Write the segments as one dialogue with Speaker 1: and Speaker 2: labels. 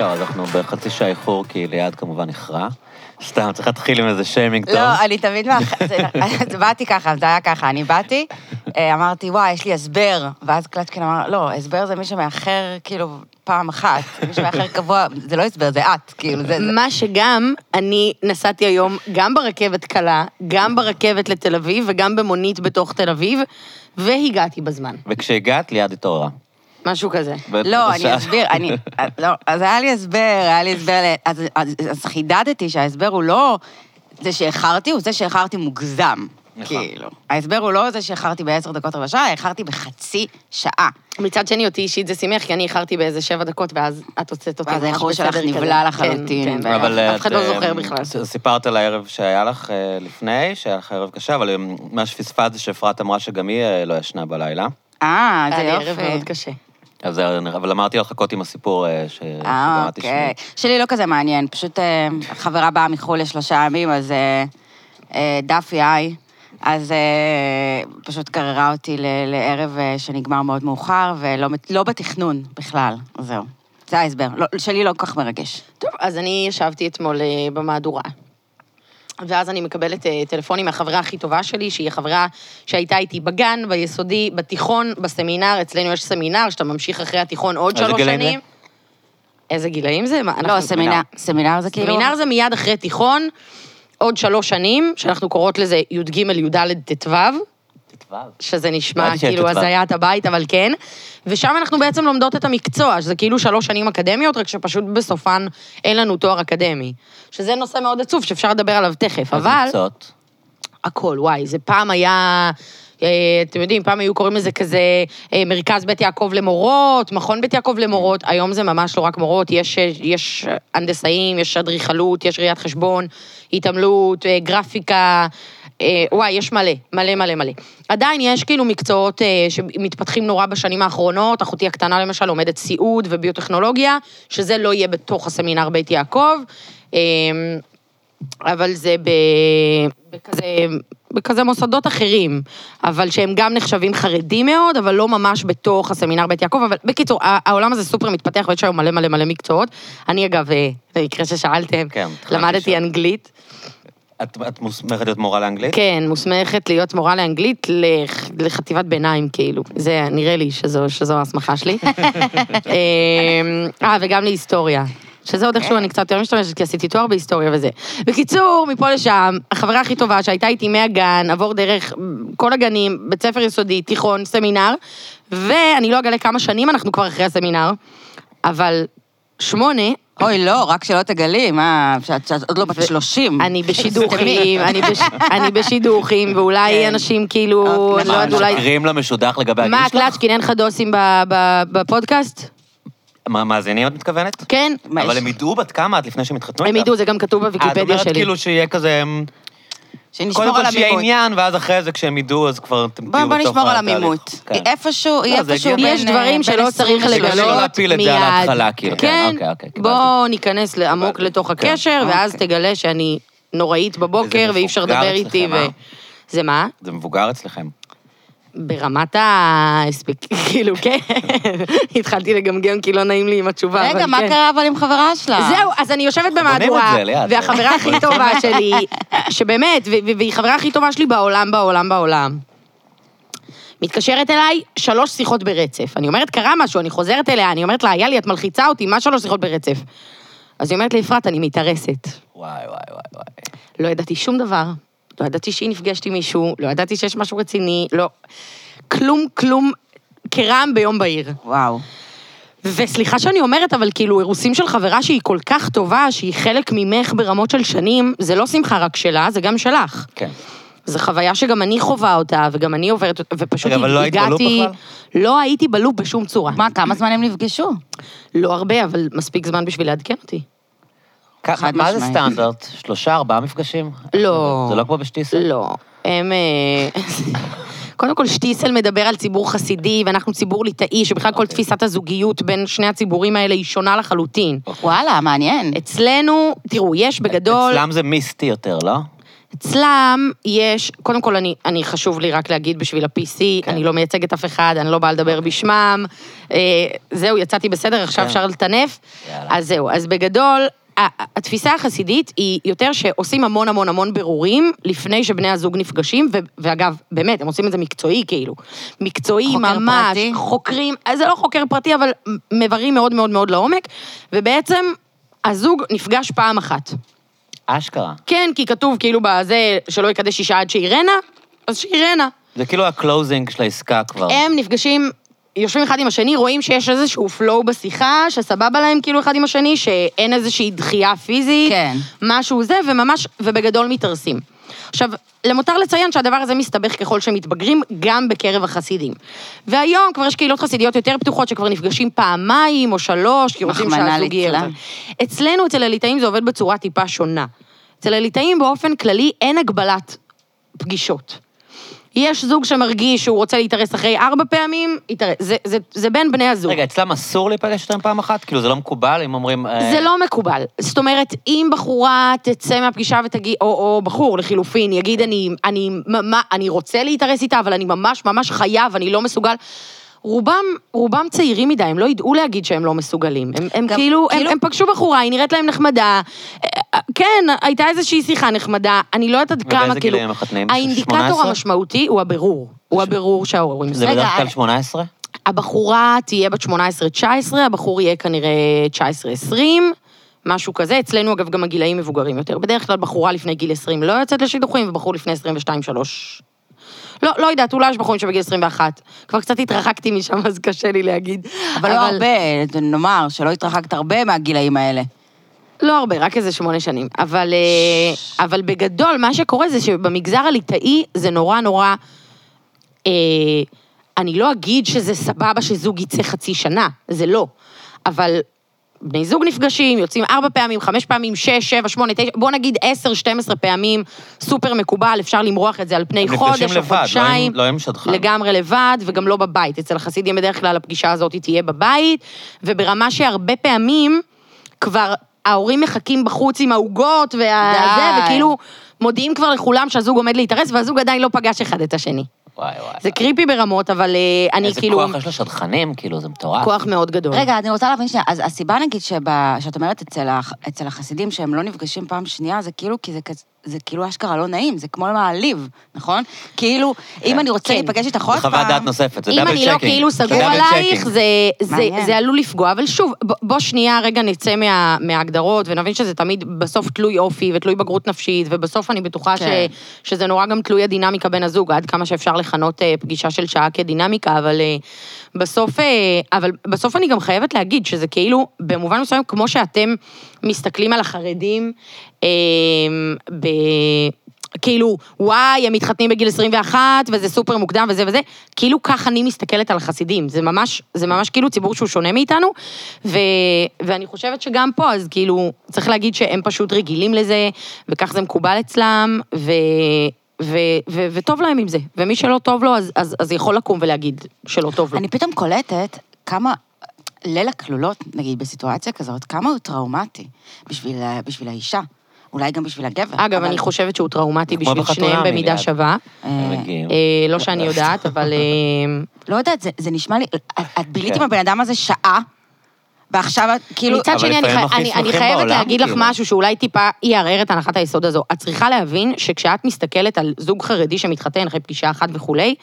Speaker 1: אז אנחנו בחצי שעה איחור, כי ליעד כמובן איחרה. סתם, צריך להתחיל עם איזה שיימינג טוב.
Speaker 2: לא, אני תמיד... מאח- זה- אז באתי ככה, זה היה ככה, אני באתי, אה, אמרתי, וואי, יש לי הסבר. ואז קלצ'קין אמר, לא, הסבר זה מי שמאחר, כאילו, פעם אחת. מי שמאחר קבוע, זה לא הסבר, זה את, כאילו, זה... זה-
Speaker 3: מה שגם, אני נסעתי היום גם ברכבת קלה, גם ברכבת לתל אביב וגם במונית בתוך תל אביב, והגעתי בזמן,
Speaker 1: וכשהגעת, ליעד התעוררה.
Speaker 3: משהו כזה.
Speaker 2: לא,
Speaker 1: בשעה-
Speaker 2: אני אסביר, אני... לא, אז היה לי הסבר, היה לי הסבר, ל- אז- אז אז חידדתי שההסבר הוא לא זה שאיחרתי, הוא זה שאיחרתי מוגזם.
Speaker 1: נכון.
Speaker 2: כאילו. ההסבר הוא לא זה שאיחרתי בעשר דקות רבע שעה, איחרתי בחצי שעה.
Speaker 3: מצד שני, אותי אישית זה שימח, כי אני איחרתי באיזה שבע דקות, ואז את הוצאת אותי
Speaker 2: ואז
Speaker 3: ממש
Speaker 2: האיחור שלך
Speaker 3: בסדר כזה.
Speaker 2: נבלע לחלוטין,
Speaker 3: כן, כן,
Speaker 2: ואף-
Speaker 1: אבל
Speaker 3: אף
Speaker 1: את,
Speaker 3: אחד לא
Speaker 1: אה,
Speaker 3: זוכר בכלל.
Speaker 1: ס- סיפרת על הערב שהיה לך אה, לפני, שהיה לך ערב קשה, אבל אה, מה שפספסת זה שאפרת אמרה שגם היא אה, לא ישנה בלילה.
Speaker 2: אה, זה
Speaker 3: היה לי ערב מאוד
Speaker 2: יופי.
Speaker 3: קשה.
Speaker 1: אז, אה, אבל אמרתי לך לחכות עם הסיפור אה, ש-
Speaker 2: אה,
Speaker 1: שגם את תשמעי.
Speaker 2: אוקיי. שלי לא כזה מעניין, פשוט אה, חברה באה מחו"ל לשלושה ימים, אז אה, אה, דאפי איי, אז אה, פשוט גררה אותי ל- לערב אה, שנגמר מאוד מאוחר, ולא מת- לא בתכנון בכלל, זהו. זה ההסבר. לא- שלי לא כל כך מרגש.
Speaker 3: טוב, אז אני ישבתי אתמול אה, במהדורה. ואז אני מקבלת אה, טלפונים מהחברה הכי טובה שלי, שהיא החברה שהייתה איתי בגן, ביסודי, בתיכון, בסמינר, אצלנו יש סמינר, שאתה ממשיך אחרי התיכון עוד
Speaker 1: איזה
Speaker 3: שלוש
Speaker 1: גילאים זה?
Speaker 3: שנים. איזה גילאים זה? מה,
Speaker 2: לא,
Speaker 3: אנחנו-
Speaker 2: סמינר, סמינר זה כאילו...
Speaker 3: סמינר זה מיד אחרי תיכון, עוד שלוש שנים, שאנחנו קוראות לזה י"ג, י"ד, ט"ו,
Speaker 1: תתבע.
Speaker 3: שזה נשמע
Speaker 1: ידעתי שהיה
Speaker 3: כאילו
Speaker 1: ט"ו.
Speaker 3: הזיית הבית, אבל כן. ושם אנחנו בעצם לומדות את המקצוע, שזה כאילו שלוש שנים אקדמיות, רק שפשוט בסופן אין לנו תואר אקדמי. שזה נושא מאוד עצוב, שאפשר לדבר עליו תכף,
Speaker 1: אז
Speaker 3: אבל...
Speaker 1: מקצועות.
Speaker 3: הכל, וואי, זה פעם היה... אה, אתם יודעים, פעם היו קוראים לזה כזה אה, מרכז בית יעקב למורות, מכון בית יעקב למורות, היום זה ממש לא רק מורות, יש, אה, יש הנדסאים, יש אדריכלות, יש ראיית חשבון, התעמלות, אה, גרפיקה, אה, וואי, יש מלא, מלא מלא מלא. עדיין יש כאילו מקצועות אה, שמתפתחים נורא בשנים האחרונות, אחותי הקטנה למשל לומדת סיעוד וביוטכנולוגיה, שזה לא יהיה בתוך הסמינר בית יעקב. אה, אבל זה ב... בכזה, בכזה מוסדות אחרים, אבל שהם גם נחשבים חרדים מאוד, אבל לא ממש בתוך הסמינר בית יעקב, אבל בקיצור, ה- העולם הזה סופר מתפתח ויש היום מלא מלא מלא מקצועות. אני אגב, אה, במקרה ששאלתם,
Speaker 1: כן, התחלתי
Speaker 3: למדתי
Speaker 1: שם.
Speaker 3: אנגלית.
Speaker 1: את את מוסמכת להיות מורה לאנגלית?
Speaker 3: כן, מוסמכת להיות מורה לאנגלית לח- לחטיבת ביניים, כאילו. זה, נראה לי שזו, שזו ההסמכה שלי. אמ, אה, וגם להיסטוריה. שזה עוד
Speaker 1: כן.
Speaker 3: איכשהו אני קצת יותר משתמשת, כי עשיתי תואר בהיסטוריה וזה. בקיצור, מפה לשם, החברה הכי טובה שהייתה איתי מהגן, עבור דרך כל הגנים, בית ספר יסודי, תיכון, סמינר, ואני לא אגלה כמה שנים אנחנו כבר אחרי הסמינר, אבל שמונה,
Speaker 2: אוי, לא, רק שלא תגלי, מה, שאת שאת עוד לא בת 30.
Speaker 3: אני בשידוכים, אני בש- אני בשידוכים, ואולי אנשים כאילו,
Speaker 2: אוקיי.
Speaker 3: אני לא יודעת,
Speaker 1: כן. מה,
Speaker 3: אולי...
Speaker 1: משקרים למשודח לגבי הגיל
Speaker 3: מה,
Speaker 1: שלך?
Speaker 3: קלצ'קין, אין לך דוסים ב- ב- בפודקאסט?
Speaker 1: מה, מאזינים את מתכוונת?
Speaker 3: כן.
Speaker 2: מה, יש-
Speaker 1: אבל הם ידעו בת כמה את לפני שהם התחתנו
Speaker 3: הם ידעו, זה גם כתוב
Speaker 1: אה, את
Speaker 3: בוויקיפדיה
Speaker 1: אומרת
Speaker 3: שלי.
Speaker 1: כאילו שיהיה כזה... קודם
Speaker 2: שנשמור על
Speaker 1: כל שיהיה
Speaker 2: המימות.
Speaker 1: עניין, ואז אחרי זה כשהם ידעו, אז כבר אתם
Speaker 2: בוא
Speaker 1: תהיו
Speaker 2: בוא
Speaker 1: בתוך
Speaker 2: נשמור על
Speaker 1: התהליך.
Speaker 2: המימות.
Speaker 1: כן.
Speaker 2: איפשהו,
Speaker 1: לא, זה
Speaker 2: איפשהו
Speaker 1: הגיוני.
Speaker 2: בין... אה,
Speaker 3: יש דברים
Speaker 2: בין
Speaker 3: שלא
Speaker 2: 20
Speaker 3: צריך
Speaker 2: ל-
Speaker 1: לגלות. לא
Speaker 3: לגלות
Speaker 1: להפיל את זה על
Speaker 3: מיד.
Speaker 1: ההתחלה, כאילו, כן, אוקיי, אוקיי, קיבלתי.
Speaker 3: בוא ניכנס עמוק
Speaker 1: קיבלתי,
Speaker 3: לתוך
Speaker 1: כן.
Speaker 3: הקשר, ואז
Speaker 2: אוקיי.
Speaker 3: תגלה שאני נוראית בבוקר
Speaker 1: וזה
Speaker 3: ואי אפשר
Speaker 1: מפוגר
Speaker 3: לדבר
Speaker 1: אצלכם,
Speaker 3: איתי. ו-
Speaker 1: אה?
Speaker 3: זה מה?
Speaker 1: זה מבוגר אצלכם.
Speaker 3: ברמת ההספק, כאילו, כן. התחלתי לגמגם כי לא נעים לי עם התשובה, אבל כן.
Speaker 2: רגע, מה קרה אבל עם חברה שלה?
Speaker 3: זהו, אז אני יושבת
Speaker 1: בונים אה. את
Speaker 3: במהדורה,
Speaker 1: זה, ליאת.
Speaker 3: והחברה הכי טובה שלי, שבאמת, ו- ו- והיא חברה הכי טובה שלי בעולם, בעולם, בעולם. מתקשרת אליי שלוש שיחות ברצף. אני אומרת, קרה משהו, אני חוזרת אליה, אני אומרת לה, יאלי, את מלחיצה אותי, מה שלוש שיחות ברצף? אז היא אומרת לי, אפרת, אני מתארסת.
Speaker 1: וואי, וואי, וואי, וואי.
Speaker 3: לא ידעתי שום דבר, לא ידעתי שהיא נפגשת עם מישהו, לא ידעתי שיש משהו רציני, לא... כלום, כלום, כרעם ביום בהיר.
Speaker 2: וואו.
Speaker 3: וסליחה שאני אומרת, אבל כאילו, אירוסים של חברה שהיא כל כך טובה, שהיא חלק ממך ברמות של שנים, זה לא שמחה רק שלה, זה גם שלך.
Speaker 1: כן.
Speaker 3: זו חוויה שגם אני חווה אותה, וגם אני עוברת אותה, ופשוט
Speaker 1: רגע, אבל לא היית בלופ
Speaker 3: בכלל? לא הייתי בלופ בשום צורה.
Speaker 2: מה, כמה זמן הם נפגשו?
Speaker 3: לא הרבה, אבל מספיק זמן בשביל לעדכן אותי.
Speaker 1: כ-
Speaker 2: חד
Speaker 1: מה זה
Speaker 2: משמעית.
Speaker 1: סטנדרט? שלושה, ארבעה מפגשים?
Speaker 3: לא.
Speaker 1: זה לא כמו בשטיסל?
Speaker 3: לא. הם... אה, קודם כל, שטיסל מדבר על ציבור חסידי, ואנחנו ציבור ליטאי, שבכלל
Speaker 1: אוקיי.
Speaker 3: כל תפיסת הזוגיות בין שני הציבורים האלה היא שונה לחלוטין.
Speaker 2: וואלה, מעניין.
Speaker 3: אצלנו, תראו, יש בגדול...
Speaker 1: אצלם זה מיסטי יותר, לא?
Speaker 3: אצלם יש, קודם כל, אני, אני חשוב לי רק להגיד בשביל ה-PC,
Speaker 1: כן.
Speaker 3: כן. אני לא מייצגת אף אחד, אני לא באה לדבר בשמם. אה, זהו, יצאתי בסדר, עכשיו
Speaker 1: כן.
Speaker 3: אפשר לטנף.
Speaker 1: יאללה.
Speaker 3: אז זהו, אז בגדול, ה- התפיסה החסידית היא יותר שעושים המון המון המון בירורים לפני שבני הזוג נפגשים, ו- ואגב, באמת, הם עושים את זה מקצועי כאילו. מקצועי
Speaker 2: חוקר
Speaker 3: ממש,
Speaker 2: פרטי?
Speaker 3: חוקרים, אז זה לא חוקר פרטי, אבל מברים מאוד מאוד מאוד לעומק, ובעצם הזוג נפגש פעם אחת.
Speaker 1: אשכרה.
Speaker 3: כן, כי כתוב כאילו בזה, שלא יקדש אישה עד שאירנה, אז שאירנה.
Speaker 1: זה כאילו הקלוזינג של העסקה כבר.
Speaker 3: הם נפגשים, יושבים אחד עם השני, רואים שיש איזשהו flow בשיחה, שסבבה להם כאילו אחד עם השני, שאין איזושהי דחייה פיזית,
Speaker 2: כן.
Speaker 3: משהו זה, וממש, ובגדול מתארסים. עכשיו, למותר לציין שהדבר הזה מסתבך ככל שמתבגרים, גם בקרב החסידים. והיום כבר יש קהילות חסידיות יותר פתוחות, שכבר נפגשים פעמיים או שלוש, כי רוצים
Speaker 2: רחמנא
Speaker 3: שהזוג יהיה
Speaker 2: ליצלן.
Speaker 3: יותר. אצלנו, אצל הליטאים, זה עובד בצורה טיפה שונה. אצל הליטאים באופן כללי אין הגבלת פגישות. יש זוג שמרגיש שהוא רוצה להתארס אחרי ארבע פעמים, התארס. זה, זה, זה בין בני הזוג.
Speaker 1: רגע, אצלם אסור להיפגש יותר פעם אחת? כאילו, זה לא מקובל אם אומרים... אה,
Speaker 3: זה לא מקובל. זאת אומרת, אם בחורה תצא מהפגישה ותגיד, או, או בחור לחילופין, יגיד, אני, אני, מה, אני רוצה להתארס איתה, אבל אני ממש ממש חייב, אני לא מסוגל. רובם, רובם צעירים מדי, הם לא ידעו להגיד שהם לא מסוגלים. הם, הם
Speaker 2: גם-
Speaker 3: כאילו,
Speaker 2: כאילו-
Speaker 3: הם, הם פגשו בחורה, היא נראית להם נחמדה. אה, אה, כן, הייתה איזושהי שיחה נחמדה, אני לא יודעת עד
Speaker 1: ובאיזה
Speaker 3: כמה,
Speaker 1: גילים
Speaker 3: כאילו...
Speaker 1: הם מחתנים?
Speaker 3: האינדיקטור
Speaker 1: 18?
Speaker 3: המשמעותי הוא הבירור. הוא הבירור שההורים
Speaker 1: זה
Speaker 3: עושים.
Speaker 1: בדרך
Speaker 2: רגע,
Speaker 1: כלל 18?
Speaker 3: הבחורה תהיה בת 18-19, הבחור יהיה כנראה 19-20, משהו כזה. אצלנו, אגב, גם הגילאים מבוגרים יותר. בדרך כלל בחורה לפני גיל 20 לא יוצאת לשידוכים, ובחור לפני 22-3. לא, לא יודעת, אולי יש בחורים שבגיל 21. כבר קצת התרחקתי משם, אז קשה לי להגיד.
Speaker 2: אבל לא הרבה, נאמר, שלא התרחקת הרבה מהגילאים האלה.
Speaker 3: לא הרבה, רק איזה שמונה שנים. אבל, אה, אבל בגדול, מה שקורה זה שבמגזר הליטאי זה נורא נורא... אה, אני לא אגיד שזה סבבה שזוג יצא חצי שנה, זה לא. אבל בני זוג נפגשים, יוצאים ארבע פעמים, חמש פעמים, שש, שבע, שמונה, תשע, בוא נגיד עשר, שתים עשרה פעמים, סופר מקובל, אפשר למרוח את זה על פני
Speaker 1: הם
Speaker 3: חודש
Speaker 1: נפגשים
Speaker 3: או
Speaker 1: לבד, לא עם-
Speaker 3: חודשיים.
Speaker 1: לא עם שדכן.
Speaker 3: לגמרי לבד, וגם לא בבית. אצל החסידים בדרך כלל הפגישה הזאת היא תהיה בבית, וברמה שהרבה פעמים כבר ההורים מחכים בחוץ עם העוגות וה...
Speaker 2: די.
Speaker 3: זה, וכאילו מודיעים כבר לכולם שהזוג עומד להתארס, והזוג עדיין לא פגש אחד את השני.
Speaker 1: וואי, וואי.
Speaker 3: זה קריפי ברמות, אבל אה, אני
Speaker 1: איזה
Speaker 3: כאילו...
Speaker 1: כוח יש לשדכנים, כאילו, זה מטורף.
Speaker 3: כוח מאוד גדול.
Speaker 2: רגע, אני רוצה להבין שנייה, אז הסיבה נגיד שבה- שאת אומרת אצל הח- אצל החסידים שהם לא נפגשים פעם שנייה, זה כאילו, כי זה כזה... זה כאילו אשכרה לא נעים, זה כמו מעליב, נכון? כאילו, אם אני רוצה
Speaker 3: כן.
Speaker 2: להיפגש איתך
Speaker 1: זה
Speaker 2: עוד פעם...
Speaker 1: חוות דעת נוספת, זה דאבל
Speaker 3: אם
Speaker 1: צ'קינג.
Speaker 3: אני לא כאילו
Speaker 1: זה
Speaker 3: סגור
Speaker 1: double
Speaker 3: עלייך,
Speaker 1: checking.
Speaker 3: זה, זה,
Speaker 2: מעניין.
Speaker 3: זה עלול לפגוע. אבל שוב, ב- בוא שנייה רגע נצא מה, מההגדרות, ונבין שזה תמיד בסוף תלוי אופי ותלוי בגרות נפשית, ובסוף אני בטוחה
Speaker 2: כן.
Speaker 3: ש, שזה נורא גם תלוי הדינמיקה בין הזוג, עד כמה שאפשר לכנות אה, פגישה של שעה כדינמיקה, אבל, אה, בסוף, אה, אבל בסוף אני גם חייבת להגיד שזה כאילו, במובן מסוים, כמו שאתם מסתכלים על החרדים, אה, ב... כאילו, וואי, הם מתחתנים בגיל 21, וזה סופר מוקדם וזה וזה, כאילו כך אני מסתכלת על החסידים. זה ממש, זה ממש כאילו ציבור שהוא שונה מאיתנו, ו, ואני חושבת שגם פה, אז כאילו, צריך להגיד שהם פשוט רגילים לזה, וכך זה מקובל אצלם, ו... ו- ו- וטוב להם עם זה, ומי שלא טוב לו, אז, אז, אז יכול לקום ולהגיד שלא טוב לו.
Speaker 2: אני פתאום קולטת כמה... ליל הכלולות, נגיד, בסיטואציה כזאת, כמה הוא טראומטי בשביל, ה- בשביל האישה. אולי גם בשביל הגבר.
Speaker 3: אגב, אני חושבת שהוא טראומטי
Speaker 1: כמו
Speaker 3: בשביל
Speaker 1: בחתונה,
Speaker 3: שניהם במידה
Speaker 1: מיליארד.
Speaker 3: שווה.
Speaker 1: הם מגיעים.
Speaker 3: אה, לא שאני יודעת, אבל... אה,
Speaker 2: לא יודעת, זה, זה נשמע לי... את- את בילית
Speaker 1: כן.
Speaker 2: עם הבן אדם הזה שעה, ועכשיו את כאילו...
Speaker 3: מצד
Speaker 1: אבל
Speaker 3: שני, אני,
Speaker 1: לפעמים
Speaker 3: חי...
Speaker 1: הכי
Speaker 3: אני, אני
Speaker 1: שמחים
Speaker 3: חייבת
Speaker 1: בעולם,
Speaker 3: להגיד לך
Speaker 1: כאילו.
Speaker 3: משהו שאולי טיפה יערער את הנחת היסוד הזו. את צריכה להבין שכשאת מסתכלת על זוג חרדי שמתחתן אחרי פגישה אחת וכולי,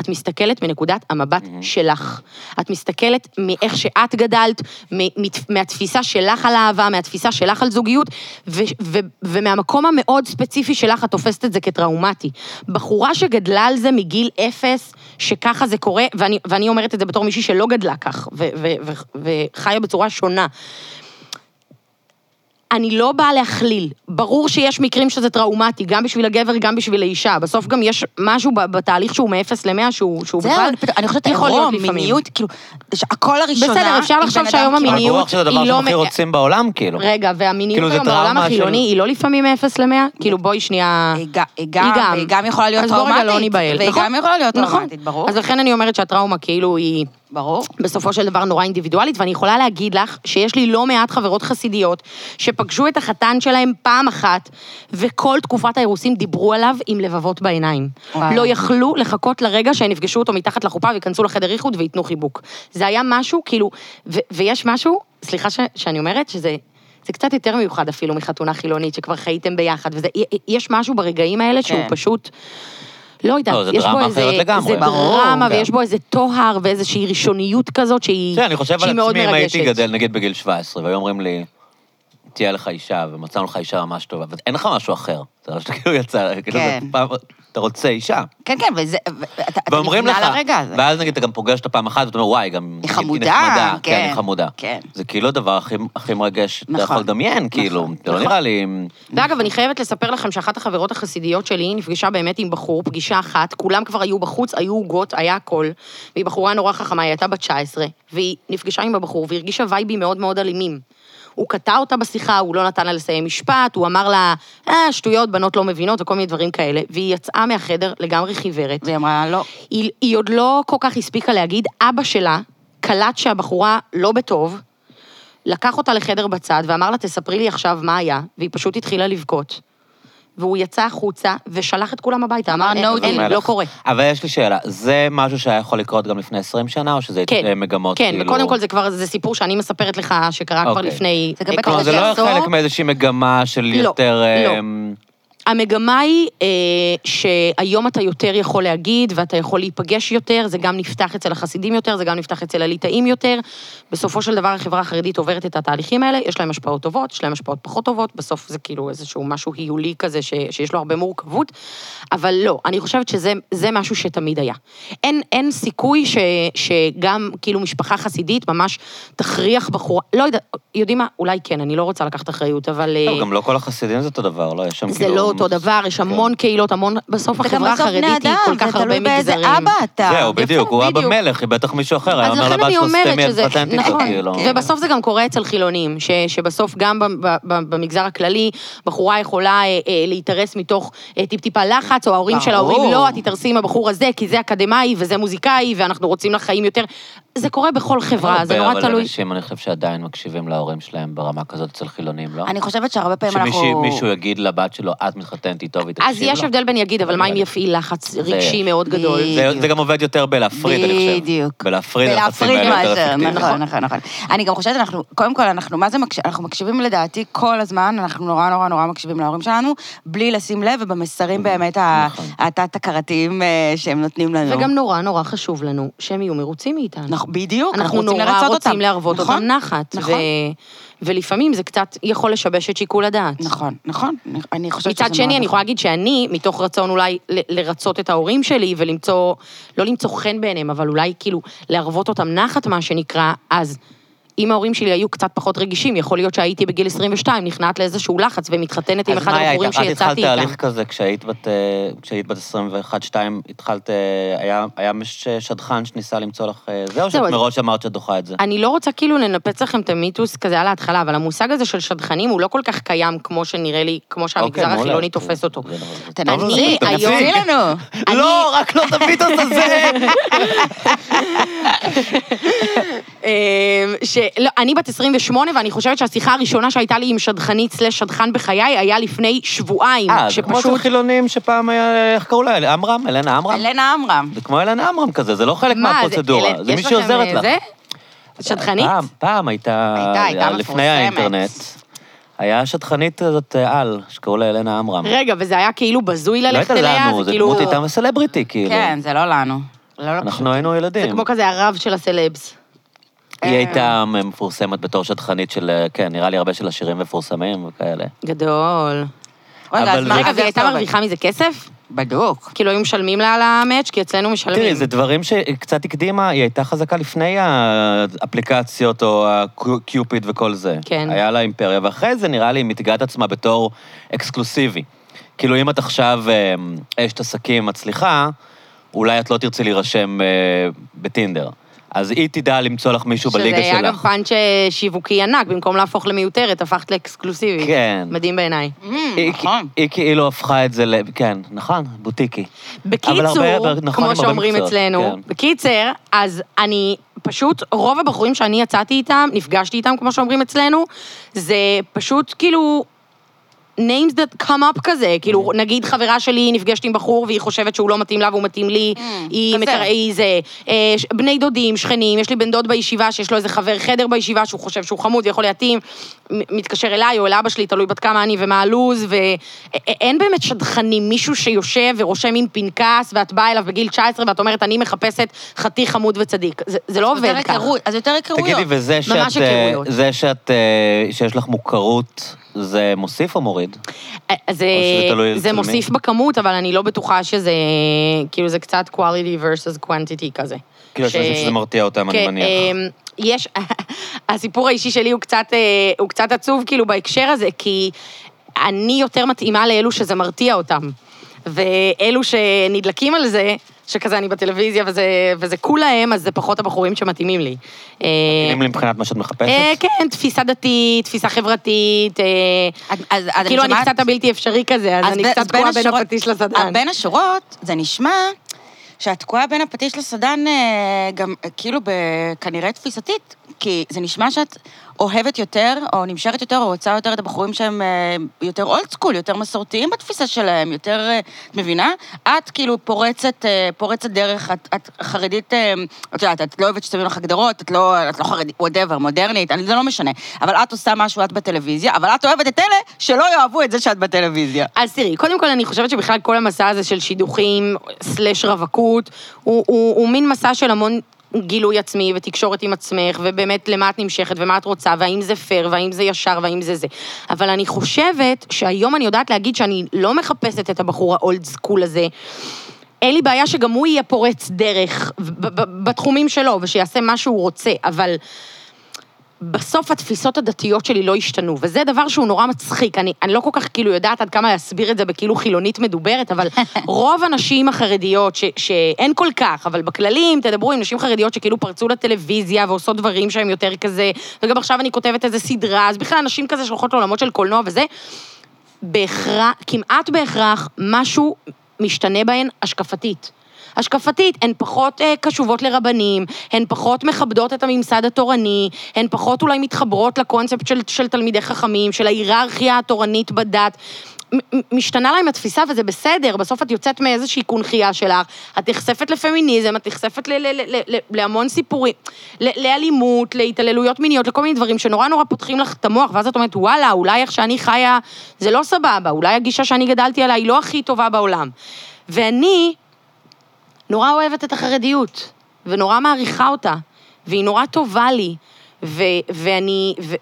Speaker 3: את מסתכלת מנקודת
Speaker 1: Mm-hmm.
Speaker 3: המבט שלך. את מסתכלת מאיך שאת גדלת, מ- מת- מהתפיסה שלך על אהבה, מהתפיסה שלך על זוגיות, ו- ו- ומהמקום המאוד ספציפי שלך את תופסת את זה כטראומטי. בחורה שגדלה על זה מגיל אפס, שככה זה קורה, ואני, ואני אומרת את זה בתור מישהי שלא גדלה כך, ו- ו- ו- וחיה בצורה שונה. אני לא באה להכליל. ברור שיש מקרים שזה טראומטי, גם בשביל הגבר, גם בשביל האישה. בסוף גם יש משהו ב- בתהליך שהוא מ-0 ל-100, שהוא, שהוא
Speaker 2: זהו, אני פתאום- אני חושבת,
Speaker 3: יכול להיות
Speaker 2: עירום,
Speaker 3: לפעמים.
Speaker 2: מיניות, כאילו, ש- הכל הראשונה...
Speaker 3: בסדר, אפשר
Speaker 2: עם בן
Speaker 3: לחשוב
Speaker 2: אדם
Speaker 3: שהיום
Speaker 1: אבל
Speaker 2: כאילו-
Speaker 3: המיניות
Speaker 1: ברור שזה הדבר
Speaker 3: היא לא
Speaker 1: שהם הכי
Speaker 3: מ-
Speaker 1: רוצים בעולם,
Speaker 2: לא-
Speaker 1: כאילו.
Speaker 3: רגע, והמיניות
Speaker 1: כאילו, זה
Speaker 3: היום בעולם
Speaker 1: טראומה
Speaker 3: החילוני
Speaker 1: של-
Speaker 3: היא לא לפעמים מ-0 ל-100? כאילו, בואי שנייה...
Speaker 2: היא גם- היא גם- והיא גם יכולה להיות
Speaker 3: אז בוא רגע לא
Speaker 2: טראומטית,
Speaker 3: ניבהל.
Speaker 2: והיא
Speaker 3: נכון,
Speaker 2: גם יכולה לא להיות
Speaker 3: נכון.
Speaker 2: טראומטית, ברור.
Speaker 3: אז לכן אני אומרת שהטראומה כאילו היא...
Speaker 2: ברור.
Speaker 3: בסופו של דבר נורא אינדיבידואלית, ואני יכולה להגיד לך שיש לי לא מעט חברות חסידיות שפגשו את החתן שלהם פעם אחת, וכל תקופת האירוסים דיברו עליו עם לבבות בעיניים.
Speaker 2: וואו.
Speaker 3: לא יכלו לחכות לרגע שהם יפגשו אותו מתחת לחופה וייכנסו לחדר איחוד וייתנו חיבוק. זה היה משהו, כאילו, ו- ויש משהו, סליחה ש- שאני אומרת, שזה... זה קצת יותר מיוחד אפילו מחתונה חילונית, שכבר חייתם ביחד, וזה, יש משהו ברגעים האלה שהוא
Speaker 2: כן.
Speaker 3: פשוט... לא יודעת,
Speaker 1: לא, זה
Speaker 3: יש בו
Speaker 1: דרמה
Speaker 3: איזה...
Speaker 1: אחרת לגמרי.
Speaker 3: זה
Speaker 2: ברור,
Speaker 3: דרמה,
Speaker 1: גם.
Speaker 3: ויש בו איזה טוהר ואיזושהי ראשוניות כזאת שהיא
Speaker 1: תראה, כן, אני חושב
Speaker 3: שהיא
Speaker 1: על
Speaker 3: מאוד
Speaker 1: עצמי, אם הייתי
Speaker 3: מרגשת.
Speaker 1: גדל, נגיד בגיל 17, והיו אומרים לי, תהיה לך אישה, ומצאנו לך אישה ממש טובה, ואין לך משהו אחר. זה פשוט כאילו יצא, כאילו זה
Speaker 2: כן.
Speaker 1: פעם, אתה רוצה אישה.
Speaker 2: כן, כן, וזה... ואתה- אתה
Speaker 1: ואומרים לך,
Speaker 2: נבנה לרגע הזה.
Speaker 1: ואז נגיד אתה גם פוגש אותה פעם אחת, ואתה אומר, וואי, גם... נגיד,
Speaker 2: חמודה,
Speaker 1: נחמדה,
Speaker 2: כן,
Speaker 1: כן, היא חמודה.
Speaker 2: כן.
Speaker 1: זה כאילו הדבר הכי- הכי מרגש שאתה
Speaker 2: נכון.
Speaker 1: יכול לדמיין, כאילו,
Speaker 2: נכון,
Speaker 1: זה לא
Speaker 3: נכון.
Speaker 1: נראה לי...
Speaker 3: ואגב, אני חייבת לספר לכם שאחת החברות החסידיות שלי נפגשה באמת עם בחור, פגישה אחת, כולם כבר היו בחוץ, היו עוגות, היה הכל. והיא בחורה נורא חכמה, היא הייתה בת 19, והיא נפגשה עם הבחור והרגישה וייבים מאוד מאוד אלימים. הוא קטע אותה בשיחה, הוא לא נתן לה לסיים משפט, הוא אמר לה, אה, שטויות, בנות לא מבינות וכל מיני דברים כאלה, והיא יצאה מהחדר לגמרי חיוורת.
Speaker 2: והיא אמרה, לא.
Speaker 3: היא, היא עוד לא כל כך הספיקה להגיד, אבא שלה קלט שהבחורה לא בטוב, לקח אותה לחדר בצד ואמר לה, תספרי לי עכשיו מה היה, והיא פשוט התחילה לבכות. והוא יצא החוצה ושלח את כולם הביתה, אמר,
Speaker 1: אה,
Speaker 2: אמר, "No
Speaker 3: אין,
Speaker 2: deal."
Speaker 3: אין, לא קורה.
Speaker 1: אבל יש לי שאלה, זה משהו שהיה יכול לקרות גם לפני 20 שנה, או שזה
Speaker 3: כן,
Speaker 1: מגמות,
Speaker 3: כן,
Speaker 1: כאילו...
Speaker 3: וקודם כל זה כבר, זה סיפור שאני מספרת לך, שקרה כבר
Speaker 1: אוקיי.
Speaker 3: לפני...
Speaker 2: זה גם
Speaker 3: אה,
Speaker 2: בטח
Speaker 3: כמה
Speaker 1: כלומר, זה לא
Speaker 2: עשור?
Speaker 1: חלק מאיזושהי מגמה של
Speaker 3: לא,
Speaker 1: יותר...
Speaker 3: לא.
Speaker 1: אמ,
Speaker 3: המגמה היא אה, שהיום אתה יותר יכול להגיד, ואתה יכול להיפגש יותר, זה גם נפתח אצל החסידים יותר, זה גם נפתח אצל הליטאים יותר. בסופו של דבר החברה החרדית עוברת את התהליכים האלה, יש להם השפעות טובות, יש להם השפעות פחות טובות, בסוף זה כאילו איזשהו משהו היולי כזה ש, שיש לו הרבה מורכבות, אבל לא, אני חושבת שזה זה משהו שתמיד היה. אין, אין סיכוי ש, שגם כאילו משפחה חסידית ממש תכריח בחורה, לא יודעת, יודעים מה, אולי כן, אני לא רוצה לקחת אחריות, אבל... אה,
Speaker 1: טוב, גם לא כל החסידים זה אותו דבר, לא? יש שם
Speaker 3: זה
Speaker 1: כאילו...
Speaker 3: לא אותו דבר, יש המון קהילות, המון... בסוף החברה החרדית היא כל כך הרבה מגזרים.
Speaker 2: זה תלוי באיזה אבא אתה.
Speaker 1: זהו,
Speaker 3: יפה,
Speaker 1: בדיוק, הוא אבא
Speaker 3: בדיוק.
Speaker 1: מלך, היא בטח מישהו אחר, היה
Speaker 3: אז
Speaker 1: אומר
Speaker 3: לכן
Speaker 1: לבת
Speaker 3: אני
Speaker 1: שלו
Speaker 3: אומרת
Speaker 1: סתמי, את
Speaker 3: שזה...
Speaker 1: פטנטית,
Speaker 3: נכון,
Speaker 1: כאילו.
Speaker 2: כן.
Speaker 3: ובסוף זה גם קורה אצל חילונים, ש- שבסוף גם ב- ב- ב- במגזר הכללי, בחורה יכולה אה, אה, להתארס מתוך אה, טיפ-טיפה לחץ, או ההורים שלה
Speaker 2: ברור.
Speaker 3: אומרים, לא, את תתארסי עם הבחור הזה, כי זה אקדמאי וזה מוזיקאי, ואנחנו רוצים לך חיים יותר. זה קורה בכל חברה, זה נורא
Speaker 1: אבל
Speaker 3: תלוי.
Speaker 1: אנשים, אני חושב שעדיין מקשיבים להורים שלהם ברמה כזאת אצל חילונים, לא?
Speaker 2: אני חושבת שהרבה פעמים אנחנו...
Speaker 1: שמישהו יגיד לבת שלו, את מתחתנת איתו והיא תקשיב
Speaker 3: אז
Speaker 1: לו?
Speaker 3: יש הבדל בין יגיד, אבל מה אם
Speaker 1: נראה לי.
Speaker 3: יפעיל לחץ רגשי
Speaker 1: יש.
Speaker 3: מאוד גדול?
Speaker 2: זה-
Speaker 1: זה- זה גם עובד יותר בלהפריד, אני חושב.
Speaker 2: בדיוק.
Speaker 1: בלהפריד הלחצים האלה יותר
Speaker 2: מאשר,
Speaker 1: אפקטיביים.
Speaker 2: נכון, נכון, נכון. אני גם חושבת, אנחנו, קודם כל, אנחנו, מה זה מקשיבים? אנחנו מקשיבים לדעתי כל הזמן, אנחנו נורא נורא נורא מקשיבים להורים שלנו, בלי לשים לב, ובמסרים באמת ה-
Speaker 1: נכון.
Speaker 2: התת-הכרתיים אה, שהם נותנים לנו.
Speaker 3: וגם נורא נורא חשוב לנו שהם יהיו מרוצים מאיתנו.
Speaker 2: נכון, בדיוק,
Speaker 3: אנחנו נורא
Speaker 2: לרצות
Speaker 3: רוצים
Speaker 2: אותם.
Speaker 3: להרוות
Speaker 2: נכון?
Speaker 3: אותם נחת.
Speaker 2: נכון.
Speaker 3: ו... ולפעמים זה קצת יכול לשבש את שיקול הדעת.
Speaker 2: נכון, נכון, אני חושבת שזה
Speaker 3: מצד
Speaker 2: מאוד
Speaker 3: שני, אני
Speaker 2: נכון.
Speaker 3: יכולה להגיד שאני, מתוך רצון אולי ל- לרצות את ההורים שלי ולמצוא, לא למצוא חן בעיניהם, אבל אולי כאילו להרוות אותם נחת, מה שנקרא, אז אם ההורים שלי היו קצת פחות רגישים, יכול להיות שהייתי בגיל 22, נכנעת לאיזשהו לחץ ומתחתנת עם
Speaker 1: אז
Speaker 3: אחד
Speaker 1: מה היה,
Speaker 3: הבחורים
Speaker 1: את התחלת
Speaker 3: שיצאתי איתם.
Speaker 1: תהליך כזה כשהיית בת, אה, כשהיית בת 21-2, התחלת, אה, היה- היה מש- שדכן שניסה למצוא לך אה, זה, או שאת
Speaker 3: אז-
Speaker 1: מראש אמרת שאת דוחה את זה?
Speaker 3: אני לא רוצה כאילו לנפץ לכם את המיתוס כזה על ההתחלה, אבל המושג הזה של שדכנים הוא לא כל כך קיים כמו שנראה לי, כמו שהמגזר
Speaker 1: אוקיי, מעולה.
Speaker 3: החילוני תופס אותו.
Speaker 1: זה נכון.
Speaker 2: תנסי,
Speaker 3: אני היום-
Speaker 2: תנסי לנו.
Speaker 1: לא, רק לא תביא את הזה.
Speaker 3: אמ, שלא, אני בת 28, ואני חושבת שהשיחה הראשונה שהייתה לי עם שדכנית סלש שדכן בחיי היה לפני שבועיים.
Speaker 1: אה, זה כמו של
Speaker 3: שפשוט-
Speaker 1: חילונים שפעם היה, איך קראו לה? עמרם? אלנה עמרם?
Speaker 2: אלנה עמרם.
Speaker 1: זה כמו אלנה עמרם כזה, זה לא חלק
Speaker 3: מה,
Speaker 1: מהפרוצדורה,
Speaker 3: אלה-
Speaker 1: זה
Speaker 3: יש
Speaker 1: מי
Speaker 3: לכם,
Speaker 1: שעוזרת
Speaker 3: אה,
Speaker 1: לך. אה,
Speaker 3: זה? שדכנית?
Speaker 1: פעם, פעם הייתה,
Speaker 2: הייתה, הייתה מפורסמת.
Speaker 1: לפני האינטרנט, היה שטחנית כזאת אה, על, שקראו לה אלנה עמרם.
Speaker 3: רגע, וזה היה כאילו בזוי
Speaker 1: לא
Speaker 3: ללכת
Speaker 1: הייתה
Speaker 3: אליה,
Speaker 1: לנו,
Speaker 3: זה
Speaker 1: זה
Speaker 3: כאילו...
Speaker 1: דמות הייתה סלבריטי, כאילו.
Speaker 2: כן, זה לא לנו. לא, לא פשוט.
Speaker 1: אנחנו היינו
Speaker 3: זה
Speaker 1: ילדים.
Speaker 3: כמו כן. כזה הרב של הסלבס.
Speaker 1: היא הייתה מפורסמת בתור שטחנית של, אה, כן, נראה לי הרבה של עשירים מפורסמים וכאלה.
Speaker 3: גדול.
Speaker 2: רגע, אז
Speaker 1: אבל זה-
Speaker 2: מה,
Speaker 3: רגע,
Speaker 2: אז
Speaker 3: והיא
Speaker 2: איך זה
Speaker 3: הייתה
Speaker 2: עובד?
Speaker 3: מרוויחה מזה כסף?
Speaker 2: בדוק.
Speaker 3: כאילו היו משלמים לה על המאץ', כי אצלנו משלמים.
Speaker 1: תראי, זה דברים שקצת הקדימה, היא הייתה חזקה לפני האפליקציות או הקיופיד וכל זה.
Speaker 3: כן.
Speaker 1: היה לה אימפריה, ואחרי זה נראה לי היא מתגאה את עצמה בתור אקסקלוסיבי. כאילו, אם את עכשיו אה, אשת עסקים מצליחה, אולי את לא תרצי להירשם אה, בטינדר. אז היא תדע למצוא לך מישהו בליגה
Speaker 3: שזה היה גם
Speaker 1: שלך.
Speaker 3: פאנץ' אה, שיווקי ענק, במקום להפוך למיותרת, הפכת לאקסקלוסיבית.
Speaker 1: כן.
Speaker 3: מדהים בעיניי.
Speaker 1: היא-
Speaker 2: נכון.
Speaker 1: היא כאילו הפכה את זה ל... כן, נכון, בוטיקי. אבל
Speaker 3: בקיצור,
Speaker 1: הרבה- נכון, עם הרבה
Speaker 3: כמו שאומרים
Speaker 1: מקצועות,
Speaker 3: אצלנו,
Speaker 1: כן.
Speaker 3: בקיצר, אז אני פשוט רוב הבחורים שאני יצאתי איתם, נפגשתי איתם, כמו שאומרים אצלנו, זה פשוט כאילו... names that come up כזה, כאילו,
Speaker 1: Mm.
Speaker 3: נגיד חברה שלי נפגשת עם בחור והיא חושבת שהוא לא מתאים לה והוא מתאים לי,
Speaker 1: Mm,
Speaker 3: היא
Speaker 2: כזה.
Speaker 3: מקר... היא זה, אה, ש- בני דודים, שכנים, יש לי בן דוד בישיבה שיש לו איזה חבר חדר בישיבה שהוא חושב שהוא חמוד ויכול להתאים, מ- מתקשר אליי או אל אבא שלי, תלוי בת כמה אני ומה הלו"ז, ואין באמת שדכנים, מישהו שיושב ורושם עם פנקס ואת באה אליו בגיל 19 ואת אומרת, אני מחפשת חתיך חמוד וצדיק. זה, זה לא עובד
Speaker 2: יותר
Speaker 3: ככה.
Speaker 2: היכרות, אז יותר היכרויות.
Speaker 1: תגידי, וזה שאת,
Speaker 3: לא, ממש
Speaker 1: אה,
Speaker 3: היכרויות.
Speaker 1: זה שאת, אה, שיש לך מוכרות, זה מוסיף או מוריד?
Speaker 3: אז אה, זה,
Speaker 1: שזה תלוי אצל
Speaker 3: זה
Speaker 1: מי?
Speaker 3: מוסיף בכמות, אבל אני לא בטוחה שזה, כאילו זה קצת quality versus quantity כזה.
Speaker 1: כאילו, יש
Speaker 3: ש-
Speaker 1: אנשים שזה מרתיע אותם, אני
Speaker 3: כן,
Speaker 1: מניח.
Speaker 3: אמ, יש, הסיפור האישי שלי הוא קצת, אה, הוא קצת עצוב כאילו בהקשר הזה, כי אני יותר מתאימה לאלו שזה מרתיע אותם. ואלו שנדלקים על זה, שכזה אני בטלוויזיה וזה, וזה cool להם, אז זה פחות הבחורים שמתאימים לי. אה,
Speaker 1: מתאימים לי כאילו, מבחינת מה שאת
Speaker 3: אה,
Speaker 1: מחפשת?
Speaker 3: כן, תפיסה דתית, תפיסה חברתית, אה,
Speaker 2: אז- אז- אז
Speaker 3: כאילו אני
Speaker 2: שומעת-
Speaker 3: קצת הבלתי אפשרי כזה, אז אני
Speaker 2: ב-
Speaker 3: קצת תקועה בין הפטיש לסדן.
Speaker 2: בין השורות, זה נשמע שאת תקועה בין הפטיש לסדן אה, גם אה, כאילו ב- כנראה תפיסתית, כי זה נשמע שאת אוהבת יותר, או נמשכת יותר, או רוצה יותר את הבחורים שהם אה, יותר אולד סקול, יותר מסורתיים בתפיסה שלהם, יותר... אה, את מבינה? את כאילו פורצת, אה, פורצת דרך, את, את חרדית, אה, את יודעת, את לא אוהבת ששמים לך הגדרות, את לא, את לא חרדית, וואטאבר, מודרנית, אני, זה לא משנה. אבל את עושה משהו, את בטלוויזיה, אבל את אוהבת את אלה שלא יאהבו את זה שאת בטלוויזיה.
Speaker 3: אוקיי, אז תראי, קודם כל אני חושבת שבכלל כל המסע הזה של שידוכים, סלש רווקות, הוא, הוא, הוא מין מסע של המון גילוי עצמי ותקשורת עם עצמך, ובאמת למה את נמשכת ומה את רוצה, והאם זה פייר, והאם זה ישר, והאם זה זה. אבל אני חושבת שהיום אני יודעת להגיד שאני לא מחפשת את הבחור האולד סקול הזה. אין לי בעיה שגם הוא יהיה פורץ דרך ב- ב- בתחומים שלו, ושיעשה מה שהוא רוצה, אבל... בסוף התפיסות הדתיות שלי לא השתנו, וזה דבר שהוא נורא מצחיק. אני, אני לא כל כך כאילו יודעת עד כמה להסביר את זה בכאילו חילונית מדוברת, אבל רוב הנשים החרדיות, ש, שאין כל כך, אבל בכללים, תדברו עם נשים חרדיות שכאילו פרצו לטלוויזיה ועושות דברים שהם יותר כזה, וגם עכשיו אני כותבת איזה סדרה, אז בכלל נשים כזה שהולכות לעולמות של קולנוע וזה, בהכרח, כמעט בהכרח, משהו משתנה בהן השקפתית. השקפתית, הן פחות אה, קשובות לרבנים, הן פחות מכבדות את הממסד התורני, הן פחות אולי מתחברות לקונספט של, של תלמידי חכמים, של ההיררכיה התורנית בדת. מ- מ- משתנה להם התפיסה וזה בסדר, בסוף את יוצאת מאיזושהי קונכייה שלך, את נחשפת לפמיניזם, את נחשפת ל- ל- ל- ל- להמון סיפורים, ל- לאלימות, להתעללויות מיניות, לכל מיני דברים שנורא נורא פותחים לך את המוח, ואז את אומרת, וואלה, אולי איך שאני חיה זה לא סבבה, אולי הגישה שאני גדלתי עליה היא לא הכי טובה בעולם. ואני נורא אוהבת את החרדיות, ונורא מעריכה אותה, והיא נורא טובה לי, ו- ואני... ו-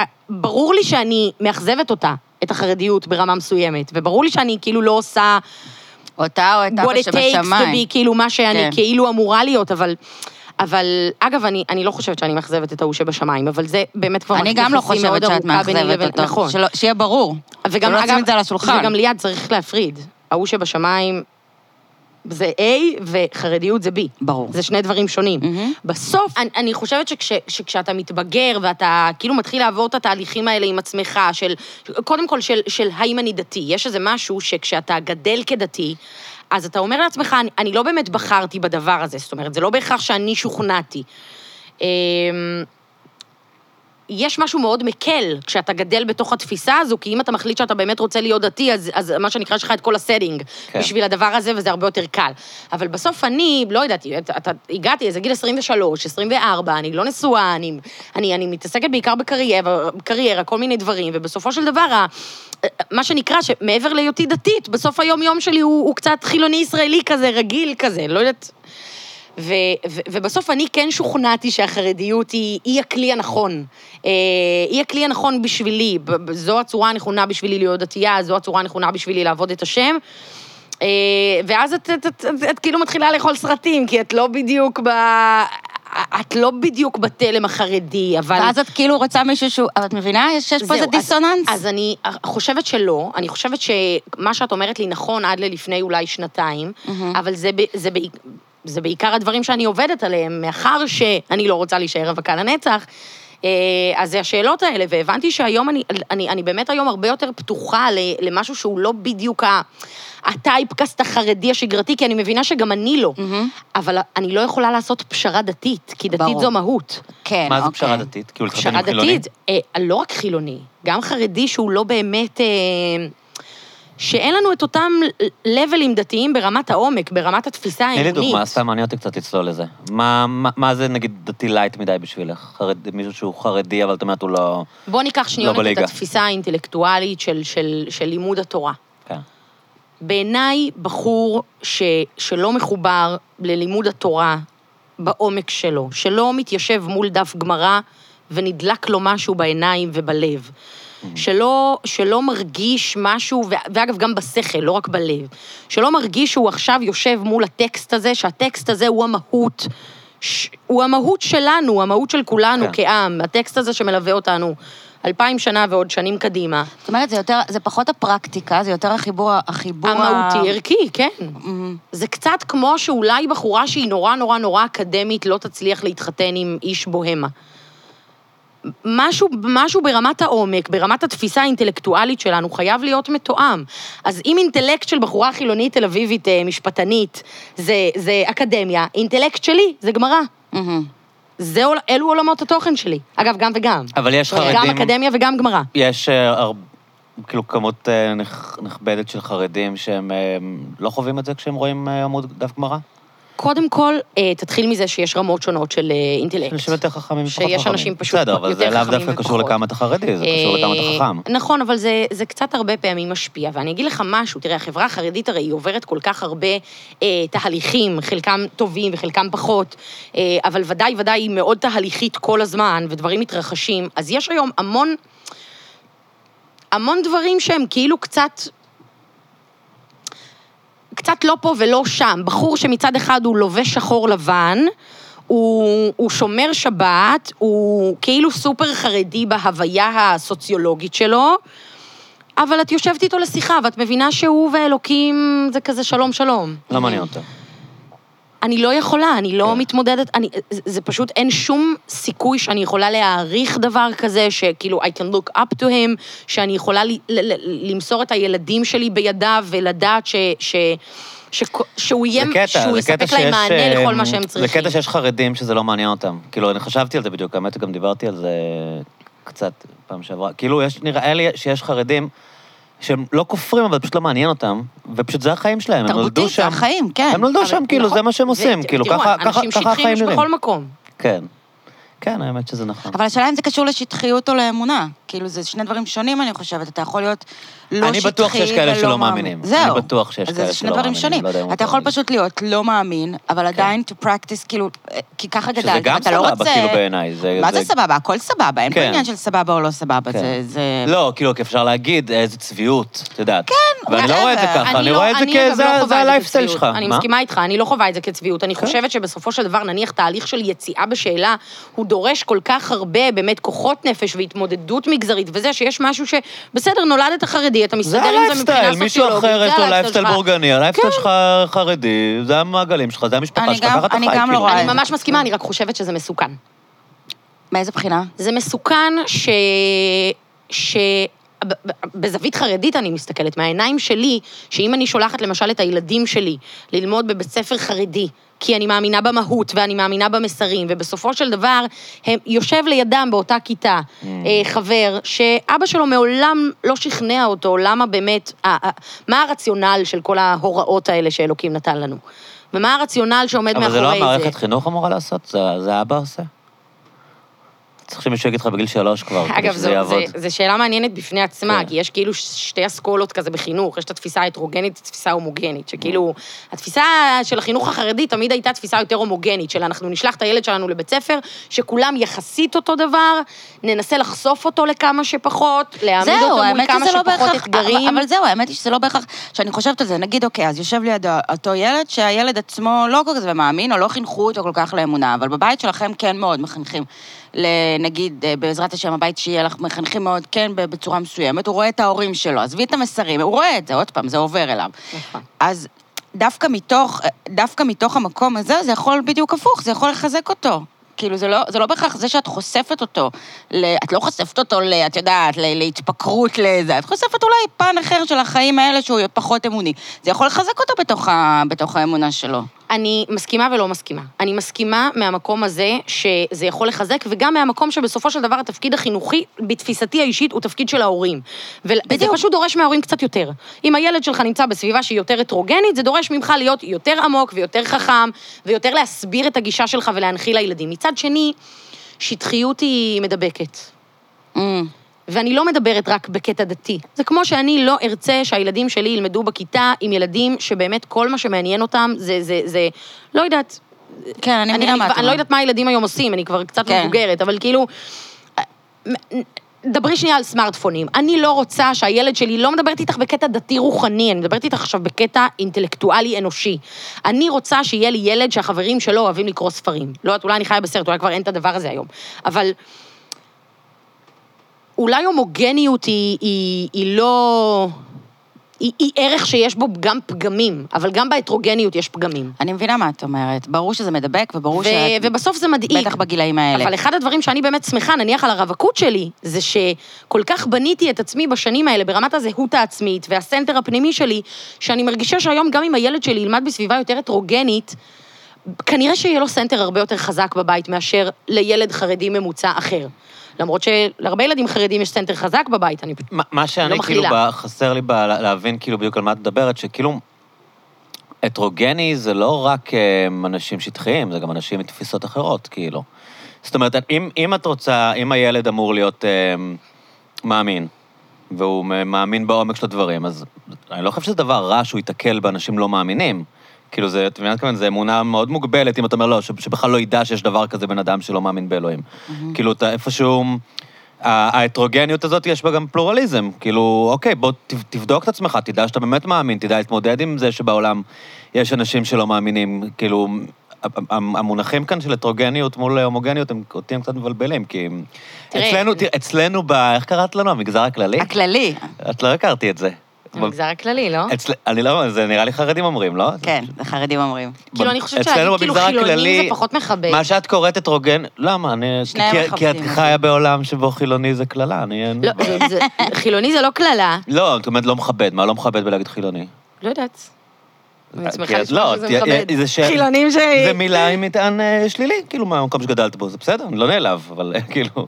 Speaker 3: אה, ברור לי שאני מאכזבת אותה, את החרדיות, ברמה מסוימת, וברור לי שאני כאילו לא עושה
Speaker 2: אותה או את
Speaker 3: what
Speaker 2: אבא
Speaker 3: it takes to
Speaker 2: שבשמיים.
Speaker 3: be, כאילו מה שאני
Speaker 2: כן.
Speaker 3: כאילו אמורה להיות, אבל... אבל, אגב, אני, אני לא חושבת שאני מאכזבת את ההוא שבשמיים, אבל זה באמת כבר...
Speaker 2: אני
Speaker 3: מערכת
Speaker 2: גם לא
Speaker 3: יחסים
Speaker 2: חושבת
Speaker 3: מאוד
Speaker 2: שאת
Speaker 3: ארוכה ביני
Speaker 2: מאכזבת
Speaker 3: לבין-
Speaker 2: אותו.
Speaker 3: נכון.
Speaker 2: שלא- שיהיה ברור.
Speaker 3: וגם,
Speaker 2: שלא
Speaker 3: אגב, לא-
Speaker 2: נשים את זה על השולחן.
Speaker 3: וגם ליד צריך להפריד. ההוא שבשמיים זה A וחרדיות זה B.
Speaker 2: ברור.
Speaker 3: זה שני דברים שונים.
Speaker 2: מהמם.
Speaker 3: בסוף, אני, אני חושבת שכש, שכשאתה מתבגר ואתה כאילו מתחיל לעבור את התהליכים האלה עם עצמך, של, קודם כל של, של האם אני דתי, יש איזה משהו שכשאתה גדל כדתי, אז אתה אומר לעצמך, אני, אני לא באמת בחרתי בדבר הזה, זאת אומרת, זה לא בהכרח שאני שוכנעתי. אמ, יש משהו מאוד מקל כשאתה גדל בתוך התפיסה הזו, כי אם אתה מחליט שאתה באמת רוצה להיות דתי, אז, אז מה שנקרא, יש לך את כל הסטינג
Speaker 1: כן.
Speaker 3: כן. בשביל הדבר הזה, וזה הרבה יותר קל. אבל בסוף אני, לא יודעת, אתה, אתה, הגעתי איזה גיל 23, 24, אני לא נשואה, אני, אני, אני מתעסקת בעיקר בקריירה, בקריירה, כל מיני דברים, ובסופו של דבר, ה- מה שנקרא, שמעבר להיותי דתית, בסוף היום-יום שלי הוא, הוא קצת חילוני-ישראלי כזה, רגיל כזה, לא יודעת... ו- ו- ובסוף אני כן שוכנעתי שהחרדיות היא, היא הכלי הנכון. אה, היא הכלי הנכון בשבילי, ב- ב- זו הצורה הנכונה בשבילי להיות דתייה, זו הצורה הנכונה בשבילי לעבוד את השם. אה, ואז את, את, את, את, את כאילו מתחילה לאכול סרטים, כי את לא בדיוק ב... את לא בדיוק בתלם החרדי, אבל...
Speaker 2: ואז את כאילו רוצה מישהו שהוא... אבל את מבינה? יש יש פה
Speaker 3: זהו,
Speaker 2: איזה
Speaker 3: אז-
Speaker 2: דיסוננס.
Speaker 3: אז אני חושבת שלא, אני חושבת שמה שאת אומרת לי נכון עד ללפני אולי שנתיים, אבל זה, ב- זה, בעיק- זה בעיקר הדברים שאני עובדת עליהם, מאחר שאני לא רוצה להישאר רווקה לנצח. אה, אז זה השאלות האלה, והבנתי שהיום אני, אני, אני באמת היום הרבה יותר פתוחה ל- למשהו שהוא לא בדיוק ה... הטייפקאסט החרדי השגרתי, כי אני מבינה שגם אני לא. אבל אני לא יכולה לעשות פשרה דתית, כי דתית
Speaker 2: ברור.
Speaker 3: זו מהות.
Speaker 2: כן,
Speaker 1: מה זה
Speaker 2: אוקיי.
Speaker 1: פשרה דתית? כאילו, להתחתן
Speaker 3: פשרה
Speaker 1: עם חילונים?
Speaker 3: דתית, אה, לא רק חילוני, גם חרדי שהוא לא באמת... אה, שאין לנו את אותם לבלים דתיים ברמת העומק, ברמת התפיסה
Speaker 1: תני לי
Speaker 3: האמונית.
Speaker 1: דוגמה, סתם מעניין אותי קצת לצלול לזה. מה- מה מה זה נגיד דתי לייט מדי בשבילך? חרד- מישהו שהוא חרדי, אבל את אומרת הוא לא...
Speaker 3: בואו ניקח שניונת את
Speaker 1: בליגה.
Speaker 3: התפיסה האינטלקטואלית של, של, של לימוד התורה.
Speaker 1: כן.
Speaker 3: בעיניי, בחור ש, שלא מחובר ללימוד התורה בעומק שלו, שלא מתיישב מול דף גמרא ונדלק לו משהו בעיניים ובלב, שלא, שלא מרגיש משהו, ו- ואגב, גם בשכל, לא רק בלב, שלא מרגיש שהוא עכשיו יושב מול הטקסט הזה, שהטקסט הזה הוא המהות. ש- הוא המהות שלנו, הוא המהות של כולנו
Speaker 1: כן.
Speaker 3: כעם, הטקסט הזה שמלווה אותנו אלפיים שנה ועוד שנים קדימה.
Speaker 2: זאת אומרת, זה יותר, זה פחות הפרקטיקה, זה יותר החיבור, ה- החיבור... ה-
Speaker 3: המהותי ערכי, כן.
Speaker 2: מ-
Speaker 3: זה קצת כמו שאולי בחורה שהיא נורא נורא נורא אקדמית לא תצליח להתחתן עם איש בוהמה. משהו, משהו ברמת העומק, ברמת התפיסה האינטלקטואלית שלנו, חייב להיות מתואם. אז אם אינטלקט של בחורה חילונית תל אביבית אה, משפטנית זה, זה אקדמיה, אינטלקט שלי זה גמרא.
Speaker 2: מ-
Speaker 3: זה, עול- אלו עולמות התוכן שלי. אגב, גם וגם.
Speaker 1: אבל יש
Speaker 3: גם
Speaker 1: חרדים...
Speaker 3: אקדמיה וגם גמרא.
Speaker 1: יש אה, הר- כאילו כמות אה, נכ- נכבדת של חרדים שהם אה, לא חווים את זה כשהם רואים אה, עמוד דף גמרא?
Speaker 3: קודם כל, אה, תתחיל מזה שיש רמות שונות של אה, אינטלקט.
Speaker 1: אנשים יותר חכמים ופחות חכמים.
Speaker 3: שיש אנשים פשוט
Speaker 1: בסדר, אבל
Speaker 3: יותר
Speaker 1: זה לאו
Speaker 3: חכמים
Speaker 1: דווקא קשור
Speaker 3: ופחות.
Speaker 1: לכמה אתה חרדי, זה קשור לכמה אתה
Speaker 3: אה,
Speaker 1: חכם.
Speaker 3: נכון, אבל זה, זה קצת הרבה פעמים משפיע. ואני אגיד לך משהו, תראה, החברה החרדית הרי היא עוברת כל כך הרבה אה, תהליכים, חלקם טובים וחלקם פחות, אה, אבל ודאי ודאי היא מאוד תהליכית כל הזמן, ודברים מתרחשים. אז יש היום המון, המון דברים שהם כאילו קצת... קצת לא פה ולא שם. בחור שמצד אחד הוא לובש שחור לבן, הוא, הוא שומר שבת, הוא כאילו סופר חרדי בהוויה הסוציולוגית שלו, אבל את יושבת איתו לשיחה, ואת מבינה שהוא ואלוקים זה כזה שלום שלום.
Speaker 1: לא מעניין אותם.
Speaker 3: אני לא יכולה, אני לא
Speaker 1: כן.
Speaker 3: מתמודדת, אני, זה, זה פשוט, אין שום סיכוי שאני יכולה להעריך דבר כזה, שכאילו, I can look up to him, שאני יכולה ל, ל, ל, למסור את הילדים שלי בידיו ולדעת ש, ש, ש, שהוא יהיה,
Speaker 1: זה קטע,
Speaker 3: שהוא
Speaker 1: זה קטע
Speaker 3: יספק
Speaker 1: שיש...
Speaker 3: להם מענה לכל
Speaker 1: אה,
Speaker 3: מה שהם צריכים.
Speaker 1: זה קטע שיש חרדים שזה לא מעניין אותם. כאילו, אני חשבתי על זה בדיוק, האמת שגם דיברתי על זה קצת פעם שעברה. כאילו, יש, נראה לי שיש חרדים שהם לא כופרים, אבל פשוט לא מעניין אותם, ופשוט זה החיים שלהם, הם נולדו
Speaker 2: תרבותית, זה
Speaker 1: שם.
Speaker 2: החיים, כן.
Speaker 1: הם נולדו
Speaker 3: אבל-
Speaker 1: שם, כאילו,
Speaker 3: נכון.
Speaker 1: זה מה שהם עושים, כאילו,
Speaker 3: תראו,
Speaker 1: ככה ככה-
Speaker 3: אנשים
Speaker 1: ככה
Speaker 3: שטחיים
Speaker 1: החיים
Speaker 3: יש
Speaker 1: נראים.
Speaker 3: בכל מקום.
Speaker 1: כן. כן, האמת שזה נכון.
Speaker 2: אבל השאלה אם זה קשור לשטחיות או לאמונה. כאילו, זה שני דברים שונים, אני חושבת. אתה יכול להיות לא שטחי ולא
Speaker 1: אני
Speaker 2: מאמין.
Speaker 1: בטוח שיש כאלה שלא מאמינים.
Speaker 2: זהו.
Speaker 1: אני בטוח שיש
Speaker 2: אז
Speaker 1: כאלה
Speaker 2: זה שני
Speaker 1: שלא
Speaker 2: דברים
Speaker 1: מאמינים,
Speaker 2: שונים.
Speaker 1: לא יודע אם
Speaker 2: אתה
Speaker 1: מותר
Speaker 2: יכול
Speaker 1: לי.
Speaker 2: פשוט להיות לא מאמין, אבל עדיין to practice, כאילו, אה, כי ככה גדלת,
Speaker 1: שזה גם
Speaker 2: ואתה לא
Speaker 1: סבבה,
Speaker 2: רוצה...
Speaker 1: כאילו, בעיניי. זה-
Speaker 2: מה זה סבבה? הכל סבבה, אין פה
Speaker 1: כן.
Speaker 2: עניין של סבבה או לא סבבה,
Speaker 1: כן.
Speaker 2: זה-
Speaker 3: אה,
Speaker 2: זה...
Speaker 1: לא, כאילו, כי אפשר להגיד, איזה צביעות, את יודעת. כן, ואני לא
Speaker 2: whatever.
Speaker 1: רואה את זה ככה, אני רואה את זה
Speaker 3: אגב, אה, לא חווה
Speaker 1: כזה,
Speaker 3: את
Speaker 1: זה הלייפסטייל
Speaker 3: כצביעות.
Speaker 1: שלך.
Speaker 3: אני
Speaker 1: מה? כן.
Speaker 3: מסכימה איתך, אני לא חווה את זה כצביעות. אני חושבת שבסופו של דבר, נניח תהליך של יציאה בשאלה, הוא דורש כל כך הרבה, באמת, כוחות נפש והתמודדות מגזרית וזה, שיש משהו ש... בסדר, נולדת חרדי, אתה
Speaker 1: זה
Speaker 3: מסתדר עם זה מבחינה
Speaker 1: הלייפסטייל,
Speaker 3: סוציולוגית,
Speaker 1: מישהו אחר יש לו לייפסטייל
Speaker 3: שלך. כן.
Speaker 1: בורגני, הלייפסטייל שלך חרדי, זה המעגלים שלך, זה המשפחה
Speaker 2: אני
Speaker 1: שלך,
Speaker 2: גם-
Speaker 1: ככה אתה חי,
Speaker 2: אני
Speaker 1: כאילו.
Speaker 2: גם לא רואה
Speaker 3: אני
Speaker 2: זה
Speaker 3: ממש מסכימה, אני רק חושבת שזה מסוכן.
Speaker 2: מאיזה בחינה?
Speaker 3: זה מסוכן ש... ש... ב- ב- בזווית חרדית אני מסתכלת, מהעיניים שלי, שאם אני שולחת למשל את הילדים שלי ללמוד בבית ספר חרדי, כי אני מאמינה במהות ואני מאמינה במסרים, ובסופו של דבר, הם, יושב לידם באותה כיתה
Speaker 1: Mm.
Speaker 3: אה, חבר שאבא שלו מעולם לא שכנע אותו למה באמת, אה, אה, מה הרציונל של כל ההוראות האלה שאלוקים נתן לנו, ומה הרציונל שעומד
Speaker 1: אבל
Speaker 3: מאחורי
Speaker 1: זה
Speaker 3: זה.
Speaker 1: לא המערכת חינוך אמורה לעשות? זה- זה האבא עושה? צריך שמישהו יגיד לך בגיל שלוש כבר, כדי
Speaker 3: אגב,
Speaker 1: שזה
Speaker 3: זו, זו,
Speaker 1: יעבוד.
Speaker 3: זו שאלה מעניינת בפני עצמה,
Speaker 1: כן.
Speaker 3: כי יש כאילו ש- שתי אסכולות כזה בחינוך, יש את התפיסה ההטרוגנית, את התפיסה ההומוגנית, שכאילו,
Speaker 2: Mm.
Speaker 3: התפיסה של החינוך החרדי תמיד הייתה תפיסה יותר הומוגנית, של אנחנו נשלח את הילד שלנו לבית ספר, שכולם יחסית אותו דבר, ננסה לחשוף אותו לכמה שפחות, להעמיד
Speaker 2: זהו,
Speaker 3: אותו מול
Speaker 2: האמת
Speaker 3: כמה
Speaker 2: שזה לא
Speaker 3: שפחות
Speaker 2: בהכרח,
Speaker 3: אתגרים.
Speaker 2: אבל, אבל זהו, האמת היא שזה לא בהכרח, שאני חושבת על זה, נגיד, אוקיי, אז יושב לידו אותו ילד, שהילד עצמו לא כל כך מאמין, או לא חינכו אותו כל כך לאמונה, אבל בבית שלכם כן מאוד מחנכים. ל- נגיד, אה, בעזרת השם, הבית שיהיה לך, מחנכים מאוד, כן, ב- בצורה מסוימת, הוא רואה את ההורים שלו, עזבי את המסרים, הוא רואה את זה, עוד פעם, זה עובר אליו.
Speaker 3: נכון.
Speaker 2: אז אה, דווקא מתוך, דווקא מתוך המקום הזה, זה יכול בדיוק הפוך, זה יכול לחזק אותו. כאילו, זה לא, זה לא בהכרח זה שאת חושפת אותו. ל, את לא חושפת אותו, ל, את יודעת, ל, להתפקרות לזה, את חושפת אולי פן אחר של החיים האלה שהוא פחות אמוני. זה יכול לחזק אותו בתוך, ה, בתוך האמונה שלו.
Speaker 3: אני מסכימה ולא מסכימה. אני מסכימה מהמקום הזה שזה יכול לחזק, וגם מהמקום שבסופו של דבר התפקיד החינוכי, בתפיסתי האישית, הוא תפקיד של ההורים. וזה
Speaker 2: בדיוק.
Speaker 3: פשוט דורש מההורים קצת יותר. אם הילד שלך נמצא בסביבה שהיא יותר הטרוגנית, זה דורש ממך להיות יותר עמוק ויותר חכם, ויותר להסביר את הגישה שלך ולהנחיל לילדים. מצד שני, שטחיות היא מדבקת.
Speaker 2: Mm.
Speaker 3: ואני לא מדברת רק בקטע דתי. זה כמו שאני לא ארצה שהילדים שלי ילמדו בכיתה עם ילדים שבאמת כל מה שמעניין אותם זה, זה, זה, לא יודעת.
Speaker 2: כן, אני מבינה מה
Speaker 3: כבר-
Speaker 2: את
Speaker 3: אני לא
Speaker 2: אומרת.
Speaker 3: יודעת מה הילדים היום עושים, אני כבר קצת
Speaker 2: כן.
Speaker 3: מבוגרת, אבל כאילו... דברי שנייה על סמארטפונים. אני לא רוצה שהילד שלי, לא מדברת איתך בקטע דתי-רוחני, אני מדברת איתך עכשיו בקטע אינטלקטואלי-אנושי. אני רוצה שיהיה לי ילד שהחברים שלו אוהבים לקרוא ספרים. לא יודעת, אולי אני חיה בסרט, אולי כבר אין את הדבר הזה היום. אבל אולי הומוגניות היא, היא, היא לא... היא, היא ערך שיש בו גם פגמים, אבל גם בהטרוגניות יש פגמים.
Speaker 2: אני מבינה מה את אומרת. ברור שזה מדבק, וברור
Speaker 3: ו-
Speaker 2: שאת...
Speaker 3: ובסוף זה מדאיג.
Speaker 2: בטח בגילאים האלה.
Speaker 3: אבל אחד הדברים שאני באמת שמחה, נניח על הרווקות שלי, זה שכל כך בניתי את עצמי בשנים האלה ברמת הזהות העצמית והסנטר הפנימי שלי, שאני מרגישה שהיום גם אם הילד שלי ילמד בסביבה יותר הטרוגנית, כנראה שיהיה לו סנטר הרבה יותר חזק בבית מאשר לילד חרדי ממוצע אחר. למרות שלהרבה ילדים חרדים יש סנטר חזק בבית, אני
Speaker 1: מה- מה שאני
Speaker 3: לא
Speaker 1: כאילו,
Speaker 3: מכלילה.
Speaker 1: ב- חסר לי ב- לה- להבין כאילו בדיוק על מה את מדברת, שכאילו, הטרוגני זה לא רק אה, אנשים שטחיים, זה גם אנשים עם תפיסות אחרות, כאילו. זאת אומרת, אם, אם את רוצה, אם הילד אמור להיות אה, מאמין, והוא מ- מאמין בעומק של הדברים, אז אני לא חושב שזה דבר רע שהוא ייתקל באנשים לא מאמינים. כאילו, זה, את מבינה מה אני מתכוון? זו אמונה מאוד מוגבלת, אם אתה אומר, לא, ש- שבכלל לא ידע שיש דבר כזה בן אדם שלא מאמין באלוהים. כאילו, אתה איפשהו... ה- ההטרוגניות הזאת, יש בה גם פלורליזם. כאילו, אוקיי, בוא ת- תבדוק את עצמך, תדע שאתה באמת מאמין, תדע להתמודד עם זה שבעולם יש אנשים שלא מאמינים. כאילו, ה- ה- המונחים כאן של הטרוגניות מול הומוגניות, הם אותי הם קצת מבלבלים, כי... הם-
Speaker 3: תראה-
Speaker 1: אצלנו, תראה, אצלנו ב... איך קראת לנו? המגזר הכללי?
Speaker 2: הכללי.
Speaker 1: את לא הכרתי את זה.
Speaker 3: במגזר הכללי, לא?
Speaker 1: אצל... אני לא... זה נראה לי חרדים אומרים, לא?
Speaker 2: כן, החרדים אומרים.
Speaker 3: כאילו, אני חושבת
Speaker 1: אצלנו
Speaker 3: שאני כאילו
Speaker 1: במגזר
Speaker 3: חילונים
Speaker 1: הכללי-
Speaker 3: זה פחות מכבד.
Speaker 1: מה שאת קוראת הטרוגן, למה? אני...
Speaker 2: שניהם
Speaker 1: כי- כי את
Speaker 2: מכבדים
Speaker 1: חיה בעולם שבו חילוני זה קללה, אני... אין
Speaker 3: אוקיי. לא,
Speaker 1: בעיה.
Speaker 3: זה- זה- חילוני זה לא קללה,
Speaker 1: לא, את אומרת לא מכבד, מה לא מכבד בלהגיד חילוני?
Speaker 3: לא יודעת. אני
Speaker 1: כי
Speaker 3: שמחה
Speaker 1: את-
Speaker 3: לשמוע
Speaker 1: לא,
Speaker 3: שזה
Speaker 1: את-
Speaker 3: מכבד.
Speaker 1: זה ש-
Speaker 3: חילונים ש...
Speaker 1: זה מילה עם מטען אה, שלילי, כאילו, מהמקום שגדלת בו, זה בסדר, אני לא נעלב, אבל אה, כאילו,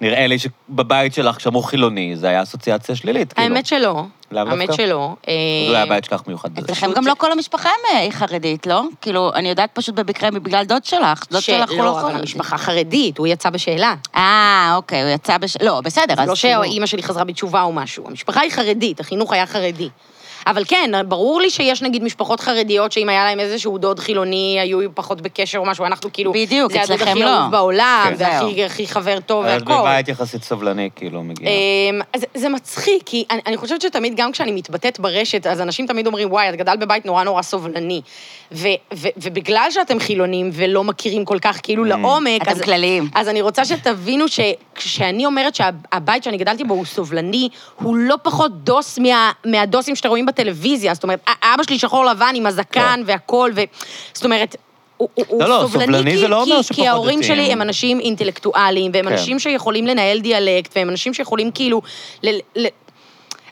Speaker 1: נראה לי שבבית שלך, כשאמרו חילוני, זה היה אסוציאציה שלילית, כאילו.
Speaker 3: האמת שלא.
Speaker 1: לאו דווקא?
Speaker 3: האמת שלא. אה,
Speaker 1: זה לא היה בית שלך מיוחד בזה.
Speaker 2: אצלכם גם לא כל המשפחה הם, אה, היא חרדית, לא? כאילו, אני יודעת פשוט במקרה מבגלל דוד שלך. דוד שלך הוא לא
Speaker 3: שלא, אבל
Speaker 2: חרדי.
Speaker 3: המשפחה חרדית, הוא יצא בשאלה.
Speaker 2: אה, אוקיי, הוא יצא בש... לא, בסדר, אז
Speaker 3: לא
Speaker 2: כאילו-
Speaker 3: שאימא שלי חזרה בתשובה או משהו. המשפחה היא חרדית, החינוך היה חרדי. אבל כן, ברור לי שיש נגיד משפחות חרדיות שאם היה להם איזשהו דוד חילוני, היו פחות בקשר או משהו, אנחנו כאילו...
Speaker 2: בדיוק,
Speaker 3: זה הדוד
Speaker 2: אצלכם
Speaker 3: הכי
Speaker 2: לא.
Speaker 3: אהוב בעולם,
Speaker 1: כן.
Speaker 3: זה
Speaker 2: זהו.
Speaker 3: הכי- הכי חבר טוב
Speaker 1: אבל את
Speaker 3: והכל.
Speaker 1: בבית יחסית סבלני, כאילו, מגיע.
Speaker 3: אמ, אז זה מצחיק, כי אני, אני חושבת שתמיד, גם כשאני מתבטאת ברשת, אז אנשים תמיד אומרים, וואי, את גדלת בבית נורא נורא סובלני. ו, ו, ובגלל שאתם חילונים ולא מכירים כל כך כאילו לעומק,
Speaker 2: אתם
Speaker 3: אז,
Speaker 2: כלליים.
Speaker 3: אז אני רוצה שתבינו שכשאני אומרת שהבית שאני גדלתי בו הוא סובלני, הוא לא פחות דוס מה, מהדוסים שאתם רואים בטלוויזיה. זאת אומרת, א- אבא שלי שחור לבן עם הזקן והכול, ו... זאת אומרת... הוא, הוא- הוא
Speaker 1: כן. לא, לא,
Speaker 3: סובלני,
Speaker 1: סובלני
Speaker 3: כי,
Speaker 1: זה לא
Speaker 3: כי,
Speaker 1: אומר
Speaker 3: כי
Speaker 1: שפחות
Speaker 3: ההורים
Speaker 1: דתיים.
Speaker 3: שלי הם אנשים אינטלקטואליים, והם
Speaker 1: כן.
Speaker 3: אנשים שיכולים לנהל דיאלקט, והם אנשים שיכולים כאילו... ל, ל,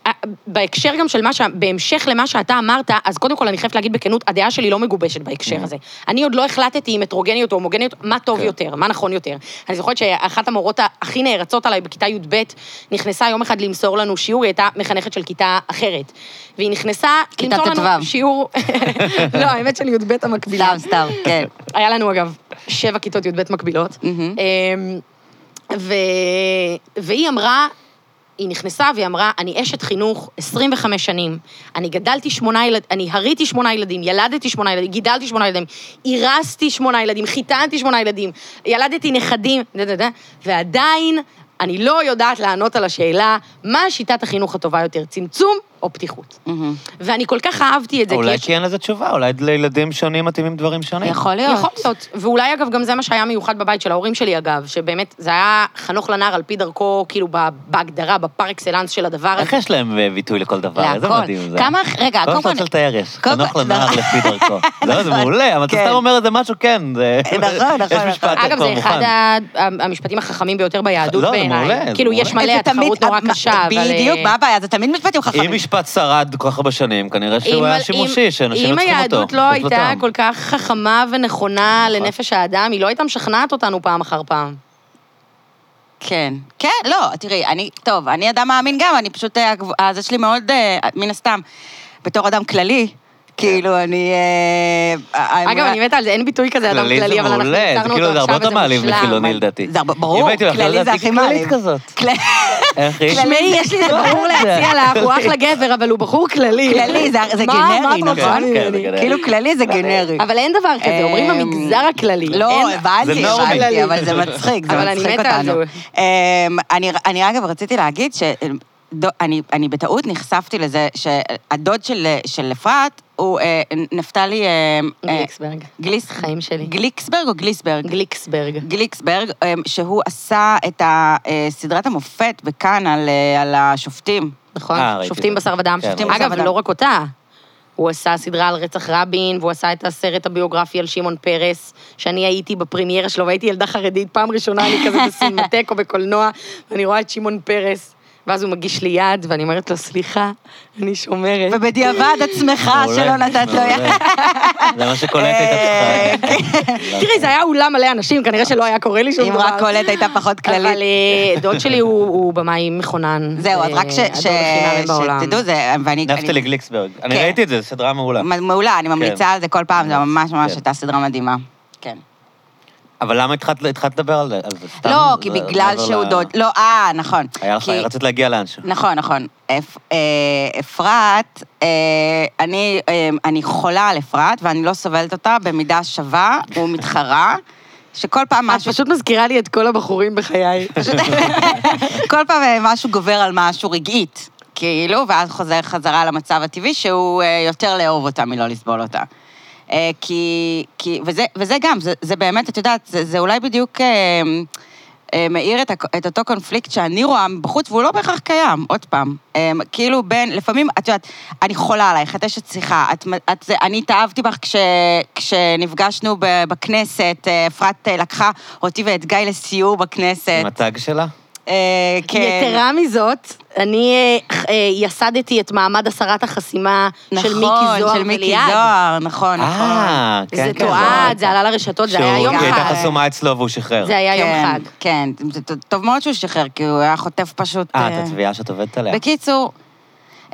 Speaker 3: אה, בהקשר גם של מה ש... בהמשך למה שאתה אמרת, אז קודם כל אני חייבת להגיד בכנות, הדעה שלי לא מגובשת
Speaker 2: Mm.
Speaker 3: בהקשר הזה. אני עוד לא החלטתי אם הטרוגניות או הומוגניות, מה טוב
Speaker 1: כן.
Speaker 3: יותר, מה נכון יותר. אני זוכרת שאחת המורות הכי נערצות עליי בכיתה י"ב, נכנסה יום אחד למסור לנו שיעור, היא הייתה מחנכת של כיתה אחרת. והיא נכנסה
Speaker 2: כיתה
Speaker 3: למסור לנו
Speaker 2: ט"ו.
Speaker 3: שיעור... לא, האמת של י"ב המקבילה.
Speaker 2: סתם, סתם, כן.
Speaker 3: היה לנו אגב שבע כיתות י"ב מקבילות.
Speaker 2: מהמם.
Speaker 3: אמ, ו... והיא אמרה, היא נכנסה והיא אמרה, אני אשת חינוך 25 שנים, אני גדלתי שמונה ילדים, אני הריתי שמונה ילדים, ילדתי שמונה ילדים, גידלתי שמונה ילדים, אירסתי שמונה ילדים, חיתנתי שמונה ילדים, ילדתי נכדים, דה, דה, דה, ועדיין אני לא יודעת לענות על השאלה מה שיטת החינוך הטובה יותר, צמצום או פתיחות.
Speaker 2: מהמם.
Speaker 3: ואני כל כך אהבתי את זה,
Speaker 1: אולי
Speaker 3: יש-
Speaker 1: כי אין לזה תשובה, אולי לילדים שונים מתאימים דברים שונים.
Speaker 2: יכול להיות.
Speaker 3: יכול להיות. ואולי, אגב, גם זה מה שהיה מיוחד בבית של ההורים שלי, אגב, שבאמת, זה היה חנוך לנער על פי דרכו, כאילו, ב- בהגדרה, בפר אקסלנס של הדבר
Speaker 1: איך
Speaker 3: הזה.
Speaker 1: יש להם אה, ביטוי לכל דבר? איזה
Speaker 2: להכל.
Speaker 1: מדהים זה.
Speaker 2: כמה, רגע,
Speaker 1: כל
Speaker 2: קודם
Speaker 1: שאתה רוצה
Speaker 2: כל...
Speaker 1: לתאר יש,
Speaker 2: קודם
Speaker 1: חנוך
Speaker 2: כל-
Speaker 1: לנער
Speaker 2: נכון.
Speaker 1: לפי דרכו. לא, זה
Speaker 2: נכון.
Speaker 1: מעולה, אבל אתה
Speaker 2: כן.
Speaker 1: סתם אומר איזה משהו, כן. זה-
Speaker 3: אה,
Speaker 2: נכון, נכון,
Speaker 1: יש משפט
Speaker 2: נכון.
Speaker 1: כבר
Speaker 3: אגב, זה
Speaker 1: מוכן.
Speaker 3: אחד ה- המשפטים החכמים ביותר ביהדות
Speaker 1: לא, זה
Speaker 3: בעיניי.
Speaker 1: מעולה, זה
Speaker 3: כאילו,
Speaker 1: מעולה.
Speaker 3: יש מלא,
Speaker 2: זה תמיד-
Speaker 3: התחרות נורא
Speaker 2: מה-
Speaker 3: קשה, אבל... אה,
Speaker 2: בדיוק, מה הבעיה? זה תמיד משפטים חכמים.
Speaker 1: אם משפט שרד כל כך הרבה שנים, כנראה
Speaker 3: אם-
Speaker 1: שהוא היה
Speaker 3: אה, אם-
Speaker 1: שימושי, שאנשים לא
Speaker 3: אם
Speaker 1: צריכים אותו.
Speaker 3: היהדות לא הייתה
Speaker 1: ברצותם.
Speaker 3: כל כך חכמה ונכונה
Speaker 1: נכון.
Speaker 3: לנפש האדם, היא לא הייתה משכנעת אותנו פעם אחר פעם.
Speaker 2: כן. כן, לא, תראי, אני, טוב, אני אדם מאמין גם, אני פשוט, אה, הגב- אה, זה שלי מאוד, אה, מן הסתם, בתור אדם כללי, כאילו, אני... אה, ה-
Speaker 3: אגב,
Speaker 2: האמונה-
Speaker 3: אני מתה על זה, אין ביטוי כזה אדם
Speaker 1: כללי
Speaker 3: כללי,
Speaker 1: זה
Speaker 3: אבל אנחנו
Speaker 1: מעולה, זה
Speaker 3: יצרנו
Speaker 1: כאילו זה
Speaker 3: אותו
Speaker 1: הרבה
Speaker 3: עכשיו,
Speaker 1: יותר
Speaker 3: וזה
Speaker 1: מעלים
Speaker 3: מושלם.
Speaker 1: מחילוני לדעתי.
Speaker 2: זה הרבה- ברור,
Speaker 1: אם הייתי הולך
Speaker 2: כללי זה
Speaker 1: לדעתי,
Speaker 2: הכי
Speaker 1: כללית
Speaker 2: מעליב.
Speaker 1: כזאת. אה,
Speaker 2: כל-
Speaker 1: איך היא?
Speaker 2: כללי.
Speaker 3: תשמעי, יש לי איזה בחור להציע לך, הוא אחלה גבר, אבל הוא בחור כללי.
Speaker 2: כללי, זה- זה
Speaker 3: מה- מה
Speaker 2: גנרי,
Speaker 3: את רוצה
Speaker 2: נכון?
Speaker 1: כן,
Speaker 3: ממני?
Speaker 1: כן.
Speaker 2: כאילו, כללי זה גנרי.
Speaker 3: אבל אין דבר כזה, אומרים
Speaker 2: אמ,
Speaker 3: המגזר הכללי.
Speaker 2: לא,
Speaker 3: אין-
Speaker 1: זה
Speaker 2: הבנתי,
Speaker 1: נורמי.
Speaker 2: הבנתי, אבל זה מצחיק, זה
Speaker 3: אבל אני
Speaker 2: מצחיק
Speaker 3: מתה על
Speaker 2: אותנו. אמ, אני- אני אגב רציתי להגיד ש... דו- אני, אני בטעות נחשפתי לזה שהדוד של, של אפרת הוא אה, נפתלי אה, אה,
Speaker 3: גליקסברג.
Speaker 2: גליס,
Speaker 3: חיים שלי.
Speaker 2: גליקסברג או גליסברג?
Speaker 3: גליקסברג.
Speaker 2: גליקסברג, אה, שהוא עשה את ה- אה, סדרת המופת בכאן על, אה, על השופטים.
Speaker 3: נכון?
Speaker 1: אה, ראיתי
Speaker 3: שופטים
Speaker 1: את זה.
Speaker 3: בשר ודם.
Speaker 1: כן,
Speaker 2: שופטים
Speaker 1: ראיתי.
Speaker 2: בשר
Speaker 3: אגב,
Speaker 2: ודם.
Speaker 3: לא רק אותה. הוא עשה סדרה על רצח רבין, והוא עשה את הסרט הביוגרפי על שמעון פרס, שאני הייתי בפרמיירה שלו, והייתי ילדה חרדית, פעם ראשונה אני כזה בסינמטק או בקולנוע, ואני רואה את שמעון פרס, ואז הוא מגיש לי יד, ואני אומרת לו, סליחה, אני שומרת.
Speaker 2: ובדיעבד עצמך
Speaker 1: מעולה,
Speaker 2: שלא נתת לו...
Speaker 1: מעולה. זה מה שקולט
Speaker 2: אה,
Speaker 1: הייתה צריכה.
Speaker 3: כן. תראי, זה היה אולם מלא אנשים, כנראה שלא היה קורה לי שום
Speaker 2: אם
Speaker 3: דבר.
Speaker 2: רק קולט הייתה פחות כללית.
Speaker 3: אבל אה, דוד שלי הוא הוא במאי מכונן.
Speaker 2: זהו, אז רק ש...
Speaker 3: אה,
Speaker 2: ש-
Speaker 3: הדור הכי מהמם בעולם.
Speaker 2: שתדעו, זה... ואני...
Speaker 1: נפתלי גליקסברג. אני
Speaker 2: כן.
Speaker 1: ראיתי את זה, סדרה מעולה.
Speaker 2: מ- מעולה, אני ממליצה על זה כל פעם, זו ממש ממש
Speaker 1: כן.
Speaker 2: הייתה סדרה מדהימה. כן.
Speaker 1: אבל למה התחלת התחלת לדבר על זה? על זה? סתם,
Speaker 2: לא,
Speaker 1: זה-
Speaker 2: כי
Speaker 1: זה
Speaker 2: בגלל
Speaker 1: מעבר
Speaker 2: שהוא
Speaker 1: ל-
Speaker 2: דוד... לא, אה, נכון.
Speaker 1: היה לך,
Speaker 2: כי-
Speaker 1: רצית להגיע לאנשהו.
Speaker 2: נכון, נכון. אפ- אה, אפרת, אה, אני, אה, אני חולה על אפרת, ואני לא סובלת אותה במידה שווה ומתחרה, שכל פעם
Speaker 3: את
Speaker 2: משהו...
Speaker 3: פשוט מזכירה לי את כל הבחורים בחיי.
Speaker 2: כל פעם אה, משהו גובר על משהו רגעית, כאילו, ואז חוזר חזרה למצב הטבעי, שהוא אה, יותר לאהוב אותה מלא לסבול אותה. אה, כי, כי וזה, וזה גם, זה, זה באמת, את יודעת, זה, זה אולי בדיוק אה, אה, מאיר את, הק- את אותו קונפליקט שאני רואה מבחוץ, והוא לא בהכרח קיים, עוד פעם. אה, כאילו בין, לפעמים, את יודעת, אני חולה עלייך, את אשת שיחה, את, מ- את, זה- אני התאהבתי בך כש, כשנפגשנו ב- בכנסת, אה, אפרת אה, לקחה אותי ואת גיא לסיור בכנסת.
Speaker 1: עם הטאג שלה?
Speaker 2: אה, כן.
Speaker 3: יתרה מזאת, אני אה, אה, יסדתי את מעמד הסרת החסימה של מיקי זוהר
Speaker 2: נכון, של מיקי
Speaker 3: וליעד.
Speaker 2: זוהר, נכון, נכון.
Speaker 1: אה, כן,
Speaker 3: זה
Speaker 1: כן.
Speaker 3: תועד, זה עלה לרשתות, זה היה
Speaker 1: שהוא-
Speaker 3: יום
Speaker 1: היא הייתה
Speaker 3: חג.
Speaker 1: חסומה אצלו והוא שחרר.
Speaker 3: זה היה יום
Speaker 2: כן,
Speaker 3: חג.
Speaker 2: כן, זה ט- טוב מאוד שהוא שחרר, כי הוא היה חוטף פשוט...
Speaker 1: אה,
Speaker 2: אה,
Speaker 1: את התביעה שאת עובדת עליה.
Speaker 2: בקיצור,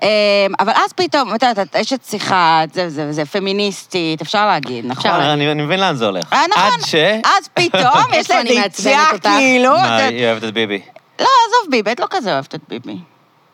Speaker 2: אמ, אבל אז פתאום, את יודעת, את אשת שיחה, את זה- זה זה פמיניסטית, אפשר להגיד, נכון?
Speaker 1: אה, אני אני מבין לאן זה הולך.
Speaker 2: אה, נכון.
Speaker 1: עד ש...
Speaker 2: אז פתאום יש לה
Speaker 3: איפה אני
Speaker 2: איזה יציאה,
Speaker 3: מעצבנת אותך?
Speaker 2: כאילו... את
Speaker 1: מה,
Speaker 2: יודעת,
Speaker 1: היא אוהבת את ביבי.
Speaker 2: לא, עזוב ביבי, את לא כזה אוהבת את ביבי.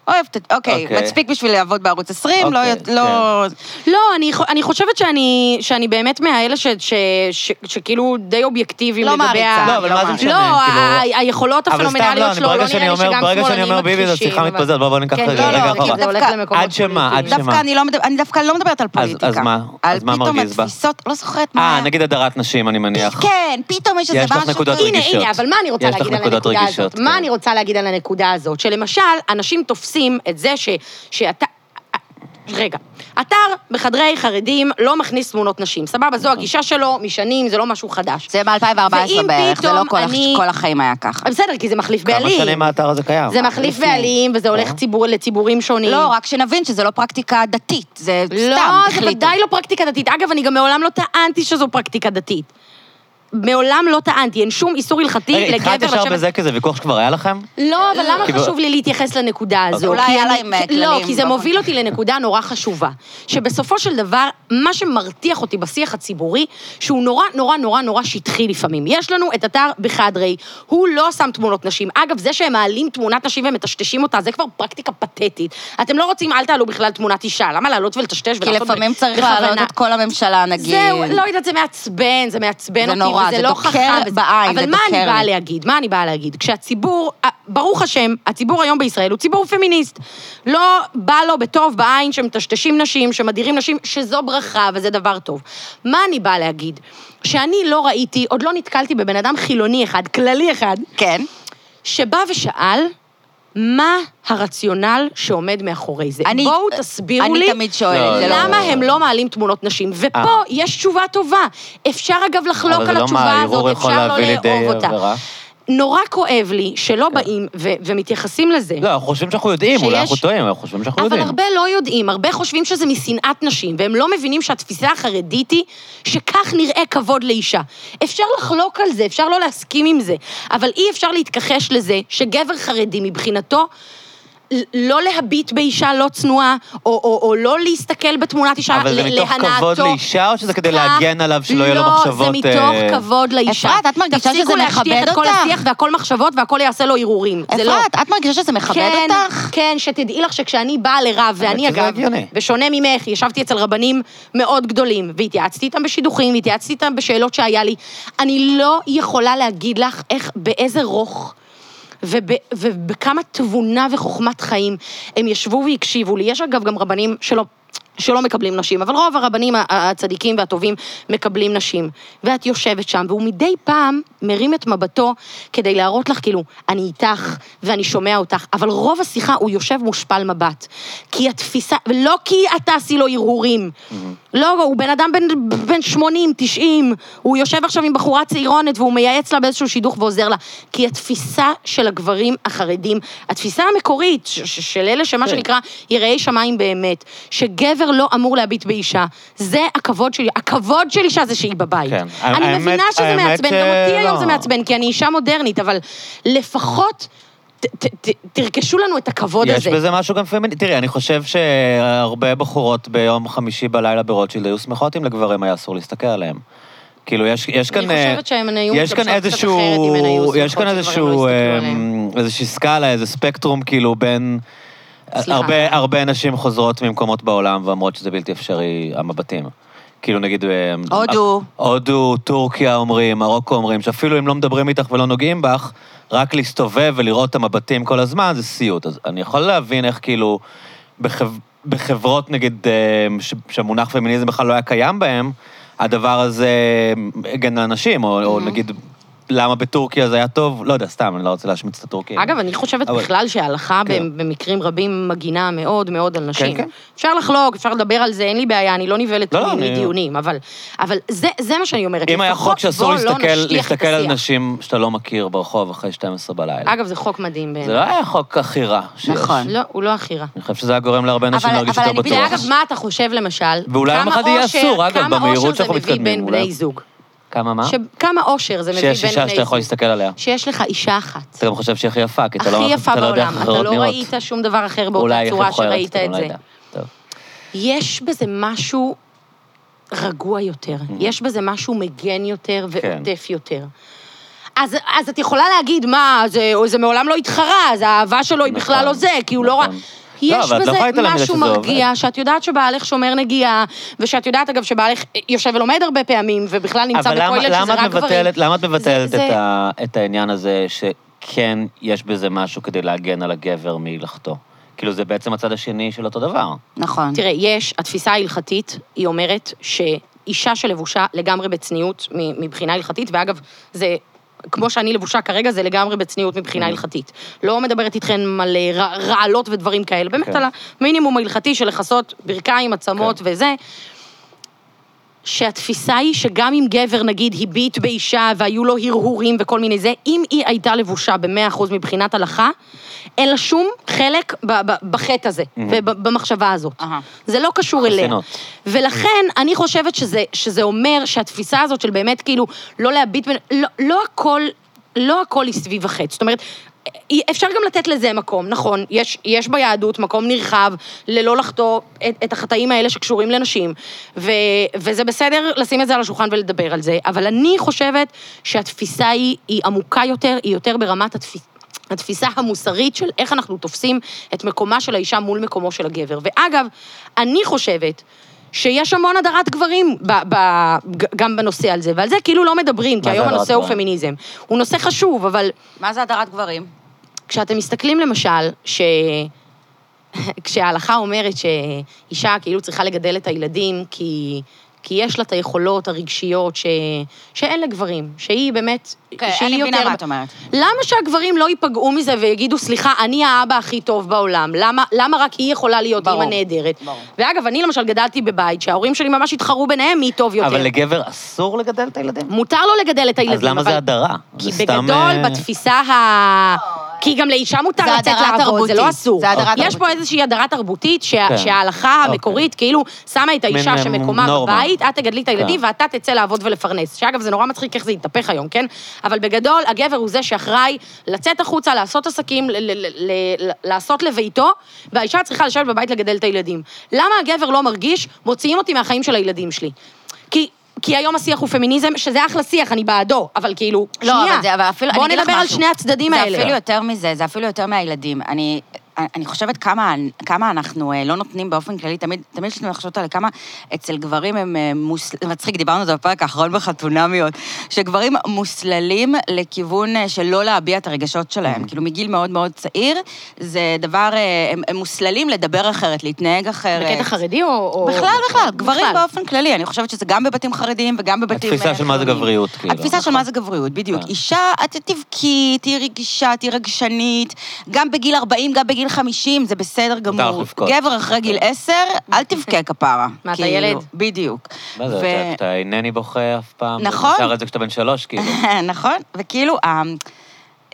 Speaker 2: אוהבת את... אוקיי,
Speaker 1: אוקיי.
Speaker 2: מספיק בשביל לעבוד בערוץ 20, לא...
Speaker 1: אוקיי,
Speaker 2: יות- לא...
Speaker 3: לא, אני, חו- אני חושבת שאני, שאני באמת מהאלה ש, ש, ש, שכאילו די אובייקטיביים
Speaker 2: לא
Speaker 3: לגבי
Speaker 2: מעריצה.
Speaker 3: ה...
Speaker 1: לא, אבל
Speaker 2: לא
Speaker 1: מה זה
Speaker 2: מה.
Speaker 1: משנה?
Speaker 3: לא, ה-
Speaker 1: כאילו-
Speaker 3: ה- היכולות
Speaker 1: אבל סתם,
Speaker 3: הפנומנליות
Speaker 1: אני-
Speaker 3: שלו,
Speaker 1: ברגע
Speaker 3: לא
Speaker 1: שאני
Speaker 3: נראה לי
Speaker 1: אומר-
Speaker 3: שגם
Speaker 1: ברגע שאני
Speaker 3: שמאלנים
Speaker 1: אומר ביבי, זו
Speaker 3: מכחישים,
Speaker 1: שיחה
Speaker 3: אבל-
Speaker 1: מתפזרת, בואו- בואו ניקח
Speaker 3: כן,
Speaker 1: רגע-
Speaker 3: לא, לא,
Speaker 2: רגע
Speaker 3: כי
Speaker 2: אחורה.
Speaker 3: זה הולך
Speaker 2: דווקא-
Speaker 3: למקומות
Speaker 1: עד שמה? עד
Speaker 3: פוליטיים.
Speaker 1: שמה?
Speaker 2: דווקא אני לא מדברת, אני דווקא לא מדברת על פוליטיקה.
Speaker 1: אז מה?
Speaker 2: על
Speaker 1: אז מה
Speaker 2: פתאום
Speaker 1: מרגיז בה?
Speaker 2: התפיסות, לא זוכרת מה...
Speaker 1: אה, נגיד הדרת נשים, אני מניח.
Speaker 2: כן, פתאום יש איזה
Speaker 1: יש לך
Speaker 2: משהו...
Speaker 1: נקודות
Speaker 2: כאילו-
Speaker 3: הנה,
Speaker 1: רגישות.
Speaker 3: הנה, אבל מה אני רוצה
Speaker 1: יש לך
Speaker 3: להגיד על
Speaker 1: נקודות
Speaker 3: הנקודה
Speaker 1: רגישות,
Speaker 3: הזאת? מה
Speaker 1: כן.
Speaker 3: אני רוצה להגיד על הנקודה הזאת? שלמשל, אנשים תופסים את זה ש- שאתה... רגע, אתר בחדרי חרדים לא מכניס תמונות נשים, סבבה?
Speaker 1: נכון.
Speaker 3: זו הגישה שלו משנים, זה לא משהו חדש.
Speaker 2: זה ב-2014
Speaker 3: ואם
Speaker 2: בערך, זה לא
Speaker 3: פתאום
Speaker 2: כל, הח-
Speaker 3: אני-
Speaker 2: כל החיים היה ככה.
Speaker 3: בסדר, כי זה מחליף בעלים.
Speaker 1: כמה שנים האתר הזה קיים?
Speaker 3: זה מחליף
Speaker 2: לפני.
Speaker 3: בעלים, וזה
Speaker 1: אה?
Speaker 3: הולך ציבור, לציבורים שונים.
Speaker 2: לא, רק שנבין שזה לא פרקטיקה דתית, זה
Speaker 3: לא,
Speaker 2: סתם
Speaker 3: זה
Speaker 2: החליטו.
Speaker 3: ודאי לא פרקטיקה דתית. אגב, אני גם מעולם לא טענתי שזו פרקטיקה דתית. מעולם לא טענתי, אין שום איסור הלכתי
Speaker 1: רגע,
Speaker 3: לגבר
Speaker 1: אה, התחלת ישר בזה כי זה ויכוח שכבר היה לכם?
Speaker 3: לא, אבל למה
Speaker 1: כי ב-
Speaker 3: חשוב לי להתייחס לנקודה הזו?
Speaker 2: כאילו, אולי
Speaker 3: כי
Speaker 2: היה
Speaker 3: אני-
Speaker 2: להם, אה,
Speaker 3: לא,
Speaker 2: כללים
Speaker 3: כי זה
Speaker 2: באופן-
Speaker 3: מוביל אותי לנקודה נורא חשובה. שבסופו של דבר, מה שמרתיח אותי בשיח הציבורי, שהוא נורא נורא נורא נורא שטחי לפעמים. יש לנו את אתר בחדרי, הוא לא שם תמונות נשים. אגב, זה שהם מעלים תמונת נשים ומטשטשים אותה, זה כבר פרקטיקה פתטית. אתם לא רוצים, אל תעלו בכלל תמונת אישה. למה לעלות ולטשטש
Speaker 2: כי
Speaker 3: ולעשות...
Speaker 2: לפעמים
Speaker 3: ב-
Speaker 2: צריך
Speaker 3: בכוונה?
Speaker 2: להעלות את כל הממשלה, נגיד.
Speaker 3: זהו, לא יודעת, זה מעצבן, זה מעצבן
Speaker 2: כן. זה
Speaker 3: אותי,
Speaker 2: נורא,
Speaker 3: וזה
Speaker 2: זה
Speaker 3: לא
Speaker 2: דוקר
Speaker 3: חכם. וזה-
Speaker 2: בעין,
Speaker 3: אבל
Speaker 2: זה
Speaker 3: מה אני
Speaker 2: דוקר
Speaker 3: באה
Speaker 2: לי.
Speaker 3: להגיד? מה אני באה להגיד? כשהציבור, אה, ברוך השם, הציבור היום בישראל הוא ציבור פמיניסט. לא בא לו בטוב בעין שמטשטשים נשים, שמדירים נשים, שזו ברכה וזה דבר טוב. מה אני באה להגיד? שאני לא ראיתי, עוד לא נתקלתי בבן אדם חילוני אחד, כללי אחד,
Speaker 2: כן.
Speaker 3: שבא ושאל, מה הרציונל שעומד מאחורי זה?
Speaker 2: אני-
Speaker 3: בואו תסבירו לי.
Speaker 2: אני תמיד
Speaker 1: לא,
Speaker 2: שואלת, זה לא...
Speaker 3: למה הם לא מעלים תמונות נשים? ופה
Speaker 1: אה.
Speaker 3: יש תשובה טובה. אפשר אגב לחלוק
Speaker 1: אבל זה
Speaker 3: על
Speaker 1: לא מה,
Speaker 3: התשובה
Speaker 1: הערעור
Speaker 3: הזאת,
Speaker 1: יכול
Speaker 3: אפשר לא
Speaker 1: להביא לידי אה,
Speaker 3: לאהוב אותה.
Speaker 1: עבירה. כן.
Speaker 3: נורא כואב לי שלא באים ו- ומתייחסים לזה.
Speaker 1: לא, אנחנו חושבים שאנחנו יודעים, אולי
Speaker 3: שיש-
Speaker 1: אנחנו טועים, אנחנו חושבים שאנחנו
Speaker 3: אבל
Speaker 1: יודעים.
Speaker 3: הרבה לא יודעים, הרבה חושבים שזה משנאת נשים, והם לא מבינים שהתפיסה החרדית היא שכך נראה כבוד לאישה. אפשר לחלוק על זה, אפשר לא להסכים עם זה, אבל אי אפשר להתכחש לזה שגבר חרדי מבחינתו... ל- לא להביט באישה לא צנועה, או, או, או לא להסתכל בתמונת אישה,
Speaker 1: אבל זה
Speaker 3: ל-
Speaker 1: מתוך
Speaker 3: להנאתו.
Speaker 1: כבוד לאישה, או שזה כדי
Speaker 3: כך-
Speaker 1: להגן עליו שלא יהיה לו מחשבות,
Speaker 3: לא, זה מתוך
Speaker 1: אה,
Speaker 3: כבוד לאישה.
Speaker 2: אפרת, את מרגישה שזה
Speaker 3: תפסיקו
Speaker 2: מכבד
Speaker 3: להשטיח את כל
Speaker 2: אותך?
Speaker 3: השיח והכל מחשבות והכל יעשה לו הרהורים. זה לא.
Speaker 2: אפרת, את מרגישה שזה מכבד
Speaker 3: כן,
Speaker 2: אותך?
Speaker 3: כן, שתדעי לך שכשאני באה לרב, ואני
Speaker 1: שזה
Speaker 3: אגב,
Speaker 1: הגיוני.
Speaker 3: בשונה ממך, ישבתי אצל רבנים מאוד גדולים, והתייעצתי איתם בשידוכים, והתייעצתי איתם בשאלות שהיה לי, אני לא יכולה להגיד לך איך, באיזה רוך. וב, ובכמה תבונה וחוכמת חיים הם ישבו והקשיבו לי. יש אגב גם רבנים שלא, שלא מקבלים נשים, אבל רוב הרבנים ה- ה- הצדיקים והטובים מקבלים נשים. ואת יושבת שם, והוא מדי פעם מרים את מבטו כדי להראות לך, כאילו, אני איתך ואני שומע אותך, אבל רוב השיחה הוא יושב מושפל מבט. כי התפיסה, לא כי את תעשי לו הרהורים.
Speaker 1: Mm-hmm.
Speaker 3: לא, הוא בן אדם בן, בן 80, 90, הוא יושב עכשיו עם בחורה צעירונת והוא מייעץ לה באיזשהו שידוך ועוזר לה. כי התפיסה של הגברים החרדים, התפיסה המקורית, ש- ש- של אלה שמה
Speaker 1: כן.
Speaker 3: שנקרא יראי שמיים באמת, שגבר לא אמור להביט באישה, זה הכבוד שלי, הכבוד של אישה זה שהיא בבית.
Speaker 1: כן.
Speaker 3: אני
Speaker 1: האמת-
Speaker 3: מבינה שזה
Speaker 1: האמת
Speaker 3: מעצבן, גם אותי
Speaker 1: שלא.
Speaker 3: היום זה מעצבן, כי אני אישה מודרנית, אבל לפחות ת- ת- ת- תרכשו לנו את הכבוד
Speaker 1: יש
Speaker 3: הזה.
Speaker 1: בזה משהו גם פמיני. תראי, אני חושב שהרבה בחורות ביום חמישי בלילה ברוטשילד היו שמחות אם לגברים היה אסור להסתכל עליהם. כאילו, יש, יש כאן...
Speaker 3: אני חושבת שהן היו
Speaker 1: יש כאן
Speaker 3: מתלבשות קצת אחרת אם הן היו
Speaker 1: איזשהו... יש כאן
Speaker 3: שמחות שגברים לא
Speaker 1: איזשהו...
Speaker 3: הסתכלו
Speaker 1: אה,
Speaker 3: עליהן.
Speaker 1: איזושהי סקאלה, איזה ספקטרום, כאילו, בין... אה,
Speaker 3: סליחה.
Speaker 1: הרבה, הרבה נשים חוזרות ממקומות בעולם ואומרות שזה בלתי אפשרי, המבטים. כאילו נגיד... אה,
Speaker 2: הודו.
Speaker 1: הודו, טורקיה אומרים, מרוקו אומרים, שאפילו אם לא מדברים איתך ולא נוגעים בך, רק להסתובב ולראות את המבטים כל הזמן זה סיוט. אז אני יכול להבין איך כאילו בחב... בחברות נגיד, אה, ש... שהמונח פמיניזם בכלל לא היה קיים בהן, הדבר הזה אה, הגן על נשים, או,
Speaker 3: Mm-hmm.
Speaker 1: או נגיד, למה בטורקיה זה היה טוב, לא יודע, סתם, אני לא רוצה להשמיץ את הטורקים.
Speaker 3: אגב, אני חושבת
Speaker 1: אבל-
Speaker 3: בכלל שההלכה
Speaker 1: כן.
Speaker 3: במקרים רבים מגינה מאוד מאוד על נשים.
Speaker 1: כן.
Speaker 3: אפשר לחלוק, אפשר לדבר על זה, אין לי בעיה, אני לא נבהלת
Speaker 1: לא, לא, אני-
Speaker 3: מדיונים, אבל- אבל זה זה מה שאני אומרת.
Speaker 1: אם היה
Speaker 3: לפחות
Speaker 1: חוק שאסור
Speaker 3: בוא לא
Speaker 1: להסתכל,
Speaker 3: נשטיח את
Speaker 1: להסתכל על
Speaker 3: השיח.
Speaker 1: נשים שאתה לא מכיר ברחוב אחרי 12 בלילה.
Speaker 3: אגב, כן. זה חוק מדהים
Speaker 1: זה
Speaker 3: בעיניי.
Speaker 1: לא היה חוק הכי רע שיש.
Speaker 2: נכון.
Speaker 3: לא, הוא לא הכי רע.
Speaker 1: אני חושב שזה היה גורם להרבה נשים
Speaker 2: אבל-
Speaker 1: להרגיש
Speaker 2: אבל
Speaker 1: יותר
Speaker 2: אני-
Speaker 1: בטוח.
Speaker 3: ואגב, מה אתה חושב למשל?
Speaker 1: ואולי יום
Speaker 3: כמה
Speaker 1: אחד יהיה
Speaker 3: אושר-
Speaker 1: אסור, אגב,
Speaker 3: כמה
Speaker 1: במהירות
Speaker 3: אושר זה
Speaker 1: שאנחנו
Speaker 3: מביא
Speaker 1: מתקדמים,
Speaker 3: בין
Speaker 1: אולי-
Speaker 3: בני זוג.
Speaker 1: כמה, מה?
Speaker 3: ש- כמה אושר זה מביא בין בני
Speaker 1: שיש
Speaker 3: זוג.
Speaker 1: אישה שאתה יכול להסתכל עליה.
Speaker 3: שיש לך אישה אחת.
Speaker 1: אתה גם חושב שהיא הכי יפה, כי אתה לא
Speaker 3: הכי יפה
Speaker 1: אתה לא יודע
Speaker 3: בעולם,
Speaker 1: איך
Speaker 3: אתה
Speaker 1: אחרות
Speaker 3: לא
Speaker 1: נראות.
Speaker 3: ראית שום דבר אחר באותה
Speaker 1: אולי איך
Speaker 3: צורה
Speaker 1: יכול להיות,
Speaker 3: שראית
Speaker 1: אתה
Speaker 3: את
Speaker 1: לא
Speaker 3: זה.
Speaker 1: יודע. טוב.
Speaker 3: יש בזה משהו רגוע יותר,
Speaker 1: Mm-hmm.
Speaker 3: יש בזה משהו מגן יותר ועוטף
Speaker 1: כן.
Speaker 3: יותר. אז, אז את יכולה להגיד, מה, זה, זה מעולם לא התחרה, אז האהבה שלו היא בכלל
Speaker 1: נכון,
Speaker 3: לא זה, כי הוא לא ראה...
Speaker 1: נכון.
Speaker 3: יש
Speaker 1: לא, אבל את לא
Speaker 3: בזה
Speaker 1: יכולה להתעלם מזה
Speaker 3: משהו
Speaker 1: שזה
Speaker 3: מרגיע, שאת יודעת שבעלך שומר נגיעה, ושאת יודעת, אגב, שבעלך יושב ולומד הרבה פעמים, ובכלל נמצא
Speaker 1: אבל למה-
Speaker 3: בכולל שזה
Speaker 1: למה את
Speaker 3: רק גברים.
Speaker 1: מבטלת- למה את מבטלת
Speaker 3: זה-
Speaker 1: את
Speaker 3: זה-
Speaker 1: ה- את העניין הזה שכן יש בזה משהו כדי להגן על הגבר מלכתו? כאילו, זה בעצם הצד השני של אותו דבר.
Speaker 2: נכון.
Speaker 3: תראה, יש, התפיסה ההלכתית, היא אומרת שאישה שלבושה לגמרי בצניעות מ- מבחינה הלכתית, ואגב, זה... כמו שאני לבושה כרגע, זה לגמרי בצניעות מבחינה הלכתית. לא מדברת איתכם על אה, רע- רעלות ודברים כאלה, באמת
Speaker 1: כן.
Speaker 3: על המינימום ההלכתי של לכסות ברכיים, עצמות וזה. שהתפיסה היא שגם אם גבר, נגיד, הביט באישה והיו לו הרהורים וכל מיני זה, אם היא הייתה לבושה ב-100% מבחינת הלכה, אין לה שום חלק ב- ב- בחטא הזה ובמחשבה הזאת.
Speaker 2: אהה.
Speaker 3: זה לא קשור אליה.
Speaker 1: חסינות.
Speaker 3: ולכן, אני חושבת שזה, שזה אומר שהתפיסה הזאת של באמת, כאילו, לא להביט, בין, לא, לא הכל... לא הכל היא סביב החטא. זאת אומרת, אי- אפשר גם לתת לזה מקום, נכון, יש, יש ביהדות מקום נרחב ללא לחטוא את, את החטאים האלה שקשורים לנשים, ו, וזה בסדר לשים את זה על השולחן ולדבר על זה, אבל אני חושבת שהתפיסה היא, היא עמוקה יותר, היא יותר ברמת התפיסה. התפיסה המוסרית של איך אנחנו תופסים את מקומה של האישה מול מקומו של הגבר. ואגב, אני חושבת שיש המון הדרת גברים ב- ב- ג- גם בנושא על זה, ועל זה כאילו לא מדברים, כי
Speaker 1: מה זה
Speaker 3: היום
Speaker 1: הדרת
Speaker 3: הנושא הוא
Speaker 1: גברים?
Speaker 3: פמיניזם. הוא נושא חשוב, אבל
Speaker 2: מה זה הדרת גברים?
Speaker 3: כשאתם מסתכלים למשל, ש... כשההלכה אומרת שאישה כאילו צריכה לגדל את הילדים כי, כי יש לה את היכולות הרגשיות ש... שאין לגברים, שהיא באמת,
Speaker 2: כן,
Speaker 3: שהיא
Speaker 2: אני
Speaker 3: יותר...
Speaker 2: מבינה מה את אומרת.
Speaker 3: למה שהגברים לא ייפגעו מזה ויגידו, סליחה, אני האבא הכי טוב בעולם? למה, למה רק היא יכולה להיות
Speaker 2: ברור,
Speaker 3: אימא נהדרת?
Speaker 2: ברור.
Speaker 3: ואגב, אני למשל גדלתי בבית שההורים שלי ממש התחרו ביניהם מי טוב יותר.
Speaker 1: אבל לגבר אסור לגדל את הילדים?
Speaker 3: מותר לו לגדל את הילדים,
Speaker 1: אז למה
Speaker 3: אבל...
Speaker 1: זה הדרה? זה
Speaker 3: כי
Speaker 1: סתם,
Speaker 3: בגדול,
Speaker 1: אה,
Speaker 3: בתפיסה ה... כי גם לאישה מותר
Speaker 2: לא, זה
Speaker 3: לצאת
Speaker 2: הדרה
Speaker 3: לעבוד, זה
Speaker 2: תרבותית.
Speaker 3: לא אסור.
Speaker 2: זה הדרה
Speaker 3: יש פה
Speaker 2: תרבותית.
Speaker 3: איזושהי הדרה תרבותית, שה-
Speaker 1: כן.
Speaker 3: שההלכה
Speaker 1: אוקיי.
Speaker 3: המקורית כאילו שמה את האישה
Speaker 1: מין,
Speaker 3: שמקומה
Speaker 1: נורמה.
Speaker 3: בבית, את תגדלי את הילדים
Speaker 1: כן.
Speaker 3: ואתה תצא לעבוד ולפרנס. שאגב, זה נורא מצחיק איך זה התהפך היום, כן? אבל בגדול, הגבר הוא זה שאחראי לצאת החוצה, לעשות עסקים, ל- ל- ל- ל- לעשות לביתו, והאישה צריכה לשבת בבית לגדל את הילדים. למה הגבר לא מרגיש, מוציאים אותי מהחיים של הילדים שלי? כי... כי היום השיח הוא פמיניזם, שזה אחלה שיח, אני בעדו, אבל כאילו,
Speaker 2: לא,
Speaker 3: שנייה.
Speaker 2: אבל זה, אבל אפילו,
Speaker 3: בוא
Speaker 2: אני אגיד לך
Speaker 3: נדבר על
Speaker 2: משהו.
Speaker 3: שני הצדדים האלה.
Speaker 2: זה אפילו יותר מזה, זה אפילו יותר מהילדים. אני... אני חושבת כמה, כמה אנחנו אה, לא נותנים באופן כללי, תמיד, תמיד יש לנו לחשוב על כמה אצל גברים הם אה, מוס... מצחיק, דיברנו על זה בפרק האחרון בחתונמיות, שגברים מוסללים לכיוון אה, של לא להביע את הרגשות
Speaker 3: Mm.
Speaker 2: שלהם. כאילו, מגיל מאוד מאוד צעיר, זה דבר, אה, הם, הם מוסללים לדבר אחרת, להתנהג אחרת.
Speaker 3: בקטע חרדי או... או-
Speaker 2: אה, בכלל, בכלל, גברים
Speaker 3: בכלל.
Speaker 2: באופן כללי. אני חושבת שזה גם בבתים חרדיים וגם בבתים...
Speaker 1: התפיסה
Speaker 2: אה,
Speaker 1: של מה זה
Speaker 2: חילוניים.
Speaker 1: גבריות, כאילו.
Speaker 2: התפיסה
Speaker 3: נכון.
Speaker 2: של מה זה גבריות, בדיוק.
Speaker 1: כן.
Speaker 2: אישה, את תבכי, תהיי רגישה, תהיי רגשנית, גם בגיל 40, גם בגיל 50, זה בסדר
Speaker 1: מותר לך
Speaker 2: גמור.
Speaker 1: לבכות.
Speaker 2: גבר אחרי גיל 10, אל תבכה כפרה.
Speaker 3: כן. מה, אתה
Speaker 2: כאילו,
Speaker 3: ילד?
Speaker 2: בדיוק.
Speaker 1: מה זה,
Speaker 2: ו-
Speaker 1: אתה- אתה אינני בוכה אף פעם?
Speaker 2: נכון.
Speaker 1: אתה שר את זה כשאתה בן שלוש, כאילו.
Speaker 2: נכון, וכאילו, ה-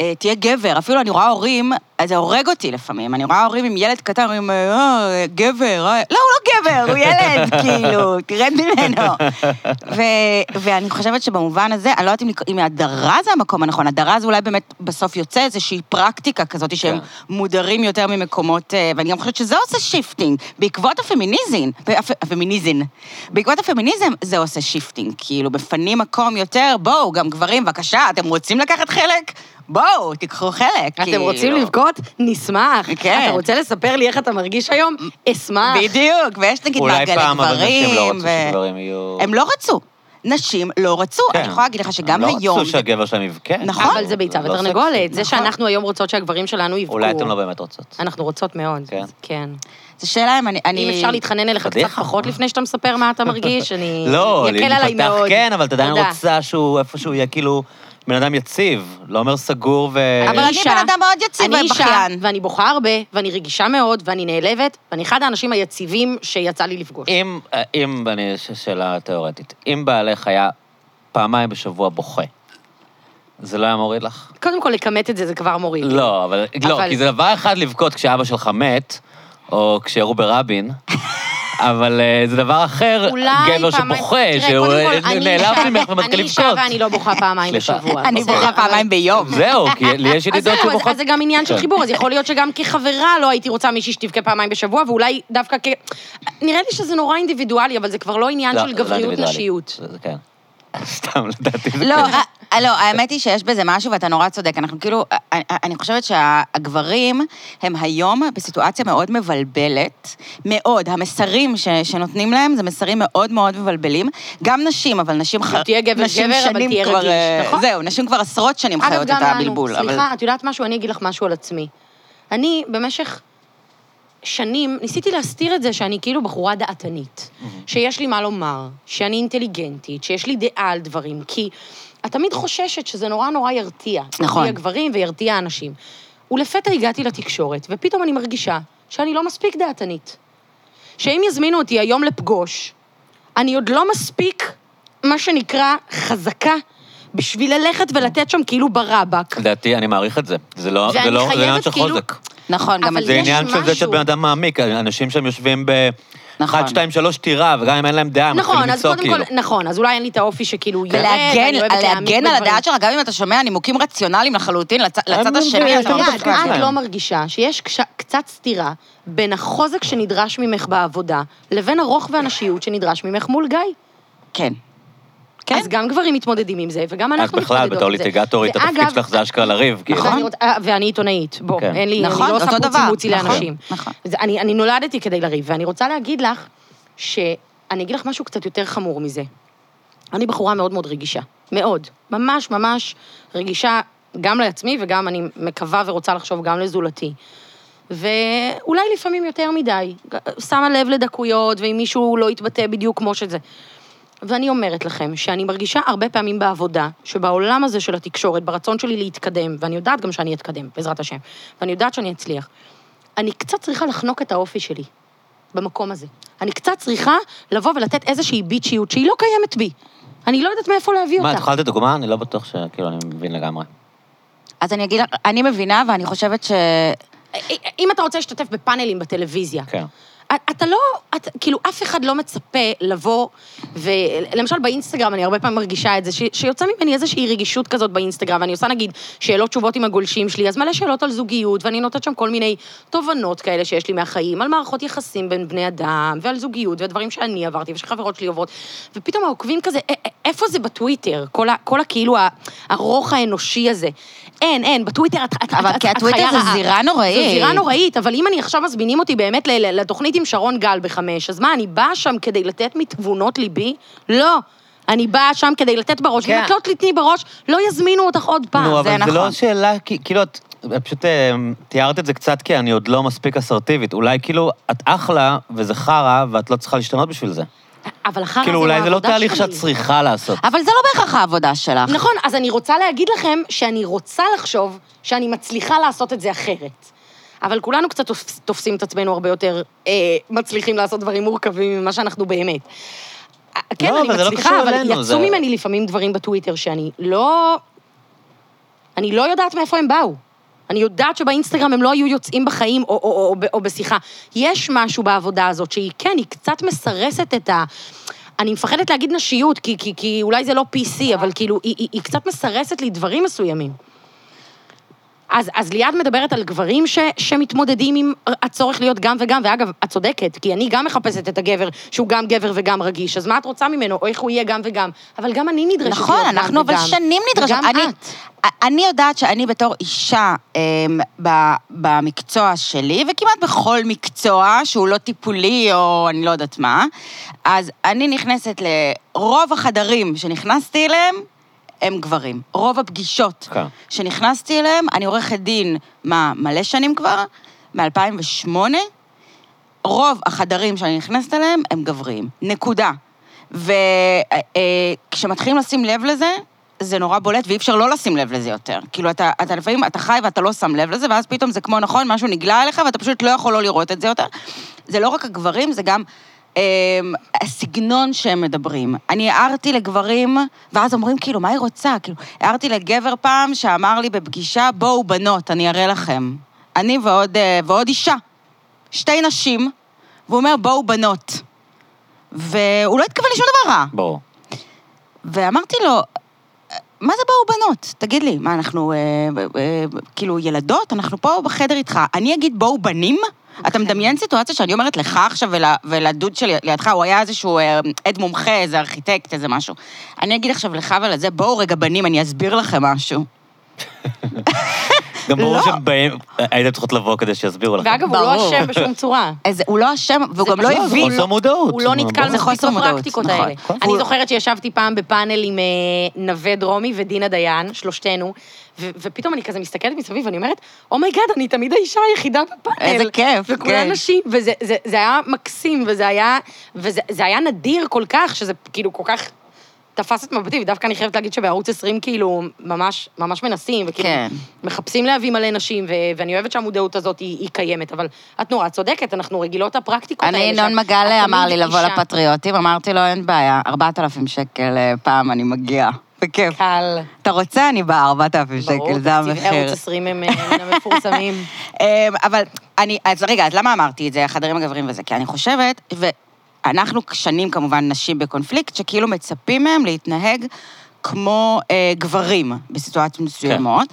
Speaker 2: אה, תהיה גבר, אפילו אני רואה הורים, אז זה הורג אותי לפעמים, אני רואה הורים עם ילד קטן, אומרים, אה, גבר, אה." לא, הוא לא גבר, הוא ילד, כאילו, תרד ממנו. ו- ואני חושבת שבמובן הזה, אני לא יודעת אם לק- אם הדרה זה המקום הנכון, הדרה זה אולי באמת בסוף יוצא איזושהי פרקטיקה כזאת שהם
Speaker 1: כן.
Speaker 2: מודרים יותר ממקומות, אה, ואני גם חושבת שזה עושה שיפטינג, בעקבות הפמיניזם, הפ, הפמיניזם. בעקבות הפמיניזם זה עושה שיפטינג, כאילו, מפנים מקום יותר, בואו, גם גברים, בבקשה, אתם רוצים לקחת חלק? בואו, תיקחו חלק,
Speaker 3: אתם
Speaker 2: כאילו.
Speaker 3: רוצים לבכות? נשמח.
Speaker 2: כן.
Speaker 3: אתה רוצה לספר לי איך אתה מרגיש היום? אשמח.
Speaker 2: בדיוק, ויש נגיד
Speaker 1: אולי
Speaker 2: מעגלי גברים.
Speaker 1: פעם, אבל נשים לא רצו
Speaker 2: ו-
Speaker 1: שגברים יהיו...
Speaker 2: הם לא רצו. נשים לא רצו.
Speaker 1: כן.
Speaker 2: אני יכולה להגיד לך שגם
Speaker 1: הם לא
Speaker 2: היום...
Speaker 1: רצו שהגבר שלהם יבכה.
Speaker 2: נכון.
Speaker 3: אבל זה ביצה
Speaker 1: לא סקסי.
Speaker 3: ותרנגולת. זה
Speaker 2: נכון.
Speaker 3: שאנחנו היום רוצות שהגברים שלנו יבכו.
Speaker 1: אולי אתם לא באמת רוצות.
Speaker 3: אנחנו רוצות מאוד.
Speaker 1: כן.
Speaker 3: כן.
Speaker 2: זו שאלה אם אני...
Speaker 3: אם
Speaker 2: אני-
Speaker 3: אפשר להתחנן אליך קצת
Speaker 1: פדיחה.
Speaker 3: פחות לפני שאתה מספר מה אתה מרגיש, אני...
Speaker 1: לא,
Speaker 3: יקל עליי
Speaker 1: להיפתח
Speaker 3: מאוד.
Speaker 1: כן, אבל את עדיין
Speaker 3: תודה.
Speaker 1: רוצה שהוא איפשהו יהיה כאילו בן אדם יציב, לא אומר סגור ו...
Speaker 2: אבל אני
Speaker 3: אישה-
Speaker 2: בן אדם מאוד יציב
Speaker 3: אני אישה,
Speaker 2: ובכיין.
Speaker 3: ואני בוכה הרבה, ואני רגישה מאוד, ואני נעלבת, ואני אחד האנשים היציבים שיצא לי לפגוש.
Speaker 1: אם, אם, אני, יש שאלה תיאורטית, אם בעלך היה פעמיים בשבוע בוכה, זה לא היה מוריד לך?
Speaker 3: קודם כל, לכמת את זה, זה כבר מוריד.
Speaker 1: לא, אבל, לא,
Speaker 3: כאילו. אבל-
Speaker 1: כי זה דבר אחד לבכות כשאבא שלך מת, או כשירו ברבין, אבל אה, זה דבר אחר,
Speaker 3: אולי
Speaker 1: גבר
Speaker 3: פעמיים-
Speaker 1: שבוכה,
Speaker 3: תראה,
Speaker 1: שהוא אה,
Speaker 3: קודם כל, אני
Speaker 1: נעלב
Speaker 3: אישה-
Speaker 1: ממך ומתחיל
Speaker 3: אני אישה
Speaker 1: לבכות.
Speaker 3: ואני לא בוכה פעמיים
Speaker 1: סליחה.
Speaker 3: בשבוע.
Speaker 2: אני
Speaker 3: בסדר,
Speaker 2: בוכה
Speaker 3: אוקיי. אבל-
Speaker 2: פעמיים ביום.
Speaker 1: זהו, כי לי יש
Speaker 3: אז
Speaker 1: ידידות
Speaker 3: זהו, אז-
Speaker 1: שבוכות.
Speaker 3: אז זה גם עניין של
Speaker 1: כן.
Speaker 3: חיבור, אז יכול להיות שגם כחברה לא הייתי רוצה מישהי שתבכה פעמיים בשבוע, ואולי דווקא כ... נראה לי שזה נורא אינדיבידואלי, אבל זה כבר לא עניין
Speaker 1: לא,
Speaker 3: של
Speaker 1: זה לא
Speaker 3: גבריות
Speaker 1: אינדיבידואלי.
Speaker 3: נשיות.
Speaker 1: זה- זה כן. סתם, לדעתי זה
Speaker 2: לא,
Speaker 1: כן.
Speaker 2: אה, לא, האמת היא שיש בזה משהו, ואתה נורא צודק. אנחנו כאילו, אה, אה, אני חושבת שהגברים הם היום בסיטואציה מאוד מבלבלת, מאוד. המסרים ש- שנותנים להם זה מסרים מאוד מאוד מבלבלים. גם נשים, אבל נשים ח-
Speaker 3: לא, תהיה גבר
Speaker 2: נשים
Speaker 3: גבר, אבל
Speaker 2: שנים
Speaker 3: תהיה
Speaker 2: כבר,
Speaker 3: רגיש,
Speaker 2: אה,
Speaker 3: נכון?
Speaker 2: זהו, נשים כבר עשרות שנים
Speaker 3: אגב,
Speaker 2: חיות את
Speaker 3: גם לנו.
Speaker 2: הבלבול. אבל-
Speaker 3: סליחה, את יודעת משהו? אני אגיד לך משהו על עצמי. אני במשך שנים ניסיתי להסתיר את זה שאני כאילו בחורה דעתנית, שיש לי מה לומר, שאני אינטליגנטית, שיש לי דעה על דברים, כי את תמיד חוששת שזה נורא נורא ירתיע.
Speaker 2: נכון.
Speaker 3: ירתיע גברים וירתיע אנשים. ולפתע הגעתי לתקשורת, ופתאום אני מרגישה שאני לא מספיק דעתנית. שאם יזמינו אותי היום לפגוש, אני עוד לא מספיק, מה שנקרא, חזקה, בשביל ללכת ולתת שם כאילו ברבק.
Speaker 1: לדעתי, אני מעריך את זה. זה לא,
Speaker 3: ואני
Speaker 1: זה לא, זה עניין
Speaker 3: חייבת
Speaker 1: של
Speaker 3: כאילו-
Speaker 1: חוזק.
Speaker 2: נכון, גם
Speaker 3: אבל
Speaker 2: את
Speaker 1: זה
Speaker 3: יש
Speaker 1: עניין של זה שאת
Speaker 3: משהו.
Speaker 1: בן אדם מעמיק, אנשים שם יושבים ב...
Speaker 2: נכון.
Speaker 1: 1, 2, 3 טירה, וגם אם אין להם דעה, הם
Speaker 3: נכון,
Speaker 1: מתחילים
Speaker 3: אז
Speaker 1: לצעוק
Speaker 3: קודם
Speaker 1: כאילו. כן.
Speaker 3: כל, נכון, אז אולי אין לי את האופי שכאילו ירד,
Speaker 2: ולהגן
Speaker 3: אני אוהבת להעמיק
Speaker 2: להגן על
Speaker 3: בדברים.
Speaker 2: הדעה שלך, גם אם אתה שומע נימוקים רציונליים לחלוטין, לצ-
Speaker 1: הם
Speaker 2: לצד
Speaker 1: לא
Speaker 2: השני
Speaker 1: מדברים,
Speaker 2: אתה אומר...
Speaker 1: יותר
Speaker 3: יד,
Speaker 1: דווקא
Speaker 3: את
Speaker 1: שלהם.
Speaker 3: לא מרגישה שיש קש- קצת סתירה בין החוזק שנדרש ממך בעבודה לבין הרוך והנשיות שנדרש ממך מול גיא.
Speaker 2: כן.
Speaker 3: כן. אז גם גברים מתמודדים עם זה, וגם
Speaker 1: את
Speaker 3: אנחנו מתמודדות
Speaker 1: בכלל,
Speaker 3: עם זה.
Speaker 1: בתור ליטיגטורית, התפקיד
Speaker 3: ואגב,
Speaker 1: שלך זה אשכרה לריב, כאילו.
Speaker 3: ואני רוצה- אה, ואני עיתונאית, בוא,
Speaker 1: כן.
Speaker 3: אין לי, אני
Speaker 2: נכון,
Speaker 3: לא עושה
Speaker 2: אותו
Speaker 3: פוצי
Speaker 2: דבר,
Speaker 3: מוצי
Speaker 2: נכון,
Speaker 3: לאנשים.
Speaker 2: נכון.
Speaker 3: זה- אני אני נולדתי כדי לריב, ואני רוצה להגיד לך, שאני אגיד לך משהו קצת יותר חמור מזה. אני בחורה מאוד מאוד רגישה, מאוד. ממש ממש רגישה גם לעצמי, וגם אני מקווה ורוצה לחשוב גם לזולתי. ואולי לפעמים יותר מדי, ג- שמה לב לדקויות, ואם מישהו לא יתבטא בדיוק כמו שזה. ואני אומרת לכם שאני מרגישה הרבה פעמים בעבודה, שבעולם הזה של התקשורת, ברצון שלי להתקדם, ואני יודעת גם שאני אתקדם, בעזרת השם, ואני יודעת שאני אצליח, אני קצת צריכה לחנוק את האופי שלי במקום הזה. אני קצת צריכה לבוא ולתת איזושהי ביצ'יות שהיא לא קיימת בי. אני לא יודעת מאיפה להביא
Speaker 1: מה, את
Speaker 3: אותה.
Speaker 1: יכולה לתת דוגמה? אני לא בטוח שכאילו אני מבין לגמרי.
Speaker 2: אז אני אגיד לך, אני מבינה, ואני חושבת ש...
Speaker 3: אה, אם אתה רוצה להשתתף בפאנלים בטלוויזיה,
Speaker 1: כן.
Speaker 3: אתה לא, את, כאילו, אף אחד לא מצפה לבוא, ולמשל באינסטגרם, אני הרבה פעמים מרגישה את זה, ש, שיוצא ממני איזושהי רגישות כזאת באינסטגרם, ואני עושה נגיד שאלות תשובות עם הגולשים שלי, אז מלא שאלות על זוגיות, ואני נותנת שם כל מיני תובנות כאלה שיש לי מהחיים, על מערכות יחסים בין בני אדם, ועל זוגיות, והדברים שאני עברתי, ושחברות שלי עוברות, ופתאום העוקבים כזה, "א- א- איפה זה בטוויטר? כל, ה, כל הכאילו ה- הרוך האנושי הזה. אין, אין, בטוויטר את, את,
Speaker 2: אבל
Speaker 3: את,
Speaker 2: כי
Speaker 3: את
Speaker 2: הטוויטר
Speaker 3: חיה
Speaker 2: זה
Speaker 3: רעה.
Speaker 2: זירה נוראית.
Speaker 3: זו זירה נוראית, אבל אם אני עכשיו מזמינים אותי באמת ל- ל- לתוכנית עם שרון גל בחמש, אז מה, אני באה שם כדי לתת מתבונות ליבי? לא. אני באה שם כדי לתת בראש,
Speaker 2: כן.
Speaker 3: ואם את לא תתני בראש, לא יזמינו אותך עוד פעם.
Speaker 1: נו,
Speaker 2: זה
Speaker 1: אבל זה
Speaker 2: נכון.
Speaker 1: לא שאלה, כי- כאילו, את את פשוט אה, תיארת את זה קצת כי אני עוד לא מספיק אסרטיבית. אולי כאילו, את אחלה וזה חרא, ואת לא צריכה להשתנות בשביל זה.
Speaker 3: אבל אחר
Speaker 1: כאילו, אולי זה לא תהליך שאת צריכה לעשות.
Speaker 2: אבל זה לא בהכרח העבודה שלך.
Speaker 3: נכון, אז אני רוצה להגיד לכם שאני רוצה לחשוב שאני מצליחה לעשות את זה אחרת. אבל כולנו קצת תופס- תופסים את עצמנו הרבה יותר אה, מצליחים לעשות דברים מורכבים ממה שאנחנו באמת. אה, כן,
Speaker 1: לא,
Speaker 3: אני
Speaker 1: אבל זה לא
Speaker 3: מצליחה,
Speaker 1: קשור
Speaker 3: אבל
Speaker 1: אלינו,
Speaker 3: יצאו
Speaker 1: זה-
Speaker 3: ממני לפעמים דברים בטוויטר שאני לא... אני לא יודעת מאיפה הם באו. אני יודעת שבאינסטגרם הם לא היו יוצאים בחיים או, או, או, או, ב- או בשיחה. יש משהו בעבודה הזאת שהיא, כן, היא קצת מסרסת את ה... אני מפחדת להגיד נשיות, כי, כי, כי אולי זה לא PC, אבל כאילו, היא, היא, היא קצת מסרסת לי דברים מסוימים. אז, אז ליעד מדברת על גברים ש, שמתמודדים עם הצורך להיות גם וגם, ואגב, את צודקת, כי אני גם מחפשת את הגבר שהוא גם גבר וגם רגיש, אז מה את רוצה ממנו, או איך הוא יהיה גם וגם, אבל גם אני נדרשת
Speaker 2: נכון,
Speaker 3: להיות גם
Speaker 2: אנחנו אבל
Speaker 3: וגם.
Speaker 2: שנים נדרשות.
Speaker 3: וגם
Speaker 2: אני-
Speaker 3: את.
Speaker 2: אני יודעת שאני בתור אישה אמ, ב- במקצוע שלי, וכמעט בכל מקצוע שהוא לא טיפולי או אני לא יודעת מה, אז אני נכנסת לרוב החדרים שנכנסתי אליהם, הם גברים. רוב הפגישות
Speaker 1: כן.
Speaker 2: שנכנסתי אליהם, אני עורכת דין, מה, מלא שנים כבר? מ-2008? רוב החדרים שאני נכנסת אליהם הם גבריים. נקודה. וכשמתחילים לשים לב לזה, זה נורא בולט, ואי אפשר לא לשים לב לזה יותר. כאילו, אתה, אתה לפעמים, אתה חי ואתה לא שם לב לזה, ואז פתאום זה כמו נכון, משהו נגלה אליך, ואתה פשוט לא יכול לא לראות את זה יותר. זה לא רק הגברים, זה גם אה, הסגנון שהם מדברים. אני הערתי לגברים, ואז אומרים, כאילו, מה היא רוצה? כאילו, הערתי לגבר פעם שאמר לי בפגישה, בואו בנות, אני אראה לכם. אני ועוד, אה, ועוד אישה. שתי נשים, והוא אומר, בואו בנות. והוא לא התכוון לשום דבר רע.
Speaker 1: ברור.
Speaker 2: ואמרתי לו, מה זה באו בנות? תגיד לי, מה, אנחנו אה, אה, אה, כאילו ילדות? אנחנו פה בחדר איתך. אני אגיד בואו בנים? אתה מדמיין סיטואציה שאני אומרת לך עכשיו ול, ולדוד שלידך, הוא היה איזשהו אה, עד מומחה, איזה ארכיטקט, איזה משהו. אני אגיד עכשיו לך ולזה, בואו רגע בנים, אני אסביר לכם משהו.
Speaker 1: גם ברור
Speaker 2: לא.
Speaker 1: שהם באים, הייתם צריכות לבוא כדי שיסבירו לכם.
Speaker 3: ואגב, הוא לא
Speaker 2: ברור.
Speaker 3: אשם בשום צורה.
Speaker 2: אז הוא לא אשם, והוא
Speaker 3: זה
Speaker 2: גם לא
Speaker 3: פשוט-
Speaker 2: הבין.
Speaker 1: זה חוסר מודעות.
Speaker 3: הוא לא נתקל
Speaker 1: ברור.
Speaker 2: זה
Speaker 3: מספיק
Speaker 2: חוסר מודעות,
Speaker 3: בפרקטיקות
Speaker 2: נכון.
Speaker 3: האלה.
Speaker 1: נכון.
Speaker 3: אני
Speaker 2: הוא-
Speaker 3: זוכרת שישבתי פעם בפאנל עם אה, נווה דרומי ודינה דיין, שלושתנו, ו- ופתאום אני כזה מסתכלת מסביב ואני אומרת, אומייגאד, אני תמיד האישה היחידה בפאנל.
Speaker 2: איזה כיף,
Speaker 3: וכולן
Speaker 2: כן.
Speaker 3: נשים, וזה זה- זה היה מקסים, וזה היה וזה- זה היה נדיר כל כך, שזה כאילו כל כך... תפס את מבטי, ודווקא אני חייבת להגיד שבערוץ 20 כאילו ממש, ממש מנסים, וכאילו
Speaker 2: כן.
Speaker 3: מחפשים להביא מלא נשים, ו- ואני אוהבת שהמודעות הזאת היא, היא קיימת, אבל את נורא צודקת, אנחנו רגילות לפרקטיקות
Speaker 2: אני,
Speaker 3: האלה.
Speaker 2: ינון
Speaker 3: שאת-
Speaker 2: מגל
Speaker 3: את
Speaker 2: אמר לי
Speaker 3: תמיד
Speaker 2: לבוא
Speaker 3: אישה.
Speaker 2: לפטריוטים, אמרתי לו, אין בעיה, 4,000 שקל אה, פעם אני מגיעה, בכיף.
Speaker 3: קל.
Speaker 2: אתה רוצה, אני באה, 4,000
Speaker 3: כן. ברור,
Speaker 2: שקל, זה
Speaker 3: תקציב אה, ערוץ
Speaker 2: המחיר.
Speaker 3: 20 הם אה, מן המפורסמים.
Speaker 2: אמ, אבל אני, אז רגע, אז למה אמרתי את זה, החדרים הגבריים וזה? כי אני חושבת, ו- אנחנו שנים כמובן נשים בקונפליקט, שכאילו מצפים מהם להתנהג כמו אה, גברים בסיטואציות
Speaker 3: כן.
Speaker 2: מסוימות.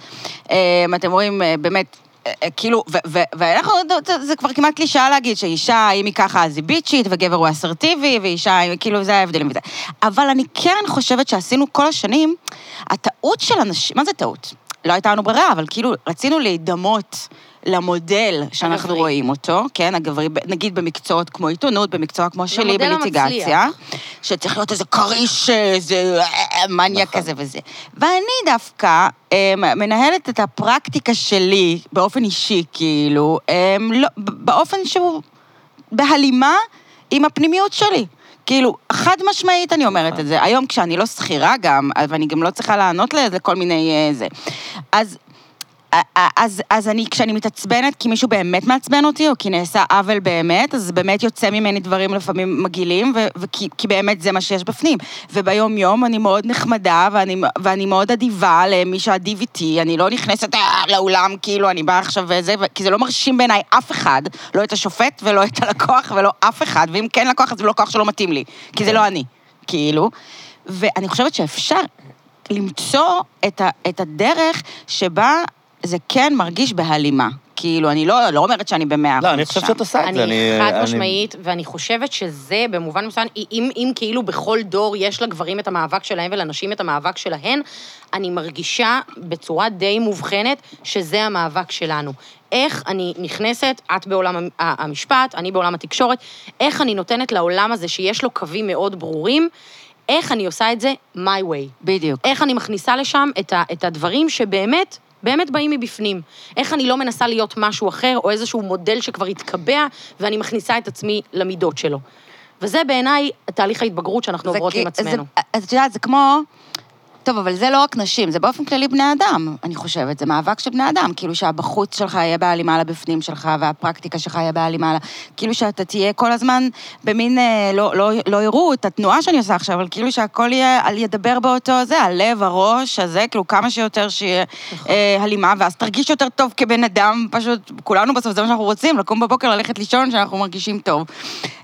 Speaker 2: אה, אתם רואים, אה, באמת... אה, אה, כאילו, ו- ו- ואנחנו, זה- זה כבר כמעט קלישאה להגיד שאישה, אם היא ככה, אז היא ביצ'ית, וגבר הוא אסרטיבי, ואישה, כאילו, זה ההבדלים וזה. אבל אני כן חושבת שעשינו כל השנים, הטעות של אנשים, מה זה טעות? לא הייתה לנו ברירה, אבל כאילו, רצינו להידמות למודל שאנחנו
Speaker 3: הגברי.
Speaker 2: רואים אותו, כן, הגברי, ב- נגיד במקצועות כמו עיתונות, במקצוע כמו שלי,
Speaker 3: למודל
Speaker 2: בליטיגציה, שצריך להיות איזה כריש, איזה אה, מניאק
Speaker 1: נכון.
Speaker 2: כזה וזה. ואני דווקא אה, מנהלת את הפרקטיקה שלי באופן אישי, כאילו, אה, לא, ב- באופן שהוא בהלימה עם הפנימיות שלי. כאילו, חד משמעית אני אומרת את זה. היום כשאני לא שכירה גם, אז- ואני גם לא צריכה לענות ל- לכל מיני אה, זה. אז... א- א- אז, אז אני, כשאני מתעצבנת כי מישהו באמת מעצבן אותי, או כי נעשה עוול באמת, אז באמת יוצא ממני דברים לפעמים מגעילים, ו- וכי כי באמת זה מה שיש בפנים. וביום-יום אני מאוד נחמדה, ואני, ואני מאוד אדיבה למי שאדיב איתי, אני לא נכנסת "אה, לאולם, כאילו, אני באה עכשיו וזה, ו- כי זה לא מרשים בעיניי אף אחד, לא את השופט ולא את הלקוח ולא אף אחד, ואם כן לקוח, אז זה לקוח שלא מתאים לי, כי זה לא אני, כאילו. ואני חושבת שאפשר למצוא את, ה, את הדרך שבה זה כן מרגיש בהלימה. כאילו, אני לא, לא אומרת שאני במאה אחוז
Speaker 1: לא, אני חושב שאת עושה את זה.
Speaker 3: אני חד
Speaker 1: אה, אני-
Speaker 3: משמעית, ואני חושבת שזה במובן מסוים, אם, אם כאילו בכל דור יש לגברים את המאבק שלהם ולנשים את המאבק שלהן, אני מרגישה בצורה די מובחנת שזה המאבק שלנו. איך אני נכנסת, את בעולם המ- ה- המשפט, אני בעולם התקשורת, איך אני נותנת לעולם הזה שיש לו קווים מאוד ברורים, איך אני עושה את זה my way.
Speaker 2: בדיוק.
Speaker 3: איך אני מכניסה לשם את, ה, את הדברים שבאמת, באמת באים מבפנים. איך אני לא מנסה להיות משהו אחר, או איזשהו מודל שכבר התקבע, ואני מכניסה את עצמי למידות שלו. וזה בעיניי תהליך ההתבגרות שאנחנו
Speaker 2: זה
Speaker 3: עוברות
Speaker 2: כי-
Speaker 3: עם עצמנו.
Speaker 2: זה, אז את יודעת, זה כמו... טוב, אבל זה לא רק נשים, זה באופן כללי בני אדם, אני חושבת. זה מאבק של בני אדם, כאילו שהבחוץ שלך יהיה בהלימה לבפנים שלך, והפרקטיקה שלך יהיה בהלימה ל... כאילו שאתה תהיה כל הזמן במין, אה, לא, לא, לא יראו את התנועה שאני עושה עכשיו, אבל כאילו שהכל יהיה, על- ידבר באותו זה, הלב, הראש, הזה, כאילו כמה שיותר שיהיה
Speaker 3: נכון.
Speaker 2: אה, הלימה, ואז תרגיש יותר טוב כבן אדם, פשוט, כולנו בסוף, זה מה שאנחנו רוצים, לקום בבוקר, ללכת לישון, שאנחנו מרגישים טוב.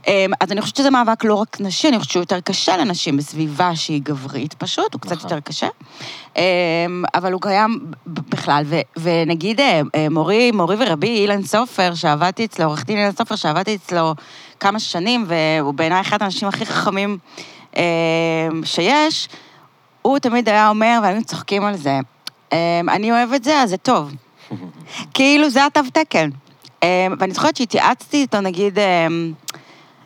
Speaker 2: אה, אז אני חושבת שזה מאבק לא רק נשי, אני חושבת שהוא יותר קשה לנשים בסביבה שהיא גברית, פשוט, הוא קצת
Speaker 1: נכון.
Speaker 2: יותר קשה. אה, אבל הוא קיים ב- בכלל, ו- ונגיד אה, אה, מורי, מורי ורבי אילן סופר, שעבדתי אצלו, עורך דין אילן סופר, שעבדתי אצלו כמה שנים, והוא בעיניי אחד האנשים הכי חכמים אה, שיש, הוא תמיד היה אומר, והיינו צוחקים על זה, "אמ, אני אוהב את זה, אז זה טוב. כאילו, זה התו תקן. אמ, ואני זוכרת שהתייעצתי איתו, נגיד, אמ,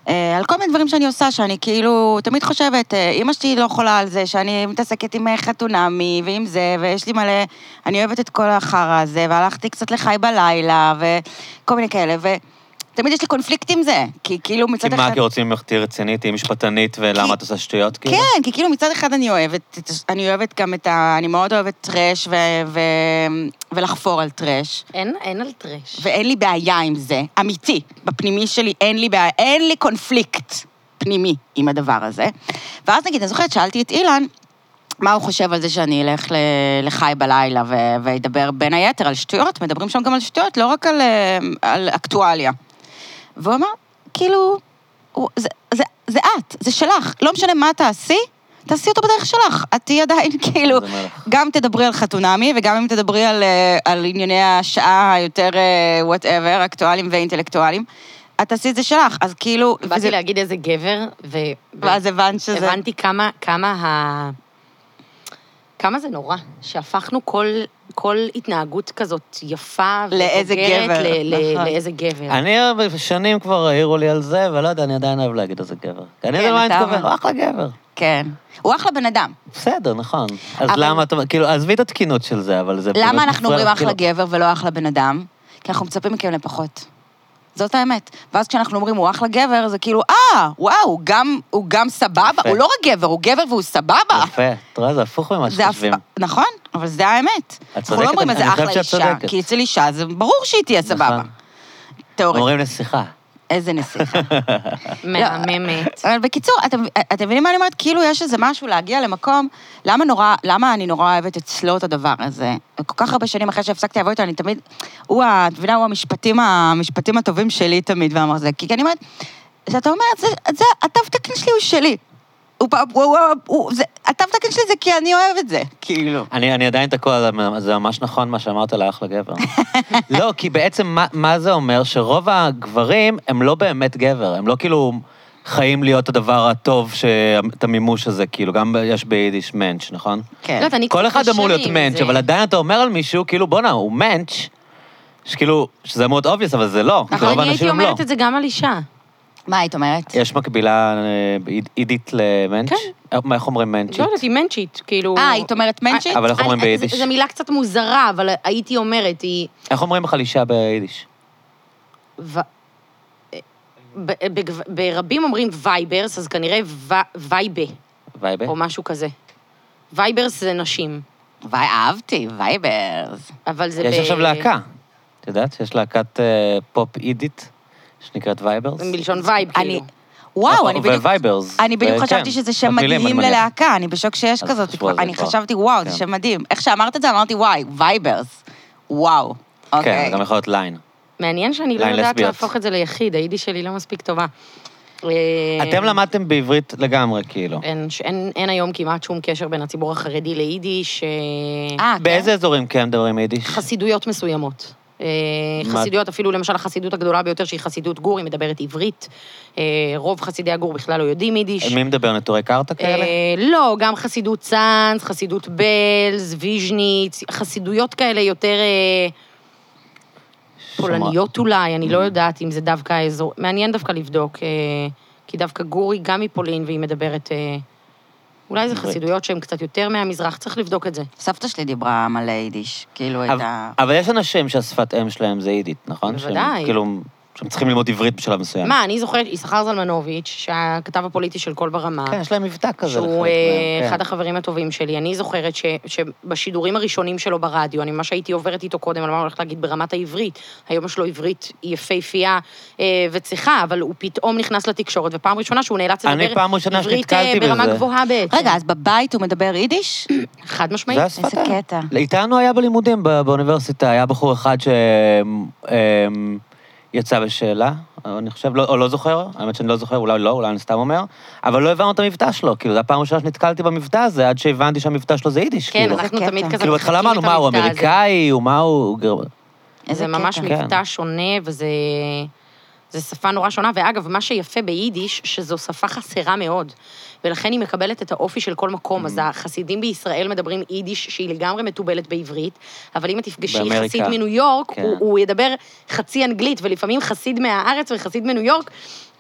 Speaker 2: אה, על כל מיני דברים שאני עושה, שאני כאילו תמיד חושבת, אה, אימא שלי לא חולה על זה, שאני מתעסקת עם אה, חתונמי ועם זה, ויש לי מלא, אני אוהבת את כל החרא הזה, והלכתי קצת לחי בלילה, וכל מיני כאלה, ותמיד יש לי קונפליקט עם זה, כי כאילו מצד
Speaker 1: כי
Speaker 2: אחד...
Speaker 1: מה, כי רוצים ממך תהיי רצינית, תהיי משפטנית,
Speaker 2: כי-
Speaker 1: ולמה את עושה שטויות, כאילו?
Speaker 2: כן, כי כאילו מצד אחד אני אוהבת, את הש- אני אוהבת גם את ה... אני מאוד אוהבת טרש ו... ו... ולחפור על טרש.
Speaker 3: אין, אין על טרש.
Speaker 2: ואין לי בעיה עם זה, אמיתי. בפנימי שלי אין לי בעיה, אין לי קונפליקט פנימי עם הדבר הזה. ואז נגיד, אני זוכרת, שאלתי את אילן, מה הוא חושב על זה שאני אלך ל- לחי בלילה ו- ואדבר בין היתר על שטויות? מדברים שם גם על שטויות, לא רק על, אה, על אקטואליה. והוא אמר, כאילו, הוא, זה, זה, זה את, זה שלך, לא משנה מה תעשי, תעשי אותו בדרך שלך. את תהיי עדיין, כאילו,
Speaker 1: זה מלך.
Speaker 2: גם תדברי על חתונמי, וגם אם תדברי על, אה, על ענייני השעה היותר וואטאבר, אקטואלים ואינטלקטואלים, את תעשי את זה שלך, אז כאילו... וזה-
Speaker 3: באתי להגיד איזה גבר, ו...
Speaker 2: ואז הבנת שזה...
Speaker 3: הבנתי כמה, כמה ה... כמה זה נורא, שהפכנו כל, כל התנהגות כזאת יפה
Speaker 2: לאיזה
Speaker 3: ובוגרת
Speaker 2: גבר,
Speaker 3: ל- ל-
Speaker 2: נכון.
Speaker 3: לאיזה גבר.
Speaker 1: אני שנים כבר העירו לי על זה, ולא יודע, אני עדיין אוהב להגיד איזה גבר. כי אני
Speaker 2: כן,
Speaker 1: יודע מה אני
Speaker 2: אתה
Speaker 1: מתכוון,
Speaker 2: אומר.
Speaker 1: הוא אחלה גבר.
Speaker 2: כן. הוא אחלה בן אדם.
Speaker 1: בסדר, נכון. אז
Speaker 2: אבל-
Speaker 1: למה אתה, כאילו, עזבי את התקינות של זה, אבל זה... באמת
Speaker 2: למה אנחנו
Speaker 1: מפריע
Speaker 2: אומרים
Speaker 1: לך, כאילו-
Speaker 2: אחלה גבר ולא אחלה בן אדם? כי אנחנו מצפים מכם לפחות. זאת האמת. ואז כשאנחנו אומרים הוא אחלה גבר, זה כאילו, אה, וואו, הוא גם- הוא גם סבבה,
Speaker 1: יפה.
Speaker 2: הוא לא רק גבר, הוא גבר והוא סבבה.
Speaker 1: יפה, את רואה, זה הפוך ממה
Speaker 2: זה אף
Speaker 1: שחושבים.
Speaker 2: נכון, אבל זה האמת. אנחנו
Speaker 1: צודקת,
Speaker 2: לא אומרים
Speaker 1: אני
Speaker 2: איזה
Speaker 1: חושב
Speaker 2: אחלה
Speaker 1: שאת
Speaker 2: אישה,
Speaker 1: צודקת.
Speaker 2: כי אצל אישה זה ברור שהיא תהיה סבבה.
Speaker 1: נכון. אוקיי.
Speaker 2: תיאורטית.
Speaker 1: אומרים לשיחה.
Speaker 2: איזה נסיכה.
Speaker 3: מהממת.
Speaker 2: אבל בקיצור, אתם אתם מבינים מה אני אומרת? כאילו יש איזה משהו להגיע למקום, למה נורא, למה אני נורא אוהבת אצלו את הדבר הזה? כל כך הרבה שנים אחרי שהפסקתי לעבוד איתו, אני תמיד, הוא, ה- את מבינה, הוא המשפטים, המשפטים הטובים שלי תמיד, ואמר זה, כי אני אומרת, שאתה אומר, זה, זה, התו תקן שלי הוא שלי. הוא, פ- הוא, הוא, הוא, זה, התו תקן שלי זה כי אני אוהב את זה, כאילו.
Speaker 1: אני, אני עדיין תקוע, על המ- זה ממש נכון מה שאמרת על האח לגבר. לא, כי בעצם מה, מה זה אומר? שרוב הגברים הם לא באמת גבר, הם לא כאילו חיים להיות הדבר הטוב, ש... את המימוש הזה, כאילו, גם יש ביידיש מענץ', נכון?
Speaker 3: לא
Speaker 2: כן.
Speaker 3: יודעת, אני
Speaker 1: כל
Speaker 3: קצת
Speaker 1: אחד אמור
Speaker 3: קשה לי
Speaker 1: להיות
Speaker 3: עם
Speaker 1: מענץ',
Speaker 3: זה.
Speaker 1: אבל עדיין אתה אומר על מישהו, כאילו, בואנה, הוא מענץ', שכאילו, שזה אמור להיות אובייס, אבל זה לא.
Speaker 3: נכון,
Speaker 1: ורוב
Speaker 3: אני הייתי
Speaker 1: האנשים הם לא.
Speaker 3: אומרת את זה גם על אישה.
Speaker 2: מה היית אומרת?
Speaker 1: יש מקבילה אה, עיד- עידית למענץ'?
Speaker 3: כן.
Speaker 1: אה, מה- איך אומרים מענצ'ית?
Speaker 3: לא יודעת, היא מנצ'ית, כאילו...
Speaker 2: אה, היית אומרת מנצ'ית?
Speaker 1: אבל איך אומרים
Speaker 3: אני-
Speaker 1: ביידיש?
Speaker 3: זו- זו מילה קצת מוזרה, אבל הייתי אומרת, היא...
Speaker 1: איך אומרים חלישה ביידיש?
Speaker 3: ו... ב- בגו- ברבים אומרים וייברס, אז כנראה ו- וייבה,
Speaker 1: וייבה?
Speaker 3: או משהו כזה. וייברס זה נשים,
Speaker 2: וואי, אהבתי, וייברס.
Speaker 3: אבל זה
Speaker 1: יש
Speaker 3: ב-
Speaker 1: עכשיו להקה. את יודעת שיש להקת אה, פופ אידית, שנקראת וייברס?
Speaker 3: זה מלשון וייב,
Speaker 2: אני...
Speaker 3: כאילו.
Speaker 2: וואו, אני בדיוק...
Speaker 1: ווייברס. אה, כן.
Speaker 2: אני בדיוק
Speaker 1: וכן,
Speaker 2: חשבתי שזה שם
Speaker 1: מקבילים,
Speaker 2: מדהים
Speaker 1: אני מניח.
Speaker 2: ללהקה, אני בשוק שיש
Speaker 1: אז
Speaker 2: כזאת.
Speaker 1: חשבו על זה
Speaker 2: אני
Speaker 1: כבר.
Speaker 2: חשבתי, וואו,
Speaker 1: כן.
Speaker 2: זה שם מדהים. איך שאמרת את זה, אמרתי, וואי, וייברס. וואו.
Speaker 1: כן,
Speaker 2: אוקיי.
Speaker 1: גם יכול להיות ליין.
Speaker 3: מעניין שאני לא
Speaker 1: ליין
Speaker 3: יודעת
Speaker 1: לסביות.
Speaker 3: להפוך את זה ליחיד, היידיש שלי לא מספיק טובה. כן.
Speaker 1: אתם למדתם בעברית לגמרי, כאילו.
Speaker 3: אין, אין, אין היום כמעט שום קשר בין הציבור החרדי ליידיש. אה,
Speaker 2: אה, כן?
Speaker 1: באיזה אזורים כן מדברים יידיש?
Speaker 3: חסידויות מסוימות. אה,
Speaker 1: מה-
Speaker 3: חסידויות, אפילו למשל החסידות הגדולה ביותר, שהיא חסידות גור, היא מדברת עברית. אה, רוב חסידי הגור בכלל לא יודעים יידיש.
Speaker 1: מי מדבר נטורי קרתא כאלה?
Speaker 3: אה, לא, גם חסידות צאנז, חסידות בלז, ויז'ניץ, חסידויות כאלה יותר אה,
Speaker 1: שומר-
Speaker 3: פולניות אולי, אני לא יודעת אם זה דווקא האזור. מעניין דווקא לבדוק, אה, כי דווקא גורי גם מפולין והיא מדברת... אה, אולי זה
Speaker 1: עברית.
Speaker 3: חסידויות שהן קצת יותר מהמזרח, צריך לבדוק את זה.
Speaker 2: סבתא שלי דיברה מלא יידיש, כאילו
Speaker 1: אבל-
Speaker 2: הייתה...
Speaker 1: אבל יש אנשים שהשפת אם שלהם זה יידית, נכון? שהם,
Speaker 3: בוודאי.
Speaker 1: כאילו, שהם צריכים ללמוד עברית בשלב מסוים.
Speaker 3: מה, אני זוכרת, יששכר זלמנוביץ', שהכתב הפוליטי של קול ברמה,
Speaker 1: כן, יש להם מבטא כזה.
Speaker 3: שהוא
Speaker 1: לחלק
Speaker 3: אה,
Speaker 1: מהם,
Speaker 3: אחד
Speaker 1: כן.
Speaker 3: החברים הטובים שלי. אני זוכרת ש, שבשידורים הראשונים שלו ברדיו, אני ממש הייתי עוברת איתו קודם, על מה הוא הולך להגיד ברמת העברית. היום יש לו עברית יפהפייה אה, וצחה, אבל הוא פתאום נכנס לתקשורת, ופעם ראשונה שהוא נאלץ
Speaker 1: אני
Speaker 3: לדבר
Speaker 1: פעם ראשונה
Speaker 3: עברית אה,
Speaker 1: שנתקלתי
Speaker 3: ברמה
Speaker 1: בזה.
Speaker 3: גבוהה בעצם.
Speaker 2: רגע, אז בבית הוא מדבר יידיש?
Speaker 3: חד משמעית.
Speaker 1: זה השפת
Speaker 2: איזה
Speaker 1: האם.
Speaker 2: קטע.
Speaker 1: איתנו היה בלימודים ב- באוניברסיטה, היה בחור אחד שיצא בשאלה, אני חושב, לא- או לא זוכר, האמת שאני לא זוכר, אולי לא, אולי אני סתם אומר, אבל לא הבנו את המבטא שלו, כאילו, זו הפעם הראשונה שנתקלתי במבטא הזה, עד שהבנתי שהמבטא שלו זה יידיש,
Speaker 3: כן,
Speaker 1: כאילו.
Speaker 3: אנחנו
Speaker 2: קטע.
Speaker 3: תמיד כזה
Speaker 1: כאילו, בהתחלה
Speaker 3: מחקים
Speaker 1: אמרנו,
Speaker 3: את
Speaker 1: מה, הוא
Speaker 3: המבטא הזה.
Speaker 1: אמריקאי, הוא מה, הוא... גר-
Speaker 2: איזה
Speaker 3: זה ממש
Speaker 2: קטע.
Speaker 3: מבטא שונה, וזה זה שפה נורא שונה. ואגב, מה שיפה ביידיש, שזו שפה חסרה מאוד, ולכן היא מקבלת את האופי של כל מקום. אז החסידים בישראל מדברים יידיש שהיא לגמרי מתובלת בעברית, אבל אם את תפגשי
Speaker 1: באמריקה.
Speaker 3: חסיד מניו יורק,
Speaker 1: כן.
Speaker 3: הוא, הוא ידבר חצי אנגלית, ולפעמים חסיד מהארץ וחסיד מניו יורק.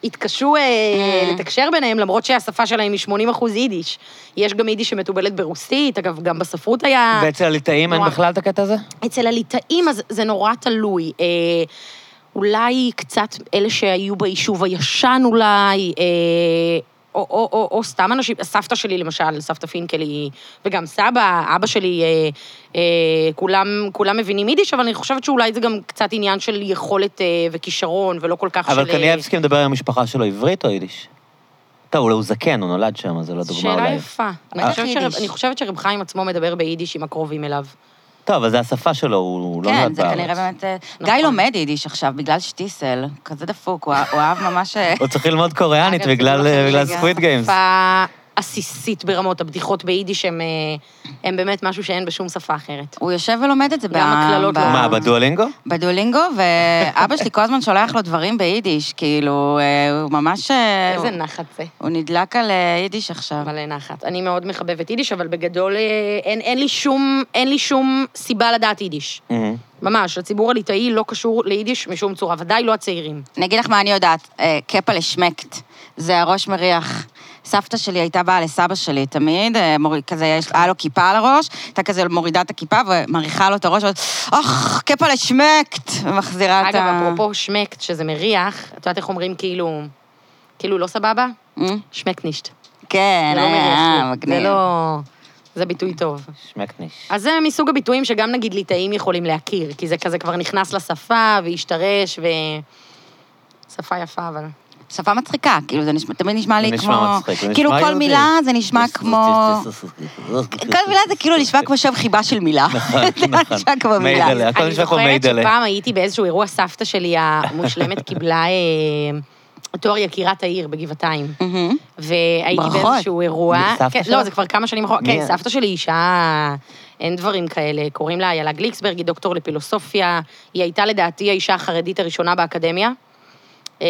Speaker 3: התקשו אה,
Speaker 2: Mm.
Speaker 3: לתקשר ביניהם, למרות שהשפה שלהם היא 80 אחוז יידיש. יש גם יידיש שמתובלת ברוסית, אגב, גם בספרות היה...
Speaker 1: ואצל הליטאים אין
Speaker 3: נורא.
Speaker 1: בכלל את הקטע הזה?
Speaker 3: אצל הליטאים אז זה נורא תלוי. אה, אולי קצת אלה שהיו ביישוב הישן אולי, אה, או, או, או, או סתם אנשים, סבתא שלי למשל, סבתא פינקל היא, וגם סבא, אבא שלי, אה, אה, כולם, כולם מבינים יידיש, אבל אני חושבת שאולי זה גם קצת עניין של יכולת אה, וכישרון, ולא כל כך
Speaker 1: אבל
Speaker 3: של... אה,
Speaker 1: קניאבסקי מדבר עם המשפחה שלו עברית או יידיש? טוב, אולי הוא זקן, הוא נולד שם, אז זו לא דוגמה
Speaker 3: שאלה
Speaker 1: אולי. אה.
Speaker 3: יפה.
Speaker 2: בטח
Speaker 3: אני חושבת,
Speaker 2: יידיש.
Speaker 3: שרב, אני חושבת שרב חיים עצמו מדבר ביידיש עם הקרובים אליו.
Speaker 1: טוב, אבל זו השפה שלו, הוא לא נולד בארץ.
Speaker 2: כן, זה כנראה באמת... אה, גיא
Speaker 3: נכון.
Speaker 2: לומד יידיש עכשיו בגלל שטיסל, כזה דפוק, הוא אה- הוא אהב ממש... אה,
Speaker 1: הוא צריך ללמוד קוריאנית
Speaker 3: אגב, זה
Speaker 1: בגלל
Speaker 3: לא חשוב
Speaker 1: בגלל
Speaker 2: שגם
Speaker 1: סקוויד גיימס.
Speaker 3: שפה עסיסית ברמות, הבדיחות ביידיש הן, אה, הן באמת משהו שאין בשום שפה אחרת.
Speaker 2: הוא יושב ולומד את זה ב...
Speaker 3: גם הקללות
Speaker 2: ב-
Speaker 3: לא.
Speaker 1: מה,
Speaker 2: אה.
Speaker 1: בדואלינגו?
Speaker 2: בדולינגו, ואבא שלי כל הזמן שולח לו דברים ביידיש, כאילו, אה, הוא ממש... אה,
Speaker 3: איזה
Speaker 2: הוא-
Speaker 3: נחת זה,
Speaker 2: הוא נדלק על אה, יידיש עכשיו.
Speaker 3: אבל נחת. אני מאוד מחבבת יידיש, אבל בגדול אה, אין, אין, לי שום, אין לי שום סיבה לדעת יידיש.
Speaker 1: מהמם.
Speaker 3: ממש, הציבור הליטאי לא קשור ליידיש משום צורה, ודאי לא הצעירים.
Speaker 2: אני אגיד לך מה אני יודעת, אה, קפה לשמקט, זה הראש מריח. סבתא שלי הייתה באה לסבא שלי תמיד, אה, מוריד, כזה, יש- היה לו כיפה על הראש, הייתה כזה מורידה את הכיפה ומריחה לו את הראש, ואומרת, אוח, קפה לשמקט, ומחזירה את
Speaker 3: אגב,
Speaker 2: ה...
Speaker 3: אפרופו שמקט, שזה מריח, את יודעת איך אומרים כאילו, כאילו לא סבבה?
Speaker 2: אה?
Speaker 3: שמקנישט.
Speaker 2: כן,
Speaker 3: זה לא מריח
Speaker 2: אה,
Speaker 3: לי. זה
Speaker 2: מגניב.
Speaker 3: לא... זה ביטוי טוב.
Speaker 1: שמקניש.
Speaker 3: אז זה מסוג הביטויים שגם נגיד ליטאים יכולים להכיר, כי זה כזה כבר נכנס לשפה והשתרש ו... שפה יפה, אבל...
Speaker 2: שפה מצחיקה, כאילו, זה נשמע, תמיד נשמע
Speaker 1: זה
Speaker 2: לי
Speaker 1: נשמע
Speaker 2: כמו...
Speaker 1: מצחיק, זה
Speaker 2: כאילו,
Speaker 1: נשמע
Speaker 2: כל
Speaker 1: יהודי.
Speaker 2: מילה זה נשמע כמו... כל מילה זה כאילו נשמע כמו שם חיבה של מילה.
Speaker 1: נכון,
Speaker 2: זה נשמע כמו מילה.
Speaker 1: מיידלה, הכל
Speaker 3: אני
Speaker 1: נשמע כמו
Speaker 3: זוכרת
Speaker 1: מיידלה.
Speaker 3: שפעם הייתי באיזשהו אירוע, סבתא שלי המושלמת קיבלה אה, תואר יקירת העיר בגבעתיים.
Speaker 2: מהמם.
Speaker 3: והייתי
Speaker 2: ברכות.
Speaker 3: באיזשהו אירוע.
Speaker 1: סבתא
Speaker 3: כן,
Speaker 1: שלך?
Speaker 3: לא, זה כבר כמה שנים אחורה.
Speaker 1: מי
Speaker 3: כן,
Speaker 1: ה-
Speaker 3: סבתא שלי היא אישה, אין דברים כאלה. קוראים לה איילה גליקסברג, היא דוקטור לפילוסופיה. היא הייתה לדעתי האישה החרדית הראשונה באקדמיה. אה,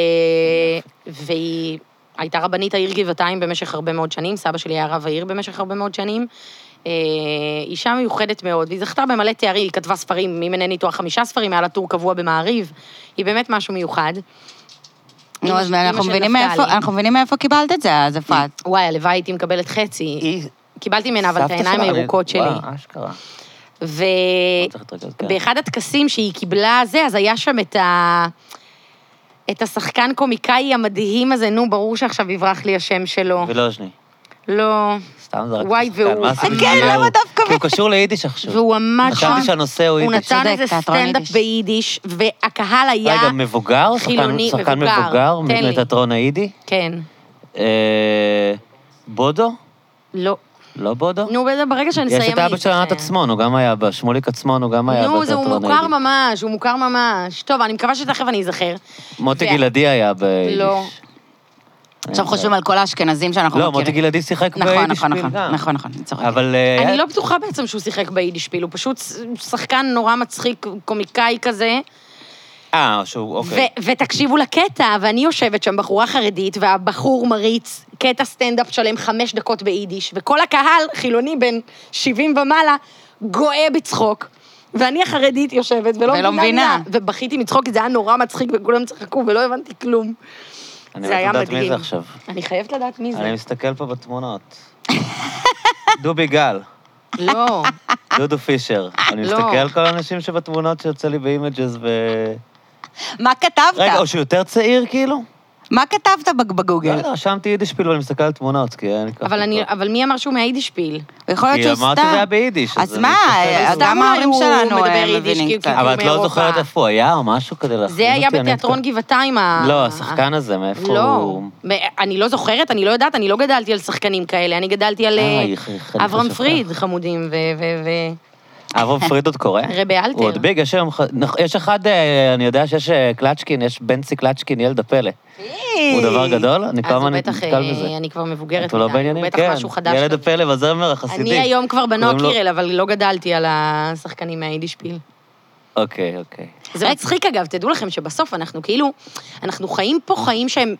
Speaker 3: והיא הייתה רבנית העיר גבעתיים במשך הרבה מאוד שנים, סבא שלי היה רב העיר במשך הרבה מאוד שנים. אה, אישה מיוחדת מאוד, והיא זכתה במלא תארים, היא כתבה ספרים, אם אינני טועה חמישה ספרים, היה לה טור קבוע במעריב, היא באמת משהו מיוחד.
Speaker 2: נו,
Speaker 3: אמא-
Speaker 2: אז אנחנו
Speaker 3: אמא של
Speaker 2: מבינים
Speaker 3: נפתלי.
Speaker 2: מאיפה- אנחנו מבינים מאיפה קיבלת את זה, אז
Speaker 1: אה,
Speaker 2: אפרת.
Speaker 3: וואי, הלוואי הייתי מקבלת חצי.
Speaker 1: היא...
Speaker 3: קיבלתי ממנה אבל את
Speaker 1: סבתא
Speaker 3: העיניים
Speaker 1: שלה, אני-
Speaker 3: הירוקות שלי.
Speaker 1: וואו, אשכרה.
Speaker 2: אה,
Speaker 1: לא צריך להתרגז, כן.
Speaker 3: ובאחד הטקסים שהיא קיבלה זה, אז היה שם את ה... את השחקן קומיקאי המדהים הזה, נו, ברור שעכשיו יברח לי השם שלו.
Speaker 1: וילוז'ני.
Speaker 3: לא.
Speaker 1: סתם זרקתי.
Speaker 3: וואי,
Speaker 1: שחקן,
Speaker 3: והוא-
Speaker 1: מה עשיתי
Speaker 3: כן,
Speaker 1: שהוא-
Speaker 2: למה דווקא
Speaker 1: כי הוא קשור ליידיש עכשיו.
Speaker 3: והוא עמד שם,
Speaker 1: חשבתי שהנושא הוא
Speaker 3: הוא
Speaker 1: יידיש.
Speaker 3: נתן
Speaker 2: צודק,
Speaker 3: איזה
Speaker 2: תיאטרון
Speaker 3: סטנדאפ
Speaker 2: יידיש.
Speaker 3: ביידיש, והקהל היה...
Speaker 1: רגע, מבוגר? שחקן-
Speaker 3: חילוני,
Speaker 1: שחקן
Speaker 3: מבוגר.
Speaker 1: מבוגר?
Speaker 3: תן לי.
Speaker 1: מתיאטרון היידי?
Speaker 3: כן.
Speaker 1: אה, בודו?
Speaker 3: לא.
Speaker 1: לא בודו?
Speaker 3: נו, בזה- ברגע שנסיים...
Speaker 1: יש את
Speaker 3: אני
Speaker 1: אבא של ענת
Speaker 3: אזכר.
Speaker 1: עצמון, הוא גם היה בה, שמוליק עצמון, הוא גם היה בתיאטרון
Speaker 3: נו,
Speaker 1: היידי.
Speaker 3: זה הוא מוכר ממש, הוא מוכר ממש. טוב, אני מקווה שתכף אני אזכר.
Speaker 1: מוטי
Speaker 3: ו-
Speaker 1: גלעדי היה ביידיש.
Speaker 3: לא.
Speaker 2: עכשיו חושבים על כל האשכנזים שאנחנו
Speaker 1: אה. לא,
Speaker 2: מכירים.
Speaker 1: מוטי גלעדי שיחק ביידיש.
Speaker 2: נכון, נכון,
Speaker 1: פיל
Speaker 2: נכון,
Speaker 1: גם.
Speaker 2: נכון, נכון, אני צוחקת.
Speaker 1: אבל... אה,
Speaker 3: אני
Speaker 1: היה-
Speaker 3: לא בטוחה בעצם שהוא שיחק ביידישפיל, הוא פשוט שחקן נורא מצחיק, קומיקאי כזה.
Speaker 1: אה, שהוא, אוקיי.
Speaker 3: ו- ותקשיבו לקטע, ואני יושבת שם, בחורה חרדית, והבחור מריץ קטע סטנדאפ שלם חמש דקות ביידיש, וכל הקהל, חילוני בן 70 ומעלה, גואה בצחוק. ואני החרדית יושבת ולא,
Speaker 2: ולא מבינה.
Speaker 3: מילה, ובכיתי מצחוק, כי זה היה נורא מצחיק וכולם צחקו ולא הבנתי כלום.
Speaker 1: אני
Speaker 3: זה
Speaker 1: לא
Speaker 3: היה
Speaker 1: יודעת מי
Speaker 3: מדהים.
Speaker 1: זה עכשיו.
Speaker 3: אני חייבת לדעת מי זה.
Speaker 1: אני מסתכל פה בתמונות. דובי גל,
Speaker 3: לא,
Speaker 1: דודו פישר. אני
Speaker 3: לא.
Speaker 1: מסתכל על כל האנשים שבתמונות שיוצא לי באימג'ס ו...
Speaker 2: מה
Speaker 1: רגע, או
Speaker 2: כתבת?
Speaker 1: שהוא יותר צעיר כאילו?
Speaker 2: מה כתבת בג-
Speaker 1: לא
Speaker 2: בגוגל?
Speaker 1: יודע, רשמתי יידיש פילו, אני מסתכל על תמונות, כי אין לי כוח.
Speaker 3: אבל, אני,
Speaker 1: לקרוא.
Speaker 3: אבל מי אמר שהוא מהיידישפיל?
Speaker 2: יכול להיות
Speaker 1: כי
Speaker 2: שהוא סתם.
Speaker 1: אמרת שזה היה ביידיש, אז
Speaker 2: אז
Speaker 1: אני
Speaker 2: מה,
Speaker 1: מתייחס
Speaker 2: אז
Speaker 1: לזה.
Speaker 2: גם
Speaker 3: סתם
Speaker 2: ההורים
Speaker 3: אולי הוא
Speaker 2: שלנו
Speaker 3: מדבר
Speaker 2: אה,
Speaker 3: יידיש, כי
Speaker 2: מבינים
Speaker 3: הוא
Speaker 2: קצת.
Speaker 1: אבל את לא
Speaker 3: מאירופה.
Speaker 1: זוכרת איפה הוא היה או משהו כדי להכין אותי?
Speaker 3: זה היה
Speaker 1: אני
Speaker 3: בתיאטרון
Speaker 1: מתכ-
Speaker 3: גבעתיים. ה-
Speaker 1: אה. לא, השחקן הזה, מאיפה
Speaker 3: לא,
Speaker 1: הוא...
Speaker 3: מ- אני לא זוכרת, אני לא יודעת, אני לא גדלתי על שחקנים כאלה, אני גדלתי על
Speaker 1: אה,
Speaker 3: אה,
Speaker 1: היא- היא- היא-
Speaker 3: אברהם
Speaker 1: חשבתי.
Speaker 3: פריד, חמודים, ו- ו- ו-
Speaker 1: אברהם פריד עוד קורא?
Speaker 3: רבי אלתר.
Speaker 1: הוא עוד ביג, יש היום... ח- נכ- יש אחד, אה, אני יודע שיש אה, קלצ'קין, יש בנצי קלצ'קין, ילד הפלא.
Speaker 2: אה,
Speaker 1: הוא דבר גדול, אני כל
Speaker 3: אז הוא
Speaker 1: הזמן
Speaker 3: בטח,
Speaker 1: נתקל
Speaker 3: אה,
Speaker 1: בזה.
Speaker 3: אני כבר מבוגרת
Speaker 1: הוא לא
Speaker 3: מדי, הוא
Speaker 1: בעניינים,
Speaker 3: בטח
Speaker 1: כן.
Speaker 3: משהו חדש.
Speaker 1: ילד
Speaker 3: כזה.
Speaker 1: הפלא והזמר החסידי.
Speaker 3: אני היום כבר בנו
Speaker 1: קוראים לו-
Speaker 3: הקירל, אבל לא גדלתי על השחקנים מהיידישפיל.
Speaker 1: אוקיי, אוקיי.
Speaker 3: זה מצחיק אגב, תדעו לכם שבסוף אנחנו כאילו, אנחנו חיים פה חיים שהם...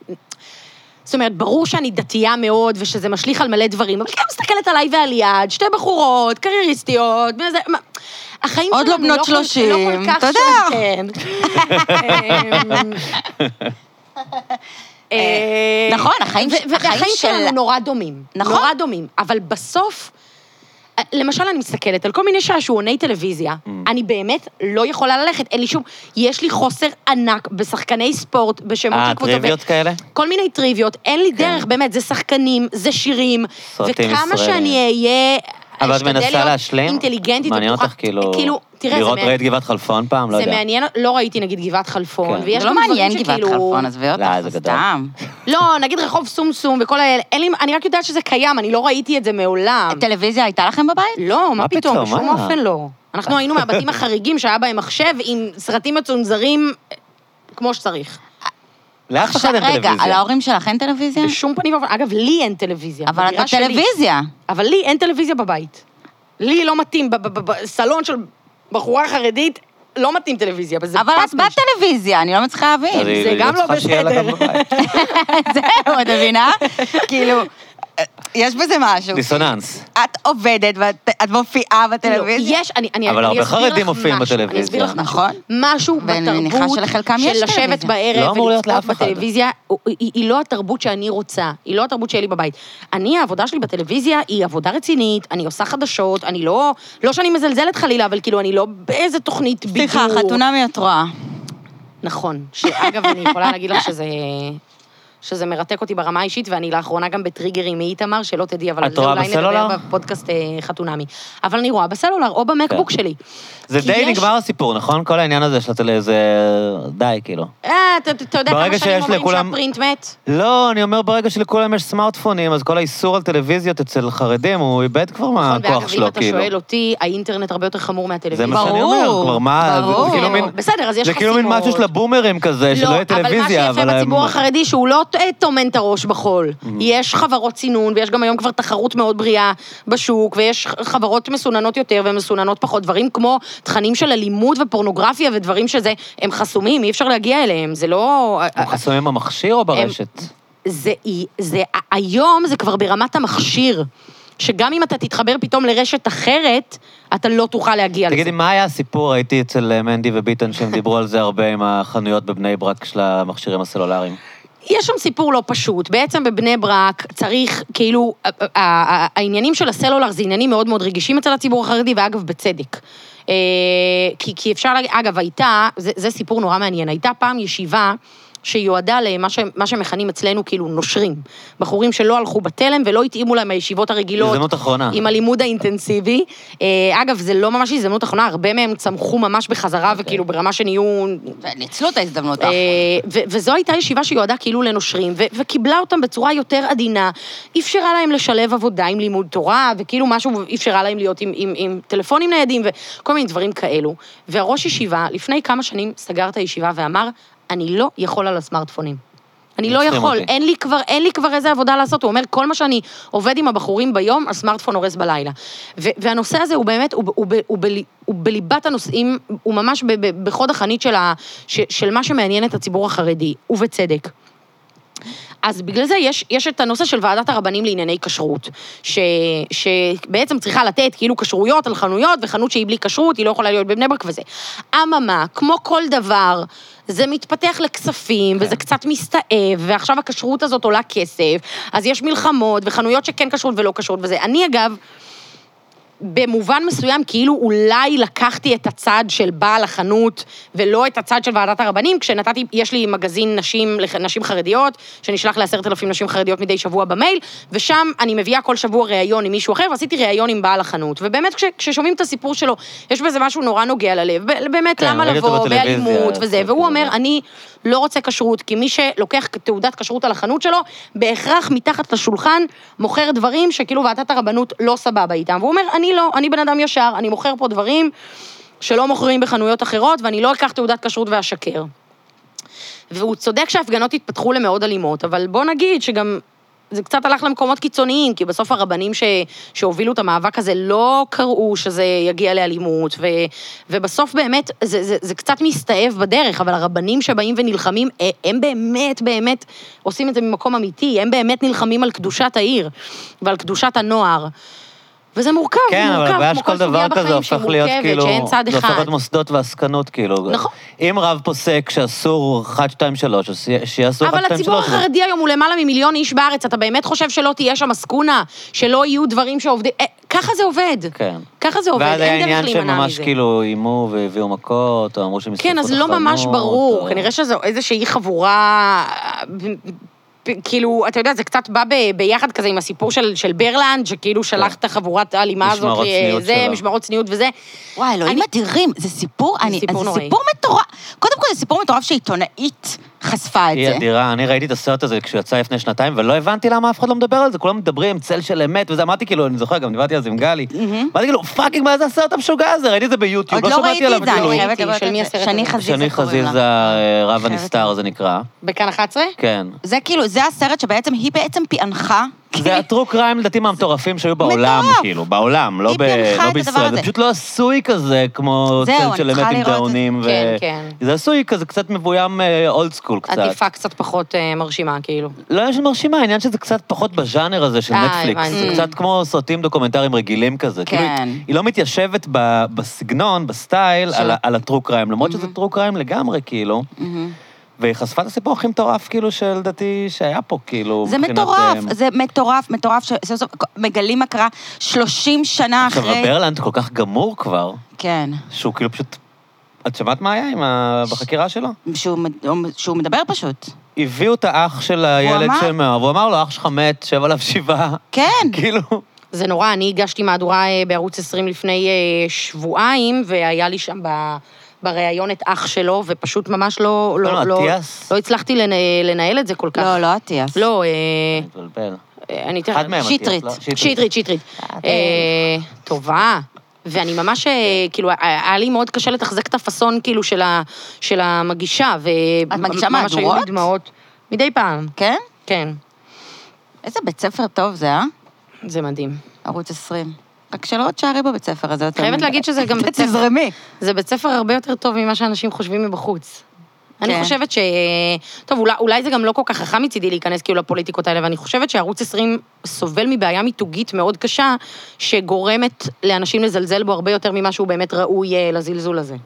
Speaker 3: זאת אומרת, ברור שאני דתייה מאוד ושזה משליך על מלא דברים, אבל כאילו מסתכלת עליי ועל יד, שתי בחורות, קרייריסטיות, מה זה... מה- החיים
Speaker 2: עוד לא
Speaker 3: שלנו
Speaker 2: בנות
Speaker 3: כל-
Speaker 2: 30,
Speaker 3: לא כל כך
Speaker 2: אתה יודע.
Speaker 3: שם, כן. אמ, אה,
Speaker 2: נכון, החיים-
Speaker 3: ו- ו-
Speaker 2: החיים
Speaker 3: והחיים שלנו
Speaker 2: של-
Speaker 3: נורא דומים.
Speaker 2: נכון.
Speaker 3: נורא דומים, אבל בסוף למשל, אני מסתכלת על כל מיני שעשועוני טלוויזיה,
Speaker 1: Mm.
Speaker 3: אני באמת לא יכולה ללכת, אין לי שום... יש לי חוסר ענק בשחקני ספורט, בשמות
Speaker 1: אה,
Speaker 3: של קבוצות.
Speaker 1: טריוויות כאלה?
Speaker 3: כל מיני טריוויות, אין לי דרך, באמת, זה שחקנים, זה שירים,
Speaker 1: סרטים
Speaker 3: וכמה
Speaker 1: ישראליים.
Speaker 3: שאני אהיה...
Speaker 1: אבל את
Speaker 3: אשתדל
Speaker 1: מנסה
Speaker 3: להיות
Speaker 1: להשלים?
Speaker 3: אינטליגנטית
Speaker 1: מעניין
Speaker 3: ובטוחה.
Speaker 1: אותך כאילו...
Speaker 3: כאילו, תראה, זה
Speaker 1: לראות
Speaker 3: מעניין.
Speaker 1: ראית גבעת חלפון פעם? לא
Speaker 3: זה
Speaker 1: יודע.
Speaker 3: מעניין, לא ראיתי נגיד גבעת חלפון,
Speaker 1: כן.
Speaker 3: ויש
Speaker 2: זה לא
Speaker 3: גם דברים
Speaker 2: מעניין גבעת
Speaker 3: שכאילו-
Speaker 2: חלפון, עזבי אותך,
Speaker 1: לא, זה גדול.
Speaker 2: סתם.
Speaker 3: לא, נגיד רחוב סומסום וכל האלה, אין לי, אני רק יודעת שזה קיים, אני לא ראיתי את זה מעולם.
Speaker 2: טלוויזיה הייתה לכם בבית?
Speaker 3: לא, מה
Speaker 1: מה
Speaker 3: פתאום,
Speaker 1: פתאום,
Speaker 3: בשום
Speaker 1: מה?
Speaker 3: אופן לא. אנחנו היינו מהבתים החריגים שהיה בהם מחשב עם סרטים מצונזרים אה, כמו שצריך.
Speaker 1: לאף אחד אין
Speaker 2: רגע,
Speaker 1: טלוויזיה.
Speaker 2: על ההורים שלך אין טלוויזיה?
Speaker 3: בשום פנים ואופן, אגב, לי אין טלוויזיה.
Speaker 2: כן. אבל את
Speaker 3: בדירה שלי.
Speaker 2: בטלוויזיה.
Speaker 3: אבל לי אין טלוויזיה בבית. לי לא מתאים, ב- ב- ב- בסלון של בחורה חרדית לא מתאים טלוויזיה, וזה
Speaker 2: אבל את
Speaker 3: פטפש.
Speaker 2: בטלוויזיה, אני לא מצליחה
Speaker 1: אז
Speaker 2: להבין.
Speaker 1: היא-
Speaker 3: זה
Speaker 1: היא
Speaker 3: גם לא
Speaker 1: צריכה שיהיה לה גם אה,
Speaker 3: בסדר.
Speaker 1: בבית.
Speaker 2: זהו, את מבינה? כאילו, יש בזה משהו.
Speaker 1: דיסוננס.
Speaker 2: את עובדת ואת את מופיעה
Speaker 3: כאילו,
Speaker 2: בטלוויזיה.
Speaker 3: יש, אני אני-
Speaker 1: אבל
Speaker 3: אני
Speaker 1: הרבה
Speaker 3: אסביר
Speaker 1: חרדים
Speaker 3: לך
Speaker 1: מופיעים
Speaker 3: משהו, אני
Speaker 1: בטלוויזיה.
Speaker 3: אסביר לך משהו.
Speaker 2: נכון.
Speaker 3: משהו
Speaker 2: ואני מניחה
Speaker 3: בתרבות
Speaker 2: שלחלקם יש
Speaker 3: של לשבת
Speaker 1: לא
Speaker 2: טלוויזיה.
Speaker 3: בערב
Speaker 1: אמור להיות
Speaker 3: ולצפות
Speaker 1: לאף אחד.
Speaker 3: בטלוויזיה, הוא- היא- היא- היא לא התרבות שאני רוצה, היא לא התרבות שלי בבית. אני, העבודה שלי בטלוויזיה היא עבודה רצינית, אני עושה חדשות, אני לא, לא שאני מזלזלת חלילה, אבל כאילו, אני לא באיזה תוכנית בידור.
Speaker 2: סליחה, חתונמי את רואה.
Speaker 3: נכון, שאגב, אני יכולה להגיד לך שזה... שזה מרתק אותי ברמה האישית, ואני לאחרונה גם בטריגרים מאיתמר, שלא תדעי, אבל על
Speaker 1: את
Speaker 3: זה
Speaker 1: רואה
Speaker 3: אולי נדבר
Speaker 1: בסלולר?
Speaker 3: בפודקאסט אה, חתונמי. אבל אני רואה בסלולר או במקבוק
Speaker 1: כן.
Speaker 3: שלי.
Speaker 1: זה
Speaker 3: כי
Speaker 1: די
Speaker 3: יש-
Speaker 1: נגמר הסיפור, נכון? כל העניין הזה שאתה לאיזה... די, כאילו.
Speaker 3: אה, אתה- אתה יודע כמה
Speaker 1: ברגע
Speaker 3: שנים
Speaker 1: שיש
Speaker 3: אומרים
Speaker 1: לכולם-
Speaker 3: שהפרינט מת?
Speaker 1: לא, אני אומר, ברגע שלכולם יש סמארטפונים, אז כל האיסור על טלוויזיות אצל חרדים, הוא איבד כבר מהכוח
Speaker 3: נכון, ואגב, אם
Speaker 1: שלו,
Speaker 3: אתה
Speaker 1: כאילו.
Speaker 3: שואל אותי, האינטרנט הרבה יותר חמור
Speaker 1: זה
Speaker 3: מהטלוויזיה.
Speaker 1: מה שאני אומר,
Speaker 2: ברור,
Speaker 1: כבר מה... זה-
Speaker 2: ברור.
Speaker 1: זה כאילו מין...
Speaker 3: בסדר, אז יש
Speaker 1: זה כאילו מין
Speaker 3: חסימות. לא,
Speaker 1: משהו של הבומרים כזה, שלא יהיה טלוויזיה,
Speaker 3: אבל מה שיפה
Speaker 1: הם- Mm-hmm.
Speaker 3: בציבור החרדי, שהוא לא ט- טומן את הראש בחול. יש חברות סינון, ויש גם היום כבר תחרות מאוד בריאה בשוק, ויש ח- חברות מסוננות יותר ומסוננות פחות. דברים כמו תכנים של אלימות ופורנוגרפיה ודברים שזה, הם חסומים, אי אפשר להגיע אליהם. זה לא...
Speaker 1: הם חסומים במכשיר או ברשת?
Speaker 3: זה, זה, היום זה כבר ברמת המכשיר, שגם אם אתה תתחבר פתאום לרשת אחרת, אתה לא תוכל להגיע לזה.
Speaker 1: תגידי, מה היה הסיפור? הייתי אצל אה, מנדי וביטן, שהם דיברו על זה הרבה עם החנויות בבני ברק של המכשירים הסלולריים.
Speaker 3: יש שם סיפור לא פשוט. בעצם בבני ברק צריך, כאילו, ה- ה- ה- העניינים של הסלולר זה עניינים מאוד מאוד רגישים אצל הציבור החרדי, ואגב, בצדק. אה, כי, כי אפשר להגיד, אגב, הייתה, זה, זה סיפור נורא מעניין, הייתה פעם ישיבה שיועדה למה ש, מה שמכנים אצלנו כאילו נושרים. בחורים שלא הלכו בתלם ולא התאימו להם הישיבות הרגילות.
Speaker 1: הזדמנות אחרונה.
Speaker 3: עם הלימוד האינטנסיבי. אה, אגב, זה לא ממש הזדמנות אחרונה, הרבה מהם צמחו ממש בחזרה,
Speaker 1: אוקיי.
Speaker 3: וכאילו ברמה שנהיו
Speaker 2: ניצלו את ההזדמנות האחרונה.
Speaker 3: אה, ו- וזו הייתה ישיבה שיועדה כאילו לנושרים, ו- וקיבלה אותם בצורה יותר עדינה, אפשרה להם לשלב עבודה עם לימוד תורה, וכאילו משהו, אפשרה להם להיות עם, עם, עם טלפונים ניידים וכל מיני דברים כאלו. והראש ישיבה, לפני כמה שנים סגר את הישיבה ואמר, אני לא יכול על הסמארטפונים. אני לא
Speaker 1: מצחיק
Speaker 3: יכול,
Speaker 1: אותי.
Speaker 3: אין לי, כבר, אין לי כבר איזה עבודה לעשות. הוא אומר, כל מה שאני עובד עם הבחורים ביום, הסמארטפון הורס בלילה. ו- והנושא הזה הוא באמת, הוא, ב- הוא, ב- הוא, ב- הוא בליבת הנושאים, הוא ממש ב- ב- בחוד החנית של, ה- ש- של מה שמעניין את הציבור החרדי, ובצדק. אז בגלל זה יש, יש את הנושא של ועדת הרבנים לענייני כשרות, ש, שבעצם צריכה לתת כאילו כשרויות על חנויות, וחנות שהיא בלי כשרות, היא לא יכולה להיות בבני ברק וזה. אממה, כמו כל דבר, זה מתפתח לכספים, כן. וזה קצת מסתאב, ועכשיו הכשרות הזאת עולה כסף, אז יש מלחמות, וחנויות שכן כשרות ולא כשרות וזה. אני אגב, במובן מסוים, כאילו אולי לקחתי את הצד של בעל החנות ולא את הצד של ועדת הרבנים, כשנתתי, יש לי מגזין נשים, לח- נשים חרדיות, שנשלח לעשרת אלפים נשים חרדיות מדי שבוע במייל, ושם אני מביאה כל שבוע ראיון עם מישהו אחר, ועשיתי ראיון עם בעל החנות. ובאמת, כש, כששומעים את הסיפור שלו, יש בזה משהו נורא נוגע ללב. ב- באמת,
Speaker 1: כן,
Speaker 3: למה
Speaker 1: ראיתי אותו
Speaker 3: לבוא
Speaker 1: בטלוויזיה,
Speaker 3: באלימות וזה,
Speaker 1: זה
Speaker 3: והוא
Speaker 1: כאילו-
Speaker 3: אומר, אני לא רוצה כשרות, כי מי שלוקח תעודת כשרות על החנות שלו, בהכרח מתחת לשולחן מוכר דברים שכאילו ועדת הרבנות לא סבבה איתם. והוא אומר, אני לא, אני בן אדם ישר, אני מוכר פה דברים שלא מוכרים בחנויות אחרות, ואני לא אקח תעודת כשרות ואשקר. והוא צודק שההפגנות התפתחו למאוד אלימות, אבל בוא נגיד שגם... זה קצת הלך למקומות קיצוניים, כי בסוף הרבנים ש... שהובילו את המאבק הזה לא קראו שזה יגיע לאלימות, ו... ובסוף באמת, זה, זה, זה קצת מסתאב בדרך, אבל הרבנים שבאים ונלחמים, אה, הם באמת באמת עושים את זה ממקום אמיתי, הם באמת נלחמים על קדושת העיר ועל קדושת הנוער. וזה מורכב,
Speaker 1: כן,
Speaker 3: זה
Speaker 1: אבל
Speaker 3: מורכב,
Speaker 1: הבעיה
Speaker 3: כמו
Speaker 1: שכל
Speaker 3: כל
Speaker 1: דבר
Speaker 3: סוגיה בחיים
Speaker 1: כזה
Speaker 3: שהיא
Speaker 1: הופך להיות
Speaker 3: מורכבת,
Speaker 1: כאילו...
Speaker 3: שאין צד
Speaker 1: זה הופך
Speaker 3: אחד.
Speaker 1: להיות מוסדות ועסקנות, כאילו.
Speaker 3: נכון.
Speaker 1: אם רב פוסק שאסור 1, 2, 3, אז שיה- שיעשו 1, 2, 3.
Speaker 3: אבל הציבור
Speaker 1: אבל-
Speaker 3: החרדי היום הוא למעלה ממיליון איש בארץ, אתה באמת חושב שלא תהיה שם עסקונה? שלא יהיו דברים שעובדים... אה, ככה זה עובד.
Speaker 1: כן.
Speaker 3: ככה זה עובד,
Speaker 1: ואז היה
Speaker 3: אין דרך
Speaker 1: עניין
Speaker 3: להימנע
Speaker 1: שממש
Speaker 3: מזה.
Speaker 1: כאילו איימו והביאו מכות, או אמרו שהם ישרפו את
Speaker 3: כן,
Speaker 1: החנות.
Speaker 3: אז לא ממש ברור,
Speaker 1: או-
Speaker 3: כנראה שזו איזושהי חבורה... פ- כאילו, אתה יודע, זה קצת בא ב- ביחד כזה עם הסיפור של, של ברלנד, שכאילו שלח את החבורת האלימה הזאת,
Speaker 1: כן.
Speaker 3: אה,
Speaker 1: משמרות צניעות
Speaker 3: זה,
Speaker 1: שלה.
Speaker 3: משמרות צניעות וזה.
Speaker 2: וואי, אלוהים
Speaker 3: אני-
Speaker 2: אדירים, זה סיפור, אני,
Speaker 3: סיפור
Speaker 2: זה
Speaker 3: נוראי.
Speaker 2: סיפור מטורף. קודם כל, זה סיפור מטורף שעיתונאית חשפה את
Speaker 1: היא
Speaker 2: זה.
Speaker 1: אדירה, אני ראיתי את הסרט הזה כשהוא יצא לפני שנתיים, ולא הבנתי למה אף אחד לא מדבר על זה, כולם מדברים, צל של אמת, וזה אמרתי כאילו, אני זוכר, גם דיברתי על זה עם גלי, אמרתי כאילו, פאקינג, מה זה הסרט המשוגע הזה? ראיתי את זה ביוטיוב,
Speaker 2: עוד
Speaker 1: לא
Speaker 2: לא
Speaker 1: שמעתי
Speaker 2: ראיתי
Speaker 1: עליו
Speaker 2: את זה,
Speaker 1: כלום.
Speaker 2: אני חייבת
Speaker 3: ראיתי,
Speaker 2: לראות
Speaker 3: של מי
Speaker 2: את זה.
Speaker 3: הסרט
Speaker 2: שני
Speaker 3: הזה?
Speaker 1: שני
Speaker 2: חזיזה קוראים
Speaker 1: חזיזה,
Speaker 2: לה.
Speaker 1: אה, רב
Speaker 2: חייבת
Speaker 1: הנסתר
Speaker 2: לראות.
Speaker 1: זה נקרא,
Speaker 3: בכאן 11?
Speaker 1: כן.
Speaker 2: זה כאילו, זה הסרט שבעצם, היא בעצם פענחה. כאילו.
Speaker 1: זה הטרו קריים לדעתי מהמטורפים שהיו בעולם,
Speaker 2: אוקיי. מטורף.
Speaker 1: כאילו, בעולם, לא
Speaker 2: היא
Speaker 1: ב-
Speaker 2: פענחה
Speaker 1: לא
Speaker 2: את הדבר
Speaker 1: בישראל. זה
Speaker 2: הזה.
Speaker 1: פשוט לא עשוי כזה, כמו
Speaker 2: זהו,
Speaker 1: צל
Speaker 2: אני
Speaker 1: של
Speaker 2: צריכה
Speaker 1: אמת עם
Speaker 2: לראות את זה.
Speaker 1: דאונים. ו-
Speaker 3: כן, כן.
Speaker 1: זה עשוי כזה קצת מבוים אולד סקול קצת.
Speaker 3: עטיפה קצת פחות אה, מרשימה, כאילו.
Speaker 1: לא יש מרשימה, העניין שזה קצת פחות בז'אנר הזה של
Speaker 3: אה,
Speaker 1: נטפליקס. זה
Speaker 3: הבנתי.
Speaker 1: קצת כמו סרטים דוקומנטריים רגילים כזה.
Speaker 2: כן.
Speaker 1: כאילו, היא- היא לא מתיישבת ב- בסגנון, בסטייל,
Speaker 3: של-
Speaker 1: על ה- על הטרו קריים, למרות שזה
Speaker 2: Mm-hmm.
Speaker 1: טרו קריים לגמרי, כאילו. והיא חשפה את הסיפור הכי מטורף, כאילו, שלדעתי שהיה פה, כאילו,
Speaker 2: זה
Speaker 1: מבחינת,
Speaker 2: מטורף,
Speaker 1: אמ,
Speaker 2: זה מטורף, מטורף, שסוף סוף מגלים מה קרה 30 שנה
Speaker 1: עכשיו,
Speaker 2: אחרי.
Speaker 1: הברלנד כל כך גמור כבר,
Speaker 2: כן.
Speaker 1: שהוא כאילו פשוט... את שמעת מה היה עם ה... בחקירה שלו?
Speaker 3: לא,
Speaker 2: שהוא מד- שהוא מדבר פשוט.
Speaker 1: הביאו את האח של הילד
Speaker 2: אמר-
Speaker 1: שמאוהב, הוא אמר לו, אח שלך מת, שב עליו שבעה.
Speaker 2: כן.
Speaker 1: כאילו,
Speaker 3: זה נורא, אני הגשתי מהדורה אה, בערוץ 20 לפני אה, שבועיים, והיה לי שם ב... בריאיון את אח שלו, ופשוט ממש לא...
Speaker 1: לא,
Speaker 3: לא, לא,
Speaker 1: אטיאס?
Speaker 3: לא הצלחתי לנ... לנהל את זה כל כך.
Speaker 2: לא, לא אטיאס.
Speaker 3: לא, אה,
Speaker 1: מתבלבל.
Speaker 3: אה, אני תכף...
Speaker 1: אחד מהם, אטיאס,
Speaker 2: שטרית.
Speaker 1: לא?
Speaker 3: שטרית, שטרית. אה, טובה. ואני ממש, אה, כאילו, היה לי מאוד קשה לתחזק את הפאסון, כאילו, של ה- של המגישה.
Speaker 2: את מגישה
Speaker 3: ממש היו לי
Speaker 2: מהדורות?
Speaker 3: דמעות. מדי פעם,
Speaker 2: כן?
Speaker 3: כן.
Speaker 2: איזה בית ספר טוב זה, אה?
Speaker 3: זה מדהים.
Speaker 2: ערוץ 20. רק שלא תשארי בבית ספר הזה יותר
Speaker 3: חייבת להגיד שזה גם בית ספר.
Speaker 2: תזרמי.
Speaker 3: זה בית ספר הרבה יותר טוב ממה שאנשים חושבים מבחוץ. אני
Speaker 2: כן.
Speaker 3: חושבת ש... טוב, אולי, אולי זה גם לא כל כך חכם מצידי להיכנס כאילו לפוליטיקות האלה, ואני חושבת שערוץ 20 סובל מבעיה מיתוגית מאוד קשה, שגורמת לאנשים לזלזל בו הרבה יותר ממה שהוא באמת ראוי אה, לזלזול הזה.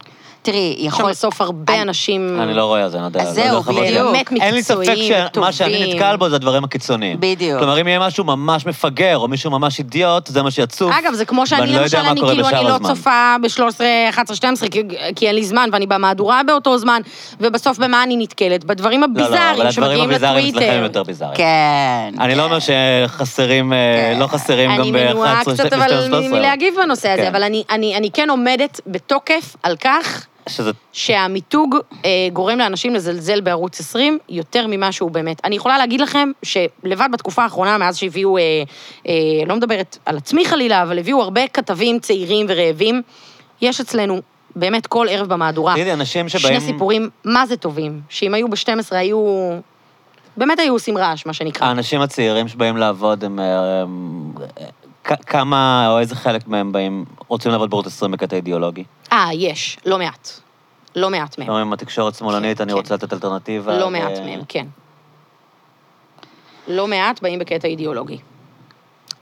Speaker 2: תראי,
Speaker 3: עכשיו
Speaker 2: יכול...
Speaker 3: בסוף הרבה
Speaker 2: אני-
Speaker 3: אנשים...
Speaker 1: אני לא רואה על זה, אני יודע.
Speaker 2: אז
Speaker 1: לא יודע
Speaker 2: זהו,
Speaker 1: לחוות
Speaker 2: בדיוק.
Speaker 1: דעה.
Speaker 3: באמת
Speaker 1: אין לי ספק
Speaker 3: מקצועיים,
Speaker 1: שמה שאני
Speaker 3: טובים.
Speaker 1: נתקל בו זה הדברים הקיצוניים.
Speaker 2: בדיוק.
Speaker 1: כלומר, אם יהיה משהו ממש מפגר, או מישהו ממש אידיוט, זה מה שיצוף.
Speaker 3: אגב, זה כמו שאני,
Speaker 1: ואני לא
Speaker 3: למשל,
Speaker 1: יודע מה
Speaker 3: אני
Speaker 1: קורה
Speaker 3: כאילו, אני
Speaker 1: בשאר
Speaker 3: לא
Speaker 1: הזמן.
Speaker 3: צופה ב-13, 11, 12, כי, כי אין לי זמן, ואני במהדורה באותו זמן, ובסוף במה אני נתקלת? בדברים
Speaker 1: לא, לא, אבל הדברים
Speaker 3: הביזאריים שמגיעים
Speaker 1: הביזאריים אצלכם הם
Speaker 3: לטוויטר.
Speaker 1: יותר ביזאריים.
Speaker 2: כן.
Speaker 1: אני לא אומר שחסרים, אה, לא חסרים גם
Speaker 3: כן. אני מנועה
Speaker 1: ב-11, 12,
Speaker 3: קצת
Speaker 1: 13.
Speaker 3: אבל מ- מלהגיב בנושא הזה,
Speaker 1: כן.
Speaker 3: אבל אני- אני אני כן עומדת בתוקף על כך
Speaker 1: שזה
Speaker 3: שהמיתוג אה, גורם לאנשים לזלזל בערוץ 20 יותר ממה שהוא באמת. אני יכולה להגיד לכם שלבד בתקופה האחרונה, מאז שהביאו, אה, אה, לא מדברת על עצמי חלילה, אבל הביאו הרבה כתבים צעירים ורעבים, יש אצלנו באמת כל ערב במהדורה.
Speaker 1: תגידי, אנשים שבאים...
Speaker 3: שני סיפורים מה זה טובים, שאם היו ב-12 היו... באמת היו עושים רעש, מה שנקרא.
Speaker 1: האנשים הצעירים שבאים לעבוד, הם... אה, הם, אה, כ- כמה או איזה חלק מהם באים, רוצים לעבוד בערוץ 20 בקטע אידיאולוגי?
Speaker 3: אה, יש, לא מעט. לא מעט מהם.
Speaker 1: כלומר, אם התקשורת שמאלנית,
Speaker 3: כן,
Speaker 1: אני
Speaker 3: כן.
Speaker 1: רוצה לתת אלטרנטיבה. אה,
Speaker 3: לא
Speaker 1: ו-
Speaker 3: מעט מהם, כן. לא מעט באים בקטע אידיאולוגי.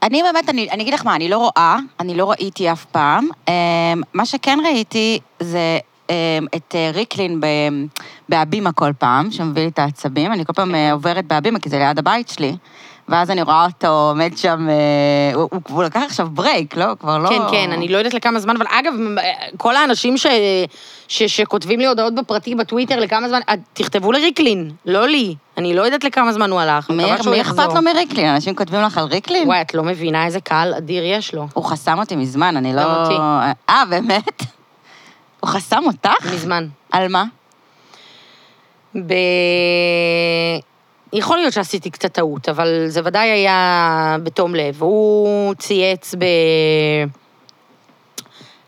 Speaker 2: אני באמת, אני, אני אגיד לך מה, אני לא רואה, אני לא ראיתי אף פעם. אמ, מה שכן ראיתי זה אמ, את אה, ריקלין ב- בהבימה כל פעם, שמביא לי את העצבים. אני כל פעם אה, עוברת בהבימה, כי זה ליד הבית שלי. ואז אני רואה אותו עומד שם, אה, הוא, הוא, הוא לקח עכשיו ברייק, לא? כבר לא...
Speaker 3: כן, כן, אני לא יודעת לכמה זמן, אבל אגב, אה, כל האנשים ש, ש, שכותבים לי הודעות בפרטי בטוויטר לכמה זמן, את- תכתבו לריקלין, לא לי. אני לא יודעת לכמה זמן הוא הלך. אני
Speaker 2: מי
Speaker 3: מקווה שהוא
Speaker 2: מי
Speaker 3: יחזור.
Speaker 2: אכפת לו מריקלין? אנשים כותבים לך על ריקלין?
Speaker 3: וואי, את לא מבינה איזה קהל אדיר יש לו.
Speaker 2: הוא חסם אותי מזמן, אני לא...
Speaker 3: גם אותי.
Speaker 2: אה, באמת? הוא חסם אותך?
Speaker 3: מזמן.
Speaker 2: על מה?
Speaker 3: ב... יכול להיות שעשיתי קצת טעות, אבל זה ודאי היה בתום לב. הוא צייץ ב...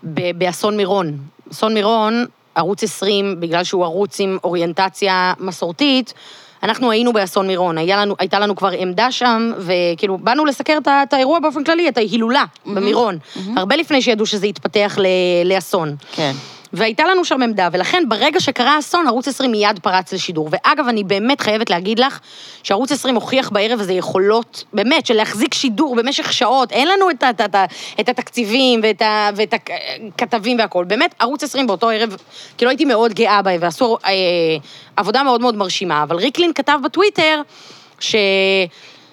Speaker 3: ב... באסון מירון. אסון מירון, ערוץ 20, בגלל שהוא ערוץ עם אוריינטציה מסורתית, אנחנו היינו באסון מירון, היה לנו, הייתה לנו כבר עמדה שם, וכאילו, באנו לסקר את, ה- את האירוע באופן כללי, את ההילולה במירון, הרבה לפני שידעו שזה יתפתח ל... לאסון.
Speaker 2: כן.
Speaker 3: והייתה לנו שם עמדה, ולכן ברגע שקרה האסון, ערוץ 20 מיד פרץ לשידור. ואגב, אני באמת חייבת להגיד לך, שערוץ 20 הוכיח בערב הזה יכולות, באמת, של להחזיק שידור במשך שעות, אין לנו את, ה- את, ה- את, ה- את התקציבים ואת, ה, ואת הכתבים והכול. באמת, ערוץ 20 באותו ערב, כאילו הייתי מאוד גאה בהם, ועשו אה, עבודה מאוד מאוד מרשימה, אבל ריקלין כתב בטוויטר, ש...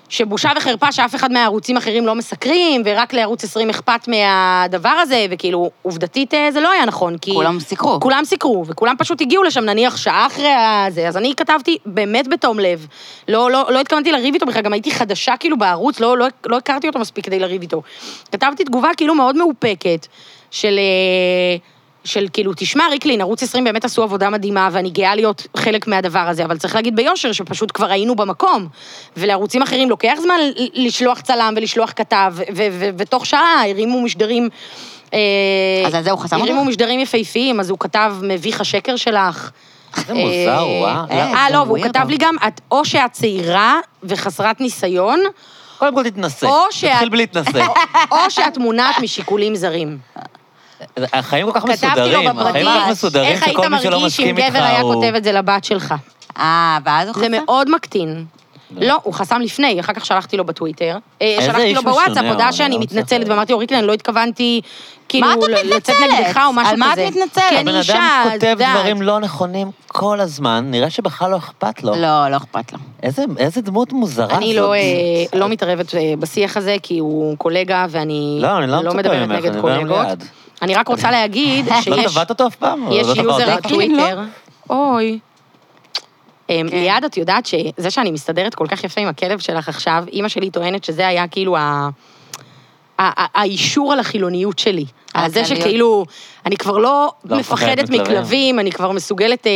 Speaker 3: שבושה וחרפה שאף אחד מהערוצים האחרים לא מסקרים, ורק לערוץ 20 אכפת מהדבר הזה, וכאילו, עובדתית אה, זה לא היה נכון, כי...
Speaker 2: כולם סיקרו.
Speaker 3: כולם סיקרו, וכולם פשוט הגיעו לשם, נניח שעה אחרי הזה, אז אני כתבתי באמת בתום לב. לא, לא, לא התכוונתי לריב איתו בכלל, גם הייתי חדשה כאילו בערוץ, לא, לא, לא הכרתי אותו מספיק כדי לריב איתו. כתבתי תגובה כאילו מאוד מאופקת, של... אה, של כאילו, תשמע, ריקלין, ערוץ 20 באמת עשו עבודה מדהימה, ואני גאה להיות חלק מהדבר הזה, אבל צריך להגיד ביושר שפשוט כבר היינו במקום. ולערוצים אחרים לוקח זמן ל- לשלוח צלם ולשלוח כתב, ו- ו- ו- ותוך שעה הרימו משדרים... אה,
Speaker 2: אז על זה הוא חסם
Speaker 3: הרימו
Speaker 2: אותך?
Speaker 3: משדרים יפהפיים, אז הוא כתב, מביך השקר שלך.
Speaker 1: זה מוזר,
Speaker 3: אה,
Speaker 1: וואו.
Speaker 2: אה,
Speaker 3: אה,
Speaker 2: זה
Speaker 3: לא, והוא
Speaker 2: weird.
Speaker 3: כתב לי גם, את או שאת צעירה וחסרת ניסיון,
Speaker 1: קודם כל תתנסה.
Speaker 3: או שאת-
Speaker 1: תתחיל בלי להתנסה.
Speaker 3: או שאת מונעת משיקולים זרים.
Speaker 1: החיים כל כך
Speaker 3: כתבתי
Speaker 1: מסודרים,
Speaker 3: לו
Speaker 1: החיים
Speaker 3: בפרטי,
Speaker 1: כל כך מסודרים,
Speaker 3: איך היית
Speaker 1: שכל מי שלא
Speaker 3: מרגיש אם
Speaker 1: מסכים איתך
Speaker 3: גבר היה
Speaker 1: הוא...
Speaker 3: כותב את זה לבת שלך?
Speaker 2: אה, ואז הוא חסם?
Speaker 3: זה מאוד מקטין. לא, הוא חסם לפני, אחר כך שלחתי לו בטוויטר. אה,
Speaker 1: איזה
Speaker 3: שלחתי
Speaker 1: איש
Speaker 3: לו
Speaker 1: משונה,
Speaker 3: בוואטסאפ,
Speaker 1: אבל
Speaker 3: הודעה שאני
Speaker 1: לא מצליח
Speaker 3: מתנצלת,
Speaker 1: להבין.
Speaker 3: ואמרתי לו, ריקלין, לא התכוונתי, כאילו,
Speaker 2: מה את עוד
Speaker 3: ל- לצאת
Speaker 2: מתנצלת?
Speaker 3: נגדך או
Speaker 2: על
Speaker 3: משהו כזה.
Speaker 2: מה את מתנצלת?
Speaker 3: כי
Speaker 1: הבן
Speaker 3: אני אישה,
Speaker 1: כן, אדם
Speaker 3: את
Speaker 1: כותב
Speaker 3: יודעת.
Speaker 1: דברים לא נכונים כל הזמן, נראה שבכלל לא Mm. אכפת לו.
Speaker 2: לא, לא אכפת לו.
Speaker 1: איזה- איזה דמות מוזרה זאת.
Speaker 3: אני לא, אה, לא מתערבת אה, בשיח הזה, כי הוא קולגה, ואני
Speaker 1: לא, אני לא מצפה
Speaker 3: מדברת
Speaker 1: ממך, אני
Speaker 3: נגד
Speaker 1: מדבר
Speaker 3: קולגות.
Speaker 1: ליד.
Speaker 3: אני רק רוצה להגיד
Speaker 1: לא
Speaker 3: שיש
Speaker 1: תבעת אותו אף פעם?
Speaker 3: יש
Speaker 1: לא תבעת
Speaker 3: יוזר
Speaker 1: אותה?
Speaker 2: ריקלין, לא?
Speaker 3: בטוויטר. אוי. אה,
Speaker 2: כן.
Speaker 3: ליעד, את יודעת שזה שאני מסתדרת כל כך יפה עם הכלב שלך עכשיו, אימא שלי טוענת שזה היה כאילו ה... ה- ה- האישור על החילוניות שלי. על זה
Speaker 2: הכלליות.
Speaker 3: שכאילו, אני כבר לא
Speaker 1: לא מפחדת
Speaker 3: מפחדת
Speaker 1: מכלבים.
Speaker 3: מכלבים, אני כבר מסוגלת אה,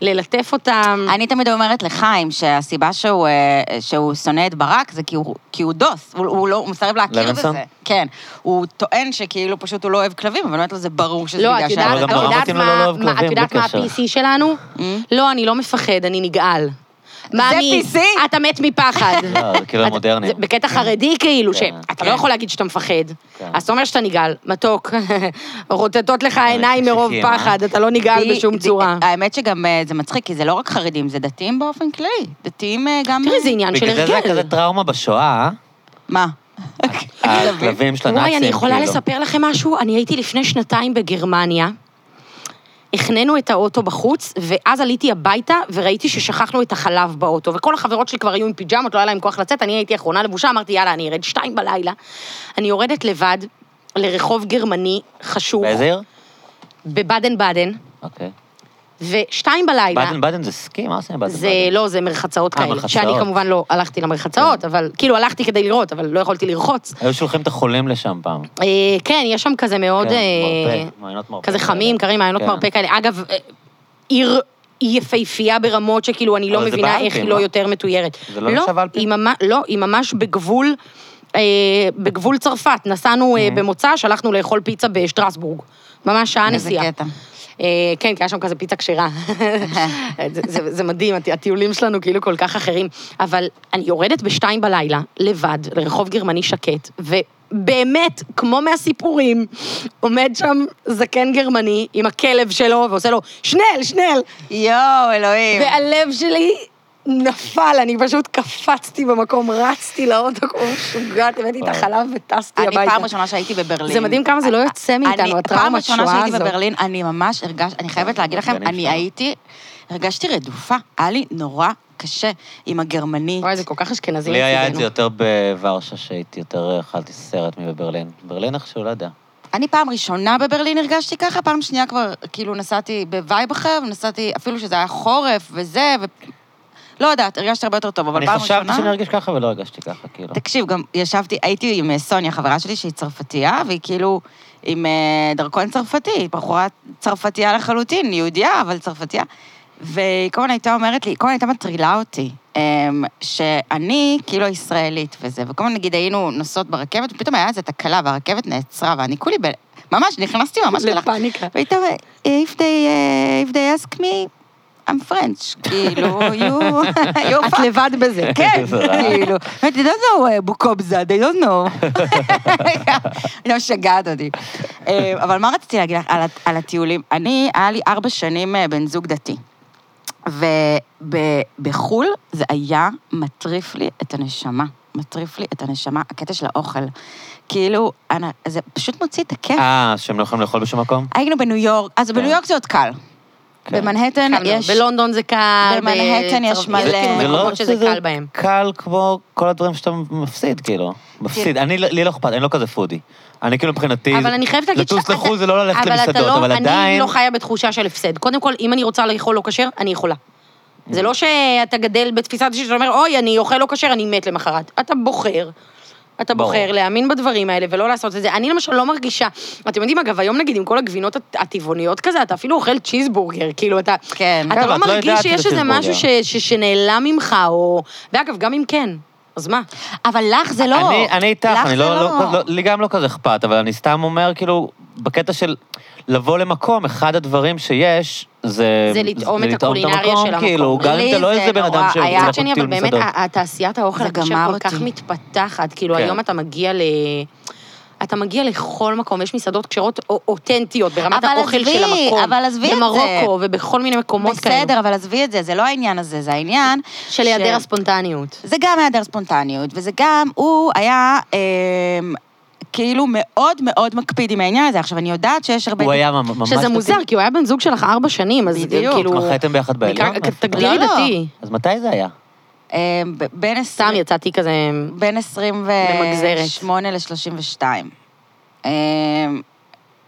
Speaker 3: ללטף אותם.
Speaker 2: אני תמיד אומרת לחיים שהסיבה שהוא, אה, שהוא שונא את ברק זה כי הוא, כי הוא דוס, הוא, הוא, לא, הוא מסרב להכיר
Speaker 1: לוינסון?
Speaker 2: בזה. כן. הוא טוען שכאילו פשוט הוא לא אוהב כלבים, אבל באמת לו זה ברור שזה
Speaker 3: לא,
Speaker 2: בגלל
Speaker 3: את יודעת,
Speaker 1: אבל גם
Speaker 3: את
Speaker 1: נורא
Speaker 3: יודעת
Speaker 1: מתאים לו לא
Speaker 3: מה,
Speaker 1: לאהוב
Speaker 3: מה- את
Speaker 1: כלבים,
Speaker 3: יודעת
Speaker 1: בלי
Speaker 3: מה
Speaker 1: קשר.
Speaker 3: ה-PC שלנו? לא, אני לא מפחד, אני נגעל. מאמי,
Speaker 2: PC?
Speaker 3: אתה מת מפחד.
Speaker 1: לא, זה כאילו
Speaker 3: את-
Speaker 1: המודרני.
Speaker 3: זה בקטע חרדי כאילו,
Speaker 1: כן.
Speaker 3: שאתה לא יכול להגיד שאתה מפחד.
Speaker 1: כן.
Speaker 3: אז אתה אומר שאתה נגעל, מתוק. רוטטות לך העיניים מרוב
Speaker 1: חשקים, אה?
Speaker 3: פחד, אתה לא נגעל
Speaker 2: די-
Speaker 3: בשום
Speaker 2: די-
Speaker 3: צורה.
Speaker 2: האמת שגם אה, זה מצחיק, כי זה לא רק חרדים, זה דתיים באופן כללי. דתיים אה, גם...
Speaker 3: תראי, זה עניין של
Speaker 1: בגלל זה זה
Speaker 3: הרגל.
Speaker 1: כזה טראומה בשואה,
Speaker 2: מה?
Speaker 1: הכלבים של הנאצים,
Speaker 3: וואי, אני יכולה
Speaker 1: כאילו.
Speaker 3: לספר לכם משהו? אני הייתי לפני שנתיים בגרמניה. החנינו את האוטו בחוץ, ואז עליתי הביתה וראיתי ששכחנו את החלב באוטו. וכל החברות שלי כבר היו עם פיג'מות, לא היה להם כוח לצאת, אני הייתי אחרונה לבושה, אמרתי, יאללה, אני ארד שתיים בלילה. אני יורדת לבד לרחוב גרמני חשוך,
Speaker 1: באיזה עיר?
Speaker 3: בבאדן באדן,
Speaker 1: אוקיי.
Speaker 3: ושתיים בלילה...
Speaker 1: באדן באדן זה סקי? מה עושים באדן באדן?
Speaker 3: זה לא, זה מרחצאות
Speaker 1: אה,
Speaker 3: כאלה,
Speaker 1: מרחצאות. כן.
Speaker 3: שאני כמובן לא הלכתי למרחצאות, אבל כאילו הלכתי כדי לראות, אבל לא יכולתי לרחוץ.
Speaker 1: היו שולחים את החולים לשם פעם.
Speaker 3: אה, כן, יש שם כזה מאוד...
Speaker 1: כן,
Speaker 3: אה,
Speaker 1: מרפא, מעיינות מרפא
Speaker 3: כזה
Speaker 1: כאלה.
Speaker 3: חמים, קרים, מעיינות
Speaker 1: כן.
Speaker 3: מרפא כאלה. אגב, אה, עיר יפהפייה ברמות שכאילו אני לא
Speaker 1: אבל זה
Speaker 3: מבינה
Speaker 1: באלפים,
Speaker 3: איך היא
Speaker 1: לא?
Speaker 3: לא יותר מתוירת.
Speaker 1: זה לא נחשב אלפים?
Speaker 3: היא ממש- לא, היא ממש בגבול... אה, בגבול צרפת, נסענו אה, במוצא, שלחנו לאכול פיצה בשטרסבורג. ממש שעה
Speaker 2: איזה
Speaker 3: נסיעה.
Speaker 2: קטע.
Speaker 3: אה, כן, כי היה שם כזה פיצה כשרה. אה, זה- זה- זה מדהים, הטי- הטיולים שלנו כאילו כל כך אחרים. אבל אני יורדת בשתיים בלילה, לבד, לרחוב גרמני שקט, ובאמת, כמו מהסיפורים, עומד שם זקן גרמני עם הכלב שלו, ועושה לו, שנל, שנל!
Speaker 2: יואו, אלוהים.
Speaker 3: והלב שלי... נפל, אני פשוט קפצתי במקום, רצתי לאוטו כמו משוגעת, הבאתי את החלב וטסתי
Speaker 2: אני
Speaker 3: הביתה.
Speaker 2: פעם ראשונה שהייתי בברלין. אה,
Speaker 3: זה מדהים כמה זה לא יוצא מאיתנו,
Speaker 2: אני-
Speaker 3: הטראומה
Speaker 2: פעם
Speaker 3: השואה
Speaker 2: ראשונה שהייתי
Speaker 3: הזאת.
Speaker 2: בברלין, אני ממש הרגשתי, אני חייבת להגיד לכם,
Speaker 1: אני
Speaker 2: אני
Speaker 1: שם.
Speaker 2: הייתי, הרגשתי רדופה, היה לי נורא קשה עם הגרמנית.
Speaker 3: וואי, זה כל כך אשכנזי.
Speaker 1: לי היה את
Speaker 3: מצידנו.
Speaker 1: זה יותר בוורשה, שהייתי יותר, אה, אכלתי סרט מבברלין. ברלין איכשהו, לא יודע.
Speaker 2: אני פעם ראשונה בברלין הרגשתי ככה, פעם שנייה כבר, כאילו, נסעתי בווייב אחר, ונסעתי, אפילו שזה היה חורף וזה, ו... לא יודעת, הרגשתי הרבה יותר טוב, אבל
Speaker 1: אני
Speaker 2: פעם ראשונה...
Speaker 1: חשבתי שאני ארגיש ככה ולא הרגשתי ככה, כאילו.
Speaker 2: תקשיב, גם ישבתי, הייתי עם אה, סוניה, חברה שלי שהיא צרפתייה, והיא כאילו עם אה, דרכון צרפתי, היא בחורה צרפתייה לחלוטין, יהודייה, אבל צרפתייה. והיא כל הזמן הייתה אומרת לי, כל הזמן הייתה מטרילה אותי, אמ, שאני כאילו ישראלית וזה, וכל הזמן נגיד היינו נוסעות ברכבת, ופתאום היה איזו תקלה והרכבת נעצרה, ואני כולי ב... ממש, נכנסתי ממש ללחץ.
Speaker 3: לפאניקה.
Speaker 2: והייתה, if they, אה, if they ask me, I'm French, כאילו, you, you're
Speaker 3: את לבד בזה.
Speaker 2: כן,
Speaker 1: זה רע.
Speaker 2: כאילו, they don't know uh, בוקובזה, they don't know. היא משגעת אותי. אה, אבל מה רציתי להגיד לך על הט- על הטיולים? אני, היה לי ארבע שנים אה, בן זוג דתי. ובחו"ל זה היה מטריף לי את הנשמה. מטריף לי את הנשמה, הקטע של האוכל. כאילו, אנ- זה פשוט מוציא את
Speaker 3: כן?
Speaker 2: הכיף.
Speaker 1: אה, שהם לא יכולים לאכול בשום מקום?
Speaker 2: היינו בניו יורק, אז בניו יורק זה עוד קל.
Speaker 1: כן.
Speaker 2: במנהטן יש...
Speaker 3: בלונדון זה קל,
Speaker 2: במנהטן יש
Speaker 3: בצרפת-
Speaker 2: מלא.
Speaker 3: יש כאילו
Speaker 1: זה לא
Speaker 3: מקומות שזה קל בהם.
Speaker 1: קל כמו כל הדברים שאתה מפסיד, כאילו. מפסיד. אני, לי לא אכפת, אני לא כזה פודי. אני כאילו מבחינתי...
Speaker 3: כן. אבל אני חייבת להגיד
Speaker 1: לטוס
Speaker 3: שאתה-
Speaker 1: לחו"ל זה לא ללכת
Speaker 3: אבל אתה
Speaker 1: למסעדות,
Speaker 3: לא-
Speaker 1: אבל
Speaker 3: אני
Speaker 1: עדיין...
Speaker 3: לא חיה בתחושה של הפסד. קודם כל, אם אני רוצה לאכול לא כשר, אני יכולה. זה לא שאתה גדל בתפיסה אישית שאתה אומר, אוי, אני אוכל לא כשר, אני מת למחרת. אתה בוחר. אתה
Speaker 1: ברור.
Speaker 3: בוחר להאמין בדברים האלה ולא לעשות את זה. אני למשל לא מרגישה, אתם יודעים, אגב, היום נגיד עם כל הגבינות הט- הטבעוניות כזה, אתה אפילו אוכל צ'יזבורגר, כאילו, אתה...
Speaker 2: כן.
Speaker 3: אתה
Speaker 1: כן,
Speaker 3: לא
Speaker 1: ואת לא
Speaker 3: מרגיש
Speaker 1: יודעת
Speaker 3: שיש
Speaker 1: שזה
Speaker 3: איזה משהו ש-
Speaker 1: צ'יזבורגר.
Speaker 3: ש- שנעלם ממך, או... ואגב, גם אם כן, אז מה?
Speaker 2: אבל לך זה לא...
Speaker 1: אני, אני איתך,
Speaker 2: לך
Speaker 1: אני
Speaker 2: זה
Speaker 1: לא, לא, לא, לא, לי גם לא כזה אכפת, אבל אני סתם אומר, כאילו, בקטע של לבוא למקום, אחד הדברים שיש, זה...
Speaker 3: זה לטעום את הקולינריה
Speaker 1: המקום,
Speaker 3: של המקום.
Speaker 1: כאילו, גם
Speaker 2: לי
Speaker 1: אם אתה לא
Speaker 2: זה
Speaker 1: איזה בן אדם
Speaker 2: נורא,
Speaker 1: שרוצה
Speaker 2: היה-
Speaker 1: לעשות
Speaker 3: מצד שני, אבל
Speaker 1: טיול
Speaker 3: באמת,
Speaker 1: מסעדות.
Speaker 3: ה- התעשיית האוכל
Speaker 2: זה
Speaker 3: הקשה
Speaker 2: גמר
Speaker 3: כל כך
Speaker 2: אותי.
Speaker 3: מתפתחת. כאילו,
Speaker 1: כן.
Speaker 3: היום אתה מגיע ל... אתה מגיע לכל מקום, יש מסעדות כשרות א- אותנטיות ברמת
Speaker 2: אבל
Speaker 3: האוכל
Speaker 2: עזבי,
Speaker 3: של המקום.
Speaker 2: אבל עזבי את זה.
Speaker 3: במרוקו ובכל מיני מקומות כאלה.
Speaker 2: בסדר, אבל עזבי את זה, זה לא העניין הזה, זה העניין...
Speaker 3: של היעדר
Speaker 2: ש-
Speaker 3: הספונטניות.
Speaker 2: זה גם היעדר ספונטניות, וזה גם, הוא היה אה, כאילו מאוד מאוד מקפיד עם העניין הזה. עכשיו, אני יודעת שיש הרבה...
Speaker 1: הוא היה ממש...
Speaker 3: שזה מוזר, כי הוא היה בן זוג שלך ארבע שנים, אז
Speaker 2: בדיוק.
Speaker 3: כאילו...
Speaker 1: התמחיתם ביחד בעליון?
Speaker 3: בעיקר-
Speaker 1: מאיפה
Speaker 3: תגדירי
Speaker 2: לא, לא.
Speaker 3: דתי.
Speaker 1: אז מתי זה היה?
Speaker 2: אה, ב- בין
Speaker 3: סתם
Speaker 2: 20...
Speaker 3: יצאתי כזה...
Speaker 2: בין
Speaker 3: ממגזרת.
Speaker 2: 28 ל-32. אה,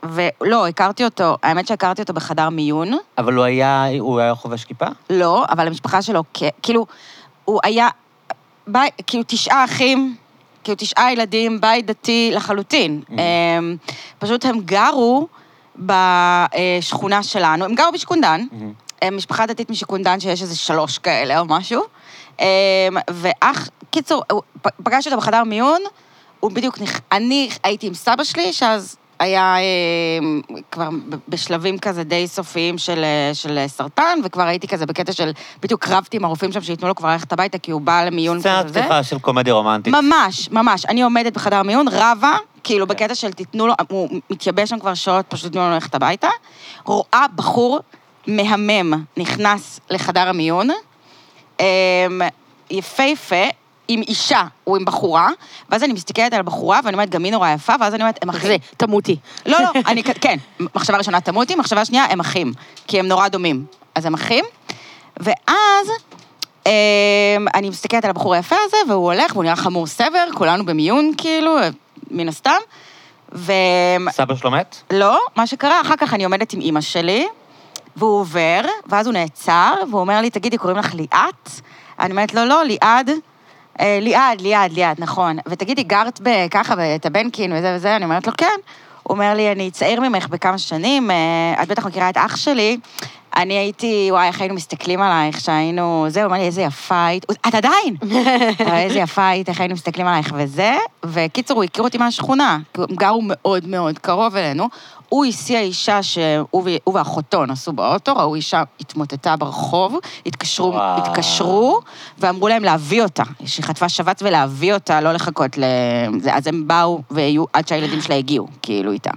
Speaker 2: ולא, הכרתי אותו, האמת שהכרתי אותו בחדר מיון,
Speaker 1: אבל הוא היה, הוא היה חובש כיפה?
Speaker 2: לא, אבל המשפחה שלו, כ- כאילו, הוא היה, בי, כאילו תשעה אחים, כאילו תשעה ילדים, בית דתי לחלוטין. אמ, פשוט הם גרו בשכונה שלנו, הם גרו בשכונדן, הם משפחה דתית משכונדן שיש איזה שלוש כאלה או משהו, אמ, ואח, קיצור, הוא- פ- פגשתי אותו בחדר מיון, הוא בדיוק, נכ... אני הייתי עם סבא שלי, שאז היה אה, כבר ב- בשלבים כזה די סופיים של, אה, של אה, סרטן, וכבר הייתי כזה בקטע של, בדיוק רבתי עם הרופאים שם שייתנו לו כבר ללכת הביתה, כי הוא בא למיון כזה.
Speaker 1: סצנת פתיחה של קומדיה רומנטית.
Speaker 2: ממש, ממש. אני עומדת בחדר מיון, רבה, כאילו בקטע של תיתנו לו, הוא מתייבש שם כבר שעות, פשוט תיתנו לו ללכת הביתה. רואה בחור מהמם נכנס לחדר המיון, אמ, יפהפה, עם אישה, הוא עם בחורה, ואז אני מסתכלת על הבחורה, ואני אומרת, גם היא נורא יפה, ואז אני אומרת, הם
Speaker 3: זה,
Speaker 2: אחים.
Speaker 3: תמותי.
Speaker 2: לא, לא, אני, כן, מחשבה ראשונה תמותי, מחשבה שנייה, הם אחים, כי הם נורא דומים. אז הם אחים, ואז אמ, אני מסתכלת על הבחור היפה הזה, והוא הולך, והוא נראה חמור סבר, כולנו במיון, כאילו, מן הסתם, ו...
Speaker 1: סבא שלו מת?
Speaker 2: לא, מה שקרה, אחר כך אני עומדת עם אימא שלי, והוא עובר, ואז הוא נעצר, והוא אומר לי, תגידי, קוראים לך ליאת? אני אומרת לו, לא, ליעד. אה, ליעד, ליעד, ליעד, נכון. ותגידי, גרת בככה, בטבנקין וזה וזה? אני אומרת לו, כן. הוא אומר לי, אני צעיר ממך בכמה שנים, אה, את בטח מכירה את אח שלי. אני הייתי, וואי, איך היינו מסתכלים עלייך, שהיינו... זה, הוא אמר לי, איזה יפה היית. הוא- את עדיין! אבל איזה יפה היית, איך היינו מסתכלים עלייך וזה. וקיצור, הוא הכיר אותי מהשכונה, כי הם גרו מאוד מאוד קרוב אלינו. הוא הסיע אישה שהוא ו- הוא ואחותו נסעו באוטו, ראו אישה התמוטטה ברחוב, התקשרו,
Speaker 1: וואו.
Speaker 2: התקשרו, ואמרו להם להביא אותה, שהיא חטפה שבץ ולהביא אותה, לא לחכות ל... זה, אז הם באו והיו, עד שהילדים שלה הגיעו, כאילו, איתה.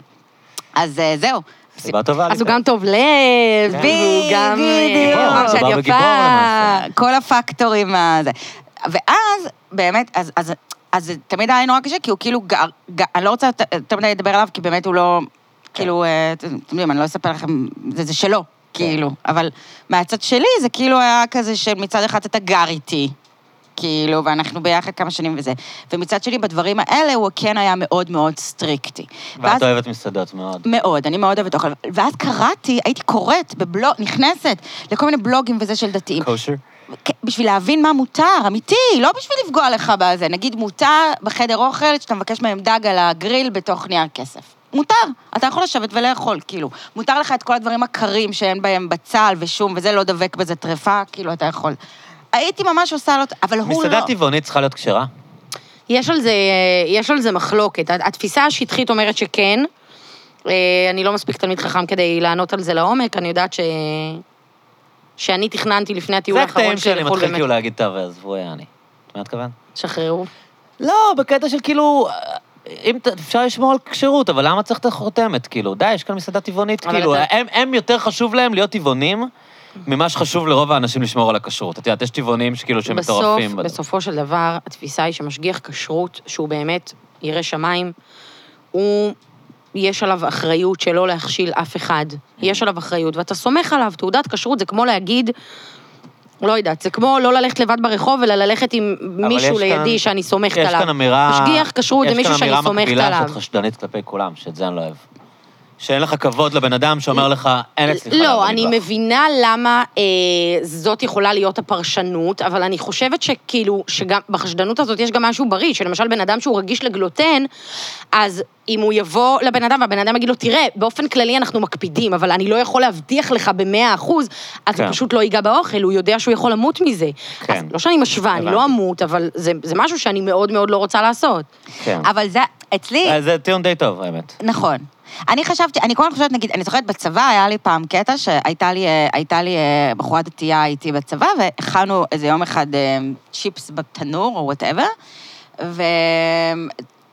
Speaker 2: אז אה, זהו.
Speaker 1: סיבה טובה.
Speaker 3: אז הוא גם טוב לב,
Speaker 1: לא, כן.
Speaker 3: והוא גם... אה,
Speaker 2: בדיוק.
Speaker 3: הוא אמר
Speaker 1: מדובר
Speaker 3: שאת
Speaker 1: בגיבור
Speaker 3: יפה.
Speaker 1: למעשה.
Speaker 2: כל הפקטורים הזה. ואז, באמת, אז, אז, אז זה תמיד היה נורא קשה, כי הוא כאילו גר, גר אני לא רוצה יותר- יותר מדי לדבר עליו, כי באמת הוא לא, כאילו,
Speaker 3: כן.
Speaker 2: אה, אתם אתם יודעים, אני לא אספר לכם, זה, זה שלו, כאילו. אבל מהצד שלי זה כאילו היה כזה שמצד אחד אתה גר איתי. כאילו, ואנחנו ביחד כמה שנים וזה. ומצד שני, בדברים האלה, הוא כן היה מאוד מאוד סטריקטי. ואז-
Speaker 1: ואת אוהבת מסעדות מאוד.
Speaker 2: מאוד, אני מאוד אוהבת אוכל. ואז קראתי, הייתי קוראת בבלוג, נכנסת לכל מיני בלוגים וזה של דתיים.
Speaker 1: כושר?
Speaker 2: כן, בשביל להבין מה מותר, אמיתי, לא בשביל לפגוע לך בזה. נגיד מותר בחדר אוכל, שאתה מבקש מהם דג על הגריל בתוך נייר כסף. מותר, אתה יכול לשבת ולאכול, כאילו. מותר לך את כל הדברים הקרים שאין בהם בצל ושום, וזה לא דבק בזה טרפה, כאילו, אתה יכול. הייתי ממש עושה לו, אבל הוא לא.
Speaker 1: מסעדה טבעונית צריכה להיות כשרה.
Speaker 3: יש על זה, יש על זה מחלוקת. התפיסה השטחית אומרת שכן. אה, אני לא מספיק תלמיד חכם כדי לענות על זה לעומק, אני יודעת ש... שאני תכננתי לפני הטיול
Speaker 1: זה
Speaker 3: האחרון
Speaker 1: הקטעים
Speaker 3: שלי
Speaker 1: שאני
Speaker 3: לאכול
Speaker 1: מתחיל
Speaker 3: באמת.
Speaker 1: כאילו להגיד, טוב, עזבו, יעני. את מה את מתכוונת?
Speaker 3: שחררו.
Speaker 1: לא, בקטע של כאילו... אה, אם ת- אפשר לשמור על כשרות, אבל למה צריך את החותמת? כאילו, די, יש כאן מסעדה טבעונית,
Speaker 3: אבל
Speaker 1: כאילו,
Speaker 3: אתה-
Speaker 1: הם- הם יותר חשוב להם להיות טבעונים, ממה שחשוב לרוב האנשים לשמור על הכשרות. את יודעת, יש טבעונים שכאילו שהם
Speaker 3: בסוף,
Speaker 1: מטורפים. בזה.
Speaker 3: בסופו של דבר, התפיסה היא שמשגיח כשרות, שהוא באמת ירא שמיים, הוא, יש עליו אחריות שלא להכשיל אף אחד.
Speaker 1: כן.
Speaker 3: יש עליו אחריות, ואתה סומך עליו. תעודת כשרות זה כמו להגיד, לא יודעת, זה כמו לא ללכת לבד ברחוב, אלא ללכת עם
Speaker 1: אבל
Speaker 3: מישהו
Speaker 1: יש
Speaker 3: לידי
Speaker 1: כאן-
Speaker 3: שאני סומכת
Speaker 1: יש
Speaker 3: עליו.
Speaker 1: כאן אמירה...
Speaker 3: משגיח כשרות זה מישהו שאני
Speaker 1: יש כאן
Speaker 3: סומכת
Speaker 1: אמירה מקבילה
Speaker 3: עליו.
Speaker 1: שאת חשדנית כלפי כולם, שאת זה אני לא אוהב. שאין לך כבוד לבן אדם שאומר לך, אין אצלך...
Speaker 3: לא,
Speaker 1: לעבוד
Speaker 3: אני
Speaker 1: במטבח."
Speaker 3: מבינה למה אה, זאת יכולה להיות הפרשנות, אבל אני חושבת שכאילו, שגם בחשדנות הזאת יש גם משהו בריא, שלמשל בן אדם שהוא רגיש לגלוטן, אז אם הוא יבוא לבן אדם והבן אדם יגיד לו, תראה, באופן כללי אנחנו מקפידים, אבל אני לא יכול להבטיח לך במאה אחוז, אז
Speaker 1: כן.
Speaker 3: הוא פשוט לא ייגע באוכל, הוא יודע שהוא יכול למות מזה.
Speaker 1: כן.
Speaker 3: אז לא שאני משווה, אני
Speaker 1: הבנתי.
Speaker 3: לא אמות, אבל זה, זה משהו שאני מאוד מאוד לא רוצה לעשות.
Speaker 1: כן.
Speaker 2: אבל זה, אצלי...
Speaker 1: אה, זה טיעון די טוב, האמת.
Speaker 2: נכון. אני חשבתי, אני כל הזמן חושבת, נגיד, אני זוכרת בצבא, היה לי פעם קטע שהייתה לי, אה, הייתה לי אה, בחורה דתייה איתי בצבא, והכנו איזה יום אחד אה, צ'יפס בתנור או וואטאבר,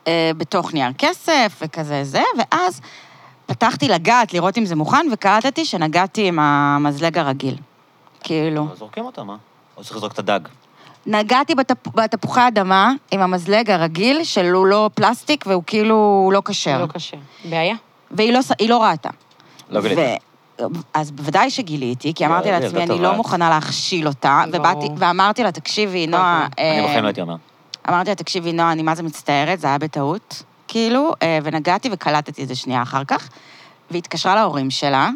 Speaker 2: ובתוך נייר כסף וכזה זה, ואז פתחתי לגעת לראות אם זה מוכן, וקלטתי שנגעתי עם המזלג הרגיל. כאילו,
Speaker 1: אבל זורקים אותם, אה? או שצריך לזרוק את הדג.
Speaker 2: נגעתי בתפ... בתפוחי אדמה עם המזלג הרגיל, שהוא לא פלסטיק והוא כאילו לא
Speaker 1: כן.
Speaker 2: כשר.
Speaker 3: לא קשה. בעיה.
Speaker 2: והיא לא, ס- היא לא ראתה.
Speaker 1: לא גילית.
Speaker 2: ו... אז בוודאי שגיליתי, כי
Speaker 1: לא,
Speaker 2: אמרתי
Speaker 1: זה
Speaker 2: לעצמי,
Speaker 1: ילדה
Speaker 2: אני
Speaker 1: טובה.
Speaker 2: לא מוכנה להכשיל אותה,
Speaker 3: ברור.
Speaker 2: ובאתי, ואמרתי לה, תקשיבי, נועה...
Speaker 3: אוקיי.
Speaker 1: אני
Speaker 2: אה,
Speaker 1: בחיים לא הייתי אומר.
Speaker 2: אמרתי לה, תקשיבי, נועה, אני מה זה מצטערת, זה היה בטעות, כאילו, אה, ונגעתי וקלטתי את זה שנייה אחר כך, והתקשרה להורים שלה,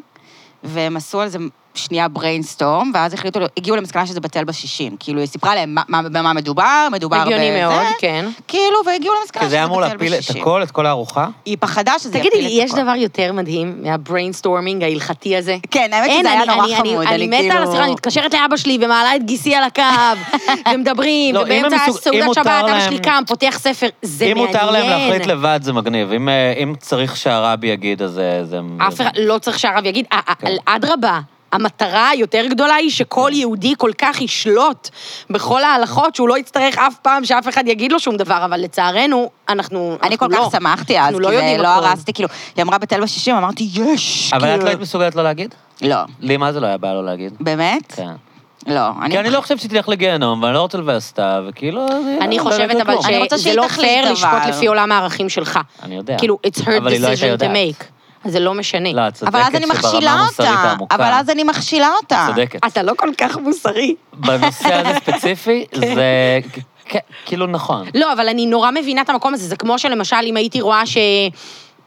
Speaker 2: והם עשו על זה שנייה בריינסטורם, ואז החליטו, הגיעו למסקנה שזה בטל בשישים. כאילו, היא סיפרה להם מה- מה- במה מדובר, מדובר בזה.
Speaker 3: הגיוני מאוד, כן.
Speaker 2: כאילו, והגיעו למסקנה
Speaker 1: כי
Speaker 2: שזה
Speaker 1: זה היה אמור
Speaker 2: בטל
Speaker 1: להפיל את
Speaker 2: בשישים.
Speaker 1: הכל, את כל הארוחה?
Speaker 2: היא פחדה שזה יפיל את
Speaker 3: תגידי
Speaker 2: הכל.
Speaker 3: לי, יש דבר יותר מדהים מהבריינסטורמינג ההלכתי הזה?
Speaker 2: כן, האמת שזה היה נורא חמוד,
Speaker 3: אני
Speaker 2: אני
Speaker 3: מתה על
Speaker 2: כאילו...
Speaker 3: הסרטון, אני מתקשרת לאבא שלי ומעלה את גיסי על הקו, ומדברים,
Speaker 1: לא, אם הם
Speaker 3: ובאמצע
Speaker 1: מסוג- אם
Speaker 3: סעודת
Speaker 1: מותר
Speaker 3: שבת, אבא
Speaker 1: להם-
Speaker 3: שלי קם, פותח ספר, זה
Speaker 1: אם
Speaker 3: מעניין.
Speaker 1: מותר להם להחליט לבד, זה מגניב. אם, אה, אם צריך שהרבי יגיד, אז אה, זה...
Speaker 3: אף אחד, לא צריך שהרב יגיד, "אה, אה,
Speaker 1: כן.
Speaker 3: אדרבה. המטרה היותר גדולה היא שכל יהודי כל כך ישלוט בכל ההלכות, שהוא לא יצטרך אף פעם שאף אחד יגיד לו שום דבר, אבל לצערנו, אנחנו
Speaker 2: אני כל
Speaker 3: אנחנו
Speaker 2: כך
Speaker 3: לא.
Speaker 2: שמחתי אז,
Speaker 3: אנחנו
Speaker 2: כי
Speaker 3: לא
Speaker 2: זה
Speaker 3: יודעים
Speaker 2: לא
Speaker 3: הכל.
Speaker 2: הרסתי, כאילו, היא אמרה בטל בשישים, אמרתי, יש!
Speaker 1: אבל את
Speaker 2: כאילו.
Speaker 1: לא היית מסוגלת לא להגיד?
Speaker 2: לא.
Speaker 1: לי מה זה לא היה בא לא להגיד?
Speaker 2: באמת?
Speaker 1: כן.
Speaker 2: לא.
Speaker 1: כי אני לא חושבת שהיא תלך לגיהנום, ואני לא רוצה לבאס אותה, וכאילו... זה-
Speaker 3: אני
Speaker 1: זה-
Speaker 3: חושבת
Speaker 1: זה
Speaker 3: אבל
Speaker 1: כלום.
Speaker 2: אני רוצה
Speaker 3: שזה
Speaker 2: שהיא
Speaker 3: לא
Speaker 2: תחליט,
Speaker 3: פייר לשפוט
Speaker 2: אבל.
Speaker 3: לפי עולם הערכים שלך.
Speaker 1: אני יודע.
Speaker 3: כאילו, it's her
Speaker 1: אבל היא לא הייתה
Speaker 3: decision to
Speaker 1: יודעת.
Speaker 3: make. אז זה לא משנה.
Speaker 1: לא, את צודקת
Speaker 2: אבל אז אני מכשילה אותה. אבל אז אני מכשילה אותה.
Speaker 1: צודקת.
Speaker 3: אתה לא כל כך מוסרי.
Speaker 1: בנושא הזה ספציפי, זה
Speaker 3: כן.
Speaker 1: כ- כאילו נכון.
Speaker 3: לא, אבל אני נורא מבינה את המקום הזה. זה כמו שלמשל, אם הייתי רואה ש...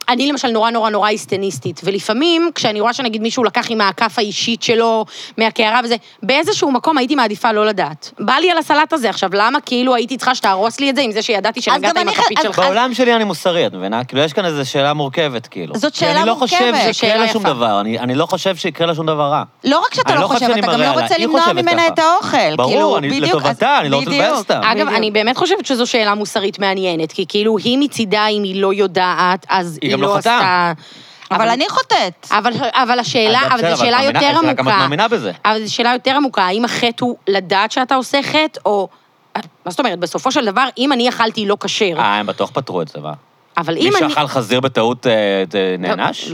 Speaker 3: אני למשל נורא נורא נורא היסטניסטית, ולפעמים כשאני רואה שנגיד מישהו לקח עם הכף האישית שלו מהקערה וזה, באיזשהו מקום הייתי מעדיפה לא לדעת. בא לי על הסלט הזה עכשיו, למה כאילו הייתי צריכה שתהרוס לי את זה עם זה שידעתי שנגעת
Speaker 2: גם
Speaker 3: עם
Speaker 2: אני ח-
Speaker 3: הכפית
Speaker 2: אז-
Speaker 3: שלך?
Speaker 1: בעולם שלי אני מוסרי, את מבינה? כאילו, יש כאן איזו שאלה מורכבת, כאילו.
Speaker 2: זאת
Speaker 1: כי
Speaker 2: שאלה
Speaker 1: אני לא חושב
Speaker 2: מורכבת.
Speaker 1: שיקרה לה
Speaker 3: שאלה
Speaker 1: שום
Speaker 3: יפה.
Speaker 1: דבר, אני אני לא חושב שיקרה לה שום דבר רע.
Speaker 2: לא רק שאתה
Speaker 1: אני
Speaker 2: לא
Speaker 1: לא חושב
Speaker 2: חושב,
Speaker 1: שאני
Speaker 2: אתה גם
Speaker 1: מראה
Speaker 2: לא
Speaker 1: לה,
Speaker 2: רוצה
Speaker 1: היא
Speaker 2: למנוע
Speaker 1: חושבת
Speaker 2: ממנה
Speaker 1: ככה.
Speaker 2: את האוכל.
Speaker 1: ברור,
Speaker 2: כאילו,
Speaker 1: אני-
Speaker 2: בדיוק, אז-
Speaker 1: לטובתה, אני לא רוצה
Speaker 2: בדיוק.
Speaker 1: לבאס אותה.
Speaker 3: אגב,
Speaker 2: בדיוק.
Speaker 3: אני באמת חושבת שזו שאלה מוסרית מעניינת, כי כאילו היא מצידה, אם היא לא יודעת, אז
Speaker 1: היא
Speaker 3: היא
Speaker 1: גם לא
Speaker 3: לא
Speaker 1: חטאה.
Speaker 3: עשתה...
Speaker 2: אבל אני חוטאת.
Speaker 3: אבל, אבל השאלה,
Speaker 1: אז
Speaker 3: אבל
Speaker 1: בסדר,
Speaker 3: זו שאלה
Speaker 1: את מאמינה-
Speaker 3: יותר
Speaker 1: אז רק את
Speaker 3: עמוקה.
Speaker 1: מאמינה בזה.
Speaker 3: אבל זו שאלה יותר עמוקה, האם החטא הוא לדעת שאתה עושה חטא, או... מה זאת אומרת, בסופו של דבר, אם אני אכלתי לא כשר,
Speaker 1: אה, הם בטוח פתרו את זה, מה?
Speaker 3: אבל אם
Speaker 1: מי
Speaker 3: אני...
Speaker 1: שאכל חזיר בטעות אה, זה נענש?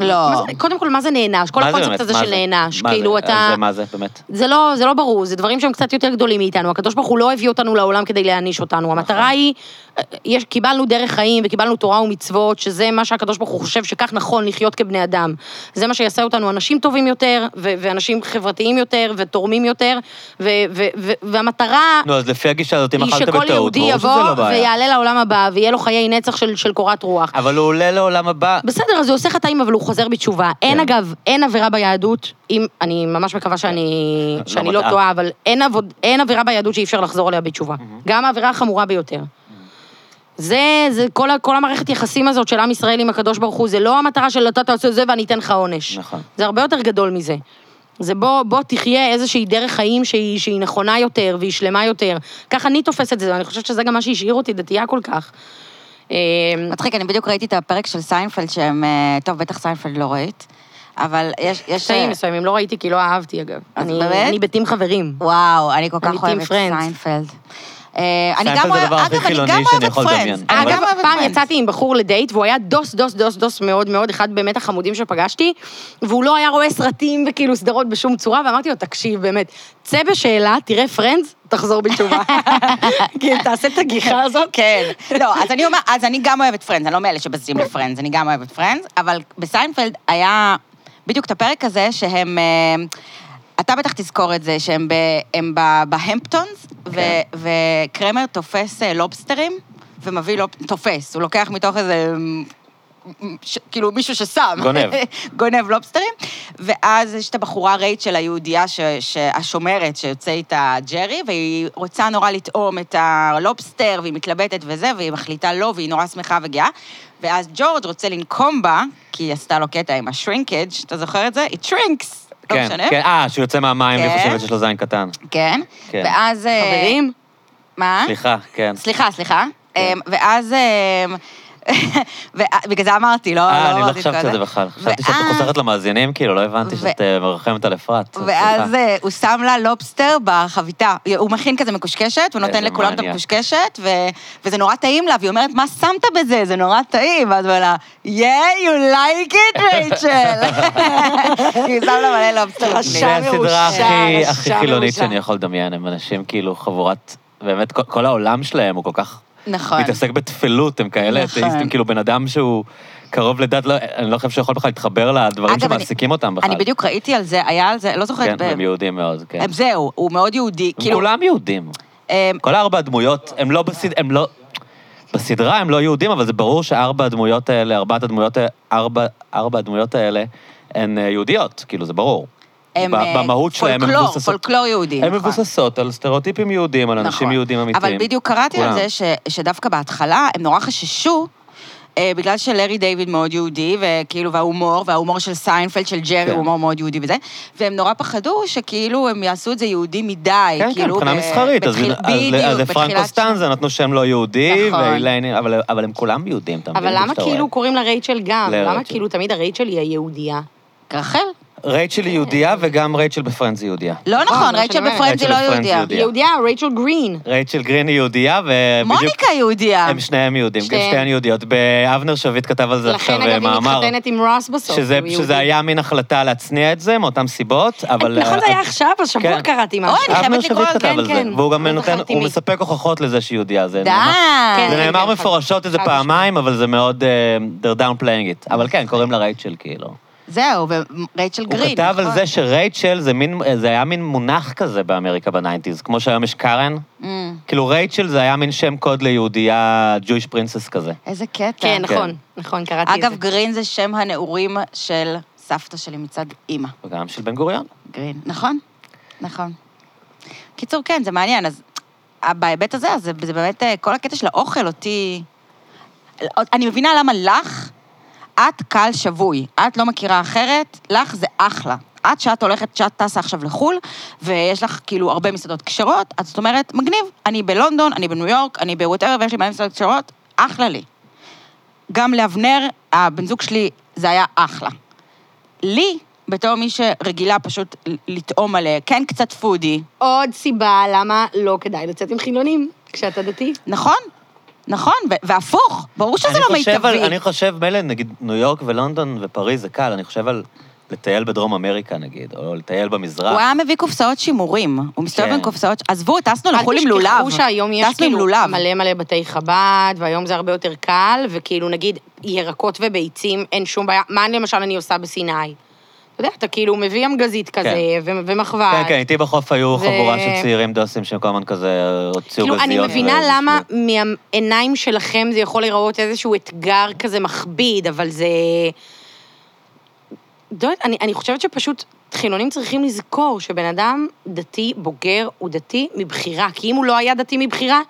Speaker 2: לא.
Speaker 3: אה, מה זה- קודם כל, מה זה נענש? כל
Speaker 1: מה זה
Speaker 3: הקונספט
Speaker 1: באמת?
Speaker 3: הזה
Speaker 1: מה
Speaker 3: של
Speaker 1: זה?
Speaker 3: נענש.
Speaker 1: מה
Speaker 3: כאילו,
Speaker 1: זה?
Speaker 3: אתה...
Speaker 1: אז מה זה, באמת?
Speaker 3: זה לא, זה לא ברור, זה דברים שהם קצת יותר גדולים מאיתנו. הקדוש ברוך הוא לא הביא אותנו לעולם כדי להעניש אותנו.
Speaker 1: נכון.
Speaker 3: המטרה היא, אה, יש, קיבלנו דרך חיים וקיבלנו תורה ומצוות, שזה מה שהקדוש ברוך הוא חושב שכך נכון לחיות כבני אדם. זה מה שיעשה אותנו אנשים טובים יותר, ו- ואנשים חברתיים יותר, ותורמים יותר, ו- ו- ו- והמטרה...
Speaker 1: נו, אז לפי הגישה הזאת, אם
Speaker 3: היא
Speaker 1: אכלת
Speaker 3: שכל
Speaker 1: בטעות,
Speaker 3: יהודי
Speaker 1: ברור שזה
Speaker 3: יבוא
Speaker 1: לא בעיה.
Speaker 3: ויעלה לעולם הבא, ויהיה לו חיי נצח של, של קורת רוח.
Speaker 1: אבל הוא עולה לעולם הבא.
Speaker 3: בסדר, אז הוא עושה חטאים, אבל הוא חוזר בתשובה.
Speaker 1: כן.
Speaker 3: אין אגב, אין עבירה ביהדות, אם, אני ממש מקווה שאני,
Speaker 1: לא
Speaker 3: שאני לא
Speaker 1: מטעה.
Speaker 3: טועה, אבל אין, עבוד, אין עבירה ביהדות שאי אפשר לחזור עליה בתשובה. גם העבירה החמורה ביותר. זה, זה כל, ה- כל המערכת יחסים הזאת של עם ישראל עם הקדוש ברוך הוא, זה לא המטרה של אתה תעשה זה ואני אתן לך עונש.
Speaker 1: נכון.
Speaker 3: זה הרבה יותר גדול מזה. זה בוא, בוא תחיה איזושהי דרך חיים שהיא, שהיא נכונה יותר והיא שלמה יותר. ככה אני תופסת את זה, ואני חושבת שזה גם מה שהשאיר אותי דתייה כל כך. אה,
Speaker 2: מצחיק, אני בדיוק ראיתי את הפרק של סיינפלד שהם... אה, טוב, בטח סיינפלד לא ראית, אבל יש... יש,
Speaker 3: קטעים
Speaker 2: אה,
Speaker 3: מסוימים, לא ראיתי כי לא אהבתי אגב.
Speaker 2: אז
Speaker 3: אני-
Speaker 2: באמת?
Speaker 3: אני בטים חברים.
Speaker 2: וואו, אני כל כך
Speaker 3: אני טים
Speaker 2: אוהבת
Speaker 3: פרנדס.
Speaker 2: סיינפלד. אה, אני
Speaker 1: סיינפלד
Speaker 2: גם
Speaker 1: זה
Speaker 2: אוהבת,
Speaker 1: הדבר הכי
Speaker 2: אגב, אני
Speaker 1: חילוני
Speaker 2: גם
Speaker 1: שאני
Speaker 2: אוהבת
Speaker 1: יכול לדמיין.
Speaker 2: פרנדס. אני
Speaker 1: אבל-
Speaker 2: גם
Speaker 3: אגב,
Speaker 2: אוהבת
Speaker 3: פעם
Speaker 2: פרנדס.
Speaker 3: יצאתי עם בחור לדייט, והוא היה דוס, דוס, דוס, דוס מאוד מאוד, אחד באמת החמודים שפגשתי, והוא לא היה רואה סרטים וכאילו סדרות בשום צורה, ואמרתי לו, תקשיב, באמת, צא בשאלה, תראה פרנדס, תחזור בתשובה. כאילו, תעשה את הגיחה הזאת.
Speaker 2: כן. לא, אז אני אומר, אז אני גם אוהבת פרנדס, אני לא מאלה שבזים לפרנדס, אני גם אוהבת פרנדס, אבל בסיינפלד היה בדיוק את הפרק הזה שהם... אה, אתה בטח תזכור את זה, שהם ב- הם ב- בהמפטונס,
Speaker 1: כן.
Speaker 2: ו- וקרמר תופס אה, לובסטרים, ומביא לוב... תופס, הוא לוקח מתוך איזה... ש, כאילו מישהו ששם.
Speaker 1: גונב.
Speaker 2: גונב לובסטרים. ואז יש את הבחורה רייצ'ל היהודייה, ש, שהשומרת שיוצא איתה ג'רי, והיא רוצה נורא לטעום את הלובסטר, והיא מתלבטת וזה, והיא מחליטה לא, והיא נורא שמחה וגאה. ואז ג'ורג' רוצה לנקום בה, כי היא עשתה לו קטע עם השרינקג', אתה זוכר את זה? It shrinks. לא
Speaker 1: כן,
Speaker 2: משנה.
Speaker 1: כן, אה, שהוא יוצא מהמים,
Speaker 2: כן.
Speaker 1: אני חושבת שיש לו זין קטן.
Speaker 3: אה?
Speaker 2: כן.
Speaker 1: כן.
Speaker 2: ואז... אה,
Speaker 3: חברים,
Speaker 2: מה?
Speaker 1: סליחה, כן.
Speaker 2: סליחה, סליחה. אמ, ואז... אמ, ו- בגלל זה אמרתי, לא
Speaker 1: אה,
Speaker 2: לא
Speaker 1: אני לא
Speaker 2: אמרתי את
Speaker 1: חשבתי
Speaker 2: כל
Speaker 1: על זה
Speaker 2: זה.
Speaker 1: בכלל. חשבתי שאת
Speaker 2: ואז-
Speaker 1: חוזרת למאזינים, כאילו, לא הבנתי
Speaker 2: ו-
Speaker 1: שאת אה, מרחמת על אפרת. אז
Speaker 2: ואז
Speaker 1: סליחה.
Speaker 2: אה, הוא שם לה לובסטר בחביתה. הוא מכין כזה מקושקשת, הוא נותן
Speaker 1: איזה
Speaker 2: לכולם את
Speaker 1: מניאק.
Speaker 2: המקושקשת, ו- וזה נורא טעים לה, והיא אומרת, מה שמת בזה? זה נורא טעים. ואז הוא אומר לה, yeah, you like it, רייצ'ל. היא שם לה מלא לובסטר. בפנים.
Speaker 1: זה הסדרה
Speaker 3: מרושע,
Speaker 1: הכי-
Speaker 3: רשע
Speaker 1: הכי חילונית
Speaker 3: מרושע.
Speaker 1: שאני יכול לדמיין, הם אנשים כאילו חבורת, באמת, כל- כל העולם שלהם הוא כל כך...
Speaker 2: נכון.
Speaker 1: מתעסק בטפלות, הם כאלה
Speaker 2: נכון.
Speaker 1: אתאיסטים, כאילו בן אדם שהוא קרוב לדת, לא- אני לא חושב שיכול בכלל להתחבר לדברים
Speaker 2: אגב, אני-
Speaker 1: שמעסיקים אותם בכלל.
Speaker 2: אני בדיוק ראיתי על זה, היה על זה, לא זוכרת.
Speaker 1: כן,
Speaker 2: ב-
Speaker 1: הם יהודים מאוד, כן.
Speaker 2: הם- זהו, הוא מאוד יהודי.
Speaker 1: הם
Speaker 2: כאילו,
Speaker 1: כולם יהודים.
Speaker 2: אמ,
Speaker 1: כל ארבע הדמויות, הם לא בסד... הם לא... בסדרה הם לא יהודים, אבל זה ברור שארבע הדמויות האלה, ארבעת הדמויות, האלה- ארבע, ארבע הדמויות האלה הן אה, יהודיות, כאילו, זה ברור.
Speaker 2: הם,
Speaker 1: ב-
Speaker 2: אה,
Speaker 1: במהות שלהם הם
Speaker 2: פולקלור,
Speaker 1: מבוססות-
Speaker 2: פולקלור יהודי,
Speaker 1: הן
Speaker 2: נכון.
Speaker 1: מבוססות על סטריאוטיפים יהודים, על אנשים
Speaker 2: נכון.
Speaker 1: יהודים אמיתיים.
Speaker 2: אבל בדיוק קראתי על
Speaker 1: כולם.
Speaker 2: זה ש, שדווקא בהתחלה הם נורא חששו, אה, בגלל שלארי דיוויד מאוד יהודי, וכאילו, וההומור, וההומור של סיינפלד, של ג'רי,
Speaker 1: כן.
Speaker 2: הוא הומור מאוד יהודי וזה, והם נורא פחדו שכאילו הם יעשו את זה יהודי מדי,
Speaker 1: כן, כן,
Speaker 2: כאילו,
Speaker 1: מבחינה
Speaker 2: ב-
Speaker 1: מסחרית. אז-
Speaker 2: בתחיל-
Speaker 1: אז-
Speaker 2: בדיוק,
Speaker 1: אז לפרנקו
Speaker 2: בתחילת-
Speaker 1: סטנזה נתנו שם לא יהודי,
Speaker 2: נכון.
Speaker 1: ואיליינים, אבל- אבל הם כולם יהודים, אתה מבין?
Speaker 3: אבל למה
Speaker 1: כשאתה רואה.
Speaker 3: כאילו קוראים לה רייצ'ל גם?
Speaker 1: לרייצ'ל.
Speaker 3: למה כאילו תמיד הרייצ'ל היא היהודייה?
Speaker 2: רחל?
Speaker 1: רייצ'ל היא יהודייה וגם רייצ'ל בפרנדס היא יהודייה.
Speaker 2: לא
Speaker 3: נכון,
Speaker 2: נכון,
Speaker 3: זה מה שאני
Speaker 2: רייצ'ל
Speaker 3: אומרת.
Speaker 2: בפרנד
Speaker 1: רייצ'ל
Speaker 2: היא לא
Speaker 1: בפרנד
Speaker 2: יהודייה.
Speaker 1: יהודייה.
Speaker 3: יהודייה, רייצ'ל גרין.
Speaker 1: רייצ'ל גרין היא יהודייה, ובדיוק...
Speaker 2: מוניקה יהודייה.
Speaker 1: הם שניהם יהודים, גם
Speaker 3: שתיהן.
Speaker 1: שתיהן יהודיות. באבנר שביט כתב על זה עכשיו
Speaker 3: לכן
Speaker 1: אה,
Speaker 3: אגב היא
Speaker 1: מאמר.
Speaker 3: מתחתנת עם רוס בסוף.
Speaker 1: שזה,
Speaker 3: כי הוא
Speaker 1: שזה
Speaker 3: יהודי.
Speaker 1: היה מין החלטה להצניע את זה, מאותן סיבות, אבל...
Speaker 3: נכון, זה היה
Speaker 1: אה,
Speaker 3: עכשיו, השבוע
Speaker 1: כן.
Speaker 3: קראתי משהו.
Speaker 2: אוי, אני חייבת
Speaker 1: אבנר
Speaker 2: לקרוא,
Speaker 1: שביט כתב
Speaker 2: כן,
Speaker 1: על זה,
Speaker 3: כן.
Speaker 1: והוא גם
Speaker 3: לא
Speaker 1: נותן,
Speaker 3: זכרתי
Speaker 1: הוא
Speaker 3: מי.
Speaker 1: מספק הוכחות לזה שהיא יהודייה, זה
Speaker 2: די.
Speaker 1: נאמר-
Speaker 3: כן,
Speaker 1: זה
Speaker 3: כן,
Speaker 1: נאמר
Speaker 3: כן,
Speaker 1: מפורשות איזה
Speaker 3: חד
Speaker 1: פעמיים, אבל זה מאוד... אה, they're downplaying it. אבל כן, קוראים לה רייצ'ל, כאילו.
Speaker 2: זהו, ורייצ'ל
Speaker 1: הוא
Speaker 2: גרין.
Speaker 1: כתב על
Speaker 2: נכון.
Speaker 1: זה שרייצ'ל זה מין, זה היה מין מונח כזה באמריקה בניינטיז, כמו שהיום יש קארן.
Speaker 2: אמ,
Speaker 1: כאילו רייצ'ל זה היה מין שם קוד ליהודייה ג'ויש פרינסס כזה.
Speaker 2: איזה קטע.
Speaker 3: כן, נכון, נכון, קראתי את זה.
Speaker 2: אגב, גרין זה שם הנעורים של סבתא שלי מצד אימא.
Speaker 1: וגם של בן גוריון.
Speaker 2: גרין, נכון? נכון. קיצור, כן, זה מעניין. אז אה, בהיבט הזה, אז זה, זה באמת, אה, כל הקטע של האוכל אותי... אני מבינה למה לך, את קהל שבוי. את לא מכירה אחרת, לך זה אחלה. את, שאת הולכת, שאת טסה עכשיו לחו"ל, ויש לך כאילו הרבה מסעדות כשרות, אז זאת אומרת, מגניב, אני בלונדון, אני בניו יורק, אני בווטאבר, ויש לי מלא מסעדות כשרות, אחלה לי. גם לאבנר, הבן זוג שלי, זה היה אחלה. לי, בתור מי שרגילה פשוט ל- לטעום מלא, כן קצת פודי,
Speaker 3: עוד סיבה למה לא כדאי לצאת עם חילונים כשאתה דתי.
Speaker 2: נכון? נכון, ו- והפוך, ברור שזה
Speaker 1: אני
Speaker 2: לא
Speaker 1: חושב
Speaker 2: מיטבי.
Speaker 1: על- אני חושב, מילא, נגיד, ניו יורק ולונדון ופריז זה קל, אני חושב על לטייל בדרום אמריקה, נגיד, או לטייל במזרח.
Speaker 2: הוא היה מביא קופסאות שימורים, הוא מסתובב
Speaker 1: כן.
Speaker 2: עם קופסאות, עזבו, טסנו לחו"ל עם
Speaker 3: אל
Speaker 2: לולב.
Speaker 3: תשכחו שהיום יש
Speaker 2: לא, טסנו עם
Speaker 3: כאילו
Speaker 2: לולב.
Speaker 3: מלא מלא בתי חב"ד, והיום זה הרבה יותר קל, וכאילו נגיד ירקות וביצים, אין שום בעיה. מה למשל אני עושה בסיני? אתה יודע, אתה כאילו מביא אמגזית כזה,
Speaker 1: כן.
Speaker 3: ו- ומחבת.
Speaker 1: כן, כן, איתי בחוף היו
Speaker 3: ו-
Speaker 1: חבורה של צעירים דוסים שהם כל הזמן כזה הוציאו
Speaker 3: כאילו,
Speaker 1: גזיות.
Speaker 3: אני מבינה
Speaker 1: ו-
Speaker 3: למה מהעיניים שלכם זה יכול להיראות איזשהו אתגר כזה מכביד, אבל זה... לא יודעת, אני, אני חושבת שפשוט חילונים צריכים לזכור שבן אדם דתי בוגר הוא דתי מבחירה. כי אם הוא לא היה דתי מבחירה,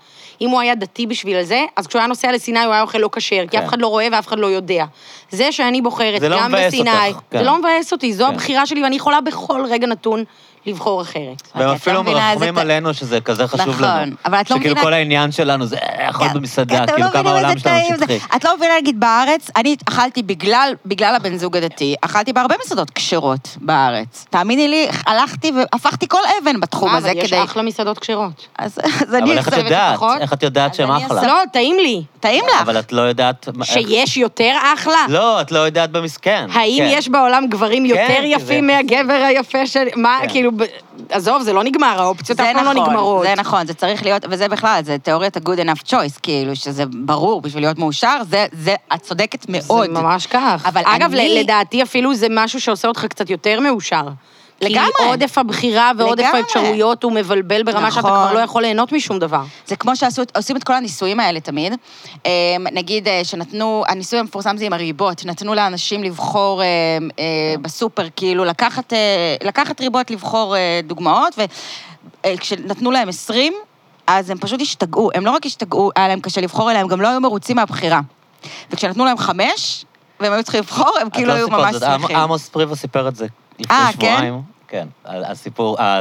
Speaker 3: אם הוא היה דתי בשביל זה, אז כשהוא היה נוסע לסיני הוא היה אוכל לא כשר, כי
Speaker 1: כן.
Speaker 3: אף אחד לא רואה ואף אחד לא יודע. זה שאני בוחרת
Speaker 1: זה לא
Speaker 3: גם
Speaker 1: מבאס
Speaker 3: בסיני,
Speaker 1: אותך, כן.
Speaker 3: זה לא מבאס אותי, זו
Speaker 1: כן.
Speaker 3: הבחירה שלי ואני יכולה בכל רגע נתון לבחור אחרת.
Speaker 1: והם
Speaker 2: אוקיי, את לא
Speaker 1: אפילו
Speaker 2: מבינה איזה
Speaker 1: מרחמים
Speaker 2: ת-
Speaker 1: עלינו שזה כזה חשוב
Speaker 2: נכון,
Speaker 1: לנו.
Speaker 2: אבל את לא
Speaker 1: שכאילו
Speaker 2: מבינה-
Speaker 1: כל העניין שלנו זה אה, אכול במסעדה,
Speaker 2: כן. אתם
Speaker 1: כאילו
Speaker 2: לא
Speaker 1: כמה
Speaker 2: מבינים
Speaker 1: העולם
Speaker 2: איזה
Speaker 1: שלנו
Speaker 2: טעים זה.
Speaker 1: שטחי.
Speaker 2: את לא מבינה, נגיד, בארץ, אני אכלתי בגלל, בגלל הבן זוג הדתי, אכלתי בהרבה מסעדות כשרות בארץ. תאמיני לי, הלכתי והפכתי כל אבן בתחום
Speaker 3: מה,
Speaker 2: הזה
Speaker 3: אבל יש
Speaker 2: כדי...
Speaker 3: אחלה מסעדות כשרות.
Speaker 2: אז אז אני...
Speaker 1: אבל איך את
Speaker 2: אכזבת
Speaker 1: יודעת?
Speaker 2: פחות.
Speaker 1: איך את יודעת
Speaker 2: אז
Speaker 1: שהם
Speaker 2: אני
Speaker 1: אחלה?
Speaker 2: אעשה-
Speaker 3: לא, טעים לי.
Speaker 2: טעים לך.
Speaker 1: אבל את לא יודעת... מה- איך-
Speaker 3: שיש יותר אחלה?
Speaker 1: לא, את לא יודעת כן. במסכן.
Speaker 3: האם יש בעולם גברים יותר
Speaker 1: כן,
Speaker 3: יפים
Speaker 1: זה-
Speaker 3: מהגבר היפה של... מה,
Speaker 1: כן.
Speaker 3: כאילו, ב- עזוב, זה לא נגמר, האופציות אף
Speaker 2: זה
Speaker 3: פעם לא
Speaker 2: נכון,
Speaker 3: נגמרות.
Speaker 2: זה נכון, זה צריך להיות, וזה בכלל, זה תיאוריית ה-good enough choice, כאילו, שזה ברור, בשביל להיות מאושר, זה, זה, את צודקת מאוד.
Speaker 3: זה ממש כך.
Speaker 2: אבל
Speaker 3: אגב,
Speaker 2: אני-
Speaker 3: ל- לדעתי אפילו זה משהו שעושה אותך קצת יותר מאושר.
Speaker 2: לגמרי.
Speaker 3: כי עודף הבחירה ועודף
Speaker 2: לגמרי.
Speaker 3: האפשרויות הוא מבלבל ברמה שאתה
Speaker 2: נכון.
Speaker 3: כבר לא יכול ליהנות משום דבר.
Speaker 2: זה כמו שעושים את כל הניסויים האלה תמיד. אמ, נגיד אה, שנתנו, הניסוי המפורסם זה עם הריבות, נתנו לאנשים לבחור אמ, אה, בסופר, כאילו, לקחת, אה, לקחת ריבות, לבחור אה, דוגמאות, וכשנתנו להם 20, אז הם פשוט השתגעו. הם לא רק השתגעו, היה להם קשה לבחור, אלא הם גם לא היו מרוצים מהבחירה. וכשנתנו להם חמש, והם היו צריכים לבחור, הם
Speaker 1: לא
Speaker 2: כאילו היו ממש שמחים.
Speaker 1: עמוס פריבו סיפר את זה לפני
Speaker 2: אה, כן?
Speaker 1: שבועיים. כן, על- הסיפור, ה- ה-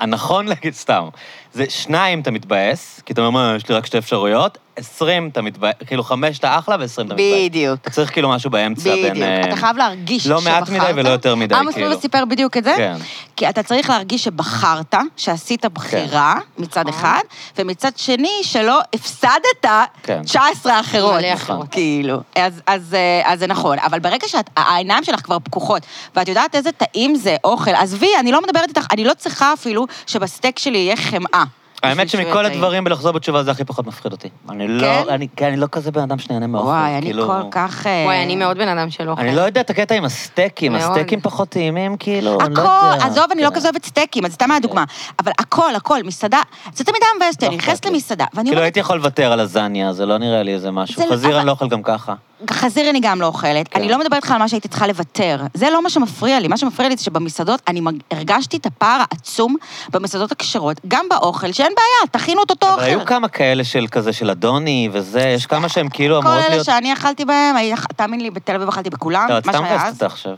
Speaker 1: הנכון להגיד סתם, זה שניים אתה מתבאס, כי אתה אומר, "מה, יש לי רק שתי אפשרויות, עשרים אתה מתבאס, כאילו חמש אתה אחלה ועשרים אתה מתבאס.
Speaker 2: בדיוק.
Speaker 1: אתה צריך כאילו משהו באמצע בין...
Speaker 2: בדיוק.
Speaker 1: אמ- אה,
Speaker 2: אתה חייב להרגיש
Speaker 1: לא
Speaker 2: שבחרת.
Speaker 1: מעט מדי ולא יותר מדי,
Speaker 2: עמוס
Speaker 1: כאילו.
Speaker 2: לוי סיפר בדיוק את זה.
Speaker 1: כן.
Speaker 2: כי אתה צריך להרגיש שבחרת, שעשית בחירה
Speaker 1: כן.
Speaker 2: מצד
Speaker 1: נכון.
Speaker 2: אחד, ומצד שני, שלא הפסדת
Speaker 1: כן. נכון.
Speaker 2: 19 אחרות.
Speaker 3: מלא אחרות.
Speaker 2: כאילו. אז- אז אה, אז זה נכון. אבל ברגע שהעיניים שלך כבר פקוחות, ואת יודעת איזה טעים זה אוכל, עזבי, אני לא מדברת איתך, אני לא צריכה אפילו שבסטייק שלי יהיה חמאה.
Speaker 1: האמת
Speaker 2: בשביל שהוא
Speaker 1: שמכל
Speaker 2: יהיה טעים.
Speaker 1: הדברים בלחזור בתשובה זה הכי פחות מפחיד אותי. אני
Speaker 2: כן?
Speaker 1: לא, אני, כן, אני לא כזה בן אדם שנהנה מאוכל.
Speaker 2: וואי, אני
Speaker 1: כאילו-
Speaker 2: כל כך... אה,
Speaker 3: וואי, אני מאוד בן אדם של אוכל.
Speaker 1: אני לא יודע את הקטע עם הסטייקים,
Speaker 3: מאוד.
Speaker 1: הסטייקים פחות טעימים, כאילו, אני לא
Speaker 2: הכל,
Speaker 1: יודע.
Speaker 2: עזוב, אני לא
Speaker 1: כן.
Speaker 2: כזה אוהבת סטייקים, אז סתם מהדוגמה. אבל הכל, הכל, מסעדה, זה תמיד היה מבאס אותי,
Speaker 1: לא
Speaker 2: אני
Speaker 1: אכפת
Speaker 2: נכנסת
Speaker 1: לי.
Speaker 2: למסעדה, ואני
Speaker 1: כאילו,
Speaker 2: אומרת,
Speaker 1: הייתי יכול לוותר על לזניה, זה לא נראה לי איזה משהו.
Speaker 2: זה לא-
Speaker 1: חזיר
Speaker 2: אבל-
Speaker 1: אני לא אוכל גם ככה.
Speaker 2: חזיר אני גם לא אוכלת,
Speaker 1: כן.
Speaker 2: אני לא מדברת לך על מה שהייתי צריכה לוותר. זה לא מה שמפריע לי, מה שמפריע לי זה שבמסעדות, אני מג- הרגשתי את הפער העצום במסעדות הכשרות, גם באוכל, שאין בעיה, תכינו את אותו
Speaker 3: לא
Speaker 1: אבל היו
Speaker 2: אוכל.
Speaker 1: כמה כאלה של כזה, של אדוני וזה, יש כמה שהם כאילו
Speaker 2: כל
Speaker 1: אמורות
Speaker 2: אלה
Speaker 1: להיות...
Speaker 2: שאני אכלתי בהם, היה- תאמין לי, בתל אביב אכלתי בכולם,
Speaker 1: לא, את
Speaker 2: מה
Speaker 1: סתם
Speaker 2: שהיה
Speaker 1: מבאסת
Speaker 2: אז.
Speaker 1: אותה עכשיו.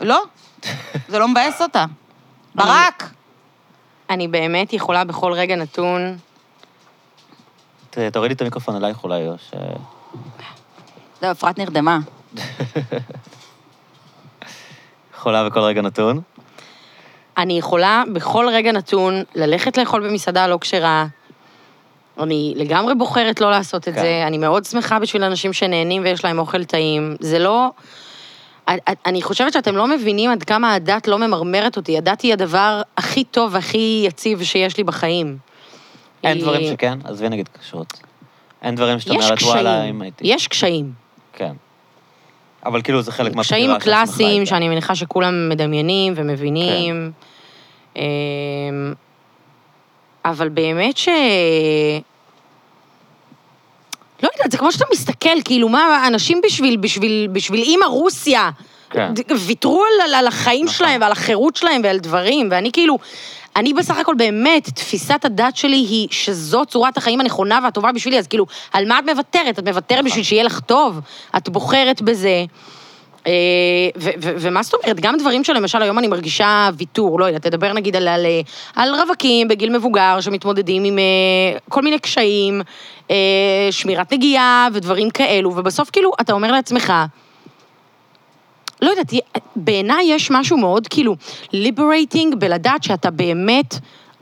Speaker 2: לא, זה לא מבאס אותה. ברק,
Speaker 3: אני באמת יכולה בכל רגע נתון...
Speaker 1: ת- תורידי את המיקרופון אלייך אולי, או ש...
Speaker 2: זהו, לא, אפרת נרדמה.
Speaker 1: חולה בכל רגע נתון.
Speaker 3: אני יכולה בכל רגע נתון ללכת לאכול במסעדה לא כשרה. אני לגמרי בוחרת לא לעשות את
Speaker 1: כן.
Speaker 3: זה. אני מאוד שמחה בשביל אנשים שנהנים ויש להם אוכל טעים. זה לא... אני חושבת שאתם לא מבינים עד כמה הדת לא ממרמרת אותי. הדת היא הדבר הכי טוב והכי יציב שיש לי בחיים.
Speaker 1: אין
Speaker 3: היא-
Speaker 1: דברים שכן? עזבי נגיד כשרות. אין דברים שאת
Speaker 3: יש
Speaker 1: אומרת, וואלה,
Speaker 3: קשיים,
Speaker 1: אם הייתי...
Speaker 3: יש קשיים.
Speaker 1: כן. אבל כאילו זה חלק מהבחירה
Speaker 3: קשיים
Speaker 1: של עצמך
Speaker 3: קלאסיים
Speaker 1: הייתה.
Speaker 3: שאני מניחה שכולם מדמיינים ומבינים.
Speaker 1: כן.
Speaker 3: אמ, אבל באמת ש... לא יודעת, זה כמו שאתה מסתכל, כאילו, מה, אנשים בשביל, בשביל, בשביל אימא רוסיה,
Speaker 1: כן.
Speaker 3: ד- ויתרו על, על החיים
Speaker 1: נכון.
Speaker 3: שלהם ועל החירות שלהם ועל דברים, ואני כאילו, אני בסך הכל באמת, תפיסת הדת שלי היא שזו צורת החיים הנכונה והטובה בשבילי, אז כאילו, על מה את מוותרת? את מוותרת
Speaker 1: נכון.
Speaker 3: בשביל שיהיה לך טוב? את בוחרת בזה. אה, ו- ו- ומה זאת אומרת, גם דברים שלמשל היום אני מרגישה ויתור, לא יודעת, תדבר נגיד על, על, אה, על רווקים בגיל מבוגר שמתמודדים עם אה, כל מיני קשיים, אה, שמירת נגיעה ודברים כאלו, ובסוף כאילו אתה אומר לעצמך, לא יודעת, בעיניי יש משהו מאוד כאילו ליברייטינג בלדעת שאתה באמת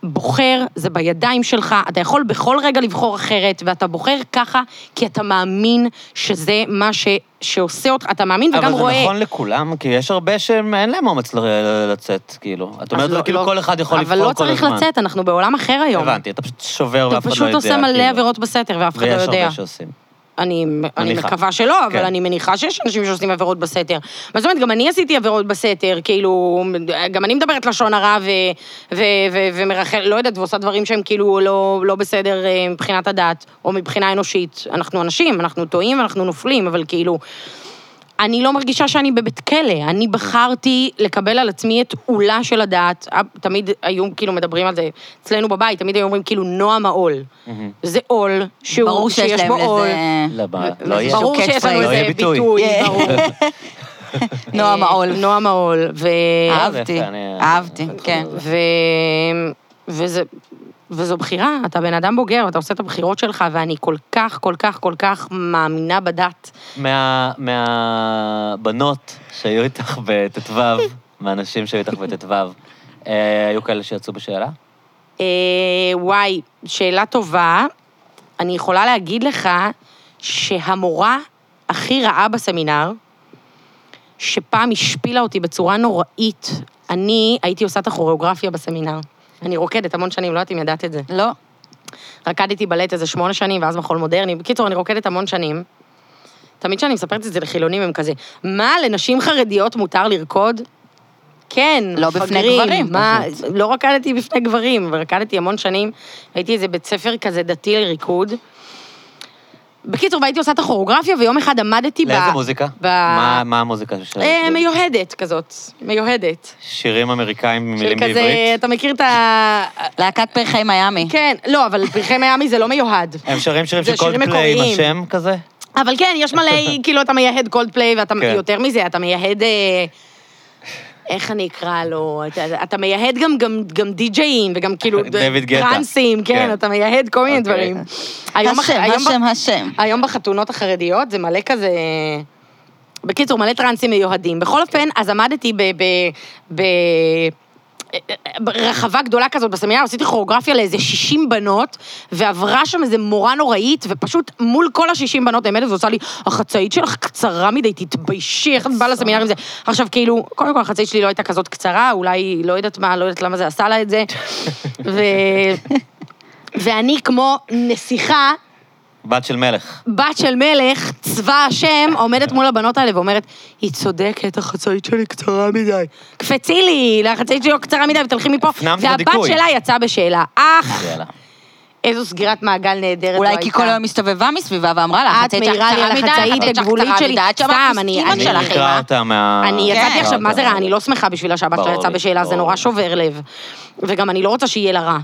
Speaker 3: בוחר, זה בידיים שלך, אתה יכול בכל רגע לבחור אחרת, ואתה בוחר ככה, כי אתה מאמין שזה מה ש, שעושה אותך, אתה מאמין וגם
Speaker 1: אבל
Speaker 3: רואה.
Speaker 1: זה נכון לכולם, כי יש הרבה שאין להם אומץ ל- ל- לצאת, כאילו. את אומרת,
Speaker 3: אז לא-
Speaker 1: כאילו
Speaker 3: לא-
Speaker 1: כל אחד יכול לבחור כל הזמן.
Speaker 3: אבל לא צריך לצאת, אנחנו בעולם אחר היום.
Speaker 1: הבנתי, אתה פשוט שובר
Speaker 3: אתה
Speaker 1: ואף אחד לא יודע.
Speaker 3: פשוט עושה מלא
Speaker 1: כאילו.
Speaker 3: עבירות בסתר ואף אחד לא
Speaker 1: ויש
Speaker 3: יודע.
Speaker 1: הרבה שעושים.
Speaker 3: אני אני
Speaker 1: מניחה.
Speaker 3: מקווה שלא, אבל
Speaker 1: כן.
Speaker 3: אני מניחה שיש אנשים שעושים עבירות בסתר. מה זאת אומרת, גם אני עשיתי עבירות בסתר, כאילו, גם אני מדברת לשון הרע ו- ו- ו- ומרחל, לא יודעת, ועושה דברים שהם כאילו לא- לא בסדר אה, מבחינת הדת, או מבחינה אנושית. אנחנו אנשים, אנחנו טועים, אנחנו נופלים, אבל כאילו... אני לא מרגישה שאני בבית כלא, אני בחרתי לקבל על עצמי את עולה של הדעת. תמיד היו כאילו מדברים על זה אצלנו בבית, תמיד היו אומרים כאילו נועם העול. זה עול, שהוא,
Speaker 2: ברור שיש
Speaker 3: בו
Speaker 2: להם
Speaker 3: עול.
Speaker 2: לזה...
Speaker 1: לא, ב- לא יהיה.
Speaker 3: אה. ברור
Speaker 2: איזשהו
Speaker 3: שיש לנו
Speaker 2: catchphrase.
Speaker 1: לא
Speaker 3: איזה
Speaker 1: יהיה ביטוי.
Speaker 3: ביטוי, ברור.
Speaker 2: נועם העול.
Speaker 3: נועם העול. ו...
Speaker 2: אהבתי,
Speaker 1: אה, יפה, אני-
Speaker 2: אהבתי,
Speaker 1: אני-
Speaker 2: כן.
Speaker 3: ו... וזה... וזו בחירה, אתה בן אדם בוגר, אתה עושה את הבחירות שלך, ואני כל כך, כל כך, כל כך מאמינה בדת.
Speaker 1: מה- מהבנות שהיו איתך בט"ו, מהנשים שהיו איתך בט"ו, אה, היו כאלה שיצאו בשאלה?
Speaker 3: אה, וואי, שאלה טובה. אני יכולה להגיד לך שהמורה הכי רעה בסמינר, שפעם השפילה אותי בצורה נוראית, אני הייתי עושה את הכוריאוגרפיה בסמינר. אני רוקדת המון שנים, לא יודעת אם ידעת את זה.
Speaker 2: לא.
Speaker 3: רקדתי בלט איזה שמונה שנים, ואז מחול מודרני. בקיצור, אני רוקדת המון שנים. תמיד כשאני מספרת את זה לחילונים, הם כזה, מה, לנשים חרדיות מותר לרקוד? כן,
Speaker 2: לא בפני
Speaker 3: מפגרים,
Speaker 2: גברים, אוקיי.
Speaker 3: מה, לא רקדתי בפני גברים, אבל רקדתי המון שנים. הייתי איזה בית ספר כזה דתי לריקוד. בקיצור, והייתי עושה את הכוריאוגרפיה, ויום אחד עמדתי ב...
Speaker 1: לאיזה מוזיקה?
Speaker 3: ב-
Speaker 1: מה מה המוזיקה של...
Speaker 3: אה, מיוהדת כזאת, מיוהדת.
Speaker 1: שירים אמריקאים עם
Speaker 3: של
Speaker 1: מילים
Speaker 3: כזה, אה,
Speaker 1: בעברית?
Speaker 3: אתה מכיר את ה...
Speaker 2: להקת פרחי מיאמי.
Speaker 3: כן, לא, אבל פרחי מיאמי זה לא מיוהד.
Speaker 1: הם שרים שירים
Speaker 3: זה
Speaker 1: של קולד
Speaker 3: שירים
Speaker 1: פליי עם
Speaker 3: מקוריים.
Speaker 1: השם כזה?
Speaker 3: אבל כן, יש מלא, כאילו, אתה מייהד קולד פליי, ואתה,
Speaker 1: כן.
Speaker 3: כן. יותר מזה, אתה מייהד... אה, איך אני אקרא לו? אתה, אתה מייהד גם, גם, גם די-ג'אים, וגם כאילו...
Speaker 1: דויד גטה.
Speaker 3: טרנסים, כן,
Speaker 1: כן.
Speaker 3: אתה מייהד כל מיני
Speaker 1: אוקיי.
Speaker 3: דברים. היום אח-
Speaker 2: השם,
Speaker 3: היום ב-
Speaker 2: השם, השם.
Speaker 3: היום בחתונות החרדיות זה מלא כזה... בקיצור, מלא טרנסים מיוהדים. בכל אופן, אז עמדתי ב... ב... ב... ברחבה גדולה כזאת בסמינר, עשיתי כוריאוגרפיה לאיזה 60 בנות, ועברה שם איזה מורה נוראית, ופשוט מול כל ה-60 בנות העמדת ועושה לי, החצאית שלך קצרה מדי, תתביישי, איך את באה לסמינר עם זה. עכשיו, כאילו, קודם כל החצאית שלי לא הייתה כזאת קצרה, אולי לא יודעת מה, לא יודעת למה זה עשה לה את זה. ו... ואני כמו נסיכה,
Speaker 1: בת של מלך.
Speaker 3: בת של מלך, צבא השם, עומדת מול הבנות האלה ואומרת, היא צודקת, החצאית שלי קצרה מדי. קפצי לי, החצאית שלי לא קצרה מדי, ותלכי מפה.
Speaker 1: הפנמת את
Speaker 3: והבת
Speaker 1: הדיכוי. כן.
Speaker 3: שלה יצאה בשאלה. אך,
Speaker 1: יאללה.
Speaker 3: איזו סגרת מעגל נהדרת
Speaker 2: אולי
Speaker 3: זו
Speaker 2: כי
Speaker 3: לא הייתה.
Speaker 2: כל היום הסתובבה מסביבה ואמרה לה,
Speaker 3: את
Speaker 2: החצאית שלך
Speaker 3: מעירה לי על
Speaker 2: קצרה מדי,
Speaker 3: החצאית
Speaker 2: החצאית שלך
Speaker 3: הגבולית
Speaker 2: קצרה
Speaker 3: שלי.
Speaker 2: מדי, עד שאמרת,
Speaker 3: סתם, אני-
Speaker 2: אימא
Speaker 3: אני-
Speaker 1: אני
Speaker 2: שלך,
Speaker 1: אקרא
Speaker 2: אימא.
Speaker 1: אותה מה...
Speaker 3: אני
Speaker 2: כן.
Speaker 3: יצאתי עכשיו,
Speaker 1: אקרא
Speaker 3: מה זה
Speaker 1: אותה.
Speaker 3: רע? אני לא שמחה בשבילה שהבת
Speaker 1: ברור
Speaker 3: שלה יצאה
Speaker 1: לי,
Speaker 3: בשאלה, זה
Speaker 1: ברור
Speaker 3: נורא
Speaker 1: לי.
Speaker 3: שובר לב. וגם אני לא רוצה שיהיה לה רע.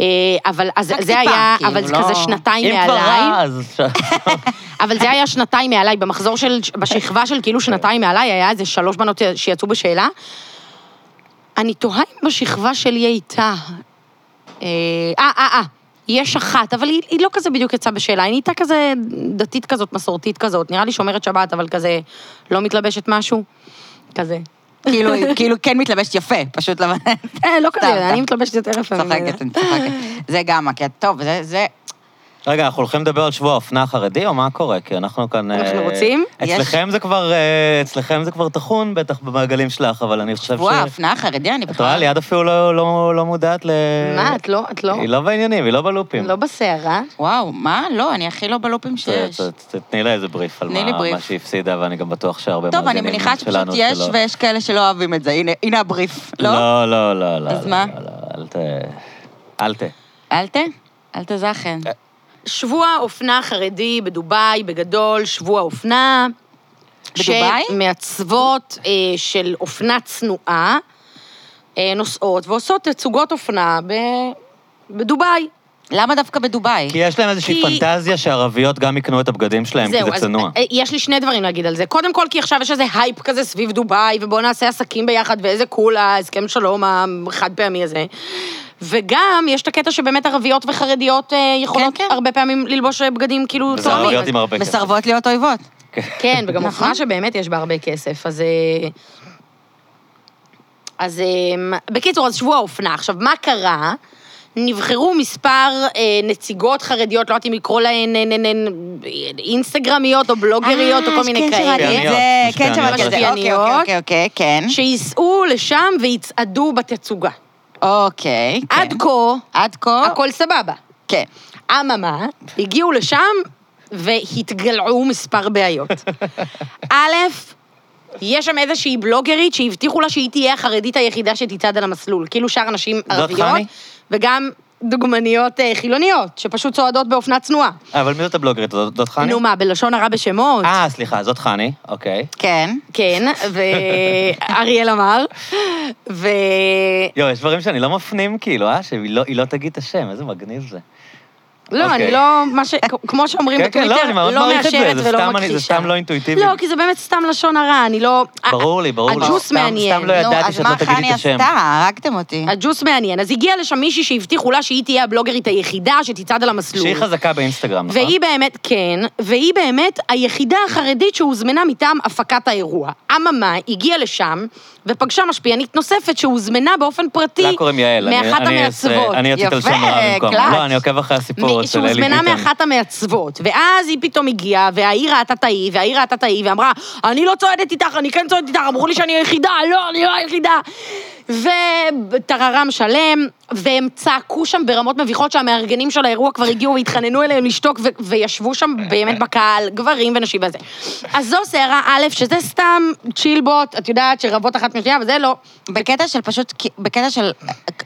Speaker 3: אה, אבל אז
Speaker 2: רק
Speaker 3: זה
Speaker 2: טיפה,
Speaker 3: היה,
Speaker 2: כאילו,
Speaker 3: אבל זה
Speaker 2: לא-
Speaker 3: כזה שנתיים
Speaker 1: אם כבר
Speaker 3: מעליי.
Speaker 1: רע, אז אפשר...
Speaker 3: אבל זה היה שנתיים מעליי, במחזור של, בשכבה של כאילו שנתיים מעליי, היה איזה שלוש בנות שיצאו בשאלה. אני תוהה אם בשכבה שלי הייתה... אה, אה, אה, אה, יש אחת, אבל היא, היא לא כזה בדיוק יצאה בשאלה, היא נהייתה כזה דתית כזאת, מסורתית כזאת, נראה לי שומרת שבת, אבל כזה לא מתלבשת משהו, כזה.
Speaker 2: כאילו, כאילו כן מתלבשת יפה, פשוט לא...
Speaker 3: אה, לא
Speaker 2: סתם,
Speaker 3: כזה,
Speaker 2: סתם.
Speaker 3: אני מתלבשת יותר יפה. ממנה.
Speaker 2: צוחקת, אני צוחקת. זה גם הקטע. טוב, זה- זה...
Speaker 1: רגע, אנחנו הולכים לדבר על שבוע האופנה החרדי, או מה קורה? כי אנחנו כאן... אה,
Speaker 3: אנחנו רוצים?
Speaker 1: אצלכם זה כבר... אה, אצלכם זה כבר טחון, בטח במעגלים שלך, אבל אני חושב ש...
Speaker 2: וואו, האופנה החרדי,
Speaker 1: את
Speaker 2: אני
Speaker 1: רואה,
Speaker 2: בכלל...
Speaker 1: ליעד אפילו לא- לא לא מודעת ל...
Speaker 3: מה, את לא, את לא,
Speaker 1: היא לא בעניינים, היא לא בלופים.
Speaker 3: לא בסערה?
Speaker 2: וואו, מה? לא, אני הכי לא בלופים שיש.
Speaker 1: ת- ת- תתני לה איזה בריף על
Speaker 2: תני לי
Speaker 1: מה-
Speaker 2: בריף.
Speaker 1: מה שהיא הפסידה, ואני גם בטוח שהרבה
Speaker 2: טוב, אני
Speaker 1: מאזינים
Speaker 2: מניחה שפשוט
Speaker 1: שלנו
Speaker 2: יש,
Speaker 1: שלא.
Speaker 2: ויש כאלה שלא אוהבים את זה. הנה- הנה הבריף, לא?
Speaker 1: לא, לא, לא, לא.
Speaker 2: אז
Speaker 1: לא,
Speaker 2: מה?
Speaker 1: לא, לא, אל ת... אל ת...
Speaker 2: אל ת... אל תזכן.
Speaker 1: אה.
Speaker 3: שבוע אופנה חרדי בדובאי, בגדול, שבוע אופנה.
Speaker 2: בדובאי?
Speaker 3: שמעצבות אה, של אופנה צנועה, אה, נוסעות ועושות תצוגות אופנה ב... בדובאי.
Speaker 2: למה דווקא בדובאי?
Speaker 1: כי יש להם איזושהי
Speaker 3: כי-
Speaker 1: פנטזיה שערביות גם יקנו את הבגדים שלהם, כן, כי זה
Speaker 3: אז
Speaker 1: צנוע.
Speaker 3: אה, יש לי שני דברים להגיד על זה. קודם כל, כי עכשיו יש איזה הייפ כזה סביב דובאי, ובואו נעשה עסקים ביחד, ואיזה קול ההסכם שלום החד פעמי הזה. וגם, יש את הקטע שבאמת ערביות וחרדיות אה, יכולות
Speaker 2: כן.
Speaker 3: הרבה פעמים ללבוש אה, בגדים כאילו
Speaker 1: וזה
Speaker 3: תואמים.
Speaker 1: ערביות עם הרבה כסף.
Speaker 2: מסרבות להיות אויבות.
Speaker 3: כן, וגם אופנה
Speaker 2: נכון.
Speaker 3: שבאמת יש בה הרבה כסף, אז... אה, אז אה, בקיצור, אז שבוע האופנה. עכשיו, מה קרה? נבחרו מספר אה, נציגות חרדיות, לא יודעת אם לקרוא להן אה, אה, אה, אינסטגרמיות או בלוגריות או כל מיני
Speaker 2: כן שמעתי את זה,
Speaker 3: כאלה,
Speaker 1: משפיעניות,
Speaker 2: כן שמעתי את זה. אוקיי,
Speaker 3: משפיעניות.
Speaker 2: אוקיי, אוקיי, אוקיי, כן.
Speaker 3: שייסעו לשם ויצעדו בתצוגה.
Speaker 2: אוקיי, כן.
Speaker 3: עד כה,
Speaker 2: עד כה,
Speaker 3: הכל סבבה.
Speaker 2: כן.
Speaker 3: אממה, הגיעו לשם והתגלעו מספר בעיות. א', יש שם איזושהי בלוגרית שהבטיחו לה שהיא תהיה החרדית היחידה שתצעד על המסלול. כאילו שאר הנשים ערביות,
Speaker 1: חני?
Speaker 3: וגם דוגמניות אה, חילוניות, שפשוט צועדות באופנה צנועה.
Speaker 1: אבל מי זאת הבלוגרית? הזאת? זאת חני?
Speaker 3: נו מה, בלשון הרע בשמות?
Speaker 1: אה, סליחה, זאת חני, אוקיי.
Speaker 2: כן.
Speaker 3: כן, ואריאל אמר, ו...
Speaker 1: יואו, יש דברים שאני לא מפנים, כאילו, אה? שהיא לא- היא לא תגיד את השם, איזה מגניב זה.
Speaker 3: לא,
Speaker 1: אוקיי.
Speaker 3: אני לא, מה ש... כמו שאומרים
Speaker 1: כן, כן,
Speaker 3: בטוויטר,
Speaker 1: לא, אני מאוד
Speaker 3: לא
Speaker 1: מעריך את זה,
Speaker 3: מאשרת
Speaker 1: זה
Speaker 3: ולא
Speaker 1: סתם אני- זה
Speaker 3: מכחישה.
Speaker 1: סתם לא אינטואיטיבי.
Speaker 3: לא, כי זה באמת סתם לשון הרע, אני לא...
Speaker 1: ברור לי, ברור לי.
Speaker 3: הג'וס
Speaker 1: סתם-
Speaker 3: מעניין.
Speaker 1: סתם לא
Speaker 2: נו,
Speaker 1: ידעתי
Speaker 2: אז
Speaker 1: שאת
Speaker 2: מה
Speaker 1: לא תגידי
Speaker 2: חני
Speaker 1: את השם.
Speaker 2: עשתה? הרגתם אותי.
Speaker 3: הג'וס מעניין. אז הגיעה לשם מישהי שהבטיחו לה שהיא תהיה הבלוגרית היחידה שתצעד על המסלול.
Speaker 1: שהיא חזקה באינסטגרם, נכון?
Speaker 3: כאילו. והיא באמת, כן, והיא באמת היחידה החרדית שהוזמנה מטעם הפקת האירוע. אממה, הגיעה לשם ופגשה משפיענית נוספת שהוזמנה באופן פרטי
Speaker 1: לה קוראים יעל. אני-
Speaker 3: מאחת
Speaker 1: אני-
Speaker 3: המעצבות.
Speaker 1: אני רציתי
Speaker 2: יפה,
Speaker 1: על שם רע במקום.
Speaker 2: קלאץ'.
Speaker 1: לא, אני עוקב אחרי הסיפור
Speaker 3: מ-
Speaker 1: אצל אלי
Speaker 3: שהוזמנה
Speaker 1: ביטון.
Speaker 3: מאחת המעצבות, ואז היא פתאום הגיעה, וההיא ראתה את ההיא, וההיא ראתה את ההיא, ואמרה, אני לא צועדת איתך, אני כן צועדת איתך, אמרו לי שאני היחידה, לא, אני לא היחידה. וטררם שלם, והם צעקו שם ברמות מביכות שהמארגנים של האירוע כבר הגיעו והתחננו אליהם לשתוק, ו- וישבו שם באמת בקהל, גברים ונשים וזה. אז זו סערה א', שזה סתם צ'ילבוט, את יודעת, שרבות אחת מהשנייה, וזה לא.
Speaker 2: בקטע של פשוט, כי- בקטע של...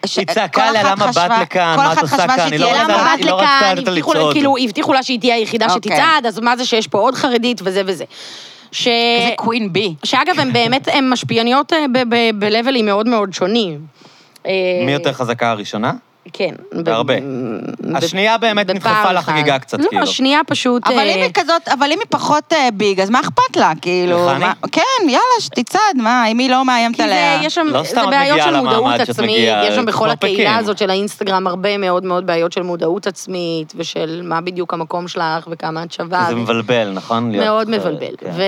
Speaker 2: ש-
Speaker 1: היא צעקה
Speaker 2: כל
Speaker 1: לה,
Speaker 2: אחת
Speaker 1: "למה באת
Speaker 2: חשבה-
Speaker 1: לכאן?
Speaker 2: כל
Speaker 1: מה את
Speaker 2: אחת
Speaker 1: עושה
Speaker 2: חשבה
Speaker 1: כאן?
Speaker 2: שהיא
Speaker 1: אני לא
Speaker 2: תהיה
Speaker 1: רוצה-
Speaker 2: לה-
Speaker 1: למה
Speaker 3: באת
Speaker 1: היא לא רצתה
Speaker 3: לכאן,
Speaker 1: לתת לה
Speaker 3: הבטיחו לה-
Speaker 1: לצעוד.
Speaker 3: כאילו, הבטיחו לה שהיא תהיה היחידה
Speaker 2: אוקיי.
Speaker 3: שתצעד, אז מה זה שיש פה עוד חרדית וזה וזה. ש...
Speaker 2: זה קווין בי.
Speaker 3: שאגב, הן באמת, הן משפיעניות אה, ב- ב- בלבלים מאוד מאוד שונים. אה,
Speaker 1: מי יותר חזקה הראשונה?
Speaker 3: כן. ב-
Speaker 1: בהרבה.
Speaker 3: ב-
Speaker 1: השנייה באמת
Speaker 3: בפעם
Speaker 1: נדחפה
Speaker 3: אחת.
Speaker 1: לחגיגה קצת,
Speaker 3: לא,
Speaker 1: כאילו.
Speaker 3: השנייה פשוט...
Speaker 2: אבל
Speaker 3: אה,
Speaker 2: אם היא כזאת, אבל אם היא פחות אה, ביג, אז מה אכפת לה? כאילו...
Speaker 1: לחני?
Speaker 2: מה- כן, יאללה, שתצעד, מה, אם היא לא מאיימת
Speaker 3: כי זה,
Speaker 2: עליה.
Speaker 3: יש שם,
Speaker 1: לא סתם
Speaker 3: זה
Speaker 1: את
Speaker 3: בעיות
Speaker 1: מגיעה
Speaker 3: של
Speaker 1: למעמד
Speaker 3: מודעות
Speaker 1: שאת
Speaker 3: עצמית,
Speaker 1: מגיעה,
Speaker 3: יש שם בכל
Speaker 1: כמו פקיעין.
Speaker 3: הקהילה הזאת של האינסטגרם הרבה מאוד מאוד בעיות של מודעות עצמית, ושל מה בדיוק המקום שלך וכמה את שווה.
Speaker 1: זה
Speaker 3: ו-
Speaker 1: מבלבל, נכון? להיות
Speaker 3: אה, מאוד
Speaker 1: אחרת,
Speaker 3: מבלבל.
Speaker 1: כן.
Speaker 3: ו...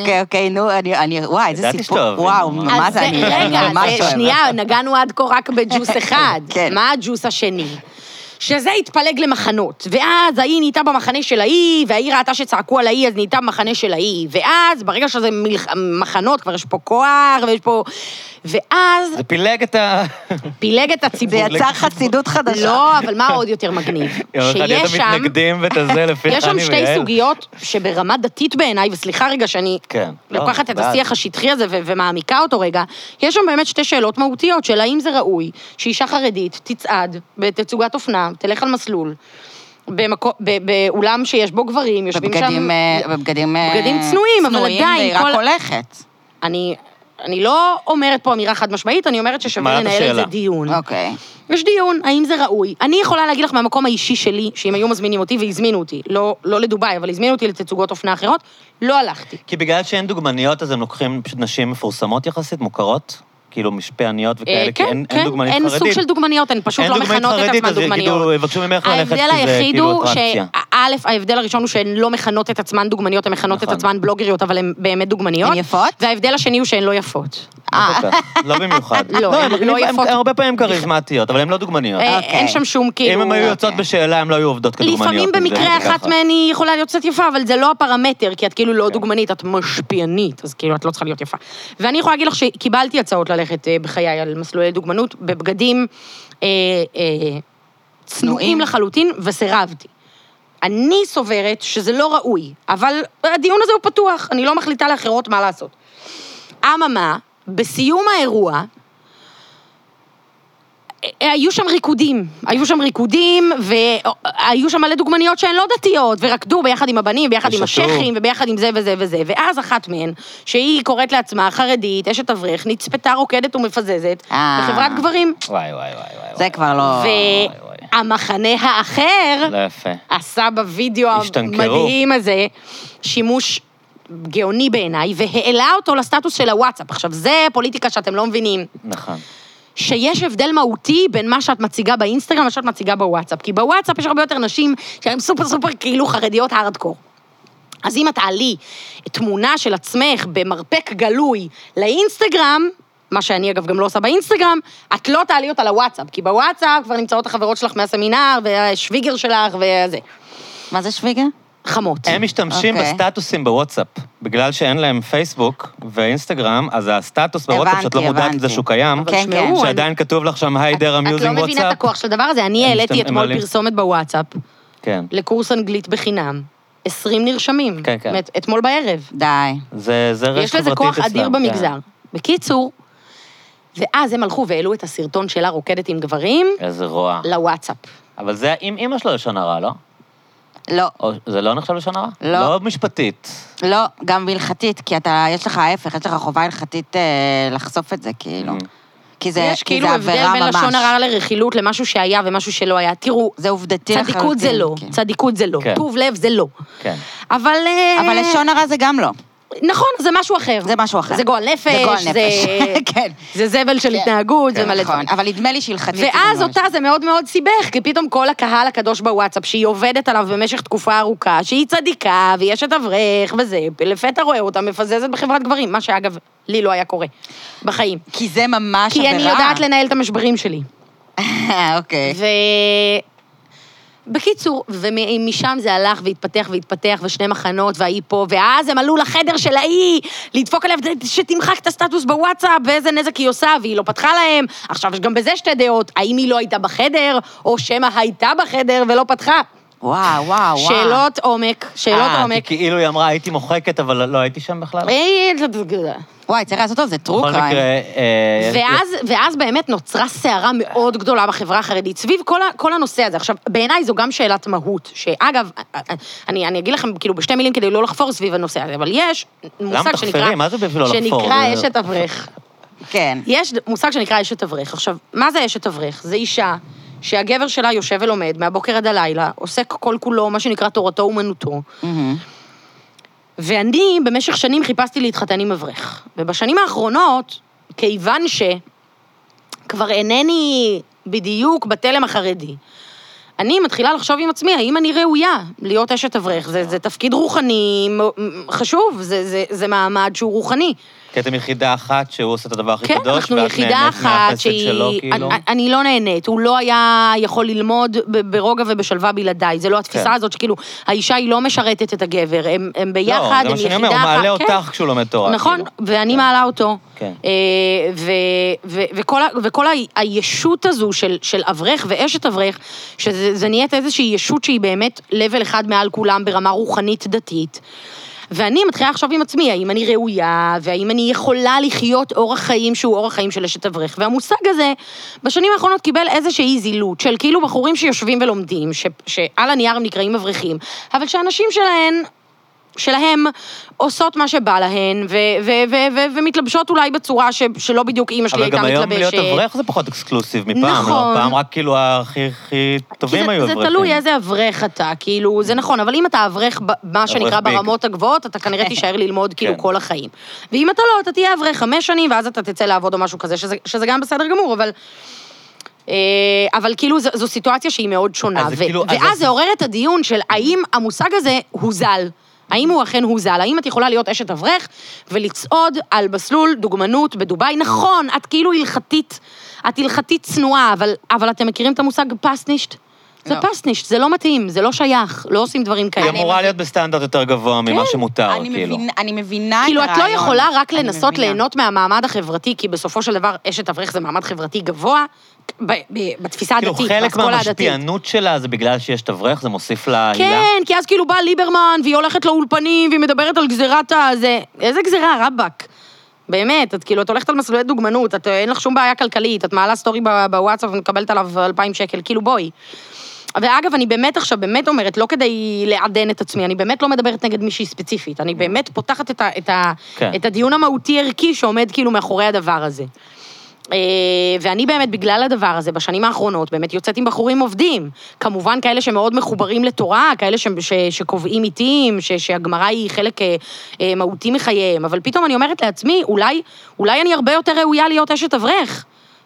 Speaker 2: אוקיי, אוקיי, נו, אני, אני, וואי, איזה
Speaker 1: ידעתי
Speaker 2: סיפור.
Speaker 1: שתאהבי,
Speaker 2: וואו,
Speaker 1: נו,
Speaker 2: מה
Speaker 3: אז
Speaker 2: זה, אני אני
Speaker 3: רגע,
Speaker 2: ממש
Speaker 3: זה-
Speaker 2: אוהבת.
Speaker 3: שנייה, נגענו עד כה רק בג'וס אחד.
Speaker 2: כן.
Speaker 3: מה הג'וס השני? שזה התפלג למחנות, ואז ההיא נהייתה במחנה של ההיא, וההיא ראתה שצעקו על ההיא, אז נהייתה במחנה של ההיא, ואז ברגע שזה מלח... מחנות, כבר יש פה כוח, ויש פה... ואז
Speaker 1: זה פילג את ה...
Speaker 3: פילג את
Speaker 2: זה
Speaker 3: הציבור.
Speaker 2: יצר חסידות חדשה.
Speaker 3: לא, אבל מה עוד יותר מגניב?
Speaker 1: היא הולכת להיות
Speaker 3: שיש שם...
Speaker 1: המתנגדים ואת הזה לפי חני
Speaker 3: יש שם שתי
Speaker 1: ויעל.
Speaker 3: סוגיות שברמה דתית בעיניי, וסליחה רגע שאני
Speaker 1: כן, לא,
Speaker 3: לוקחת את
Speaker 1: בעד.
Speaker 3: השיח השטחי הזה ו- ומעמיקה אותו רגע, יש שם באמת שתי שאלות מהותיות של האם זה ראוי שאישה חרדית תצעד בתצוגת אופנה, תלך על מסלול, במקו- ב- באולם שיש בו גברים, יושבים שם...
Speaker 2: בבגדים, אה, בבגדים, אה,
Speaker 3: בגדים צנועים, אבל עדיין
Speaker 2: והיא רק
Speaker 3: כל-
Speaker 2: הולכת.
Speaker 3: אני... אני לא אומרת פה אמירה חד משמעית, אני אומרת ששווה
Speaker 1: מעלה את
Speaker 3: לנהל על זה
Speaker 1: השאלה.
Speaker 3: דיון.
Speaker 2: אוקיי.
Speaker 3: יש דיון, האם זה ראוי. אני יכולה להגיד לך מהמקום האישי שלי, שאם היו מזמינים אותי, והזמינו אותי, לא, לא לדובאי, אבל הזמינו אותי לתצוגות אופנה אחרות, לא הלכתי.
Speaker 1: כי בגלל שאין דוגמניות, אז הם לוקחים פשוט נשים מפורסמות יחסית, מוכרות, כאילו משפעניות
Speaker 3: אה,
Speaker 1: וכאלה, כי אין אין דוגמנית
Speaker 3: אין
Speaker 1: חרדית.
Speaker 3: סוג של דוגמניות, הן פשוט
Speaker 1: אין
Speaker 3: לא
Speaker 1: דוגמנית
Speaker 3: מכנות את
Speaker 1: חרדית,
Speaker 3: עצמן
Speaker 1: אז
Speaker 3: דוגמניות.
Speaker 1: יגידו, יבקשו ממך ללכת,
Speaker 3: ההבדל
Speaker 1: כי זה
Speaker 3: היחיד
Speaker 1: כאילו
Speaker 3: הוא
Speaker 1: אטרקציה.
Speaker 3: שא', ההבדל הראשון הוא שהן לא מכנות את עצמן דוגמניות, הן מכנות את
Speaker 1: נכון.
Speaker 3: עצמן בלוגריות, אבל הן באמת דוגמניות.
Speaker 2: הן יפות?
Speaker 3: וההבדל השני הוא שהן לא יפות.
Speaker 1: לא כל כך, לא במיוחד.
Speaker 3: לא,
Speaker 1: לא,
Speaker 3: הן
Speaker 1: הן
Speaker 3: לא
Speaker 1: מגניבות, הן
Speaker 3: יפות.
Speaker 1: הן הרבה פעמים כריזמטיות, אבל הן לא דוגמניות.
Speaker 3: אה,
Speaker 2: אוקיי.
Speaker 3: אין שם שום כאילו...
Speaker 1: אם הן היו יוצאות בשאלה, הן לא היו עובדות כדוגמניות.
Speaker 3: לפעמים
Speaker 1: אם זה
Speaker 3: במקרה
Speaker 1: היה
Speaker 3: אחת
Speaker 1: ככה. כן.
Speaker 3: מהן היא יכולה להיות קצת יפה, אבל זה לא הפרמטר, כי את כאילו לא דוגמנית, את משפיענית, אז כאילו את לא צריכה להיות יפה. ואני יכולה להגיד לך שקיבלתי הצעות ללכת אה, בחיי על מסלולי דוגמנות, בבגדים אה, אה, צנועים
Speaker 2: צנועים.
Speaker 3: לחלוטין, וסירבתי. אני סוברת שזה לא ראוי, אבל הדיון הזה הוא פתוח, אני לא מחליטה לאחרות מה לעשות. אממה, בסיום האירוע, אה, היו שם ריקודים, היו שם ריקודים, והיו שם מלא דוגמניות שהן לא דתיות, ורקדו ביחד עם הבנים, ביחד עם
Speaker 1: ושתו.
Speaker 3: השייחים, וביחד עם זה וזה וזה, ואז אחת מהן, שהיא קוראת לעצמה חרדית, אשת אברך, נצפתה רוקדת ומפזזת,
Speaker 2: אה.
Speaker 3: בחברת גברים,
Speaker 1: וואי, וואי, וואי, וואי.
Speaker 2: זה כבר לא...
Speaker 1: וואי.
Speaker 3: והמחנה האחר
Speaker 1: לא יפה.
Speaker 3: עשה בווידאו
Speaker 1: השתנקרו.
Speaker 3: המדהים הזה שימוש גאוני בעיניי, והעלה אותו לסטטוס של הוואטסאפ. עכשיו, זה פוליטיקה שאתם לא מבינים.
Speaker 1: נכון.
Speaker 3: שיש הבדל מהותי בין מה שאת מציגה באינסטגרם למה שאת מציגה בוואטסאפ. כי בוואטסאפ יש הרבה יותר נשים שהן סופר סופר כאילו חרדיות הארדקור. אז אם את תעלי תמונה של עצמך במרפק גלוי לאינסטגרם, מה שאני אגב גם לא עושה באינסטגרם, את לא תעלי אותה לוואטסאפ, כי בוואטסאפ כבר נמצאות החברות שלך מהסמינר, והשוויגר שלך וזה.
Speaker 2: מה זה שוויגה?
Speaker 3: חמות.
Speaker 1: הם משתמשים
Speaker 2: אוקיי.
Speaker 1: בסטטוסים בוואטסאפ. בגלל שאין להם פייסבוק ואינסטגרם, אז הסטטוס בוואטסאפ, שאת לא
Speaker 2: הבנתי,
Speaker 1: מודעת
Speaker 2: הבנתי.
Speaker 1: לזה שהוא קיים,
Speaker 2: כן, כן.
Speaker 3: שמעו,
Speaker 1: שעדיין כתוב לך שם, היי דר
Speaker 3: את
Speaker 1: המיוזינג
Speaker 3: לא
Speaker 1: וואטסאפ.
Speaker 3: מבינה את הכוח של הדבר הזה. אני
Speaker 1: הם
Speaker 3: העליתי
Speaker 1: משתמ- הם
Speaker 3: אתמול
Speaker 1: מעלים-
Speaker 3: פרסומת בוואטסאפ
Speaker 1: כן.
Speaker 3: לקורס אנגלית בחינם. 20 נרשמים.
Speaker 1: כן, כן.
Speaker 3: זאת אומרת, אתמול בערב.
Speaker 2: די.
Speaker 1: זה זה רשת חברתית
Speaker 3: יש
Speaker 1: אצלם.
Speaker 3: לזה כוח אדיר
Speaker 1: כן.
Speaker 3: במגזר. בקיצור, ואז הם הלכו והעלו את הסרטון שלה רוקדת עם גברים
Speaker 1: כן. איזה רוע.
Speaker 3: לוואטסאפ.
Speaker 1: אבל זה עם אימא שלו לשון הרע, לא?
Speaker 2: לא,
Speaker 1: או, זה לא נחשב לשון הרע?
Speaker 2: לא.
Speaker 1: לא משפטית.
Speaker 2: לא, גם בהלכתית, כי אתה, יש לך ההפך, יש לך חובה הלכתית אה, לחשוף את זה, כאילו. כי זה,
Speaker 3: Mm. יש
Speaker 2: כי
Speaker 3: כאילו
Speaker 2: זה
Speaker 3: הבדל
Speaker 2: עבירה
Speaker 3: בין
Speaker 2: ממש.
Speaker 3: לשון הרע לרכילות למשהו שהיה ומשהו שלא היה. תראו,
Speaker 2: זה עובדתי לחלוטין.
Speaker 3: צדיקות זה לא,
Speaker 2: כן.
Speaker 3: צדיקות זה לא,
Speaker 1: כן.
Speaker 3: טוב לב זה לא.
Speaker 1: כן.
Speaker 3: אבל... אה,
Speaker 2: אבל לשון הרע זה גם לא.
Speaker 3: נכון, זה משהו אחר.
Speaker 2: זה משהו אחר.
Speaker 3: זה גועל נפש,
Speaker 2: זה גועל
Speaker 3: זה-
Speaker 2: נפש, כן.
Speaker 3: זה זבל של
Speaker 2: כן.
Speaker 3: התנהגות, זה
Speaker 2: כן,
Speaker 3: מלא
Speaker 2: נכון.
Speaker 3: דברים.
Speaker 2: אבל נדמה לי שהלכתית... זה
Speaker 3: ואז
Speaker 2: גם לא
Speaker 3: אותה זה מאוד מאוד סיבך, כי פתאום כל הקהל הקדוש בוואטסאפ, שהיא עובדת עליו במשך תקופה ארוכה, שהיא צדיקה, ויש את אברך וזה, לפתע רואה אותה מפזזת בחברת גברים, מה שאגב, לי לא היה קורה, בחיים.
Speaker 2: לשון. כי זה ממש
Speaker 3: כי
Speaker 2: עבירה.
Speaker 3: אני יודעת לנהל את המשברים שלי.
Speaker 2: אוקיי.
Speaker 3: ו... בקיצור, ומשם זה הלך והתפתח והתפתח, ושני מחנות, והאי פה, ואז הם עלו לחדר של האי, לדפוק עליה, שתמחק את הסטטוס בוואטסאפ, ואיזה נזק היא עושה, והיא לא פתחה להם. עכשיו, יש גם בזה שתי דעות, האם היא לא הייתה בחדר, או שמא הייתה בחדר ולא פתחה.
Speaker 2: וואו, וואו, וואו.
Speaker 3: שאלות עומק, שאלות
Speaker 1: אה, כי
Speaker 3: עומק.
Speaker 1: כאילו היא אמרה, הייתי מוחקת, אבל לא הייתי שם בכלל.
Speaker 3: אה,
Speaker 2: וואי, צריך לעשות אותו, זה טרו
Speaker 1: בכל
Speaker 2: קריים.
Speaker 1: מקרה... אה,
Speaker 3: ואז, ואז באמת נוצרה סערה מאוד גדולה בחברה החרדית, סביב כל, ה, כל הנושא הזה. עכשיו, בעיניי זו גם שאלת מהות, שאגב, אני, אני אגיד לכם כאילו בשתי מילים כדי לא לחפור סביב הנושא הזה, אבל יש מושג
Speaker 1: תחפרי?
Speaker 3: שנקרא...
Speaker 1: מה זה בשביל לא לחפור?
Speaker 3: שנקרא
Speaker 1: זה-
Speaker 3: אשת אברך.
Speaker 2: כן.
Speaker 3: יש מושג שנקרא אשת אברך. עכשיו, מה זה אשת אברך? זה אישה שהגבר שלה יושב ולומד מהבוקר עד הלילה, עוסק כל כולו, מה שנקרא תורתו אומנותו,
Speaker 2: מהמם.
Speaker 3: ואני במשך שנים חיפשתי להתחתן עם אברך. ובשנים האחרונות, כיוון שכבר אינני בדיוק בתלם החרדי, אני מתחילה לחשוב עם עצמי, האם אני ראויה להיות אשת אברך? זה, זה תפקיד רוחני מ- חשוב, זה, זה, זה מעמד שהוא רוחני.
Speaker 1: כי אתם יחידה אחת שהוא עושה את הדבר הכי
Speaker 3: כן,
Speaker 1: קדוש,
Speaker 3: אנחנו
Speaker 1: ואת
Speaker 3: יחידה
Speaker 1: נהנית
Speaker 3: אחת
Speaker 1: מהחסד
Speaker 3: שהיא...
Speaker 1: שלו, כאילו.
Speaker 3: אני, אני לא נהנית, הוא לא היה יכול ללמוד ב- ברוגע ובשלווה בלעדיי. זה לא התפיסה
Speaker 1: כן.
Speaker 3: הזאת שכאילו, האישה היא לא משרתת את הגבר, הם, הם ביחד,
Speaker 1: לא,
Speaker 3: הם
Speaker 1: זה מה שאני
Speaker 3: יחידה
Speaker 1: אומר, הוא
Speaker 3: אחת.
Speaker 1: מעלה
Speaker 3: כן.
Speaker 1: אותך כשהוא לומד תורה.
Speaker 3: נכון,
Speaker 1: כאילו.
Speaker 3: ואני
Speaker 1: כן.
Speaker 3: מעלה אותו.
Speaker 1: כן.
Speaker 3: אה, ו- ו- וכל ה- וכל ה- הישות הזו של- של אברך ואשת אברך, שזה זה נהיית איזושהי ישות שהיא באמת לבל אחד מעל כולם ברמה רוחנית דתית. ואני מתחילה עכשיו עם עצמי, האם אני ראויה, והאם אני יכולה לחיות אורח חיים שהוא אורח חיים של אשת אברך. והמושג הזה, בשנים האחרונות קיבל איזושהי זילות, של כאילו בחורים שיושבים ולומדים, ש- שעל הנייר הם נקראים אברכים, אבל שהנשים שלהן שלהם עושות מה שבא להן, ו- ו- ו- ו- ומתלבשות אולי בצורה ש- שלא בדיוק אימא שלי
Speaker 1: אבל
Speaker 3: הייתה
Speaker 1: גם
Speaker 3: מתלבשת.
Speaker 1: היום להיות אברך זה פחות אקסקלוסיב מפעם. לא?
Speaker 3: נכון.
Speaker 1: פעם רק כאילו הכי הכי
Speaker 3: כי
Speaker 1: טובים
Speaker 3: זה-
Speaker 1: היו אברכים.
Speaker 3: זה תלוי איזה אברך אתה, כאילו, זה נכון, אבל אם אתה אברך, ב- מה שנקרא,
Speaker 1: ביג.
Speaker 3: ברמות הגבוהות, אתה כנראה תישאר ללמוד כאילו
Speaker 1: כן.
Speaker 3: כל החיים. ואם אתה לא, אתה תהיה אברך חמש שנים, ואז אתה תצא לעבוד או משהו כזה, שזה- שזה גם בסדר גמור, אבל... אה, אבל כאילו זו, זו סיטואציה שהיא מאוד שונה,
Speaker 1: אז זה
Speaker 3: ו-
Speaker 1: כאילו- אז
Speaker 3: ואז
Speaker 1: זה-
Speaker 3: זה עורר את הדיון של האם המושג הזה הוזל, האם הוא אכן הוזל, האם את יכולה להיות אשת אברך ולצעוד על מסלול דוגמנות בדובאי, נכון, את כאילו הלכתית, את הלכתית צנועה, אבל, אבל אתם מכירים את המושג פסנישט? זה
Speaker 2: לא.
Speaker 3: פסנישט, זה לא מתאים, זה לא שייך, לא עושים דברים
Speaker 1: היא
Speaker 3: כאלה.
Speaker 1: אמורה להיות בסטנדרט יותר גבוה
Speaker 3: כן,
Speaker 1: ממה שמותר,
Speaker 2: אני
Speaker 1: כאילו.
Speaker 2: מבינה- אני מבינה את
Speaker 3: כאילו,
Speaker 2: הרעיון.
Speaker 3: את לא יכולה רק
Speaker 2: אני
Speaker 3: לנסות
Speaker 2: מבינה.
Speaker 3: ליהנות מהמעמד החברתי, כי בסופו של דבר אשת אברך זה מעמד חברתי גבוה, ב- ב- בתפיסה
Speaker 1: כאילו,
Speaker 3: הדתית,
Speaker 1: חלק
Speaker 3: באסכולה הדתית.
Speaker 1: מהמשפיענות שלה זה בגלל שיש תברך, זה מוסיף לה הילה.
Speaker 3: כן, כי אז כאילו בא ליברמן, והיא הולכת לאולפנים, והיא מדברת על גזירת הזה. איזה גזירה, רבאק? באמת, את כאילו, את הולכת על מסלולי דוגמנות, את, אין לך שום בעיה כלכלית, את מעלה סטורי ב- בוואטסאפ ומקבלת עליו 2,000 שקל, כאילו בואי. ואגב, אני באמת עכשיו, באמת אומרת, לא כדי לעדן את עצמי, אני באמת לא מדברת נגד מישהי ספציפית, אני באמת פותחת את, ה, את, ה,
Speaker 1: כן.
Speaker 3: את הדיון המהותי-ערכי שעומד כאילו מאחורי הדבר הזה. אה, ואני באמת, בגלל הדבר הזה, בשנים האחרונות, באמת יוצאת עם בחורים עובדים. כמובן, כאלה שמאוד מחוברים לתורה, כאלה ש, ש, שקובעים עיתים, ש, שהגמרא היא חלק אה, אה, מהותי מחייהם, אבל פתאום אני אומרת לעצמי, אולי, אולי אני הרבה יותר ראויה להיות אשת אברך,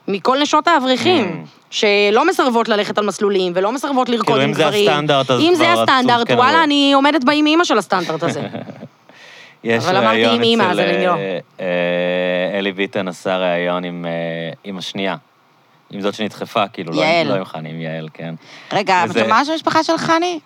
Speaker 3: מכל נשות האברכים.
Speaker 1: Mm.
Speaker 3: שלא מסרבות ללכת על מסלולים, ולא מסרבות לרקוד
Speaker 1: כאילו,
Speaker 3: עם
Speaker 1: אם זה
Speaker 3: גברים.
Speaker 1: הסטנדרט, אז
Speaker 3: אם זה
Speaker 1: כבר עצוב,
Speaker 3: הסטנדרט,
Speaker 1: כן,
Speaker 3: וואלה,
Speaker 1: אבל-
Speaker 3: אני עומדת באימא אימא של הסטנדרט הזה.
Speaker 1: יש
Speaker 3: אבל אמרתי
Speaker 1: ראיון
Speaker 3: עם אמא, אז
Speaker 1: אצל,
Speaker 3: אני לא.
Speaker 1: אה, אה, אלי ביטן עשה ראיון עם, אה, עם השנייה. עם זאת שנדחפה, כאילו, לא עם-
Speaker 2: יעל.
Speaker 1: לא עם חני, עם יעל, כן.
Speaker 2: רגע,
Speaker 1: וזה-
Speaker 2: אתה מה שם המשפחה של חני?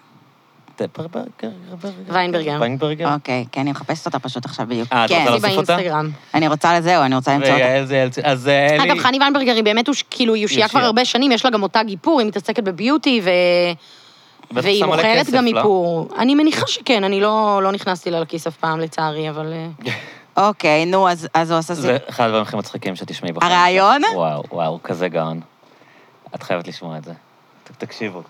Speaker 1: טפרברגר, ברגר.
Speaker 3: ויינברגר. אה,
Speaker 1: ויינברגר.
Speaker 2: אוקיי, כן, אני מחפשת אותה פשוט עכשיו בדיוק.
Speaker 1: אה, את
Speaker 2: כן,
Speaker 1: רוצה
Speaker 3: היא
Speaker 1: להוסיף אותה?
Speaker 3: באינסטגרם.
Speaker 2: אני רוצה לזהו, אני רוצה למצוא אותה.
Speaker 1: ויעל זה יעל, אז אה, אלי...
Speaker 3: כן, אגב, חני ויינברגר היא באמת אוש- כאילו היא אושייה
Speaker 1: אושייה.
Speaker 3: כבר הרבה שנים, יש לה גם מותג איפור, היא מתעסקת בביוטי, ו...
Speaker 1: בטח
Speaker 3: והיא
Speaker 1: שמה לה
Speaker 3: מוכרת
Speaker 1: כסף,
Speaker 3: גם
Speaker 1: לא?
Speaker 3: איפור. אני מניחה שכן, אני לא לא נכנסתי לה לכיס אף פעם, לצערי, אבל... אה,
Speaker 2: אוקיי, נו, אז אז הוא עשה
Speaker 1: זה
Speaker 2: סיפור.
Speaker 1: אחד הדברים הכי מצחיקים שתשמעי בחיים.
Speaker 2: הרעיון?
Speaker 1: וואו, וואו, הוא כזה גאון. את חייבת לשמוע את זה. ת- תקשיבו.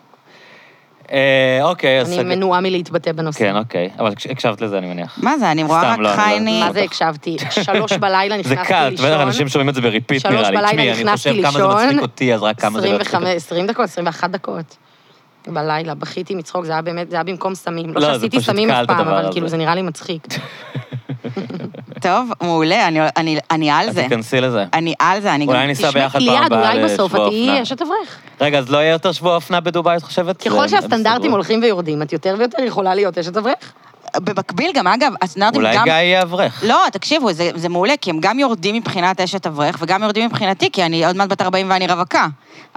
Speaker 1: אה, אוקיי, אז...
Speaker 3: אני
Speaker 1: סג-
Speaker 3: מנועה מלהתבטא בנושא.
Speaker 1: כן, אוקיי. אבל הקש- הקשבת לזה, אני מניח.
Speaker 2: מה זה, אני רואה
Speaker 1: סתם,
Speaker 2: רק
Speaker 1: לא, אני לא-
Speaker 2: חייני...
Speaker 3: מה זה הקשבתי? שלוש בלילה
Speaker 1: זה
Speaker 3: נכנסתי
Speaker 1: קל, בטח
Speaker 3: לישון.
Speaker 1: אנשים שומעים את זה בריפיט,
Speaker 3: שלוש
Speaker 1: נראה לי.
Speaker 3: בלילה
Speaker 1: תשמעי, אני
Speaker 3: נכנסתי
Speaker 1: חושב כמה זה
Speaker 3: לישון,
Speaker 1: מצחיק אותי, אז רק כמה זה לא מצחיק
Speaker 3: 25, 20 דקות, 21 דקות. בלילה, בכיתי מצחוק, זה היה באמת, זה היה במקום סמים. לא
Speaker 1: לא, זה
Speaker 3: שעשיתי
Speaker 1: פשוט
Speaker 3: סמים
Speaker 1: קל,
Speaker 3: אף
Speaker 1: את
Speaker 3: פעם,
Speaker 1: הדבר
Speaker 3: אבל
Speaker 1: הזה.
Speaker 3: כאילו זה נראה לי מצחיק.
Speaker 2: טוב, מעולה, אני- אני- אני על
Speaker 1: אז
Speaker 2: זה.
Speaker 1: תיכנסי לזה.
Speaker 3: אה.
Speaker 2: אני על זה, אני גם...
Speaker 1: אולי ניסע
Speaker 3: תשמעי,
Speaker 1: ביחד פעם
Speaker 3: ליעד,
Speaker 1: הבאה
Speaker 3: אולי בסוף את
Speaker 1: לשבוע
Speaker 3: תהיי
Speaker 1: אופנה. כן,
Speaker 3: אשת אברך.
Speaker 1: רגע, אז לא יהיה יותר שבוע אופנה בדובאי, את חושבת? זה-
Speaker 3: ככל
Speaker 1: הם
Speaker 3: שהסטנדרטים
Speaker 1: יסתדרו.
Speaker 3: הולכים ויורדים, את יותר ויותר יכולה להיות אשת אברך.
Speaker 2: במקביל, גם אגב, הסטנדרטים
Speaker 1: אולי
Speaker 2: גם...
Speaker 1: גיא יהיה אברך.
Speaker 2: לא, תקשיבו, זה, זה מעולה, כי הם גם יורדים מבחינת אשת אברך, וגם יורדים מבחינתי, כי אני עוד מעט בת 40 ואני רווקה.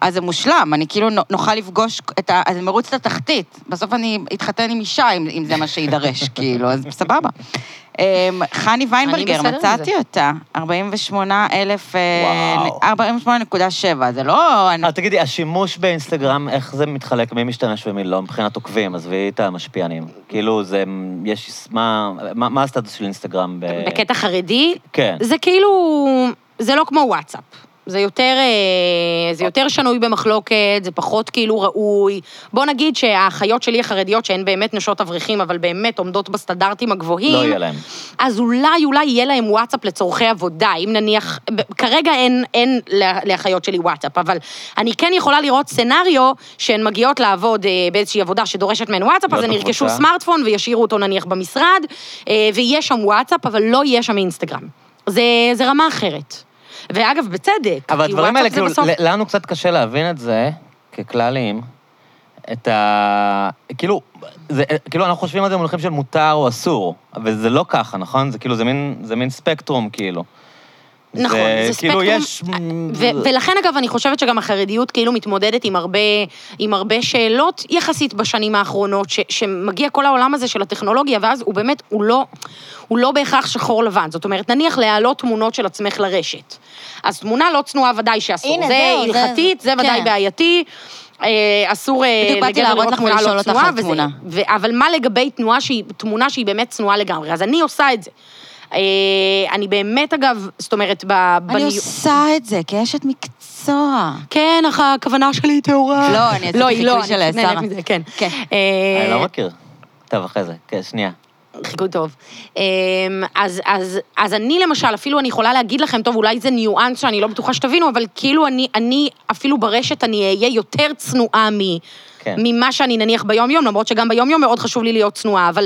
Speaker 2: אז זה מושלם, אני כאילו נו- נוכל לפגוש את ה... אז מרוץ לתחתית. בסוף אני אתחתן עם אישה, אם, אם זה מה שיידרש, כאילו, אז סבבה. אמ, חני ויינברגר,
Speaker 3: בסדר עם
Speaker 2: מצאתי
Speaker 3: זה.
Speaker 2: אותה, 48 אלף... אה,
Speaker 1: וואו.
Speaker 2: 48.7, זה לא... אני-
Speaker 1: אז אה, תגידי, השימוש באינסטגרם, איך זה מתחלק? מי משתמש ומי לא? מבחינת עוקבים, עזבי את המשפיענים. כאילו, זה... יש... מה מה- מה הסטטוס של אינסטגרם ב...
Speaker 3: בקטע חרדי,
Speaker 1: אה, כן.
Speaker 3: זה כאילו, זה לא כמו וואטסאפ. זה יותר, אה, זה יותר שנוי במחלוקת, זה פחות כאילו ראוי. בוא נגיד שהאחיות שלי החרדיות, שהן באמת נשות אברכים, אבל באמת עומדות בסטנדרטים הגבוהים,
Speaker 1: לא יהיה להם.
Speaker 3: אז אולי, אולי יהיה להם וואטסאפ לצורכי עבודה, אם נניח, ב- כרגע אין, אין לה- לאחיות שלי וואטסאפ, אבל אני כן יכולה לראות סצנריו שהן מגיעות לעבוד אה, באיזושהי עבודה שדורשת מהן וואטסאפ, אז
Speaker 1: להיות
Speaker 3: הן ירכשו
Speaker 1: בקבוצה.
Speaker 3: סמארטפון וישאירו אותו נניח במשרד, אה, ויהיה שם וואטסאפ, אבל לא יהיה שם אינסטגרם. זה, זה רמה אחרת. ואגב, בצדק,
Speaker 1: אבל
Speaker 3: כי
Speaker 1: הדברים
Speaker 3: וואטסאפ
Speaker 1: האלה,
Speaker 3: זה
Speaker 1: כאילו,
Speaker 3: בסוף-
Speaker 1: ל- לנו קצת קשה להבין את זה, ככללים. את ה... כאילו, זה, כאילו אנחנו חושבים על זה במונחים של מותר או אסור, אבל זה לא ככה, נכון? זה כאילו, זה מין, זה מין ספקטרום, כאילו.
Speaker 3: נכון, זה
Speaker 1: כאילו,
Speaker 3: ספקטרום, אה,
Speaker 1: יש...
Speaker 3: ו- ולכן, אגב, אני חושבת שגם החרדיות כאילו מתמודדת עם הרבה, עם הרבה שאלות יחסית בשנים האחרונות, ש- שמגיע כל העולם הזה של הטכנולוגיה, ואז הוא באמת, הוא לא, הוא לא בהכרח שחור לבן. זאת אומרת, נניח להעלות תמונות של עצמך לרשת. אז תמונה לא צנועה ודאי שאסור.
Speaker 4: הנה,
Speaker 3: זה
Speaker 4: זהו, זה-
Speaker 3: הלכתית, זה,
Speaker 4: כן.
Speaker 3: ודאי בעייתי. אה, אסור אה,
Speaker 4: בדיוק באתי
Speaker 3: לגבר
Speaker 4: להראות
Speaker 3: לראות
Speaker 4: לך
Speaker 3: תמונה
Speaker 4: ולשאול
Speaker 3: לא
Speaker 4: אותך
Speaker 3: צנועה,
Speaker 4: על
Speaker 3: וזה-
Speaker 4: תמונה.
Speaker 3: ו- אבל מה לגבי תנועה שהיא, תמונה שהיא באמת צנועה לגמרי? אז אני עושה את זה. אה, אני באמת, אגב, זאת אומרת, ב-
Speaker 2: אני
Speaker 3: בניו-
Speaker 2: עושה את זה כאשת מקצוע.
Speaker 3: כן, אך הכוונה שלי היא טהורה.
Speaker 2: לא, אני עשיתי
Speaker 3: היא
Speaker 2: חיקוי
Speaker 3: אני
Speaker 2: של
Speaker 3: פשוט נהנית
Speaker 2: שרה.
Speaker 3: מזה, כן.
Speaker 2: כן.
Speaker 3: אה,
Speaker 1: אני לא מכיר. טוב, אחרי זה. כן, שנייה.
Speaker 3: חיקוי טוב. אמ, אז, אז, אז אני למשל, אפילו אני יכולה להגיד לכם, טוב, אולי זה ניואנס שאני לא בטוחה שתבינו, אבל כאילו אני, אני אפילו ברשת אני אהיה יותר צנועה מ,
Speaker 1: כן.
Speaker 3: ממה שאני נניח ביום-יום, למרות שגם ביום-יום מאוד חשוב לי להיות צנועה, אבל...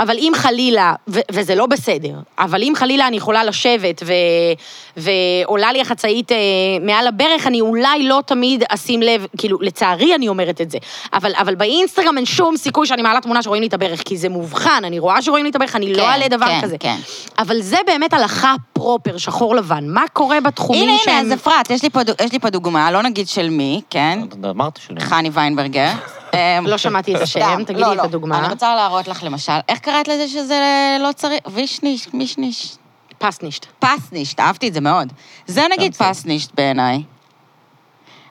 Speaker 3: אבל אם חלילה, ו- וזה לא בסדר, אבל אם חלילה אני יכולה לשבת ו- ועולה לי החצאית אה, מעל הברך, אני אולי לא תמיד אשים לב, כאילו, לצערי אני אומרת את זה, אבל, אבל באינסטגרם אין שום סיכוי שאני מעלה תמונה שרואים לי את הברך, כי זה מובחן, אני רואה שרואים לי את הברך, אני לא
Speaker 4: כן,
Speaker 3: אעלה דבר
Speaker 4: כן,
Speaker 3: כזה.
Speaker 4: כן.
Speaker 3: אבל זה באמת הלכה פרופר, שחור לבן. מה קורה בתחומים
Speaker 2: הנה, הנה,
Speaker 3: שהם...
Speaker 2: אז אפרת, יש לי פה דו- יש לי פה דוגמה, לא נגיד של מי, כן?
Speaker 1: אמרתי שלי.
Speaker 2: חני ויינברגר. אמ,
Speaker 3: לא שמעתי את
Speaker 2: סתם,
Speaker 3: השם, תגידי
Speaker 2: לא,
Speaker 3: את
Speaker 2: לא.
Speaker 3: הדוגמה.
Speaker 2: אני רוצה להראות לך למשל, איך קראת לזה שזה לא צריך, וישניש, מישניש,
Speaker 3: פסנישט.
Speaker 2: פסנישט, אהבתי את זה מאוד. זה נגיד
Speaker 1: בסדר.
Speaker 2: פסנישט בעיניי.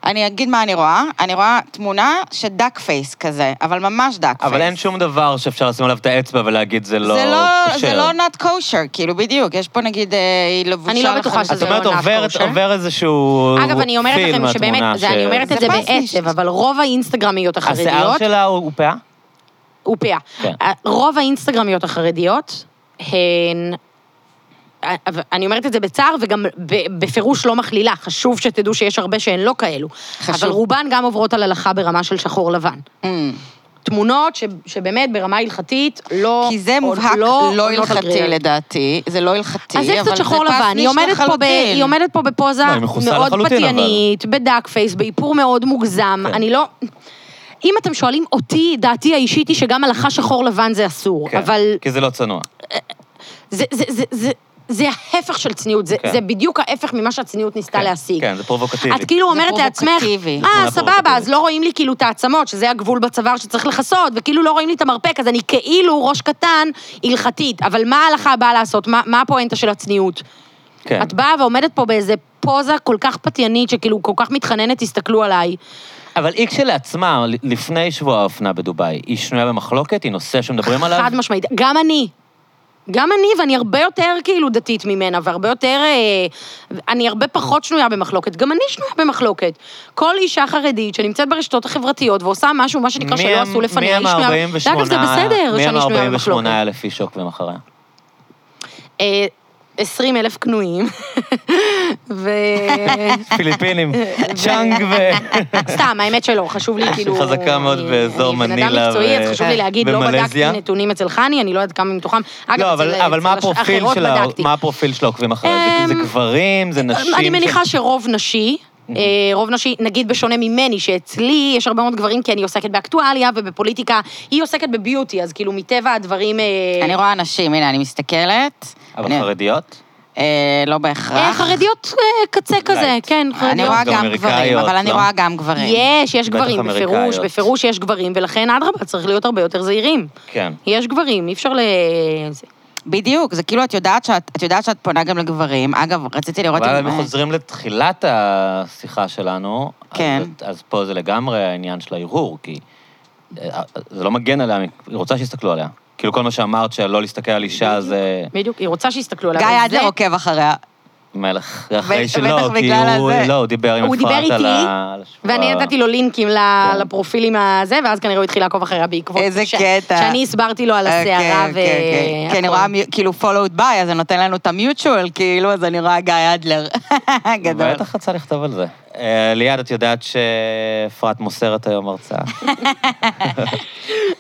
Speaker 2: אני אגיד מה אני רואה, אני רואה תמונה שדאק פייס כזה, אבל ממש דאק פייס.
Speaker 1: אבל אין שום דבר שאפשר לשים עליו את האצבע ולהגיד זה לא
Speaker 2: זה לא,
Speaker 1: כשר.
Speaker 2: זה לא not kosher, כאילו, בדיוק. יש פה נגיד, אה, היא לבושה
Speaker 3: אני לא בטוחה
Speaker 2: לחלוטין.
Speaker 1: את
Speaker 3: שזה
Speaker 1: אומרת,
Speaker 3: לא
Speaker 1: עובר,
Speaker 3: not kosher?
Speaker 1: עובר איזשהו
Speaker 3: אגב, אני אומרת
Speaker 1: פיל
Speaker 3: לכם שבאמת,
Speaker 1: מהתמונה
Speaker 3: זה, אני אומרת את
Speaker 2: זה
Speaker 3: זה
Speaker 2: פסנישט.
Speaker 3: בעצב, אבל רוב האינסטגרמיות
Speaker 1: השיער
Speaker 3: החרדיות,
Speaker 1: שלה הוא הוא פאה?
Speaker 3: הוא פאה.
Speaker 1: כן.
Speaker 3: רוב האינסטגרמיות החרדיות הן... אני אומרת את זה בצער, וגם ב- בפירוש לא מכלילה. חשוב שתדעו שיש הרבה שהן לא כאלו.
Speaker 2: חשוב.
Speaker 3: אבל רובן גם עוברות על הלכה ברמה של שחור לבן.
Speaker 2: Mm.
Speaker 3: תמונות ש, שבאמת ברמה הלכתית לא...
Speaker 2: כי זה
Speaker 3: או
Speaker 2: מובהק
Speaker 3: עונות
Speaker 2: לא
Speaker 3: קריאה.
Speaker 2: הלכתי לדעתי, זה לא הלכתי,
Speaker 3: אז
Speaker 2: אבל זה
Speaker 3: זה קצת שחור
Speaker 2: פס
Speaker 3: לבן,
Speaker 2: ניש
Speaker 3: היא עומדת, פה ב,
Speaker 2: לחלוטין.
Speaker 3: היא עומדת פה בפוזה
Speaker 1: לא, היא מכוסה
Speaker 3: מאוד
Speaker 1: לחלוטין, אבל-
Speaker 3: פתיינית, בדאק פייס, באיפור מאוד מוגזם,
Speaker 1: כן.
Speaker 3: אני לא... אם אתם שואלים אותי, דעתי האישית היא שגם הלכה שחור לבן זה אסור,
Speaker 1: כן.
Speaker 3: אבל
Speaker 1: כי זה לא צנוע.
Speaker 3: זה, זה, זה, זה, זה ההפך של צניעות, זה,
Speaker 1: כן.
Speaker 3: זה בדיוק ההפך ממה שהצניעות ניסתה
Speaker 1: כן,
Speaker 3: להשיג.
Speaker 1: כן, זה פרובוקטיבי.
Speaker 3: את כאילו
Speaker 2: זה
Speaker 3: אומרת לעצמך,
Speaker 2: פרובוקטיבי.
Speaker 1: זה
Speaker 3: אה,
Speaker 1: פרובוקטיבי.
Speaker 3: סבבה, אז לא רואים לי כאילו את העצמות, שזה הגבול בצוואר שצריך לכסות, וכאילו לא רואים לי את המרפק, אז אני כאילו ראש קטן הלכתית. אבל מה ההלכה באה לעשות? מה, מה הפואנטה של הצניעות?
Speaker 1: כן.
Speaker 3: את באה ועומדת פה באיזה פוזה כל כך פתיינית, שכאילו כל כך מתחננת, תסתכלו עליי.
Speaker 1: אבל היא כשלעצמה, ל- לפני שבוע האופנה בדובאי, היא שנויה במחלוקת, היא נושא שמדברים עליו.
Speaker 3: חד משמעית. גם אני. גם אני, ואני הרבה יותר כאילו דתית ממנה, והרבה יותר... אה, אני הרבה פחות שנויה במחלוקת. גם אני שנויה במחלוקת. כל אישה חרדית שנמצאת ברשתות החברתיות ועושה משהו, מה
Speaker 1: מי
Speaker 3: שנקרא, שלא
Speaker 1: הם-
Speaker 3: עשו
Speaker 1: מי
Speaker 3: לפניה,
Speaker 1: הם
Speaker 3: היא שנויה...
Speaker 1: ה-48
Speaker 3: ואגב, זה בסדר
Speaker 1: מי הם
Speaker 3: שאני שנויה במחלוקת.
Speaker 1: ה-48 אלף איש עוקבים אחריה?
Speaker 3: אה, 20 אלף כנועים, ו...
Speaker 1: פיליפינים, צ'אנג ו...
Speaker 3: סתם, האמת שלא, חשוב לי כאילו...
Speaker 1: אה, חזקה מאוד
Speaker 3: אני-
Speaker 1: באזור
Speaker 3: אני בן
Speaker 1: מנילה
Speaker 3: אדם מקצועי,
Speaker 1: ו-
Speaker 3: אז חשוב לי להגיד, לא בדקתי
Speaker 1: ומלזיה.
Speaker 3: נתונים אצל חני, אני לא יודעת כמה מתוכם. אגב,
Speaker 1: לא,
Speaker 3: אצל-
Speaker 1: אבל אבל מה
Speaker 3: אצל הש-
Speaker 1: הפרופיל
Speaker 3: אחרות
Speaker 1: של ה-
Speaker 3: בדקתי.
Speaker 1: מה הפרופיל של העוקבים אחריה? זה
Speaker 3: אמ,
Speaker 1: זה גברים, זה נשים?
Speaker 3: אני מניחה
Speaker 1: ש-
Speaker 3: שרוב נשי, אה, רוב נשי, נגיד בשונה ממני, שאצלי יש הרבה מאוד גברים, כי אני עוסקת באקטואליה ובפוליטיקה, היא עוסקת בביוטי, אז כאילו מטבע הדברים... אה,
Speaker 2: אני רואה אנשים, הנה, אני מסתכלת.
Speaker 1: אבל
Speaker 2: אני-
Speaker 1: חרדיות?
Speaker 2: אה, לא
Speaker 3: אה,
Speaker 2: בהכרח.
Speaker 3: חרדיות אה, קצה כזה,
Speaker 1: לייט.
Speaker 3: כן,
Speaker 2: אני
Speaker 3: חרדיות.
Speaker 2: רואה
Speaker 1: גם
Speaker 2: גם גברים,
Speaker 1: אמריקאיות,
Speaker 2: אבל אני
Speaker 1: לא?
Speaker 2: רואה גם גברים.
Speaker 3: יש, יש
Speaker 1: בטח
Speaker 3: גברים, בפירוש,
Speaker 1: אמריקאיות.
Speaker 3: בפירוש יש גברים, ולכן אדרבה, צריך להיות הרבה יותר זהירים.
Speaker 1: כן.
Speaker 3: יש גברים, אי אפשר ל... זה-
Speaker 2: בדיוק, זה כאילו, את יודעת שאת, את יודעת שאת פונה גם לגברים. אגב, רציתי לראות
Speaker 1: אבל
Speaker 2: אם...
Speaker 1: אם חוזרים לתחילת השיחה שלנו, אז-
Speaker 2: כן.
Speaker 1: אז פה זה לגמרי העניין של הערעור, כי אה, זה לא מגן עליה, היא רוצה שיסתכלו עליה. כאילו כל מה שאמרת, שלא להסתכל על אישה זה
Speaker 3: בדיוק, היא רוצה שיסתכלו עליו.
Speaker 2: גיא
Speaker 3: אבל
Speaker 2: אדלר
Speaker 3: זה-
Speaker 2: עוקב אחריה.
Speaker 1: מלך, אחרי
Speaker 2: בטח
Speaker 1: שלא, כי
Speaker 2: בגלל
Speaker 1: הוא,
Speaker 2: הזה.
Speaker 1: לא, הוא דיבר עם
Speaker 3: הוא דיבר
Speaker 1: אפרת על
Speaker 3: איתי,
Speaker 1: ה... על כן. השבוע.
Speaker 3: ואני לא נתתי לו לינקים ל- לפרופילים הזה, ואז כנראה הוא התחיל לעקוב אחריה בעקבות...
Speaker 2: איזה
Speaker 3: ש-
Speaker 2: קטע.
Speaker 3: שאני הסברתי לו על
Speaker 2: אה,
Speaker 1: אוקיי,
Speaker 3: הסערה ו...
Speaker 2: כן,
Speaker 1: כן,
Speaker 2: כי אני רואה מיו- כאילו followed by, אז זה נותן לנו את המיוטשואל, כאילו, אז אני רואה גיא אדלר. גדול.
Speaker 1: בטח רצה לכתוב על זה. אה, ליעד, את יודעת שאפרת מוסרת היום הרצאה.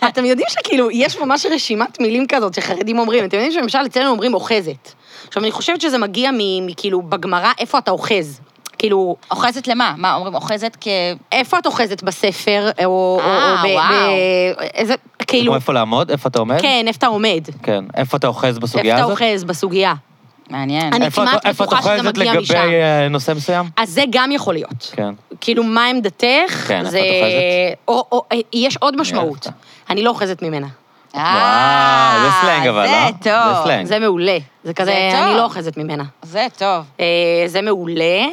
Speaker 3: אתם יודעים שכאילו, יש ממש רשימת מילים כזאת שחרדים אומרים. אתם יודעים כאילו, שלמשל אצלנו אומרים אוחזת. עכשיו, אני חושבת שזה מגיע מכאילו, בגמרא, איפה אתה אוחז. כאילו,
Speaker 2: אוחזת למה? מה, אומרים אוחזת כ...
Speaker 3: איפה את אוחזת בספר, או- או...
Speaker 2: אה,
Speaker 3: או ב-
Speaker 2: וואו.
Speaker 3: ב- איזה, כאילו,
Speaker 1: כמו איפה לעמוד? איפה אתה עומד?
Speaker 3: כן, איפה אתה עומד?
Speaker 1: כן. איפה אתה אוחז
Speaker 3: איפה
Speaker 1: בסוגיה
Speaker 3: אתה
Speaker 1: הזאת?
Speaker 3: אוחז בסוגיה?
Speaker 2: מעניין.
Speaker 3: אני-
Speaker 1: איפה
Speaker 3: כמעט
Speaker 1: אתה- איפה את
Speaker 3: בטוחה שזה
Speaker 1: אוחזת
Speaker 3: מגיע
Speaker 1: לגבי
Speaker 3: משם.
Speaker 1: אה, נושא מסוים?
Speaker 3: אז זה גם יכול להיות.
Speaker 1: כן.
Speaker 3: כאילו, מה עמדתך?
Speaker 1: כן, איפה
Speaker 3: זה...
Speaker 1: את אוחזת?
Speaker 3: או, או, אה, יש עוד משמעות.
Speaker 1: אוהבת.
Speaker 3: אני לא אוחזת ממנה.
Speaker 2: אה,
Speaker 1: וואו, זה סלנג אבל, אה?
Speaker 2: זה טוב.
Speaker 1: זה סלנג.
Speaker 3: זה מעולה. זה כזה,
Speaker 2: טוב.
Speaker 3: אני לא אוחזת ממנה.
Speaker 2: זה טוב.
Speaker 3: אה, זה מעולה.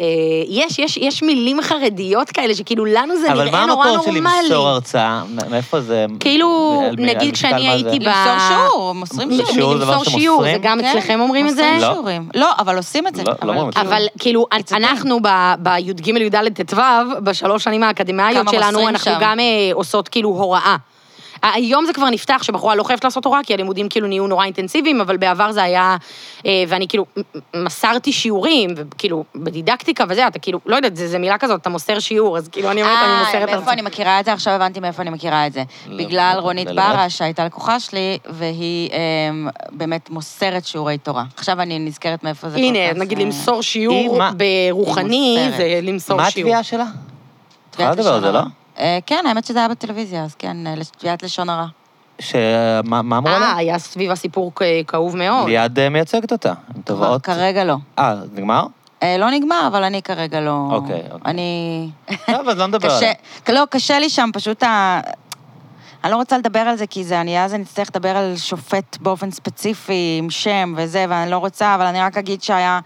Speaker 3: אה, יש, יש, יש מילים חרדיות כאלה, שכאילו לנו זה
Speaker 1: אבל מה
Speaker 3: נראה נורא
Speaker 1: המקור של
Speaker 3: נורמלי.
Speaker 1: למסור הרצאה? מאיפה זה?
Speaker 3: כאילו,
Speaker 1: על מי- על
Speaker 3: נגיד
Speaker 1: משקל
Speaker 3: כשאני
Speaker 1: מה זה?
Speaker 3: הייתי ב...
Speaker 2: למסור שיעור, מוסרים
Speaker 1: מ-
Speaker 2: שיעור.
Speaker 1: שיעור זה דבר
Speaker 3: למסור
Speaker 1: שמוסרים?
Speaker 3: שיעור, זה גם
Speaker 2: כן.
Speaker 3: אצלכם אומרים את זה?
Speaker 2: מוסרים
Speaker 1: לא.
Speaker 2: שיעורים. לא, אבל עושים את זה.
Speaker 1: לא, לא
Speaker 2: אבל
Speaker 1: אומרים את זה.
Speaker 2: כאילו,
Speaker 3: אבל כאילו,
Speaker 2: It's a
Speaker 3: אנחנו ב- בי"ג, י"ד, ט"ו, בשלוש שנים האקדמיות
Speaker 2: כמה
Speaker 3: שלנו,
Speaker 2: מוסרים
Speaker 3: אנחנו
Speaker 2: שם.
Speaker 3: גם אה, עושות כאילו הוראה. היום זה כבר נפתח, שבחורה לא חייבת לעשות הוראה, כי הלימודים כאילו נהיו נורא אינטנסיביים, אבל בעבר זה היה, אה, ואני כאילו מ- מסרתי שיעורים, וכאילו, בדידקטיקה וזה, אתה כאילו, לא יודעת, זה זה מילה כזאת, אתה מוסר שיעור, אז כאילו, אני אומרת, אני מוסרת
Speaker 2: אה, מאיפה
Speaker 3: הרצאה.
Speaker 2: אני מכירה את זה? עכשיו הבנתי מאיפה אני מכירה את זה.
Speaker 1: לא,
Speaker 2: בגלל
Speaker 1: לא,
Speaker 2: רונית
Speaker 1: לא, לא.
Speaker 2: ברה, שהייתה לקוחה שלי, והיא אמ, באמת מוסרת שיעורי תורה. עכשיו אני נזכרת מאיפה זה כל כך...
Speaker 3: הנה, נגיד
Speaker 2: אה,
Speaker 3: למסור
Speaker 1: היא
Speaker 3: שיעור
Speaker 1: מה-
Speaker 2: היא
Speaker 3: ברוחני,
Speaker 2: מוסרת.
Speaker 3: זה למסור
Speaker 1: מה
Speaker 3: שיעור.
Speaker 1: התביעה שלה? יכולה
Speaker 2: תביעת
Speaker 1: לדבר על זה,
Speaker 2: לשון הרע.
Speaker 1: לא?
Speaker 2: אה, כן, האמת שזה היה בטלוויזיה, אז כן, אה, תביעת לשון הרע.
Speaker 1: ש- מה מה אמרו
Speaker 3: אה,
Speaker 1: לה?
Speaker 3: היה סביבה סיפור כ- כאוב מאוד.
Speaker 1: ליעד אה, מייצגת אותה. עם תובעות.
Speaker 2: כרגע לא.
Speaker 1: אה, זה נגמר?
Speaker 2: אה, לא נגמר, אבל אני כרגע לא...
Speaker 1: אוקיי, אוקיי.
Speaker 2: אני...
Speaker 1: טוב, אז לא נדבר
Speaker 2: קשה,
Speaker 1: עליה.
Speaker 2: לא, קשה לי שם, פשוט ה... אני לא רוצה לדבר על זה, כי זה, אני אז אני אצטרך לדבר על שופט באופן ספציפי, עם שם וזה, ואני לא רוצה, אבל אני רק אגיד שהיה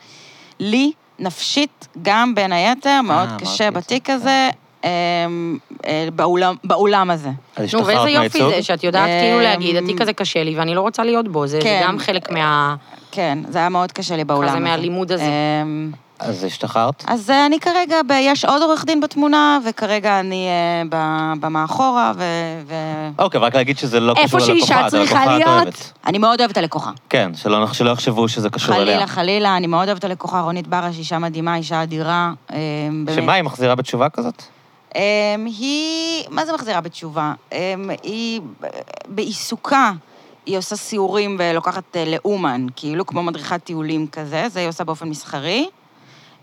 Speaker 2: לי, נפשית, גם בין היתר, מאוד
Speaker 1: אה, אמרתי
Speaker 2: קשה
Speaker 1: את זה,
Speaker 2: בתיק
Speaker 1: כן.
Speaker 2: הזה, אמ, אה, באולם- באולם הזה.
Speaker 1: אז
Speaker 3: נו,
Speaker 1: השתחררת
Speaker 3: ואיזה יופי
Speaker 1: מהייצוג?
Speaker 3: זה שאת יודעת
Speaker 2: אה,
Speaker 3: כאילו להגיד,
Speaker 2: אמ,
Speaker 3: התיק הזה קשה לי ואני לא רוצה להיות בו, זה זה
Speaker 2: כן.
Speaker 3: גם חלק מה...
Speaker 2: כן, זה היה מאוד קשה לי באולם הזה.
Speaker 3: מהלימוד הזה.
Speaker 2: אמ,
Speaker 1: אז השתחררת?
Speaker 2: אז אה, אני כרגע, ב... יש עוד עורך דין בתמונה, וכרגע אני אה, ב- במאחורה, ו... ו...
Speaker 1: אוקיי, ורק להגיד שזה לא
Speaker 3: אה. איפה
Speaker 1: קשור ללקוחה,
Speaker 3: שאישה
Speaker 1: זה
Speaker 3: צריכה
Speaker 1: לקוחה את
Speaker 3: להיות.
Speaker 1: אוהבת.
Speaker 2: אני מאוד אוהבת הלקוחה.
Speaker 1: כן, שלא שלא יחשבו שזה קשור אליה.
Speaker 2: חלילה, חלילה, אני מאוד אוהבת את הלקוחה רונית ברה, שהיא אישה מדהימה, אישה אדירה. אה, באמת.
Speaker 1: שמה, היא מחזירה בתשובה כזאת?
Speaker 2: אה, היא, מה זה מחזירה בתשובה? אה, היא, ב- בעיסוקה, היא עושה סיורים ולוקחת אה, לאומן, כאילו כמו מדריכת טיולים כזה, זה היא עושה באופן מסחרי.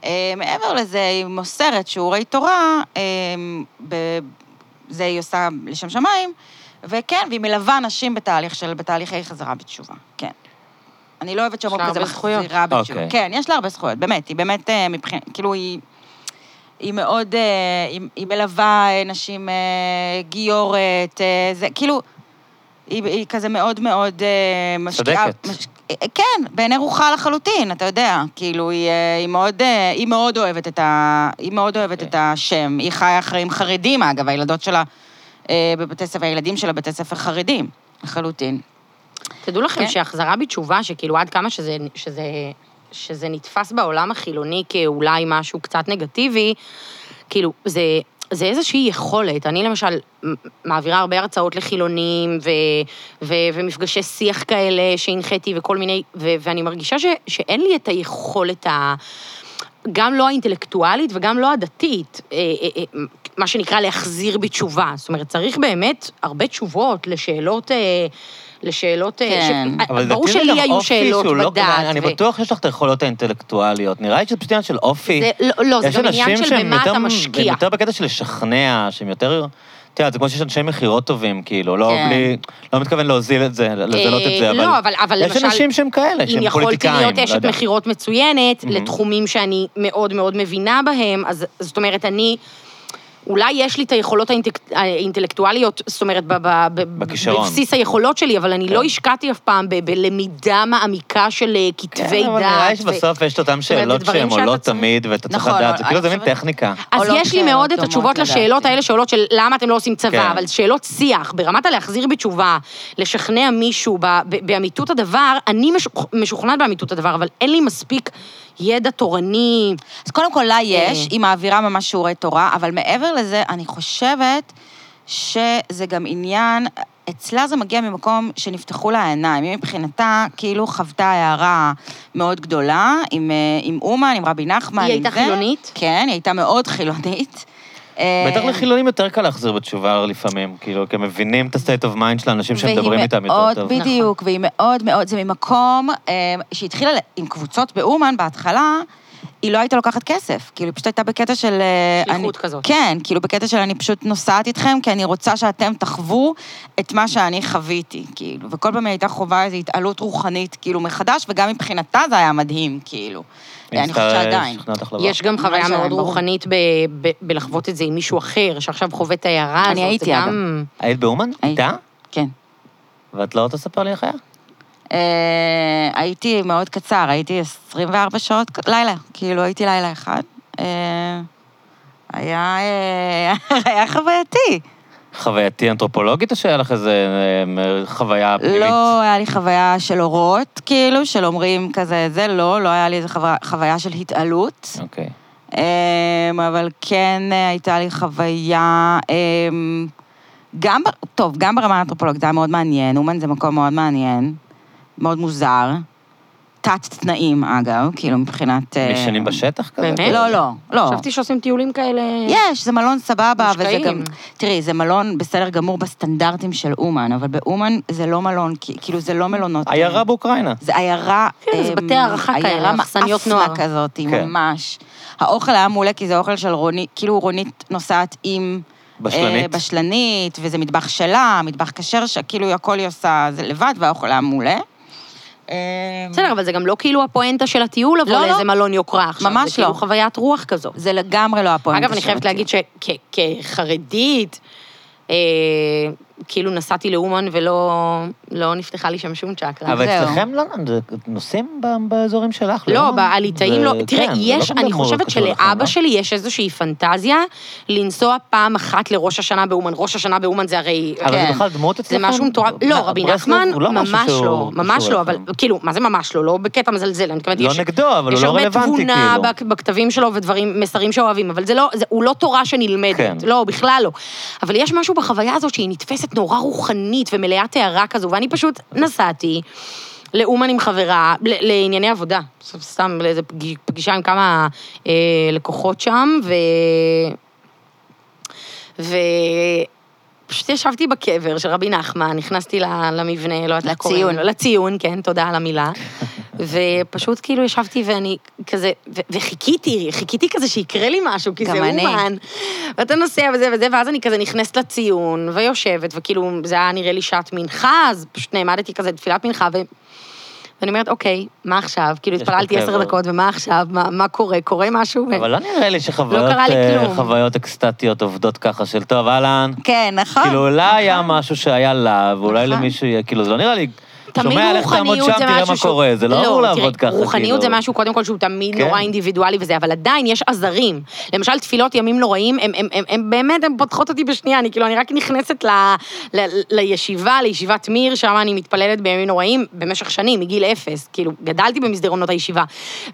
Speaker 2: אה, מעבר לזה, היא מוסרת שיעורי תורה, אה, ב- זה היא עושה לשם שמיים, וכן, והיא מלווה נשים בתהליך של, בתהליכי חזרה בתשובה, כן. אני לא אוהבת
Speaker 3: יש
Speaker 2: שאומרים
Speaker 3: לה
Speaker 2: כזה
Speaker 3: הרבה זכויות.
Speaker 2: מחזירה בתשובה.
Speaker 1: אוקיי.
Speaker 2: כן, יש לה הרבה זכויות, באמת, היא באמת אה, מבחינת, כאילו היא... היא מאוד, אה, היא, היא מלווה אה, נשים אה, גיורת, אה, זה כאילו, היא, היא כזה מאוד מאוד אה, משקיעה.
Speaker 1: צודקת.
Speaker 2: אה, כן, בעיני רוחה לחלוטין, אתה יודע. כאילו, היא, אה, היא, מאוד, אה, היא מאוד אוהבת את ה... היא מאוד אוהבת
Speaker 1: אוקיי.
Speaker 2: את השם. היא חיה חיים חרדים, אגב, הילדות שלה אה, בבתי ספר, הילדים שלה בבתי ספר חרדים, לחלוטין.
Speaker 3: תדעו לכם
Speaker 2: כן.
Speaker 3: שהחזרה בתשובה, שכאילו עד כמה שזה, שזה, שזה נתפס בעולם החילוני כאולי משהו קצת נגטיבי, כאילו, זה, זה איזושהי יכולת. אני למשל מ- מעבירה הרבה הרצאות לחילונים, ו, ו, ומפגשי שיח כאלה שהנחיתי וכל מיני, ו, ואני מרגישה ש, שאין לי את היכולת ה... גם לא האינטלקטואלית וגם לא הדתית, אה, אה, אה, מה שנקרא להחזיר בתשובה. זאת אומרת, צריך באמת הרבה תשובות לשאלות... אה, לשאלות... אה,
Speaker 2: כן.
Speaker 1: אבל
Speaker 3: ברור
Speaker 1: לדעתי זה
Speaker 3: שלי
Speaker 1: גם
Speaker 3: היו
Speaker 1: אופי
Speaker 3: שאלות
Speaker 1: שהוא לא
Speaker 3: בדעת.
Speaker 1: כדאי, אני
Speaker 3: ו-
Speaker 1: בטוח שיש לך את היכולות האינטלקטואליות. נראה לי שזה פשוט עניין של אופי.
Speaker 3: זה- לא, לא, זה
Speaker 1: יש
Speaker 3: גם עניין
Speaker 1: אנשים
Speaker 3: של
Speaker 1: שהם
Speaker 3: במה אתה
Speaker 1: יותר-
Speaker 3: משקיע.
Speaker 1: הם יותר בקטע של לשכנע, שהם יותר... את יודעת, זה כמו שיש אנשי מכירות טובים, כאילו, לא
Speaker 2: כן.
Speaker 1: בלי... לא מתכוון להוזיל את זה, לזלות את זה,
Speaker 3: אה,
Speaker 1: אבל...
Speaker 3: לא, אבל- אבל
Speaker 1: יש
Speaker 3: למשל,
Speaker 1: אנשים שהם כאלה,
Speaker 3: אם
Speaker 1: שהם
Speaker 3: יכולתי
Speaker 1: פוליטיקאים,
Speaker 3: להיות
Speaker 1: לא
Speaker 3: אשת
Speaker 1: יודע.
Speaker 3: מכירות מצוינת,
Speaker 1: מהמם.
Speaker 3: לתחומים שאני מאוד מאוד מבינה בהם, אז זאת אומרת, אני... אולי יש לי את היכולות האינטק- האינטלקטואליות, זאת אומרת, ב- ב- ב-
Speaker 1: בכישרון.
Speaker 3: בבסיס היכולות שלי, אבל אני
Speaker 1: כן.
Speaker 3: לא השקעתי אף פעם ב- בלמידה מעמיקה של אה,
Speaker 1: כן,
Speaker 3: כתבי
Speaker 1: אבל נראה לי
Speaker 3: דעת. ו-
Speaker 1: שבסוף יש את אותן
Speaker 3: אומרת,
Speaker 1: שאלות
Speaker 3: זה דברים
Speaker 1: שהן
Speaker 3: שאתה
Speaker 1: עולות
Speaker 3: צריך-
Speaker 1: תמיד, ואתה צריך
Speaker 2: נכון,
Speaker 3: לא,
Speaker 1: לדעת, זה
Speaker 2: אבל
Speaker 1: כאילו זה
Speaker 2: אני
Speaker 1: מין טכניקה.
Speaker 3: אז
Speaker 2: עולות
Speaker 3: יש לי
Speaker 2: שאלות
Speaker 3: מאוד את
Speaker 2: דומות,
Speaker 3: התשובות
Speaker 2: לא לדעתי.
Speaker 3: לשאלות האלה, שאלות של למה אתם לא עושים צבא,
Speaker 1: כן.
Speaker 3: אבל שאלות שיח, ברמת הלהחזיר בתשובה, לשכנע מישהו ב- ב- באמיתות הדבר, אני משוכ- משוכנעת באמיתות הדבר, אבל אין לי מספיק ידע תורני.
Speaker 2: אז קודם כל, לה
Speaker 3: אה.
Speaker 2: יש, היא מעבירה ממש שיעורי תורה, אבל מעבר לזה, אני חושבת שזה גם עניין, אצלה זה מגיע ממקום שנפתחו לה העיניים. היא מבחינתה, כאילו חוותה הערה מאוד גדולה, עם, אה, עם אומן, עם רבי נחמן,
Speaker 3: היא
Speaker 2: עם
Speaker 3: הייתה
Speaker 2: זה.
Speaker 3: חילונית?
Speaker 2: כן, היא הייתה מאוד חילונית. אה,
Speaker 1: בטח לחילונים יותר קל להחזיר בתשובה לפעמים, כאילו, כי הם מבינים את ה-state of mind של האנשים
Speaker 2: והיא
Speaker 1: שמדברים איתם יותר
Speaker 2: מאוד-
Speaker 1: טוב.
Speaker 2: בדיוק, והיא מאוד מאוד, זה ממקום אה, שהתחילה ל- עם קבוצות באומן בהתחלה, היא לא הייתה לוקחת כסף, כאילו, היא פשוט הייתה בקטע של... אה,
Speaker 3: שליחות
Speaker 2: אני-
Speaker 3: כזאת.
Speaker 2: כן, כאילו, בקטע של אני פשוט נוסעת איתכם, כי אני רוצה שאתם תחוו את מה שאני חוויתי, כאילו. וכל פעם היא הייתה חווה איזו התעלות רוחנית, כאילו, מחדש, וגם מבחינתה זה היה מדהים, כאילו. אני חושבת שעדיין.
Speaker 3: יש גם
Speaker 2: ממש
Speaker 3: חוויה
Speaker 2: עדיין,
Speaker 3: מאוד
Speaker 2: ברור.
Speaker 3: רוחנית ב- ב- בלחוות את זה עם מישהו אחר, שעכשיו חווה את ההערה הזאת.
Speaker 5: אני
Speaker 3: זה
Speaker 5: הייתי,
Speaker 3: גם-
Speaker 1: היית באומן?
Speaker 2: הייתי.
Speaker 1: איתה?
Speaker 2: כן.
Speaker 1: ואת לא תספר לי איך היה?
Speaker 2: אה, הייתי מאוד קצר, הייתי 24 שעות, ק- לילה, כאילו הייתי לילה אחד. אה, היה, אה, היה חווייתי.
Speaker 1: חווייתי אנתרופולוגית, או שהיה לך איזה אה, חוויה פנימית?
Speaker 2: לא היה לי חוויה של אורות, כאילו, של אומרים כזה, זה לא, לא היה לי איזו חוויה- חוויה של התעלות.
Speaker 1: אוקיי.
Speaker 2: אמ, אבל כן אה, הייתה לי חוויה, אמ, גם, ב- טוב, גם ברמה האנתרופולוגית זה היה מאוד מעניין, אומן זה מקום מאוד מעניין, מאוד מוזר, תת-תנאים אגב, כאילו מבחינת... אה,
Speaker 1: ישנים בשטח כזה?
Speaker 3: באמת?
Speaker 1: כאילו?
Speaker 2: לא, לא, לא.
Speaker 3: חשבתי שעושים טיולים כאלה...
Speaker 2: יש, זה מלון סבבה, וזה
Speaker 3: מושקעים.
Speaker 2: גם... תראי, זה מלון בסדר גמור בסטנדרטים של אומן, אבל באומן זה לא מלון, כי- כאילו זה לא מלונות.
Speaker 1: עיירה באוקראינה.
Speaker 2: זה עיירה...
Speaker 3: כן, זה
Speaker 2: אמ,
Speaker 3: בתי הארחה כאלה,
Speaker 2: עיירה
Speaker 3: אכסניות
Speaker 2: מאפנה
Speaker 3: נוער.
Speaker 2: כזאת,
Speaker 1: כן.
Speaker 2: ממש. האוכל היה מעולה, כי זה אוכל של רונית, כאילו רונית נוסעת עם...
Speaker 1: בשלנית.
Speaker 2: אה, בשלנית, וזה מטבח שלה, מטבח כשר, שכאילו הכל היא עושה זה לבד, והאוכל היה מעולה. אמ,
Speaker 3: בסדר, אבל זה גם לא כאילו הפואנטה של הטיול, אבל
Speaker 2: לא, לא.
Speaker 3: לאיזה מלון יוקרה עכשיו.
Speaker 2: ממש
Speaker 3: זה כאילו
Speaker 2: לא.
Speaker 3: חוויית רוח כזו.
Speaker 2: זה לגמרי לא
Speaker 1: נכון,
Speaker 2: הפואנטה
Speaker 3: אגב, אני חייבת
Speaker 2: שלי.
Speaker 3: להגיד שכחרדית, אה, כאילו נסעתי לאומן ולא לא נפתחה לי שם שום צ'קרה.
Speaker 1: אבל
Speaker 2: זהו.
Speaker 1: אצלכם לא נוסעים ב- באזורים שלך?
Speaker 3: לא,
Speaker 1: לאומן?
Speaker 3: בעליתאים לא.
Speaker 1: זה-
Speaker 3: תראה,
Speaker 1: כן, זה לא
Speaker 3: יש,
Speaker 1: כל כך
Speaker 3: אני
Speaker 1: מאוד
Speaker 3: חושבת
Speaker 1: קשור לכם,
Speaker 3: שלאבא
Speaker 1: לא?
Speaker 3: שלי יש איזושהי פנטזיה לנסוע פעם אחת לראש השנה באומן. ראש השנה באומן זה הרי...
Speaker 1: אבל זה
Speaker 2: כן.
Speaker 1: בכלל דמות
Speaker 3: זה
Speaker 1: אצלכם?
Speaker 3: משהו מטורף. לא,
Speaker 1: מה,
Speaker 3: רבי
Speaker 1: ברסלב
Speaker 3: נחמן,
Speaker 1: הוא לא משהו
Speaker 3: ממש
Speaker 1: שהוא
Speaker 3: לא, ממש
Speaker 1: קשור
Speaker 3: לא, אבל
Speaker 1: אליכם.
Speaker 3: כאילו, מה זה ממש לא? לא בקטע מזלזל, אני מתכוונת,
Speaker 1: לא
Speaker 3: יש...
Speaker 1: נגדו, אבל הוא
Speaker 3: יש
Speaker 1: לא
Speaker 3: הרבה
Speaker 1: רלוונטי, כאילו.
Speaker 3: תבונה בק- בכתבים שלו ודברים, מסרים שאוהבים, אבל זה לא, זה, הוא לא תורה שנלמדת,
Speaker 1: כן.
Speaker 3: לא, בכלל לא. אבל יש משהו בחוויה הזאת שהיא נתפסת נורא רוחנית ומלאת הערה כזו, ואני פשוט נסעתי לאומן עם חברה, ל- לענייני עבודה, ס- סתם לאיזה פגיש- פגישה עם כמה אה, לקוחות שם, ו... ו... פשוט ישבתי בקבר של רבי נחמן, נכנסתי ל- למבנה, לא יודעת איך קוראים
Speaker 5: לציון.
Speaker 3: לו, לציון, כן, תודה על המילה. ופשוט כאילו ישבתי ואני כזה, ו- וחיכיתי, חיכיתי כזה שיקרה לי משהו, כי
Speaker 5: גם
Speaker 3: זה
Speaker 5: אני.
Speaker 3: אומן. ואתה נוסע וזה וזה, ואז אני כזה נכנסת לציון, ויושבת, וכאילו, זה היה נראה לי שעת מנחה, אז פשוט נעמדתי כזה לתפילת מנחה, ו... ואני אומרת, אוקיי, מה עכשיו? כאילו,
Speaker 1: יש פה
Speaker 3: התפללתי
Speaker 1: קבר.
Speaker 3: עשר דקות, ומה עכשיו? מה, מה קורה? קורה משהו? ו-
Speaker 1: אבל לא נראה לי
Speaker 3: לא
Speaker 1: שחוויות
Speaker 3: קרה לי
Speaker 1: אה,
Speaker 3: כלום.
Speaker 1: חוויות אקסטטיות עובדות ככה של טוב, אהלן.
Speaker 2: כן, נכון.
Speaker 1: כאילו, אולי היה משהו שהיה לה, ואולי
Speaker 2: נכון.
Speaker 1: למישהו יהיה, כאילו, זה לא נראה לי...
Speaker 3: תמיד
Speaker 1: שומע, לך תעמוד
Speaker 3: רוחניות
Speaker 1: שם,
Speaker 3: זה
Speaker 1: תראה
Speaker 3: משהו
Speaker 1: מה
Speaker 3: שהוא...
Speaker 1: קורה, זה לא אמור
Speaker 3: תראה,
Speaker 1: לעבוד ככה, כאילו.
Speaker 3: רוחניות זה משהו, קודם כל, שהוא תמיד
Speaker 1: כן.
Speaker 3: נורא אינדיבידואלי וזה, אבל עדיין יש עזרים. למשל, תפילות ימים נוראים, הם- הם- הם- הם באמת, הן פותחות אותי בשנייה, אני כאילו, אני רק נכנסת ל- ל- לישיבה, לישיבת מיר, שם אני מתפללת בימים נוראים במשך שנים, מגיל אפס. כאילו, גדלתי במסדרונות הישיבה.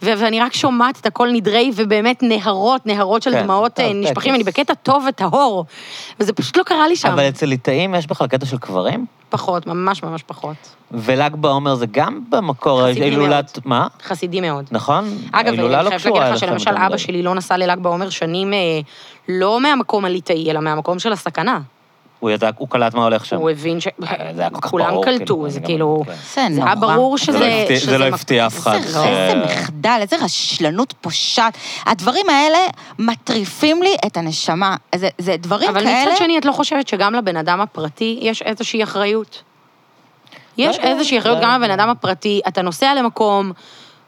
Speaker 3: ו- ואני רק שומעת את הכל נדרי, ובאמת נהרות, נהרות של
Speaker 1: כן,
Speaker 3: דמעות
Speaker 1: טוב,
Speaker 3: אה, נשפכים,
Speaker 1: טקס.
Speaker 3: אני בקטע טוב וטהור. וזה פשוט לא קרה לי שם.
Speaker 1: אבל אצל ליטאים יש בכלל קטע של קברים?
Speaker 3: פחות, ממש ממש פחות.
Speaker 1: ול"ג בעומר זה גם במקור
Speaker 3: חסידי
Speaker 1: הילולת... מה?
Speaker 3: חסידי מאוד.
Speaker 1: נכון?
Speaker 3: אגב, אני
Speaker 1: ההילולה לא
Speaker 3: חייבת להגיד
Speaker 1: קשורה
Speaker 3: לך
Speaker 1: אליכם
Speaker 3: שלמשל
Speaker 1: יותר
Speaker 3: אבא
Speaker 1: מדי.
Speaker 3: שלי לא נסע לל"ג בעומר שנים, אה, לא מהמקום הליטאי, אלא מהמקום של הסכנה.
Speaker 1: הוא ידע, הוא קלט מה הולך שם.
Speaker 3: הוא הבין ש...
Speaker 1: אה, זה היה כל כך
Speaker 3: כולם
Speaker 1: ברור,
Speaker 3: קלטו,
Speaker 1: כאילו,
Speaker 3: זה
Speaker 1: אני
Speaker 3: כאילו...
Speaker 1: גם- כן.
Speaker 2: זה
Speaker 3: זה
Speaker 2: נורא.
Speaker 3: היה ברור
Speaker 1: זה לא
Speaker 3: שזה...
Speaker 1: הפתיע-
Speaker 3: שזה
Speaker 1: זה לא
Speaker 3: מפ-
Speaker 1: הפתיע אף אחד.
Speaker 2: איזה-
Speaker 1: ש-
Speaker 2: איזה מחדל, איזה רשלנות פושעת. הדברים האלה מטריפים לי את הנשמה. זה, זה דברים
Speaker 3: אבל
Speaker 2: כאלה...
Speaker 3: מצד שני, את לא חושבת שגם לבן אדם הפרטי יש איזושהי אחריות? יש
Speaker 1: לא יודע,
Speaker 3: איזושהי אחריות
Speaker 1: לא
Speaker 3: גם
Speaker 1: יודע.
Speaker 3: לבן אדם הפרטי, אתה נוסע למקום...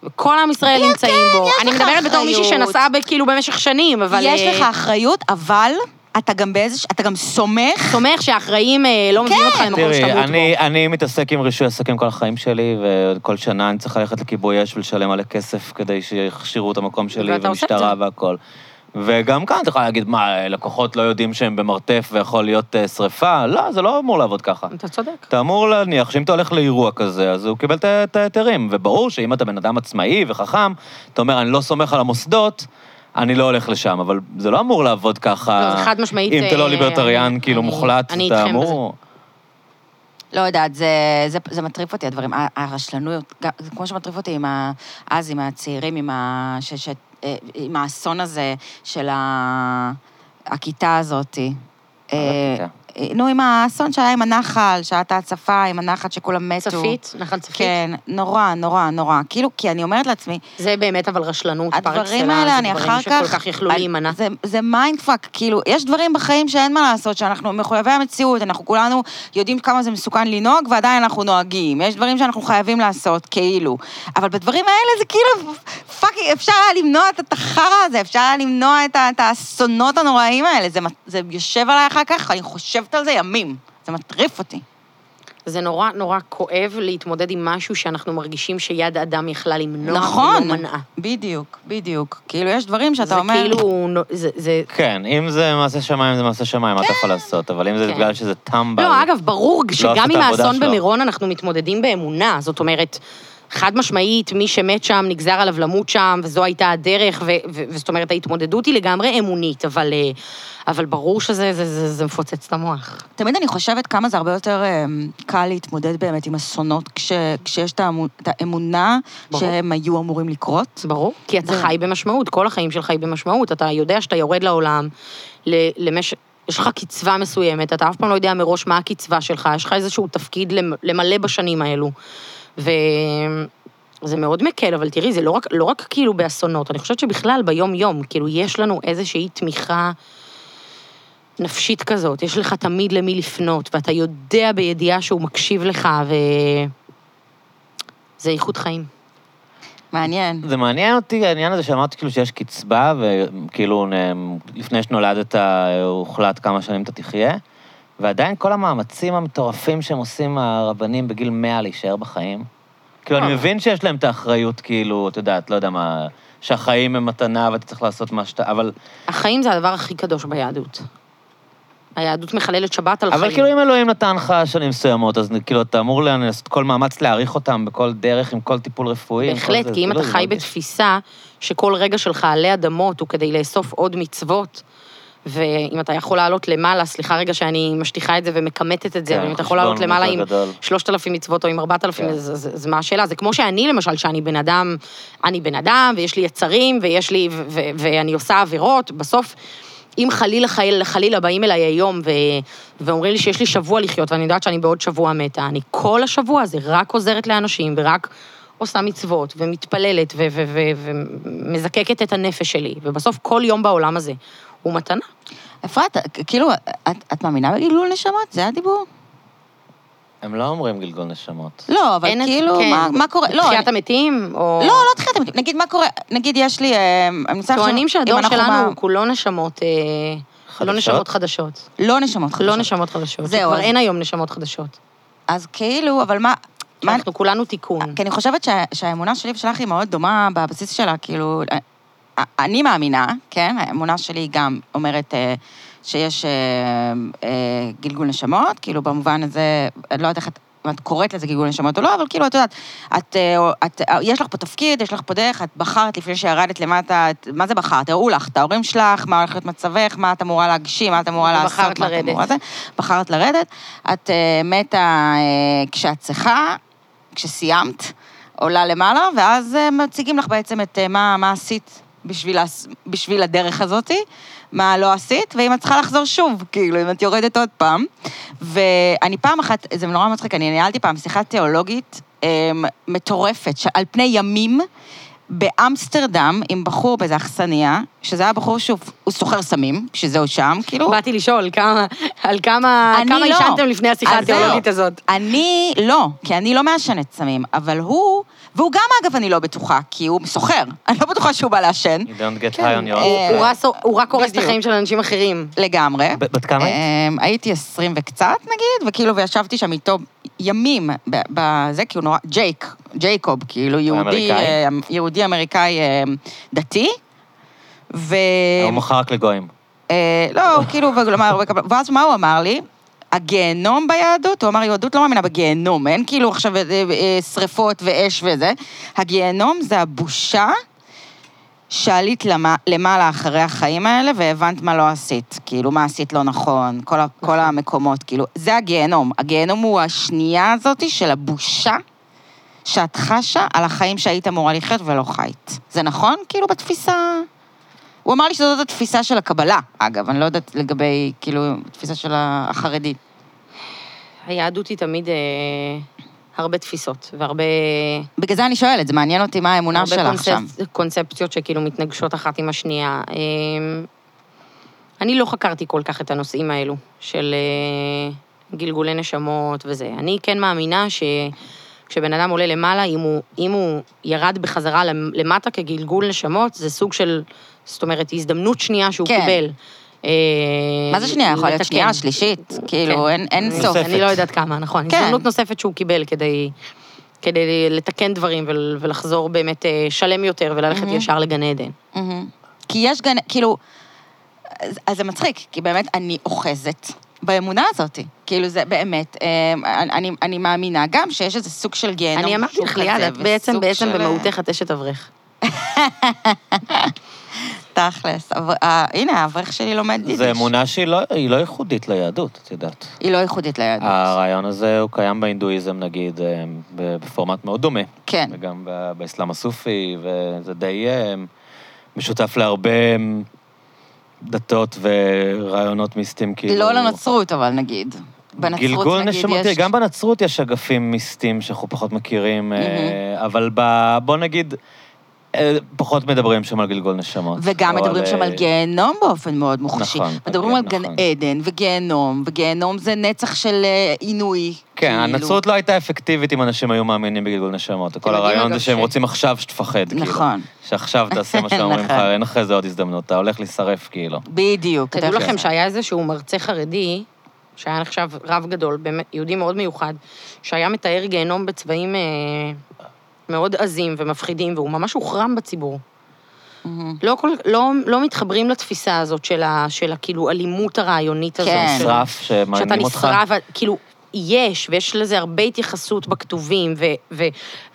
Speaker 3: וכל עם ישראל נמצאים בו.
Speaker 2: כן, יש
Speaker 3: אני
Speaker 2: לך
Speaker 3: מדברת בתור מישהי
Speaker 2: אחריות.
Speaker 3: שנסעה ב- כאילו במשך שנים, אבל...
Speaker 2: יש
Speaker 3: אה,
Speaker 2: לך אחריות, אבל אתה גם באיזה... אתה גם סומך.
Speaker 3: סומך שהאחראים אה, לא
Speaker 2: כן.
Speaker 3: מביאים אותך למקום
Speaker 1: תראי,
Speaker 3: שאתה מות בו.
Speaker 1: אני, אני מתעסק עם רישוי עסקים כל החיים שלי, וכל שנה אני צריך ללכת לכיבוי אש ולשלם מלא כסף כדי שיכשירו את המקום שלי,
Speaker 3: ואתה עושה את
Speaker 1: ומשטרה
Speaker 3: זה.
Speaker 1: והכול. וגם כאן את יכולה להגיד, מה, לקוחות לא יודעים שהם במרתף ויכול להיות אה, שריפה? לא, זה לא אמור לעבוד ככה.
Speaker 3: אתה צודק.
Speaker 1: אתה אמור להניח שאם אתה הולך לאירוע כזה, אז הוא קיבל את- את ההיתרים. וברור שאם אתה בן אדם עצמאי וחכם, אתה אומר, אני לא סומך על המוסדות, אני לא הולך לשם. אבל זה לא אמור לעבוד ככה.
Speaker 3: לא, זה חד משמעית,
Speaker 1: אם אתה
Speaker 3: אה,
Speaker 1: לא ליברטריאן,
Speaker 3: אני-
Speaker 1: כאילו
Speaker 3: אני-
Speaker 1: מוחלט,
Speaker 3: אני
Speaker 1: אתה
Speaker 3: איתכם
Speaker 1: אמור...
Speaker 5: לא יודעת, זה, זה, זה מטריף אותי, הדברים. ה- הרשלנויות, גם- זה כמו שמטריף אותי עם ה... אז עם הצעירים, עם, ה, ש, ש, אה, עם האסון הזה של ה, הכיתה הזאתי.
Speaker 2: אה, נו, עם האסון שהיה עם הנחל, שעת ההצפה, עם הנחת שכולם מתו.
Speaker 3: צפית, נחל צפית.
Speaker 2: כן, נורא, נורא, נורא. כאילו, כי אני אומרת לעצמי,
Speaker 3: זה באמת אבל רשלנות, פר
Speaker 2: הדברים
Speaker 3: אקסלנס,
Speaker 2: האלה, אני אחר כך...
Speaker 3: זה דברים שכל כך יכלו
Speaker 2: אני-
Speaker 3: להימנע.
Speaker 2: זה- זה מיינדפאק, כאילו, יש דברים בחיים שאין מה לעשות, שאנחנו מחויבי המציאות, אנחנו כולנו יודעים כמה זה מסוכן לנהוג, ועדיין אנחנו נוהגים. יש דברים שאנחנו חייבים לעשות, כאילו. אבל בדברים האלה זה כאילו, פאקינג, אפשר היה למנוע את את החרא הזה, אפשר היה למנוע את ה- את האסונות הנוראים האלה. זה מ- זה יושב עליי אחר כך, אני חושבת על זה ימים. זה מטריף אותי.
Speaker 3: לא, זה נורא נורא כואב להתמודד עם משהו שאנחנו מרגישים שיד אדם יכלה למנוע,
Speaker 2: נכון.
Speaker 3: ולא לא מנעה.
Speaker 2: בדיוק, בדיוק. כאילו, יש דברים
Speaker 3: זה
Speaker 2: שאתה אומר...
Speaker 3: כאילו, זה, זה...
Speaker 1: כן, אם זה מעשה שמיים, זה מעשה שמיים, מה אתה יכול לעשות? אבל אם זה
Speaker 3: כן.
Speaker 1: בגלל שזה טמבל...
Speaker 3: לא, אגב, ברור
Speaker 1: עשו
Speaker 3: שגם
Speaker 1: את
Speaker 3: עם
Speaker 1: העבודה
Speaker 3: האסון
Speaker 1: שלו.
Speaker 3: במירון אנחנו מתמודדים באמונה. זאת אומרת, חד משמעית, מי שמת שם, נגזר עליו למות שם, וזו הייתה הדרך, ו- ו- וזאת אומרת, ההתמודדות היא לגמרי אמונית, אבל, אה, אבל ברור שזה זה, זה, זה מפוצץ את המוח.
Speaker 2: תמיד אני חושבת כמה זה הרבה יותר אמ, קל להתמודד באמת עם אסונות כש, כשיש את האמו- את האמונה
Speaker 3: ברור.
Speaker 2: שהם היו אמורים לקרות.
Speaker 3: ברור. כי אתה
Speaker 2: זה-
Speaker 3: חי במשמעות, כל החיים שלך היא במשמעות. אתה יודע שאתה יורד לעולם ל- למש... יש לך קצבה מסוימת, אתה אף פעם לא יודע מראש מה הקצבה שלך, יש לך איזשהו תפקיד למ- למלא בשנים האלו. וזה מאוד מקל, אבל תראי, זה לא רק, לא רק כאילו באסונות, אני חושבת שבכלל ביום-יום, כאילו, יש לנו איזושהי תמיכה נפשית כזאת, יש לך תמיד למי לפנות, ואתה יודע בידיעה שהוא מקשיב לך, ו... זה איכות חיים.
Speaker 2: מעניין.
Speaker 1: זה מעניין אותי העניין הזה שאמרת כאילו שיש קצבה, וכאילו נ- לפני שנולדת הוחלט כמה שנים אתה תחיה, ועדיין כל המאמצים המטורפים שהם עושים הרבנים בגיל 100 להישאר בחיים. כאילו,
Speaker 3: אה.
Speaker 1: אני מבין שיש להם את האחריות, כאילו, את יודעת, לא יודע מה, שהחיים הם מתנה ואתה צריך לעשות מה שאתה, אבל...
Speaker 3: החיים זה הדבר הכי קדוש ביהדות. היהדות מחללת שבת על
Speaker 1: אבל
Speaker 3: חיים.
Speaker 1: כאילו אם אלוהים נתן לך שנים מסוימות, אז כאילו אתה אמור לעשות כל מאמץ להעריך אותם בכל דרך, עם כל טיפול רפואי. עם כל
Speaker 3: בהחלט,
Speaker 1: זה,
Speaker 3: כי אם
Speaker 1: כאילו,
Speaker 3: אתה
Speaker 1: זה
Speaker 3: חי
Speaker 1: מרגיש-
Speaker 3: בתפיסה שכל רגע שלך עלי אדמות הוא כדי לאסוף עוד מצוות, ואם אתה יכול לעלות למעלה, סליחה רגע שאני משטיחה את זה ומכמתת את זה,
Speaker 1: כן,
Speaker 3: אבל אם אתה
Speaker 1: חשבון
Speaker 3: יכול לעלות למעלה
Speaker 1: יותר
Speaker 3: עם
Speaker 1: גדול.
Speaker 3: 3,000 מצוות או עם 4,000,
Speaker 1: כן.
Speaker 3: אז, אז, אז מה השאלה? זה כמו שאני, למשל, שאני בן אדם, אני בן אדם, ויש לי יצרים, ויש לי, ו, ו, ואני עושה עבירות, בסוף, אם חלילה חלילה, חלילה באים אליי היום ו, ואומרים לי שיש לי שבוע לחיות, ואני יודעת שאני בעוד שבוע מתה, אני כל השבוע הזה רק עוזרת לאנשים, ורק עושה מצוות, ומתפללת, ו- ו- ו- ומזקקת את הנפש שלי, ובסוף כל יום בעולם הזה הוא מתנה.
Speaker 2: אפרת, כאילו, את, את מאמינה בגילול נשמות? זה הדיבור?
Speaker 1: הם לא אומרים גלגול נשמות.
Speaker 2: לא, אבל
Speaker 3: אין את-
Speaker 2: כאילו,
Speaker 3: כן.
Speaker 2: מה, מה קורה? לא,
Speaker 3: תחיית
Speaker 2: אני-
Speaker 3: המתים, או...
Speaker 2: לא, לא תחיית המתים. נגיד, מה קורה? נגיד, יש לי... אמ, אני מנסה לחשוב
Speaker 3: טוענים
Speaker 2: אם
Speaker 3: שהדור
Speaker 2: אנחנו
Speaker 3: שלנו
Speaker 2: מה-
Speaker 3: הוא כולו נשמות, אה, לא
Speaker 1: חדשות?
Speaker 3: נשמות חדשות.
Speaker 2: לא נשמות חדשות.
Speaker 3: לא נשמות חדשות.
Speaker 2: זהו,
Speaker 3: זהו. כבר
Speaker 2: אז-
Speaker 3: אין היום נשמות חדשות.
Speaker 2: אז כאילו, אבל מה... מה אה, כן.
Speaker 3: אנחנו כולנו תיקון.
Speaker 2: כי אני חושבת שה, שהאמונה שלי ושלך היא מאוד דומה בבסיס שלה, כאילו, אה, אני מאמינה, כן, האמונה שלי גם אומרת אה, שיש אה, אה, גלגול נשמות, כאילו, במובן הזה, אני לא יודעת איך את... אם את קוראת לזה גלגול נשמות או לא, אבל כאילו, את יודעת, את, אה, את, אה, יש לך פה תפקיד, יש לך פה דרך, את בחרת לפני שירדת למטה, את, מה זה בחרת? הראו לך את ההורים שלך, מה הולך להיות מצבך, מה את אמורה להגשים, מה את אמורה לעשות,
Speaker 3: ובחרת
Speaker 2: מה את
Speaker 3: לרדת.
Speaker 2: אמורה זה. בחרת לרדת, את אה, מתה אה, כשאת צריכה, כשסיימת, עולה למעלה, ואז אה, מציגים לך בעצם את אה, מה, מה עשית בשביל, הס- בשביל הדרך הזאתי, מה לא עשית, ואם את צריכה לחזור שוב, כאילו, אם את יורדת עוד פעם. ואני פעם אחת, זה נורא מצחיק, אני ניהלתי פעם שיחה תיאולוגית אה, מטורפת, שעל פני ימים, באמסטרדם, עם בחור באיזה אכסניה, שזה היה בחור שהוא הוא סוחר סמים, שזהו שם, כאילו...
Speaker 3: באתי לשאול כמה, על כמה,
Speaker 2: אני
Speaker 3: אה, כמה
Speaker 2: לא.
Speaker 3: עישנתם לפני השיחה
Speaker 2: אז זהו.
Speaker 3: התיאולוגית הזאת.
Speaker 2: אני לא, כי אני לא מעשנת סמים, אבל הוא, והוא גם, אגב, אני לא בטוחה, כי הוא סוחר. אני לא בטוחה שהוא בא לעשן,
Speaker 1: You don't get high on your
Speaker 2: אה,
Speaker 1: own.
Speaker 3: כן, הוא רק- הוא רק הורס את
Speaker 2: בדיוק.
Speaker 3: החיים של אנשים אחרים.
Speaker 2: לגמרי.
Speaker 1: ב- בת כמה היית?
Speaker 2: אמ, הייתי עשרים וקצת, נגיד, וכאילו, וישבתי שם איתו ימים ב- בזה, כי הוא נורא, ג'ייק, ג'ייקוב, כאילו, יהודי,
Speaker 1: אמריקאי.
Speaker 2: אה, יהודי אמריקאי אה, דתי. ו...
Speaker 1: הוא מוכר רק לגויים.
Speaker 2: אה, לא, הוא כאילו, וכלומר, הרבה קבלה- ואז מה הוא אמר לי? הגיהנום ביהדות? הוא אמר, יהדות לא מאמינה בגיהנום, אין כאילו עכשיו אה, אה, שריפות ואש וזה. הגיהנום זה הבושה שעלית למע- למעלה אחרי החיים האלה והבנת מה לא עשית. כאילו, מה עשית לא נכון, כל, ה- כל המקומות, כאילו, זה הגיהנום. הגיהנום הוא השנייה הזאת של הבושה שאת חשה על החיים שהיית אמורה לחיות ולא חיית. זה נכון? כאילו, בתפיסה... הוא אמר לי שזאת התפיסה של הקבלה, אגב, אני לא יודעת לגבי, כאילו, התפיסה של החרדית.
Speaker 3: היהדות היא תמיד אה, הרבה תפיסות והרבה...
Speaker 2: בגלל זה אני שואלת, זה מעניין אותי מה האמונה
Speaker 3: הרבה
Speaker 2: שלך שם.
Speaker 3: קונספ- קונספציות שכאילו מתנגשות אחת עם השנייה. אה, אני לא חקרתי כל כך את הנושאים האלו של אה, גלגולי נשמות וזה. אני כן מאמינה שכשבן אדם עולה למעלה, אם הוא, אם הוא ירד בחזרה למ- למטה כגלגול נשמות, זה סוג של, זאת אומרת, הזדמנות שנייה שהוא
Speaker 2: כן.
Speaker 3: קיבל. אה,
Speaker 2: מה זה שנייה? יכול להיות
Speaker 3: לתקן. כן.
Speaker 2: שנייה, שלישית? כאילו, אין- אין
Speaker 3: אני-
Speaker 2: סוף.
Speaker 3: אני לא יודעת כמה, נכון.
Speaker 2: כן.
Speaker 3: הזדמנות נוספת שהוא קיבל כדי, כדי לתקן דברים ול- ולחזור באמת אה, שלם יותר וללכת
Speaker 2: מהמם.
Speaker 3: ישר לגן עדן.
Speaker 2: מהמם. כי יש גן, כאילו, אז- אז זה מצחיק, כי באמת אני אוחזת באמונה הזאת. כאילו זה באמת, אמ, אני, אני מאמינה גם שיש איזה סוג של גיהנום.
Speaker 3: אני אמרתי
Speaker 2: שהוא
Speaker 3: לך
Speaker 2: כזה,
Speaker 3: ליד, את בעצם,
Speaker 2: וסוג
Speaker 3: בעצם
Speaker 2: של- אה,
Speaker 3: במהותך את אשת אברך.
Speaker 2: תכלס. אבל, אה, הנה, האברך שלי לומד יידיש.
Speaker 1: זו אמונה שהיא לא, היא לא ייחודית ליהדות, את יודעת.
Speaker 2: היא לא ייחודית ליהדות.
Speaker 1: הרעיון הזה הוא קיים בהינדואיזם, נגיד, אה, ב- בפורמט מאוד דומה.
Speaker 2: כן.
Speaker 1: וגם ב- באסלאם הסופי, וזה די אה, משותף להרבה אה, דתות ורעיונות מיסטיים, כאילו...
Speaker 2: לא לנצרות, אבל נגיד. בנצרות, נגיד, יש...
Speaker 1: גלגול נשמות, תראי, גם בנצרות יש אגפים מיסטיים שאנחנו פחות מכירים, אה, אבל ב- בוא נגיד, אה, פחות מדברים שם על גלגול נשמות.
Speaker 2: וגם
Speaker 1: או
Speaker 2: מדברים שם על
Speaker 1: אה,
Speaker 2: גיהנום באופן מאוד מוחשי.
Speaker 1: נכון,
Speaker 2: מדברים על
Speaker 1: נכון.
Speaker 2: גן עדן וגיהנום, וגיהנום זה נצח של אה, עינוי.
Speaker 1: כן,
Speaker 2: כאילו. כן,
Speaker 1: הנצרות לא הייתה אפקטיבית אם אנשים היו מאמינים בגלגול נשמות. כל
Speaker 3: יודעים,
Speaker 1: הרעיון
Speaker 3: אגב,
Speaker 1: זה שהם
Speaker 3: ש-
Speaker 1: רוצים עכשיו שתפחד, כאילו.
Speaker 2: נכון.
Speaker 1: שעכשיו תעשה מה שאומרים לך,
Speaker 2: נכון.
Speaker 1: אין אחרי זה עוד הזדמנות, אתה הולך להישרף, כאילו.
Speaker 2: בדיוק.
Speaker 3: תדעו
Speaker 2: אתה יודע.
Speaker 3: לכם שהיה איזשהו מרצה חרדי, שהיה נחשב רב גדול, באמת, יהודי מאוד מיוחד, שהיה מתאר גיהנום בצבעים אה, מאוד עזים ומפחידים, והוא ממש הוחרם בציבור.
Speaker 2: מהמם.
Speaker 3: לא, כל, לא, לא מתחברים לתפיסה הזאת של, ה, של הכאילו אלימות הרעיונית הזאת.
Speaker 2: כן.
Speaker 3: של-
Speaker 1: נשרף,
Speaker 3: שאתה
Speaker 1: שמעניינים אותך.
Speaker 3: נשרף, כאילו, יש, ויש לזה הרבה התייחסות בכתובים, ו, ו,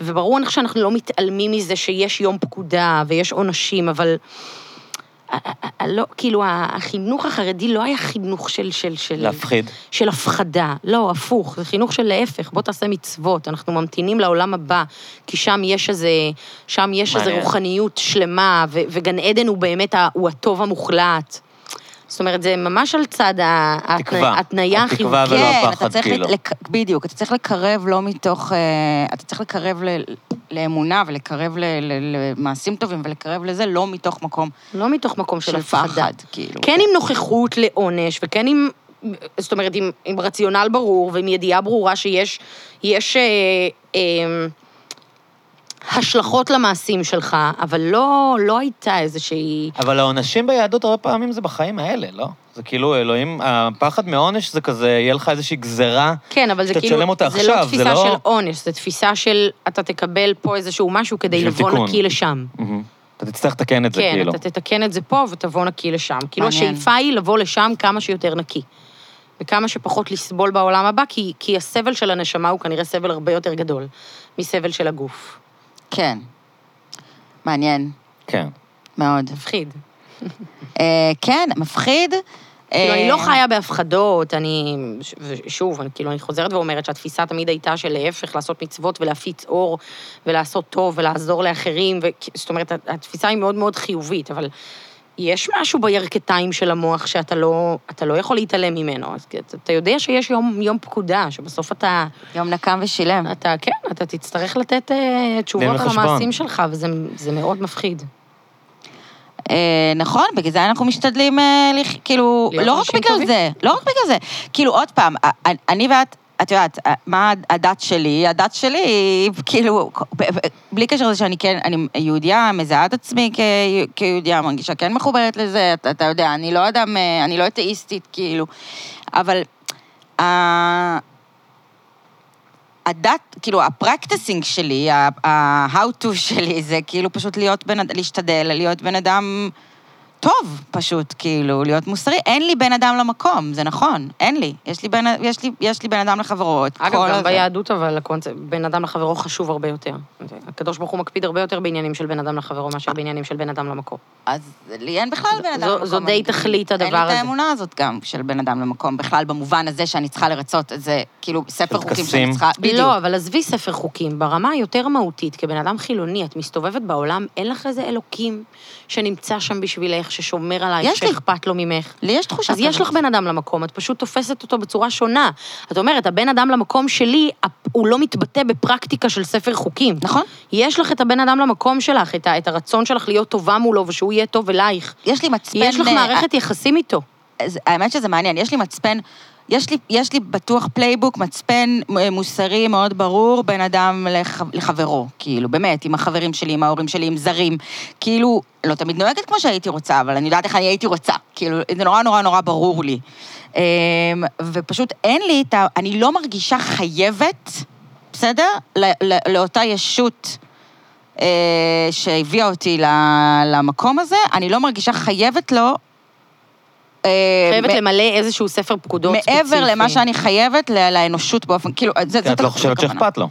Speaker 3: וברור אני חושבת שאנחנו לא מתעלמים מזה שיש יום פקודה ויש עונשים, אבל... ה- ה- ה- לא, כאילו, ה- החינוך החרדי לא היה חינוך של, של, של,
Speaker 1: להפחיד.
Speaker 3: של הפחדה. לא, הפוך, זה חינוך של להפך, בוא תעשה מצוות, אנחנו ממתינים לעולם הבא, כי שם יש איזה, שם יש איזה
Speaker 1: מעניין.
Speaker 3: רוחניות שלמה, ו- וגן עדן הוא באמת, ה- הוא הטוב המוחלט. זאת אומרת, זה ממש על צד ה-
Speaker 1: תקווה.
Speaker 3: ההתניה
Speaker 1: התקווה
Speaker 3: החיובית.
Speaker 1: ולא
Speaker 2: כן, אתה
Speaker 1: הפחד,
Speaker 2: צריך,
Speaker 1: כאילו.
Speaker 2: לק... בדיוק, אתה צריך לקרב לא מתוך, אה, אתה צריך לקרב ל... לאמונה ולקרב ל... ל... למעשים טובים ולקרב לזה לא מתוך מקום
Speaker 3: לא מתוך מקום של
Speaker 2: של
Speaker 3: הפחדה.
Speaker 2: פחד, כאילו.
Speaker 1: אוקיי.
Speaker 3: כן עם נוכחות לעונש, וכן עם, זאת אומרת, עם, עם רציונל ברור, ועם ידיעה ברורה שיש יש, אה, אה, השלכות למעשים שלך, אבל לא, לא הייתה איזושהי...
Speaker 1: אבל העונשים ביהדות הרבה פעמים זה בחיים האלה, לא? זה כאילו, אלוהים, הפחד מעונש זה כזה, יהיה לך איזושהי גזרה.
Speaker 3: כן, אבל זה
Speaker 1: שאתה
Speaker 3: כאילו,
Speaker 1: תשלם אותה
Speaker 3: זה
Speaker 1: עכשיו,
Speaker 3: לא
Speaker 1: זה
Speaker 3: תפיסה
Speaker 1: לא-
Speaker 3: של עונש, זו תפיסה של אתה תקבל פה איזשהו משהו כדי
Speaker 1: בשביל
Speaker 3: לבוא
Speaker 1: תיקון.
Speaker 3: נקי לשם.
Speaker 1: מהמם. אתה תצטרך לתקן את זה,
Speaker 3: כן,
Speaker 1: כאילו.
Speaker 3: אתה תתקן את זה פה ותבוא נקי לשם. כאילו,
Speaker 2: מעניין.
Speaker 3: השאיפה היא לבוא לשם כמה שיותר נקי. וכמה שפחות לסבול בעולם הבא, כי, כי הסבל של הנשמה הוא כנראה סבל הרבה יותר גדול מסבל של הגוף.
Speaker 2: כן. מעניין,
Speaker 1: כן.
Speaker 2: מאוד.
Speaker 3: מפחיד.
Speaker 2: אה, כן, מפחיד.
Speaker 3: כאילו,
Speaker 2: אה,
Speaker 3: אני לא חיה בהפחדות, אני... ש- ושוב, אני כאילו, אני חוזרת ואומרת שהתפיסה תמיד הייתה של להפך, לעשות מצוות ולהפיץ אור, ולעשות טוב, ולעזור לאחרים, ו... זאת אומרת, התפיסה היא מאוד מאוד חיובית, אבל יש משהו בירכתיים של המוח שאתה לא, אתה לא יכול להתעלם ממנו. אז אתה- אתה יודע שיש יום, יום פקודה, שבסוף אתה,
Speaker 2: יום נקם ושילם.
Speaker 3: אתה, כן, אתה תצטרך לתת אה,
Speaker 1: דין
Speaker 3: תשובות על
Speaker 1: וחשבון.
Speaker 3: המעשים שלך, וזה זה מאוד מפחיד.
Speaker 2: אה, נכון, בגלל זה אנחנו משתדלים, אה, לח- כאילו,
Speaker 3: להיות
Speaker 2: לא רק
Speaker 3: אנשים
Speaker 2: בגלל
Speaker 3: טובים.
Speaker 2: זה, לא רק בגלל זה. כאילו, עוד פעם, א- אני ואת, את יודעת, אה, מה הדת שלי? הדת שלי היא, כאילו, ב- ב- בלי קשר לזה שאני כן, אני יהודייה, מזהה את עצמי כ- כיהודייה, מרגישה כן מחוברת לזה, אתה- אתה יודע, אני לא אדם, אה, אני לא אתאיסטית, כאילו, אבל... אה, ה- הדת, כאילו, הפרקטסינג שלי, ה-how to שלי, זה כאילו פשוט להיות בן אדם, להשתדל, להיות בן אדם טוב, פשוט, כאילו, להיות מוסרי. אין לי בן אדם למקום, זה נכון, אין לי. יש לי בן, יש לי, יש לי בן אדם לחברות,
Speaker 3: אגב,
Speaker 2: כל
Speaker 3: גם
Speaker 2: הזה.
Speaker 3: ביהדות, אבל הקונספט, בין אדם לחברו חשוב הרבה יותר. הקדוש ברוך הוא מקפיד הרבה יותר בעניינים של בן אדם לחברו מאשר בעניינים של בן אדם למקום.
Speaker 2: אז לי אין בכלל בן אדם
Speaker 3: זו-
Speaker 2: למקום.
Speaker 3: זו די
Speaker 2: אני-
Speaker 3: תכלית הדבר
Speaker 2: אין לי
Speaker 3: הזה.
Speaker 2: את האמונה הזאת גם של בן אדם למקום, בכלל, במובן הזה שאני צריכה לרצות את זה, כאילו, ספר חוקים שאני
Speaker 1: טקסים.
Speaker 2: צריכה... בדיוק.
Speaker 3: לא, אבל עזבי ספר חוקים, ברמה היותר מהותית, כבן אדם חילוני, את מסתובבת בעולם, אין לך איזה אלוקים שנמצא שם בשבילך, ששומר עלייך,
Speaker 2: יש לי.
Speaker 3: שאכפת לו ממך.
Speaker 2: לי יש תחושה
Speaker 3: אז יש לך בן אדם למקום, את פשוט תופסת אותו בצורה שונה. את אומרת, הבן אדם למקום שלי, הפ- הוא לא מתבטא בפרקטיקה של ספר חוקים.
Speaker 2: נכון.
Speaker 3: יש לך את הבן אדם למקום שלך, את, ה, את הרצון שלך להיות טובה מולו ושהוא יהיה טוב אלייך.
Speaker 2: יש לי מצפן...
Speaker 3: יש לך
Speaker 2: אה,
Speaker 3: מערכת יחסים איתו.
Speaker 2: אז האמת שזה מעניין, יש לי מצפן, יש לי, יש לי בטוח פלייבוק, מצפן אה, מוסרי מאוד ברור בין אדם לח, לחברו, כאילו, באמת, עם החברים שלי, עם ההורים שלי, עם זרים. כאילו, לא תמיד נוהגת כמו שהייתי רוצה, אבל אני יודעת איך אני הייתי רוצה. כאילו, זה נורא נורא נורא ברור לי. אמ, ופשוט אין לי את ה... אני לא מרגישה חייבת, בסדר? לא, לא, לאותה ישות. אה, שהביאה אותי ל- למקום הזה, אני לא מרגישה חייבת לו... אה,
Speaker 3: חייבת
Speaker 2: מ-
Speaker 3: למלא איזשהו ספר פקודות ספציפי.
Speaker 2: מעבר למה שאני חייבת ל- לאנושות באופן, כאילו, זה-
Speaker 1: כי
Speaker 2: זאת
Speaker 1: את לא חושבת
Speaker 2: הכוונה.
Speaker 1: שאכפת לו.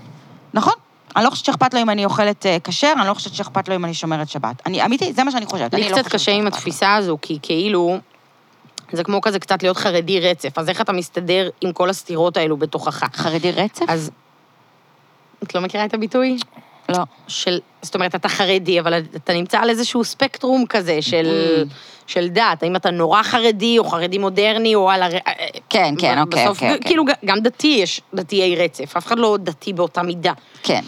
Speaker 2: נכון. אני לא חושבת שאכפת לו אם אני אוכלת אה, כשר, אני לא חושבת שאכפת לו אם אני שומרת שבת. אני, אמיתי, זה מה שאני חושבת. אני
Speaker 3: לי
Speaker 2: לא
Speaker 3: קצת
Speaker 2: חושבת
Speaker 3: קשה עם
Speaker 2: שאכפת לו.
Speaker 3: התפיסה הזו, כי כאילו, זה כמו כזה קצת להיות חרדי רצף, אז איך אתה מסתדר עם כל הסתירות האלו בתוכך?
Speaker 2: חרדי רצף?
Speaker 3: אז... את לא מכירה את הביטוי?
Speaker 2: לא.
Speaker 3: של... זאת אומרת, אתה חרדי, אבל אתה נמצא על איזשהו ספקטרום כזה של...
Speaker 2: Mm.
Speaker 3: של דת, האם אתה נורא חרדי, או חרדי מודרני, או על הר... אה,
Speaker 2: כן, כן, אוקיי,
Speaker 3: בסוף,
Speaker 2: אוקיי, אוקיי.
Speaker 3: כאילו, גם דתי יש דתיי רצף, אף אחד לא דתי באותה מידה.
Speaker 2: כן.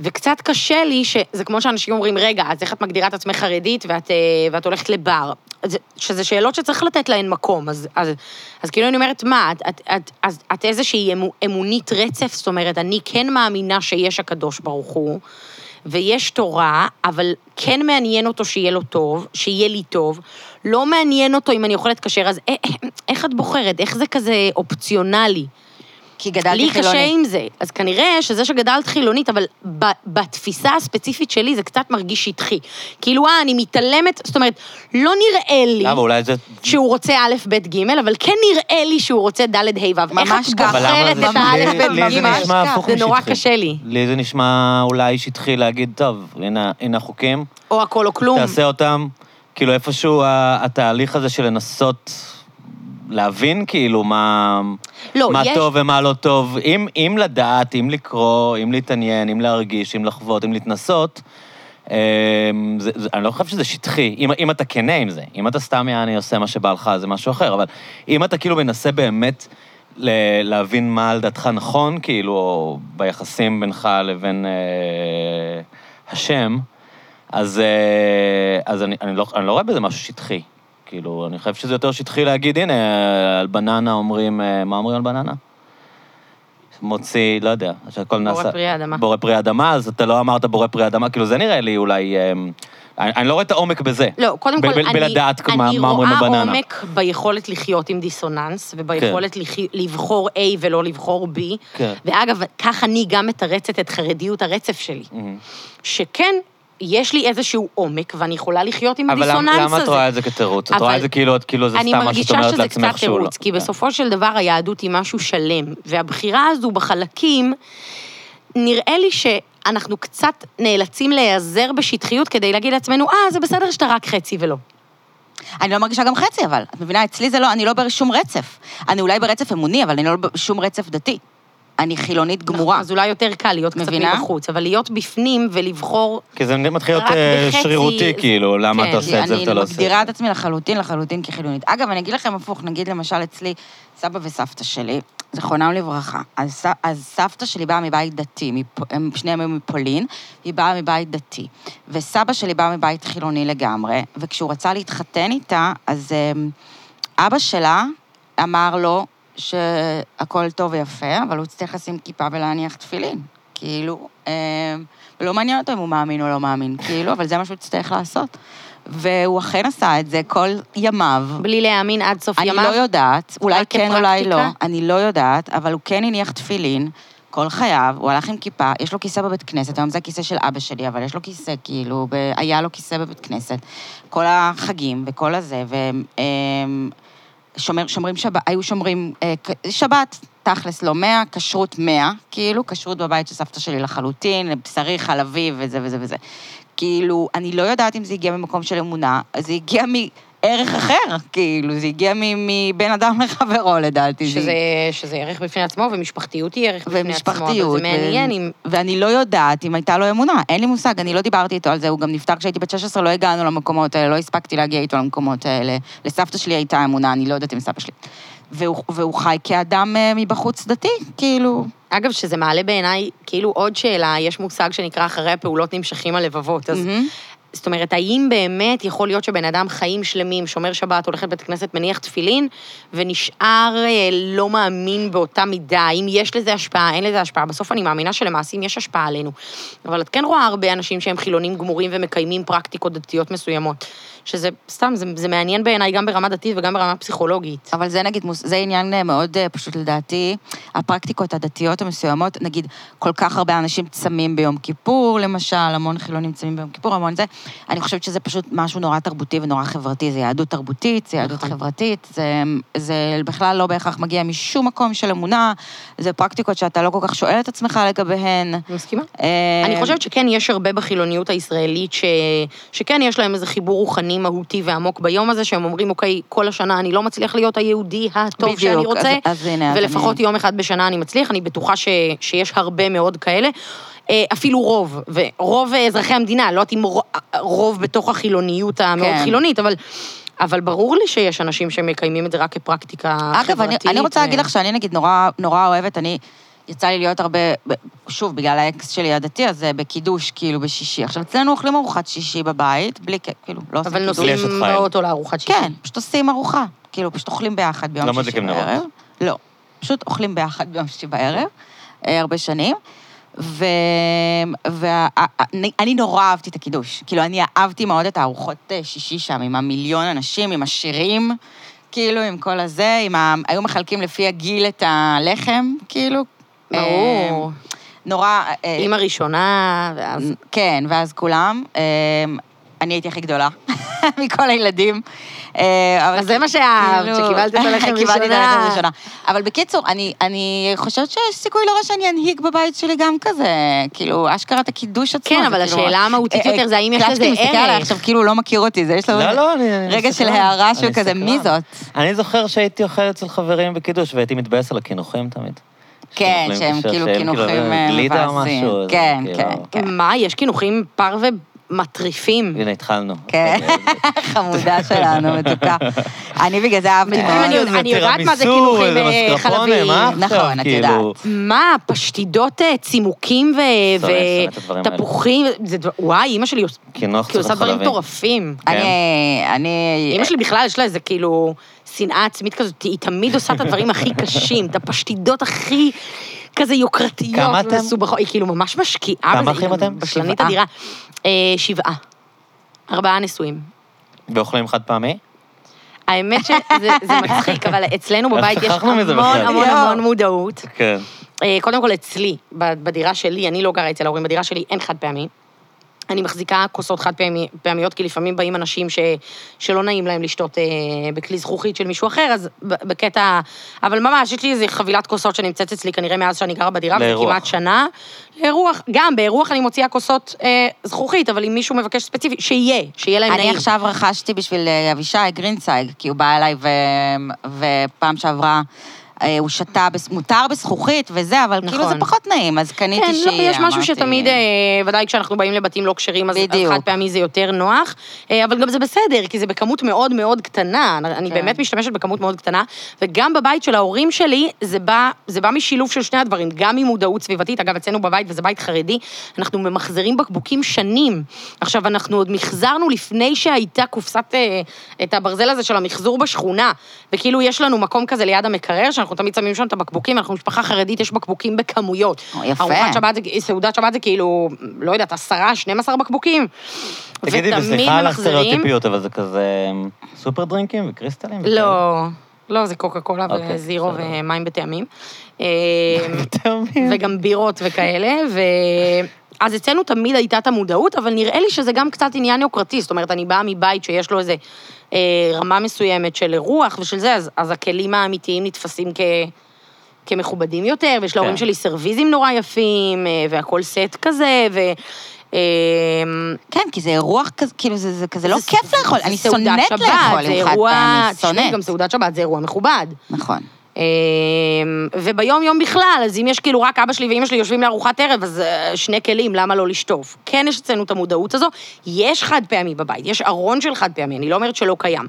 Speaker 3: וקצת קשה לי, שזה כמו שאנשים אומרים, רגע, אז איך את מגדירה את עצמך חרדית ואת, אה, ואת הולכת לבר? אז- שזה שאלות שצריך לתת להן מקום, אז, אז, אז כאילו אני אומרת, מה, את, את, את, אז, את איזושהי אמו- אמונית רצף? זאת אומרת, אני כן מאמינה שיש הקדוש ברוך הוא, ויש תורה, אבל כן מעניין אותו שיהיה לו טוב, שיהיה לי טוב, לא מעניין אותו אם אני אוכלת כשר, אז א- א- איך את בוחרת? איך זה כזה אופציונלי?
Speaker 2: כי גדלתי
Speaker 3: לי קשה
Speaker 2: חילונית.
Speaker 3: עם זה. אז כנראה שזה שגדלת חילונית, אבל ב- בתפיסה הספציפית שלי זה קצת מרגיש שטחי. כאילו, אה, אני מתעלמת, זאת אומרת, לא נראה לי
Speaker 1: למה, אולי זה...
Speaker 3: שהוא רוצה א', ב', ג', אבל כן נראה לי שהוא רוצה ד', ה', ו'. איך
Speaker 2: ממש
Speaker 3: את
Speaker 2: ככה.
Speaker 1: אבל למה
Speaker 3: בוחרת
Speaker 1: זה-
Speaker 3: את
Speaker 1: לי-
Speaker 3: האלף,
Speaker 1: לי
Speaker 3: ב',
Speaker 1: זה
Speaker 3: ג'?
Speaker 2: ממש
Speaker 1: נשמע
Speaker 2: ככה.
Speaker 1: הפוך
Speaker 3: זה
Speaker 1: משטחי.
Speaker 3: נורא קשה לי.
Speaker 1: לי זה נשמע אולי שטחי להגיד, טוב, הנה הנה החוקים,
Speaker 3: או הכל או כלום.
Speaker 1: תעשה אותם. כאילו איפשהו ה- התהליך הזה של לנסות להבין כאילו מה,
Speaker 3: לא,
Speaker 1: מה
Speaker 3: יש-
Speaker 1: טוב ומה לא טוב, אם, אם לדעת, אם לקרוא, אם להתעניין, אם להרגיש, אם לחוות, אם להתנסות, אמ, זה, זה, אני לא חושב שזה שטחי, אם, אם אתה כנה עם זה, אם אתה סתם יעני עושה מה שבא לך זה משהו אחר, אבל אם אתה כאילו מנסה באמת ל- להבין מה על דעתך נכון, כאילו, או ביחסים בינך לבין אה, השם, אז, אה, אז אני, אני, לא, אני לא רואה בזה משהו שטחי. כאילו, אני חושב שזה יותר שטחי להגיד, הנה, על בננה אומרים, אה, מה אומרים על בננה? מוציא, לא יודע, שהכל
Speaker 3: בורא
Speaker 1: נעשה...
Speaker 3: פרי האדמה.
Speaker 1: בורא פרי אדמה, אז אתה לא אמרת בורא פרי אדמה, כאילו, זה נראה לי אולי... אה, אני, אני לא רואה את העומק בזה.
Speaker 3: לא, קודם
Speaker 1: ב-
Speaker 3: כל,
Speaker 1: ב-
Speaker 3: אני,
Speaker 1: בלדעת מה-
Speaker 3: אני
Speaker 1: מה אומרים
Speaker 3: רואה
Speaker 1: בבננה.
Speaker 3: עומק ביכולת לחיות עם דיסוננס, וביכולת לחי, לבחור A ולא לבחור B.
Speaker 1: כן.
Speaker 3: ואגב, כך אני גם מתרצת את חרדיות הרצף שלי.
Speaker 1: מהמם.
Speaker 3: שכן, יש לי איזשהו עומק, ואני יכולה לחיות עם
Speaker 1: אבל
Speaker 3: הדיסוננס
Speaker 1: למה,
Speaker 3: הזה.
Speaker 1: למה את רואה את זה כתירוץ? את
Speaker 3: אבל
Speaker 1: רואה את זה כאילו, את- כאילו זה
Speaker 3: אני
Speaker 1: סתם מה שאת
Speaker 3: מרגישה
Speaker 1: אומרת
Speaker 3: שזה
Speaker 1: לעצמך
Speaker 3: קצת
Speaker 1: שהוא לא.
Speaker 3: תירוץ, כי בסופו של דבר היהדות היא משהו שלם, והבחירה הזו בחלקים, נראה לי שאנחנו קצת נאלצים להיעזר בשטחיות כדי להגיד לעצמנו, אה, זה בסדר שאתה רק חצי ולא.
Speaker 2: אני לא מרגישה גם חצי, אבל. את מבינה, אצלי זה לא, אני לא בשום רצף. אני אולי ברצף אמוני, אבל אני לא בשום רצף דתי. אני חילונית גמורה.
Speaker 3: אז אולי יותר קל להיות קצת
Speaker 2: אה. מבינה?
Speaker 3: מבחוץ, אבל להיות בפנים ולבחור...
Speaker 1: כי זה מתחיל להיות
Speaker 3: רק
Speaker 1: אה,
Speaker 3: בחצי-
Speaker 1: שרירותי, כאילו, למה
Speaker 3: כן,
Speaker 1: אתה עושה את זה
Speaker 2: אני
Speaker 1: ואתה לא עושה את זה.
Speaker 2: מגדירה את עצמי לחלוטין, לחלוטין כחילונית. אגב, אני אגיד לכם הפוך, נגיד למשל אצלי, סבא וסבתא שלי, זכרונם לברכה, אז, ס- אז סבתא שלי באה מבית דתי, מפ- הם שניהם היו מפולין, היא באה מבית דתי. וסבא שלי בא מבית חילוני לגמרי, וכשהוא רצה להתחתן איתה, אז אמ, אבא שלה אמר לו שהכל טוב ויפה, אבל הוא צריך לשים כיפה ולהניח תפילין. כאילו, אמ, ולא מעניין אותו אם הוא מאמין או לא מאמין, כאילו, אבל זה מה שהוא יצטרך לעשות. והוא אכן עשה את זה כל ימיו.
Speaker 3: בלי להאמין עד סוף
Speaker 2: אני
Speaker 3: ימיו.
Speaker 2: לא יודעת, אולי
Speaker 3: רק
Speaker 2: כן, אולי לא,
Speaker 3: כפרקטיקה?
Speaker 2: אני לא יודעת, אבל הוא כן הניח תפילין כל חייו, הוא הלך עם כיפה, יש לו כיסא בבית כנסת, היום זה הכיסא של אבא שלי, אבל יש לו כיסא, כאילו, ב... היה לו כיסא בבית כנסת, כל החגים וכל הזה, והם... אמ, שומר, שומרים שבת, היו שומרים אה, ק- שבת, תכלס לא 100, כשרות 100, כאילו, כשרות בבית של סבתא שלי לחלוטין, בשרי, חלבי וזה וזה וזה. כאילו, אני לא יודעת אם זה הגיע ממקום של אמונה, זה הגיע מ... ערך אחר, כאילו, זה הגיע מ- מבן אדם לחברו, לדעתי. זה-
Speaker 3: שזה, שזה ערך בפני עצמו, ומשפחתיות היא ערך בפני עצמו, אבל
Speaker 2: ומשפחתיות.
Speaker 3: זה מעניין
Speaker 2: ו-
Speaker 3: אם...
Speaker 2: ואני לא יודעת אם הייתה לו אמונה, אין לי מושג, אני לא דיברתי איתו על זה, הוא גם נפטר כשהייתי בת 16, לא הגענו למקומות האלה, לא הספקתי להגיע איתו למקומות האלה. לסבתא שלי הייתה אמונה, אני לא יודעת אם סבא שלי. והוא, והוא חי כאדם אה, מבחוץ דתי, כאילו.
Speaker 3: אגב, שזה מעלה בעיניי, כאילו עוד שאלה, יש מושג שנקרא אחרי הפעולות נמשכים הלבבות, אז...
Speaker 2: מהמם.
Speaker 3: זאת אומרת, האם באמת יכול להיות שבן אדם חיים שלמים, שומר שבת, הולך לבית כנסת, מניח תפילין, ונשאר אה, לא מאמין באותה מידה, האם יש לזה השפעה, אין לזה השפעה? בסוף אני מאמינה שלמעשים יש השפעה עלינו. אבל את כן רואה הרבה אנשים שהם חילונים גמורים ומקיימים פרקטיקות דתיות מסוימות, שזה סתם, זה, זה מעניין בעיניי גם ברמה דתית וגם ברמה פסיכולוגית.
Speaker 2: אבל זה נגיד, מוס- זה עניין אה, מאוד אה, פשוט לדעתי. הפרקטיקות הדתיות המסוימות, נגיד, כל כך הרבה אנשים צמים ביום כיפור, למשל, המון חילונים צמים ביום כיפור, המון זה. אני חושבת שזה פשוט משהו נורא תרבותי ונורא חברתי. זה יהדות תרבותית, זה יהדות
Speaker 3: נכון.
Speaker 2: חברתית, זה, זה בכלל לא בהכרח מגיע משום מקום של אמונה, זה פרקטיקות שאתה לא כל כך שואל את עצמך לגביהן.
Speaker 3: אני מסכימה.
Speaker 2: אה,
Speaker 3: אני חושבת שכן יש הרבה בחילוניות הישראלית ש... שכן יש להם איזה חיבור רוחני מהותי ועמוק ביום הזה, שהם אומרים, אוקיי, כל השנה אני לא מצליח להיות היהודי הטוב
Speaker 2: בדיוק,
Speaker 3: שאני רוצה,
Speaker 2: אז, אז הנה, אז
Speaker 3: ולפחות
Speaker 2: אני...
Speaker 3: יום אחד בשנה אני מצליח, אני בטוחה ש... שיש הרבה מאוד כאלה. אה, אפילו רוב, ורוב אזרחי המדינה, לא יודעת אם רו- רוב בתוך החילוניות המאוד
Speaker 2: כן.
Speaker 3: חילונית, אבל, אבל ברור לי שיש אנשים שמקיימים את זה רק כפרקטיקה חברתית. אה,
Speaker 2: אגב, אני, אני רוצה להגיד לך שאני נגיד נורא, נורא אוהבת, אני, יצא לי להיות הרבה, ב- שוב, בגלל האקס שלי הדתי, אז אה, בקידוש, כאילו, בשישי. עכשיו, אצלנו אוכלים ארוחת שישי בבית, בלי, כ- כאילו, לא עושים
Speaker 3: אבל
Speaker 2: קידוש.
Speaker 1: נוסעים-
Speaker 3: נוסעים באוטו לארוחת שישי.
Speaker 2: כן, פשוט עושים ארוחה. כאילו, פשוט אוכלים ביחד ביום
Speaker 1: לא
Speaker 2: שישי
Speaker 1: מדליקים נרות.
Speaker 2: בערב. לא, פשוט אוכלים ביחד ביום שישי בערב, אה, הרבה שנים. ואני נורא אהבתי את הקידוש. כאילו, אני אהבתי מאוד את הארוחות אה, שישי שם, עם המיליון אנשים, עם השירים, כאילו, עם כל הזה, עם ה... היו מחלקים לפי הגיל את הלחם, כאילו.
Speaker 3: ברור.
Speaker 2: אה, נורא... אה,
Speaker 3: אימא ראשונה, ואז...
Speaker 2: כן, ואז כולם. אה, אני הייתי הכי גדולה מכל הילדים. אה, אבל
Speaker 3: אז זה מה שאהבת,
Speaker 2: כאילו-
Speaker 3: שקיבלת את הלחם
Speaker 2: קיבלתי את הלחם
Speaker 3: ראשונה.
Speaker 2: ראשונה. אבל בקיצור, אני, אני חושבת שיש סיכוי לא רע שאני אנהיג בבית שלי גם כזה, כאילו, אשכרה את הקידוש עצמו.
Speaker 3: כן,
Speaker 2: זה
Speaker 3: אבל
Speaker 2: כאילו-
Speaker 3: השאלה המהותית
Speaker 2: אה,
Speaker 3: יותר זה האם יש
Speaker 2: קלאצ'קי
Speaker 3: לזה
Speaker 2: מסתכל עליי
Speaker 3: ערך.
Speaker 2: עכשיו, כאילו הוא לא מכיר אותי, זה יש לו
Speaker 1: לא, לא, אני... אני
Speaker 2: רגע של
Speaker 1: סקרן.
Speaker 2: הערה
Speaker 1: אני
Speaker 2: שהוא כזה,
Speaker 1: סקרן.
Speaker 2: מי זאת?
Speaker 1: אני זוכר שהייתי אוכל אצל חברים בקידוש, והייתי מתבאס על הקינוחים תמיד.
Speaker 2: כן,
Speaker 1: שאוכלים
Speaker 2: שהם
Speaker 1: כשר,
Speaker 2: כאילו
Speaker 1: שהם
Speaker 2: קינוחים אה,
Speaker 1: גלידה או
Speaker 2: מבאסים.
Speaker 1: משהו, אז
Speaker 2: כן,
Speaker 1: כאילו-
Speaker 2: כן, כן.
Speaker 3: מה, יש קינוחים פר ומטריפים.
Speaker 1: הנה, התחלנו.
Speaker 2: כן. חמודה שלנו, מתוקה. אני בגלל זה אהבתי
Speaker 3: מתוקה.
Speaker 2: מאוד.
Speaker 3: אני יודעת- אני יודעת מה זה קינוחים,
Speaker 1: איזה
Speaker 3: אה,
Speaker 1: מסקרפונה,
Speaker 3: חלביים.
Speaker 1: מה עכשיו,
Speaker 2: נכון, את
Speaker 1: כאילו?
Speaker 2: יודעת.
Speaker 3: מה, פשטידות אה, צימוקים
Speaker 1: שונא, שונא את הדברים האלה.
Speaker 3: ותפוחים? וואי, אימא שלי עוש-
Speaker 1: קינוח
Speaker 3: כאילו,
Speaker 1: צריך
Speaker 3: עושה דברים
Speaker 1: חלבים.
Speaker 3: מטורפים.
Speaker 1: כן.
Speaker 2: אני, אני...
Speaker 3: אימא שלי בכלל, יש לה איזה כאילו שנאה עצמית כזאת, היא תמיד עושה את הדברים הכי קשים, את הפשטידות הכי כזה יוקרתיות
Speaker 1: כמה אתם?
Speaker 3: ומסובכות, היא כאילו ממש משקיעה
Speaker 1: כמה
Speaker 3: בזה,
Speaker 1: אחים
Speaker 3: היא גם
Speaker 1: אתם?
Speaker 3: בשלנית
Speaker 2: שבעה.
Speaker 3: אדירה. אה, שבעה. ארבעה נשואים.
Speaker 1: ואוכלים חד פעמי?
Speaker 3: האמת שזה זה מצחיק, אבל אצלנו
Speaker 1: איך
Speaker 3: בבית יש
Speaker 1: שכחנו
Speaker 3: המון
Speaker 1: מזה בכלל?
Speaker 3: המון
Speaker 2: יואו.
Speaker 3: המון מודעות.
Speaker 1: כן.
Speaker 3: אה, קודם כל אצלי, ב- בדירה שלי, אני לא גרה אצל ההורים, בדירה שלי אין חד פעמי. אני מחזיקה כוסות חד פעמי, פעמיות, כי לפעמים באים אנשים ש, שלא נעים להם לשתות אה, בכלי זכוכית של מישהו אחר, אז ב- בקטע... אבל ממש, יש לי איזו חבילת כוסות שנמצאת אצלי כנראה מאז שאני גרה בדירה, וזה
Speaker 1: לאירוח.
Speaker 3: כמעט שנה. לאירוח, גם באירוח אני מוציאה כוסות אה, זכוכית, אבל אם מישהו מבקש ספציפי, שיהיה, שיהיה להם
Speaker 2: אני
Speaker 3: נעים.
Speaker 2: עכשיו רכשתי בשביל אה, אבישי גרינצייג, כי הוא בא אליי ו... ופעם שעברה... אה, הוא שתה, בס- מותר בזכוכית וזה, אבל כאילו
Speaker 3: נכון.
Speaker 2: זה פחות נעים, אז קניתי
Speaker 3: כן,
Speaker 2: שהיא,
Speaker 3: לא, יש משהו
Speaker 2: אמרתי.
Speaker 3: שתמיד, אה, ודאי כשאנחנו באים לבתים לא כשרים, אז
Speaker 2: בדיוק.
Speaker 3: חד פעמי זה יותר נוח, אה, אבל גם זה בסדר, כי זה בכמות מאוד מאוד קטנה, אני- אני
Speaker 2: כן.
Speaker 3: באמת משתמשת בכמות מאוד קטנה, וגם בבית של ההורים שלי, זה בא, זה בא משילוב של שני הדברים, גם ממודעות סביבתית, אגב, אצלנו בבית, וזה בית חרדי, אנחנו ממחזרים בקבוקים שנים. עכשיו, אנחנו עוד מחזרנו לפני שהייתה קופסת, אה, את הברזל הזה של המחזור בשכונה, וכאילו יש לנו מקום כזה ליד המקרר, שאנחנו תמיד שמים שם את הבקבוקים, אנחנו משפחה חרדית, יש בקבוקים בכמויות.
Speaker 2: או, יפה.
Speaker 3: ארוחת שבת, זה- סעודת שבת זה כאילו, לא יודעת, עשרה, 12 בקבוקים.
Speaker 1: תגידי,
Speaker 3: ותמיד
Speaker 1: וסליחה על
Speaker 3: ממחזרים-
Speaker 1: הסטריאוטיפיות, אבל זה כזה אמ, סופר דרינקים וקריסטלים? וכאלה?
Speaker 3: לא, לא, זה קוקה קולה
Speaker 1: אוקיי,
Speaker 3: וזירו
Speaker 1: בסדר.
Speaker 3: ומים בטעמים.
Speaker 2: כן.
Speaker 1: טעמים.
Speaker 3: וגם בירות וכאלה, ו... אז אצלנו תמיד הייתה את המודעות, אבל נראה לי שזה גם קצת עניין יוקרתי. זאת אומרת, אני באה מבית שיש לו איזה אה, רמה מסוימת של רוח ושל זה, אז, אז הכלים האמיתיים נתפסים כ, כמכובדים יותר, ויש להורים
Speaker 1: כן.
Speaker 3: שלי סרוויזים נורא יפים, אה, והכול סט כזה, ו... אמ,
Speaker 2: כן, כי זה אירוע כזה, כאילו, זה זה כזה לא
Speaker 3: זה-
Speaker 2: כיף לאכול, אני
Speaker 3: סעודת
Speaker 2: שונאת
Speaker 3: שבת,
Speaker 2: לאכול
Speaker 3: זה
Speaker 2: עם חד
Speaker 3: אירוע-
Speaker 2: פעמי,
Speaker 3: תשמעי, גם
Speaker 2: שונאת.
Speaker 3: סעודת שבת זה אירוע מכובד.
Speaker 2: נכון.
Speaker 3: אמ, וביום-יום בכלל, אז אם יש כאילו רק אבא שלי ואימא שלי יושבים לארוחת ערב, אז אה, שני כלים, למה לא לשטוף? כן יש אצלנו את המודעות הזו, יש חד פעמי בבית, יש ארון של חד פעמי, אני לא אומרת שלא קיים.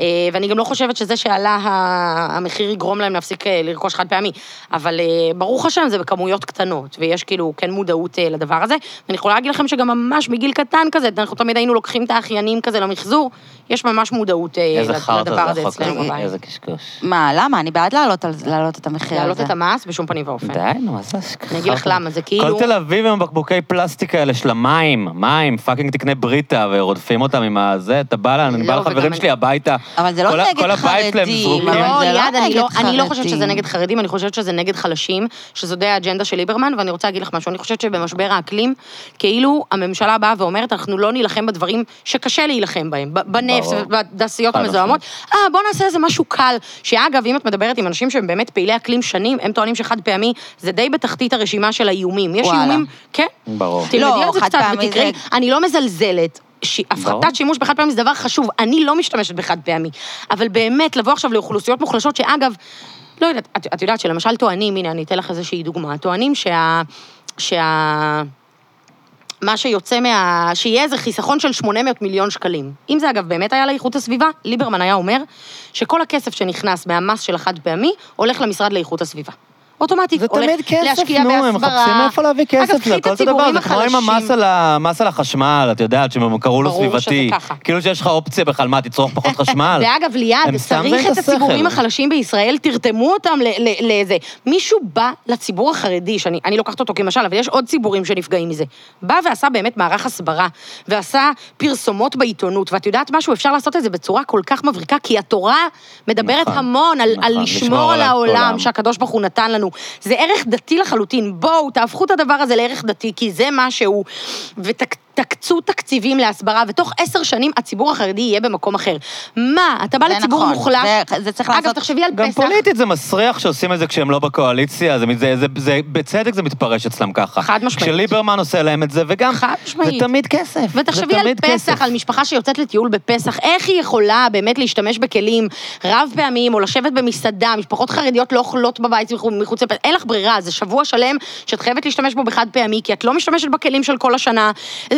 Speaker 3: אה, ואני גם לא חושבת שזה שעלה ה- המחיר יגרום להם להפסיק אה, לרכוש חד פעמי, אבל אה, ברוך השם, זה בכמויות קטנות, ויש כאילו כן מודעות אה, לדבר הזה. ואני יכולה להגיד לכם שגם ממש מגיל קטן כזה, אנחנו תמיד היינו לוקחים את האחיינים כזה למחזור, יש ממש מודעות אה,
Speaker 1: איזה
Speaker 3: לד-
Speaker 1: חרטא
Speaker 3: לדבר הזה
Speaker 1: זה החוק
Speaker 3: אצלנו
Speaker 1: הזה,
Speaker 3: בבית.
Speaker 1: איזה קשקוש.
Speaker 2: מה, למה? אני בעד להעלות על- להעלות את המחיר הזה.
Speaker 3: להעלות את המס בשום פנים ואופן.
Speaker 1: די, נו, מה זה השכחה?
Speaker 3: אני אגיד לך למה, זה כאילו...
Speaker 1: כל תל אביב עם הבקבוקי פלסטיק האלה של המים, מים, פאקינג תקנה בריטה, ורודפים אותם עם הזה, אתה בא לה, אני
Speaker 3: לא,
Speaker 1: בא
Speaker 3: וגם
Speaker 1: לחברים
Speaker 3: אני-
Speaker 1: שלי הביתה.
Speaker 2: אבל זה לא
Speaker 1: כל ה-
Speaker 2: נגד
Speaker 1: כל הבית שלהם
Speaker 2: חרדים,
Speaker 1: זרוקים.
Speaker 2: אבל
Speaker 3: לא,
Speaker 2: זה לא
Speaker 3: ליעד, אני
Speaker 2: נגד
Speaker 3: לא- אני לא חושבת
Speaker 2: חרדים.
Speaker 3: שזה נגד חרדים, אני חושבת שזה נגד חלשים, שזו האג'נדה של ליברמן, ואני רוצה להגיד לך משהו, אני חושבת שבמשבר האקלים, כאילו הממשלה באה ואומרת, אנחנו לא נילחם בדברים שקשה להילחם בהם, ב- בנפט,
Speaker 1: ברור.
Speaker 3: בתעשיות
Speaker 1: חד
Speaker 3: המזוהמות. אה, בוא נעשה איזה משהו קל, שאגב, אם את מדברת עם אנשים שהם באמת פעילי אקלים שנים, הם טוענים שחד פעמי זה די בתחתית הרשימה של האיומים. יש
Speaker 2: וואלה.
Speaker 3: איומים, כן,
Speaker 1: ברור.
Speaker 3: תלמדי
Speaker 2: לא,
Speaker 3: על זה
Speaker 2: חד
Speaker 3: קצת
Speaker 2: פעמי
Speaker 3: ותקראי.
Speaker 2: זה-
Speaker 3: אני לא מזלזלת. ש- הפחתת שימוש בחד פעמי זה דבר חשוב, אני לא משתמשת בחד פעמי. אבל באמת, לבוא עכשיו לאוכלוסיות מוחלשות, שאגב, לא יודעת, את, את יודעת שלמשל טוענים, הנה, אני אתן לך איזושהי דוגמה, טוענים שה... שה... מה שיוצא מה... שיהיה איזה חיסכון של 800 מיליון שקלים. אם זה אגב באמת היה לאיכות הסביבה, ליברמן היה אומר שכל הכסף שנכנס מהמס של החד פעמי, הולך למשרד לאיכות הסביבה. אוטומטית,
Speaker 1: זה
Speaker 3: הולך
Speaker 1: תמיד כסף,
Speaker 3: להשקיע
Speaker 1: נו,
Speaker 3: בהסברה.
Speaker 1: הם מחפשים מאיפה להביא
Speaker 3: אגב,
Speaker 1: כסף,
Speaker 3: קחי
Speaker 1: זה
Speaker 3: את
Speaker 1: הכל אותו דבר,
Speaker 3: הציבורים
Speaker 1: זה כמו עם
Speaker 3: החלשים.
Speaker 1: המס על ה- המס על החשמל, את יודעת, שהם קראו לו
Speaker 3: ברור שזה
Speaker 1: סביבתי.
Speaker 3: ככה.
Speaker 1: כאילו שיש לך אופציה בכלל, מה, תצרוך פחות חשמל?
Speaker 3: ואגב, ליעד,
Speaker 1: הם סתם
Speaker 3: צריך
Speaker 1: רואים את
Speaker 3: את הציבורים
Speaker 1: השכל.
Speaker 3: החלשים בישראל, תרתמו אותם ל- ל- לאיזה... מישהו בא לציבור החרדי, שאני אני לוקחת אותו כמשל, אבל יש עוד ציבורים שנפגעים מזה. בא ועשה באמת מערך הסברה, ועשה פרסומות בעיתונות, ואת יודעת משהו, אפשר לעשות את זה בצורה כל כך מבריקה, כי התורה מדברת
Speaker 1: נכון,
Speaker 3: המון על, על
Speaker 1: נכון,
Speaker 3: לשמור על העולם שהקדוש ברוך הוא נתן לנו. זה ערך דתי לחלוטין. בואו, תהפכו את הדבר הזה לערך דתי, כי זה מה שהוא. ותקצו תקציבים להסברה, ותוך עשר שנים הציבור החרדי יהיה במקום אחר. מה, אתה בא
Speaker 2: זה
Speaker 3: לציבור
Speaker 2: נכון,
Speaker 3: מוחלש,
Speaker 2: זה- זה צריך
Speaker 3: אגב,
Speaker 2: לעשות...
Speaker 3: תחשבי על
Speaker 1: גם
Speaker 3: פסח.
Speaker 1: פוליטית זה מסריח שעושים את זה כשהם לא בקואליציה, זה, זה, זה, זה, בצדק זה מתפרש אצלם ככה.
Speaker 3: חד משמעית.
Speaker 1: כשליברמן עושה להם את זה, וגם,
Speaker 3: חד משמעית.
Speaker 1: זה תמיד כסף.
Speaker 3: ותחשבי
Speaker 1: זה
Speaker 3: על
Speaker 1: תמיד
Speaker 3: פסח,
Speaker 1: כסף.
Speaker 3: על משפחה שיוצאת לטיול בפסח, איך היא יכולה באמת להשתמש בכלים רב פעמיים, או לשבת במסעדה, משפחות חרדיות לא אוכלות בבית מחו- מחוץ לפסח, אין לך ברירה, זה שבוע שלם שאת חייבת להשתמש בו בחד פעמי, כי את לא משתמשת בכלים של כל השנה. אה,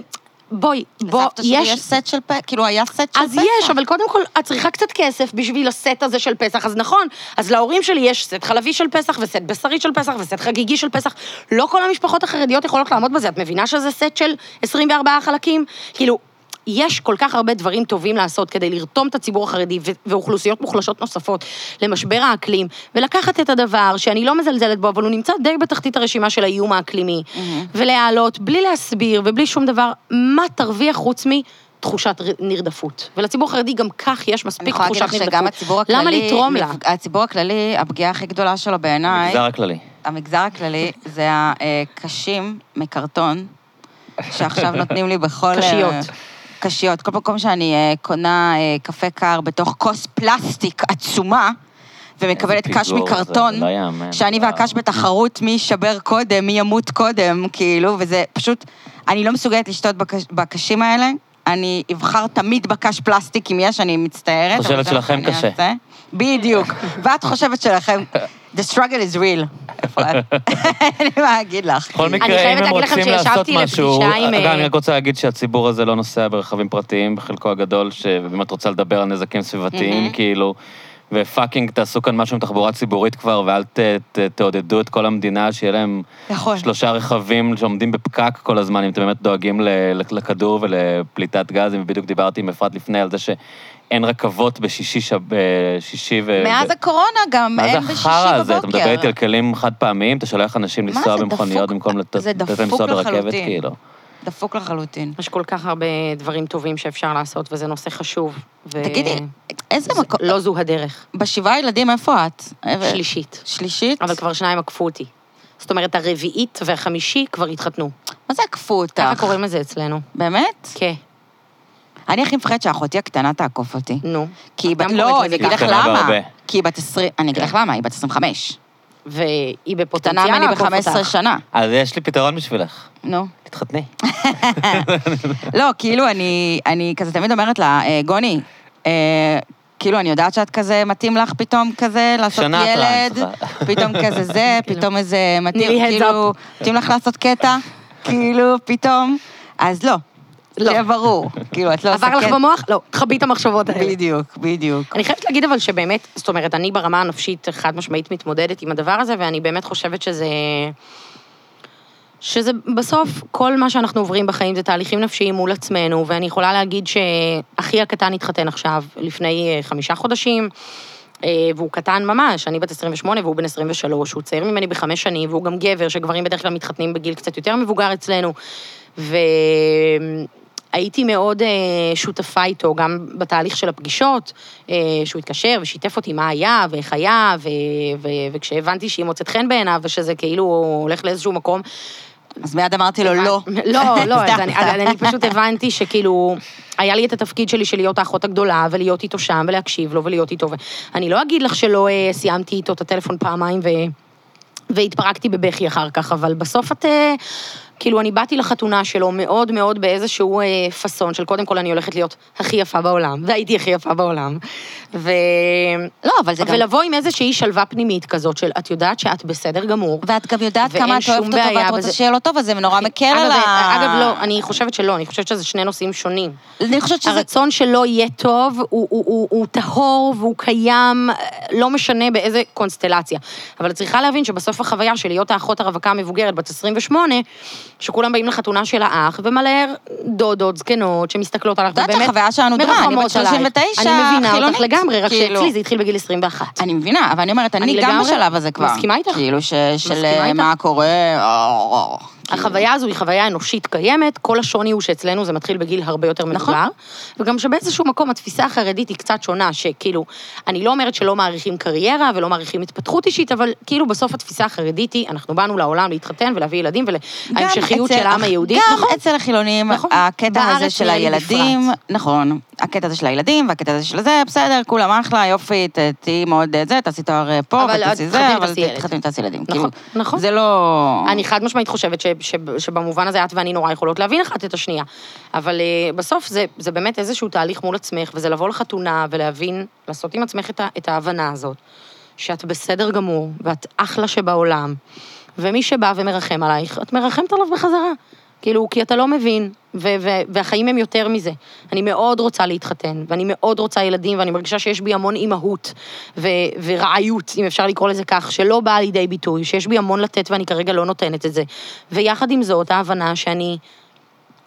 Speaker 3: בואי, בוא,
Speaker 2: לסבתא שלי יש סט של פ... כאילו, היה סט של פסח.
Speaker 3: אז יש, אבל קודם כל, את צריכה קצת כסף בשביל הסט הזה של פסח, אז נכון, אז להורים שלי יש סט חלבי של פסח, וסט בשרי של פסח, וסט חגיגי של פסח. לא כל המשפחות החרדיות יכולות לעמוד בזה, את מבינה שזה סט של 24 חלקים? כאילו... יש כל כך הרבה דברים טובים לעשות כדי לרתום את הציבור החרדי ו- ואוכלוסיות מוחלשות נוספות למשבר האקלים, ולקחת את הדבר שאני לא מזלזלת בו, אבל הוא נמצא די בתחתית הרשימה של האיום האקלימי, ולהעלות בלי להסביר ובלי שום דבר, מה תרוויח חוץ מ... תחושת ר- נרדפות. ולציבור החרדי גם כך יש
Speaker 2: אני
Speaker 3: מספיק
Speaker 2: יכולה להגיד
Speaker 3: תחושת
Speaker 2: לך
Speaker 3: נרדפות.
Speaker 2: שגם הציבור הכללי...
Speaker 3: למה לתרום לה?
Speaker 2: נפג- הציבור הכללי, הפגיעה הכי גדולה שלו בעיניי,
Speaker 1: המגזר הכללי.
Speaker 2: המגזר הכללי, זה הקשים מקרטון, שעכשיו נותנים לי בכל...
Speaker 3: קשיות.
Speaker 2: אה, קשיות. כל פעם שאני אה, קונה אה, קפה קר בתוך כוס פלסטיק עצומה, ומקבלת
Speaker 1: איזה
Speaker 2: קש
Speaker 1: פיגור זה,
Speaker 2: מקרטון,
Speaker 1: זה לא ייאמן.
Speaker 2: שאני
Speaker 1: וואו.
Speaker 2: והקש בתחרות מי יישבר קודם, מי ימות קודם, כאילו, וזה פשוט, אני לא מסוגלת לשתות בקש, בקשים האלה. אני אבחר תמיד בקש פלסטיק אם יש, אני מצטערת.
Speaker 1: חושבת
Speaker 2: אבל זה מה
Speaker 1: שלכם
Speaker 2: שאני
Speaker 1: קשה.
Speaker 2: אעשה. בדיוק. ואת חושבת שלכם, the struggle is real. איפה את? אין לי מה להגיד לך.
Speaker 1: בכל
Speaker 3: אני
Speaker 1: מקרה,
Speaker 3: חייבת
Speaker 1: אם הם
Speaker 3: להגיד לכם
Speaker 1: רוצים
Speaker 3: שישבתי
Speaker 1: לעשות
Speaker 3: לפגישה
Speaker 1: משהו...
Speaker 3: עם,
Speaker 1: אגב,
Speaker 3: אה,
Speaker 1: אני רק רוצה להגיד שהציבור הזה לא נוסע ברכבים פרטיים, בחלקו הגדול, ש- ואם את רוצה לדבר על נזקים סביבתיים, כאילו... ופאקינג, תעשו כאן משהו עם תחבורה ציבורית כבר, ואל ת- ת- תעודדו את כל המדינה, שיהיה להם
Speaker 2: נכון.
Speaker 1: שלושה רכבים שעומדים בפקק כל הזמן, אם אתם באמת דואגים ל- לכדור ולפליטת גזים, בדיוק דיברתי עם אפרת לפני על זה שאין רכבות בשישי, שב, אה, שישי ו...
Speaker 2: מאז הקורונה גם,
Speaker 1: מה זה
Speaker 2: אין בשישי
Speaker 1: החרא
Speaker 2: בבוקר.
Speaker 1: הזה? אתה מדבר איתי על כלים חד פעמיים, אתה שולח אנשים
Speaker 2: זה
Speaker 1: לנסוע
Speaker 2: דפוק?
Speaker 1: במכוניות במקום לת-
Speaker 2: זה
Speaker 1: לתת להם
Speaker 2: דפוק
Speaker 1: לנסוע ברכבת,
Speaker 2: לחלוטין.
Speaker 1: כאילו.
Speaker 2: דפוק לחלוטין.
Speaker 3: יש כל כך הרבה דברים טובים שאפשר לעשות, וזה נושא חשוב. ו...
Speaker 2: תגידי, איזה
Speaker 3: אה, זה-
Speaker 2: מקום...
Speaker 3: לא זו הדרך.
Speaker 2: בשבעה ילדים, איפה את?
Speaker 3: שלישית.
Speaker 2: שלישית?
Speaker 3: אבל כבר שניים עקפו אותי. זאת אומרת, הרביעית והחמישי כבר התחתנו.
Speaker 2: מה זה עקפו אותך?
Speaker 3: ככה קוראים לזה אצלנו.
Speaker 2: באמת?
Speaker 3: כן,
Speaker 2: אני הכי מפחדת שאחותי הקטנה תעקוף אותי.
Speaker 3: נו.
Speaker 2: כי היא
Speaker 3: את גם
Speaker 2: בת...
Speaker 3: קוראת
Speaker 2: לא,
Speaker 3: לזה
Speaker 2: אני אגיד לך
Speaker 1: ככה. קטנה
Speaker 2: למה.
Speaker 1: בהרבה.
Speaker 2: כי היא בת עשרים... אני אגיד לך למה, היא בת עשרים וחמש.
Speaker 3: והיא בפוטנציאל
Speaker 2: קטנה ממני
Speaker 3: לעקוף אותך.
Speaker 2: ב-15 שנה,
Speaker 1: אז יש לי פתרון בשבילך,
Speaker 2: נו.
Speaker 1: תתחתני.
Speaker 2: לא, כאילו, אני, אני כזה תמיד אומרת לה, אה, גוני, אה, כאילו, אני יודעת שאת כזה, מתאים לך פתאום כזה לעשות
Speaker 1: שנה
Speaker 2: ילד,
Speaker 1: טרנס, אבל-
Speaker 2: פתאום כזה זה,
Speaker 3: כאילו.
Speaker 2: פתאום איזה
Speaker 3: תני לי
Speaker 2: מתאים,
Speaker 3: heads
Speaker 2: כאילו, מתאים לך לעשות קטע, כאילו, פתאום, אז לא.
Speaker 3: לא.
Speaker 2: שיהיה ברור, כאילו, את לא עושה
Speaker 3: עבר לך
Speaker 2: קטע.
Speaker 3: במוח? לא, חבי את המחשבות האלה.
Speaker 2: בדיוק, בדיוק.
Speaker 3: אני חייבת להגיד אבל שבאמת, זאת אומרת, אני ברמה הנפשית חד משמעית מתמודדת עם הדבר הזה, ואני באמת חושבת שזה... שזה בסוף, כל מה שאנחנו עוברים בחיים זה תהליכים נפשיים מול עצמנו, ואני יכולה להגיד שאחי הקטן התחתן עכשיו, לפני אה, חמישה חודשים, אה, והוא קטן ממש, אני בת 28 והוא בן 23, הוא צעיר ממני בחמש שנים, והוא גם גבר, שגברים בדרך כלל מתחתנים בגיל קצת יותר מבוגר אצלנו, והייתי מאוד אה, שותפה איתו, גם בתהליך של הפגישות, אה, שהוא התקשר ושיתף אותי מה היה ואיך היה, ו- ו- וכשהבנתי שהיא מוצאת חן בעיניו, ושזה כאילו הולך לאיזשהו מקום,
Speaker 2: אז מיד אמרתי לו, לא.
Speaker 3: לא, לא, אז
Speaker 2: סתם,
Speaker 3: אני,
Speaker 2: סתם.
Speaker 3: אז אני פשוט הבנתי שכאילו, היה לי את התפקיד שלי של להיות האחות הגדולה, ולהיות איתו שם, ולהקשיב לו, ולהיות איתו. ו- אני לא אגיד לך שלא אה, סיימתי איתו את הטלפון פעמיים, ו... והתפרקתי בבכי אחר כך, אבל בסוף את... אה, כאילו, אני באתי לחתונה שלו מאוד מאוד באיזשהו אה, פאסון של קודם כל אני הולכת להיות הכי יפה בעולם, והייתי הכי יפה בעולם. ו...
Speaker 2: לא, אבל זה גם...
Speaker 3: ולבוא עם איזושהי שלווה פנימית כזאת של, את יודעת שאת בסדר גמור,
Speaker 2: ואת גם יודעת
Speaker 3: ואין
Speaker 2: כמה את
Speaker 3: שום
Speaker 2: אוהבת אותו
Speaker 3: בעיה
Speaker 2: ואת
Speaker 3: בזה. אוקיי.
Speaker 2: רוצה שיהיה לו טוב, אז זה נורא מקל
Speaker 3: אגב,
Speaker 2: כן על ה...
Speaker 3: אגב, לא, אני חושבת שלא, אני חושבת שזה שני נושאים שונים.
Speaker 2: אני חושבת שזה...
Speaker 3: הרצון שלא יהיה טוב, הוא, הוא, הוא, הוא טהור והוא קיים, אה, לא משנה באיזה קונסטלציה. אבל את צריכה להבין שבסוף החוויה של להיות האחות הרווקה המבוגרת, בת 28, שכולם באים לחתונה של האח, ומלא דודות, זקנות, שמסתכלות עליך,
Speaker 2: את יודעת שהחוויה שלנו דומה, אני בת
Speaker 3: מרחמות עלייך.
Speaker 2: 39,
Speaker 3: אני מבינה אותך
Speaker 2: חילונית,
Speaker 3: לגמרי, רק
Speaker 2: כאילו.
Speaker 3: שאצלי זה התחיל בגיל 21.
Speaker 2: אני מבינה, אבל אני אומרת, אני
Speaker 3: אני
Speaker 2: גם
Speaker 3: לגמרי
Speaker 2: בשלב הזה כבר.
Speaker 3: מסכימה איתך.
Speaker 2: כאילו, ש- של
Speaker 3: מסכימה
Speaker 2: אה,
Speaker 3: איתך.
Speaker 2: מה קורה, אה,
Speaker 3: החוויה הזו היא חוויה אנושית קיימת, כל השוני הוא שאצלנו זה מתחיל בגיל הרבה יותר מבוגר.
Speaker 2: נכון.
Speaker 3: נכון. וגם שבאיזשהו מקום התפיסה החרדית היא קצת שונה, שכאילו, אני לא אומרת שלא מעריכים קריירה ולא מעריכים התפתחות אישית, אבל כאילו בסוף התפיסה החרדית היא, אנחנו באנו לעולם להתחתן ולהביא ילדים,
Speaker 2: גם
Speaker 3: ולהמשכיות
Speaker 2: אצל
Speaker 3: של העם
Speaker 2: הח-
Speaker 3: היהודי.
Speaker 2: גם
Speaker 3: נכון.
Speaker 2: אצל החילונים,
Speaker 3: נכון.
Speaker 2: הקטע הזה
Speaker 3: בארץ
Speaker 2: של
Speaker 3: נראה לי
Speaker 2: הילדים,
Speaker 3: בפרט.
Speaker 2: נכון, הקטע הזה של הילדים, והקטע הזה של זה, בסדר, כולם אחלה, יופי, ת- תהיי מאוד אה, זה, תעשי תואר אה, פה,
Speaker 3: אבל
Speaker 2: ותעשי
Speaker 3: את
Speaker 2: זה,
Speaker 3: תתחתני
Speaker 2: אבל
Speaker 3: ותעשי ילד.
Speaker 2: תתחתני ותעשי ילדים.
Speaker 3: נכון,
Speaker 2: כאילו,
Speaker 3: נכון.
Speaker 2: זה לא...
Speaker 3: אני חד משמעית חושבת ש, ש, שבמובן הזה את ואני נורא יכולות להבין אחת את השנייה. אבל אה, בסוף זה, זה באמת איזשהו תהליך מול עצמך, וזה לבוא לחתונה ולהבין, לעשות עם עצמך את, ה, את ההבנה הזאת, שאת בסדר גמור, ואת אחלה שבעולם, ומי שבא ומרחם עלייך, את מרחמת עליו בחזרה. כאילו, כי אתה לא מבין, ו- ו- והחיים הם יותר מזה. אני מאוד רוצה להתחתן, ואני מאוד רוצה ילדים, ואני מרגישה שיש בי המון אימהות ו- ורעיות, אם אפשר לקרוא לזה כך, שלא באה לידי ביטוי, שיש בי המון לתת ואני כרגע לא נותנת את זה. ויחד עם זאת, ההבנה שאני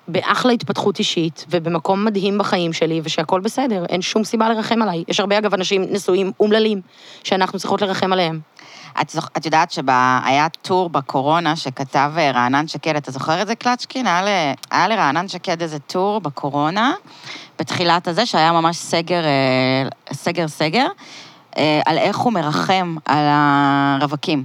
Speaker 3: באחלה התפתחות אישית, ובמקום מדהים בחיים שלי, ושהכול בסדר, אין שום סיבה לרחם עליי. יש הרבה, אגב, אנשים נשואים אומללים, שאנחנו צריכות לרחם עליהם.
Speaker 2: את, זוכ... את יודעת שהיה טור בקורונה שכתב אה, רענן שקד, אתה זוכר את זה, קלצ'קין? היה, ל... היה לרענן שקד איזה טור בקורונה, בתחילת הזה, שהיה ממש סגר, אה, סגר, סגר, אה, על איך הוא מרחם על הרווקים.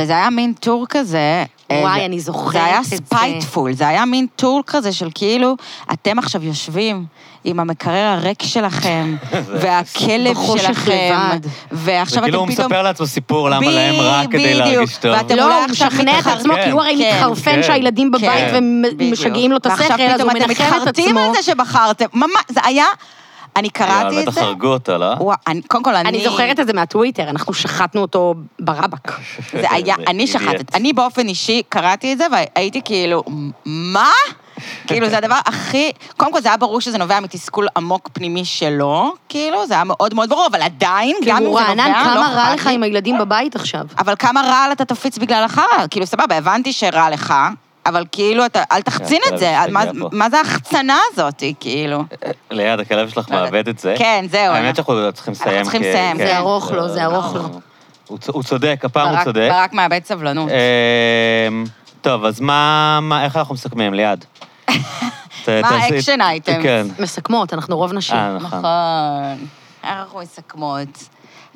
Speaker 2: וזה היה מין טור כזה... אה,
Speaker 3: וואי,
Speaker 2: זה-
Speaker 3: אני זוכרת
Speaker 2: זה היה
Speaker 3: את זה.
Speaker 2: ספייטפול, זה היה מין טור כזה של כאילו, אתם עכשיו יושבים עם המקרר הריק שלכם, והכלב
Speaker 3: בחושך
Speaker 2: שלכם,
Speaker 3: לבד.
Speaker 1: זה
Speaker 2: ועכשיו אתם
Speaker 1: כאילו הוא
Speaker 2: פתאום...
Speaker 1: מספר לעצמו סיפור למה
Speaker 2: ב-
Speaker 1: להם רע כדי
Speaker 2: בדיוק.
Speaker 1: להרגיש טוב.
Speaker 2: ואתם- אתם אולי
Speaker 3: לא, הוא
Speaker 2: עכשיו
Speaker 3: משכנע את
Speaker 2: מתחרט-
Speaker 3: עצמו, כי הוא הרי
Speaker 2: כן,
Speaker 3: מתחרפן
Speaker 1: כן,
Speaker 3: שהילדים בבית
Speaker 2: כן,
Speaker 3: ומשגעים לו את
Speaker 2: בדיוק.
Speaker 3: השכל, אז
Speaker 2: ועכשיו
Speaker 3: הוא
Speaker 2: פתאום
Speaker 3: מנחם
Speaker 2: אתם
Speaker 3: את
Speaker 2: מתחרטים
Speaker 3: עצמו.
Speaker 2: על זה שבחרתם. ממש, זה היה... אני
Speaker 1: יאללה,
Speaker 2: קראתי את
Speaker 1: בטח
Speaker 2: זה.
Speaker 1: הרגו אותו, לא?
Speaker 2: וואו, אני- קודם כל, אני...
Speaker 3: אני זוכרת את זה מהטוויטר, אנחנו שחטנו אותו ברבק.
Speaker 2: זה היה,
Speaker 1: זה
Speaker 2: אני
Speaker 1: אידיוט.
Speaker 2: שחטת. אני באופן אישי קראתי את זה, והייתי כאילו, מה? כאילו, זה הדבר הכי... קודם כל, זה היה ברור שזה נובע מתסכול עמוק פנימי שלו, כאילו, זה היה מאוד מאוד ברור, אבל עדיין, גם אם זה
Speaker 3: כאילו,
Speaker 2: נובע, לא
Speaker 3: רענן, כמה רע
Speaker 2: אכפת
Speaker 3: לך
Speaker 2: לי.
Speaker 3: עם הילדים בבית עכשיו?
Speaker 2: אבל כמה רעל אתה תפיץ בגלל החרא? כאילו, סבבה, הבנתי שרע לך, אבל כאילו, אתה, אל תחצין
Speaker 1: כן,
Speaker 2: את זה.
Speaker 1: אתה
Speaker 2: מה,
Speaker 1: משתגע פה.
Speaker 2: מה זה ההחצנה הזאת, כאילו?
Speaker 1: ליד, הכלב שלך
Speaker 2: לא יודעת.
Speaker 1: מאבד את זה.
Speaker 2: כן, זהו,
Speaker 1: האמת
Speaker 2: אנחנו-
Speaker 1: שאנחנו צריכים לסיים.
Speaker 2: אנחנו צריכים
Speaker 1: כי-
Speaker 2: לסיים.
Speaker 1: כן, אה,
Speaker 3: זה ארוך לו, זה ארוך לו.
Speaker 1: הוא צ- הוא צודק, הפעם הוא
Speaker 2: ברק-
Speaker 1: צודק. אה,
Speaker 2: ברק מאבד סבלנות.
Speaker 1: אמ, טוב, אז מה, מה- איך אנחנו מסכמים, ליעד? ת-
Speaker 2: מה
Speaker 1: תעשי-
Speaker 2: ה-action items?
Speaker 1: כן.
Speaker 3: מסכמות, אנחנו רוב נשים.
Speaker 1: אה, נכון.
Speaker 2: נכון. אנחנו מסכמות.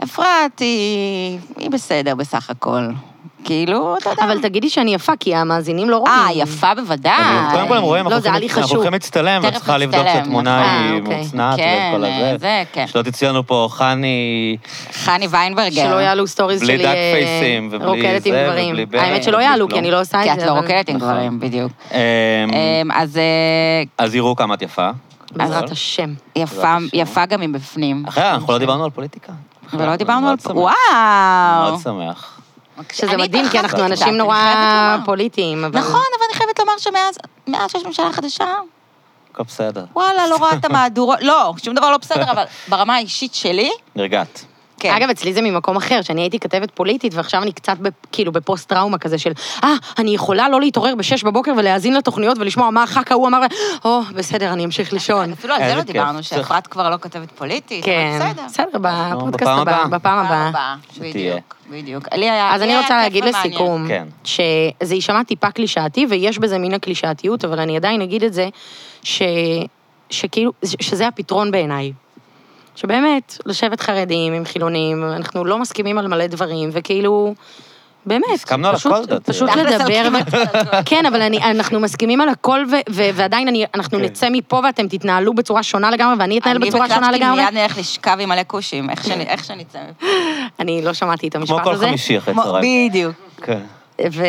Speaker 2: אפרת היא, היא בסדר בסך הכל.
Speaker 4: כאילו, אתה יודע.
Speaker 3: אבל תגידי שאני יפה, כי המאזינים לא רואים.
Speaker 2: אה, יפה בוודאי.
Speaker 1: אני- קודם כל הם רואים,
Speaker 3: לא,
Speaker 1: אנחנו
Speaker 3: זה היה לי
Speaker 1: הולכים- אנחנו
Speaker 3: חשוב.
Speaker 1: הולכים להצטלם, ואת
Speaker 2: תכף
Speaker 1: צריכה לבדוק
Speaker 2: נצטלם,
Speaker 1: שהתמונה
Speaker 3: נכון.
Speaker 1: היא
Speaker 3: אה, אוקיי.
Speaker 1: מוצנעת
Speaker 2: כן,
Speaker 1: וכל
Speaker 2: אה,
Speaker 1: הזה.
Speaker 2: זה, כן.
Speaker 1: שלא תצא לנו פה חני...
Speaker 2: חני ויינברגר.
Speaker 3: שלא יעלו סטוריז
Speaker 1: בלי
Speaker 3: שלי
Speaker 1: דאק
Speaker 3: אה,
Speaker 1: פייסים ובלי
Speaker 3: רוקדת עם
Speaker 1: זה
Speaker 3: גברים.
Speaker 1: ובלי ברד
Speaker 3: האמת שלא
Speaker 1: ובלי
Speaker 3: יעלו,
Speaker 1: כלום.
Speaker 3: כי אני לא עושה את
Speaker 2: כי
Speaker 3: זה.
Speaker 2: את לא
Speaker 3: אבל-
Speaker 2: רוקדת עם
Speaker 1: נכון.
Speaker 2: גברים, בדיוק.
Speaker 1: אמ,
Speaker 2: אמ, אז אה,
Speaker 1: אז יראו כמה את יפה.
Speaker 3: בעזרת
Speaker 1: אבל-
Speaker 3: השם.
Speaker 1: לא
Speaker 2: יפה-
Speaker 1: השם.
Speaker 2: יפה גם מבפנים.
Speaker 1: אחרי, אנחנו לא דיברנו על פוליטיקה.
Speaker 3: לא
Speaker 4: לא
Speaker 2: ולא דיברנו על...
Speaker 1: מאוד שמח.
Speaker 2: וואו.
Speaker 1: מאוד שמח.
Speaker 3: שזה
Speaker 2: אני לא
Speaker 3: מדהים, כי
Speaker 2: התרחבתי
Speaker 3: אנחנו
Speaker 2: קצת,
Speaker 3: אנשים
Speaker 2: אני
Speaker 3: נורא
Speaker 2: חייבת לומר.
Speaker 3: פוליטיים, אבל...
Speaker 4: נכון, אבל אני חייבת לומר שמאז מאז שיש ממשלה חדשה,
Speaker 1: הכל בסדר.
Speaker 4: וואלה, לא רואה את המהדורות, לא, שום דבר לא בסדר, אבל ברמה האישית שלי,
Speaker 1: נרגעת.
Speaker 4: כן.
Speaker 3: אגב, אצלי זה ממקום אחר, שאני הייתי כתבת פוליטית, ועכשיו אני קצת בפ- כאילו בפוסט-טראומה כזה של, אה, אני יכולה לא להתעורר בשש בבוקר ולהאזין לתוכניות ולשמוע מה הח"כ ההוא אמר, או, בסדר, אני אמשיך לישון.
Speaker 4: אפילו על זה
Speaker 1: איזה
Speaker 4: לא
Speaker 1: כיף.
Speaker 4: דיברנו,
Speaker 1: צריך-
Speaker 4: שאפרת כבר לא כותבת פוליטית,
Speaker 3: כן,
Speaker 4: אבל בסדר.
Speaker 3: בסדר, בפודקאסט
Speaker 1: בפעם
Speaker 3: הבא,
Speaker 1: הבאה.
Speaker 3: בפעם הבאה.
Speaker 1: שתהיה.
Speaker 4: בדיוק, בדיוק. לי היה...
Speaker 3: אז
Speaker 4: לי
Speaker 3: אני
Speaker 4: היה
Speaker 3: רוצה
Speaker 4: כיף
Speaker 3: להגיד
Speaker 4: ומעניין.
Speaker 3: לסיכום,
Speaker 1: כן.
Speaker 3: שזה יישמע טיפה קלישאתי, ויש בזה מין הקלישאתיות, אבל אני עדיין אגיד את זה, ש... שכאילו, ש- שזה הפתרון בעיניי. שבאמת, לשבת חרדים עם חילונים, אנחנו לא מסכימים על מלא דברים, וכאילו, באמת,
Speaker 1: הסכמנו על
Speaker 3: פשוט,
Speaker 1: הכל, לדעתי.
Speaker 3: פשוט
Speaker 4: תכלס, כאילו- על
Speaker 3: לדבר,
Speaker 4: כמעט
Speaker 3: ו... כן, אבל אני, אנחנו מסכימים על הכל, ו, ו, ועדיין אני, אנחנו
Speaker 1: כן.
Speaker 3: נצא מפה ואתם תתנהלו בצורה שונה לגמרי, ואני אתנהל בצורה שונה
Speaker 4: אני
Speaker 3: לגמרי.
Speaker 4: וקלצ'קין מיד נלך לשכב עם מלא כושים, איך שנ- איך שנצא מפה.
Speaker 3: אני לא שמעתי את המשפט
Speaker 1: כמו
Speaker 3: הזה.
Speaker 1: כל חמישי אחרי צהריים.
Speaker 4: בדיוק.
Speaker 1: כן.
Speaker 3: ו...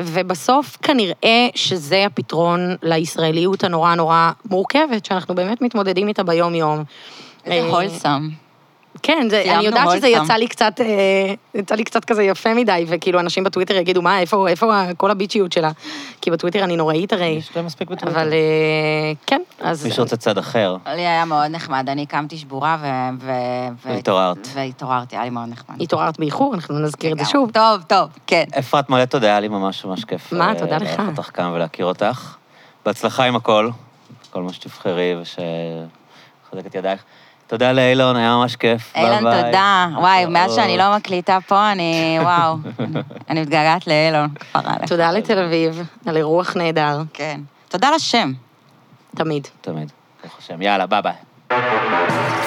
Speaker 3: ובסוף כנראה שזה הפתרון לישראליות הנורא נורא מורכבת, שאנחנו באמת מתמודדים איתה ביום-יום.
Speaker 4: איזה
Speaker 3: אה,
Speaker 4: הולסם.
Speaker 3: כן, זה,
Speaker 4: סיימנו
Speaker 3: אני יודעת שזה
Speaker 4: הולסם.
Speaker 3: יצא לי קצת, אה, יצא לי קצת כזה יפה מדי, וכאילו אנשים בטוויטר יגידו, מה, איפה, איפה ה- כל הביצ'יות שלה? כי בטוויטר אני נוראית הרי,
Speaker 1: יש להם מספיק בטוויטר.
Speaker 3: אבל אה, כן, אז...
Speaker 1: מי שרוצה צד אחר.
Speaker 2: לי היה מאוד נחמד, אני קמתי שבורה ו... ו- ו-
Speaker 1: והתעוררת.
Speaker 2: והתעוררתי, היה לי מאוד נחמד.
Speaker 3: התעוררת באיחור, אנחנו נזכיר את זה
Speaker 2: לגמרי.
Speaker 3: שוב.
Speaker 2: טוב, טוב, כן.
Speaker 1: אפרת מלא תודה, היה לי ממש ממש כיף.
Speaker 3: מה,
Speaker 1: אה,
Speaker 3: תודה לך.
Speaker 1: לארח אותך כאן ולהכיר אותך. בהצלחה עם הכל, כל מה שתבחרי ושחזק את ידייך. תודה לאילון, היה ממש כיף. ביי
Speaker 2: אילן,
Speaker 1: ביי.
Speaker 2: תודה. וואי, מאז שאני
Speaker 1: תודה.
Speaker 2: לא מקליטה פה, אני... וואו. אני מתגעגעת לאילון, כפרה עליך.
Speaker 3: תודה לתל אביב, על אירוח נהדר,
Speaker 2: כן.
Speaker 4: תודה לשם.
Speaker 3: תמיד.
Speaker 1: תמיד, ברוך השם. יאללה, ביי ביי.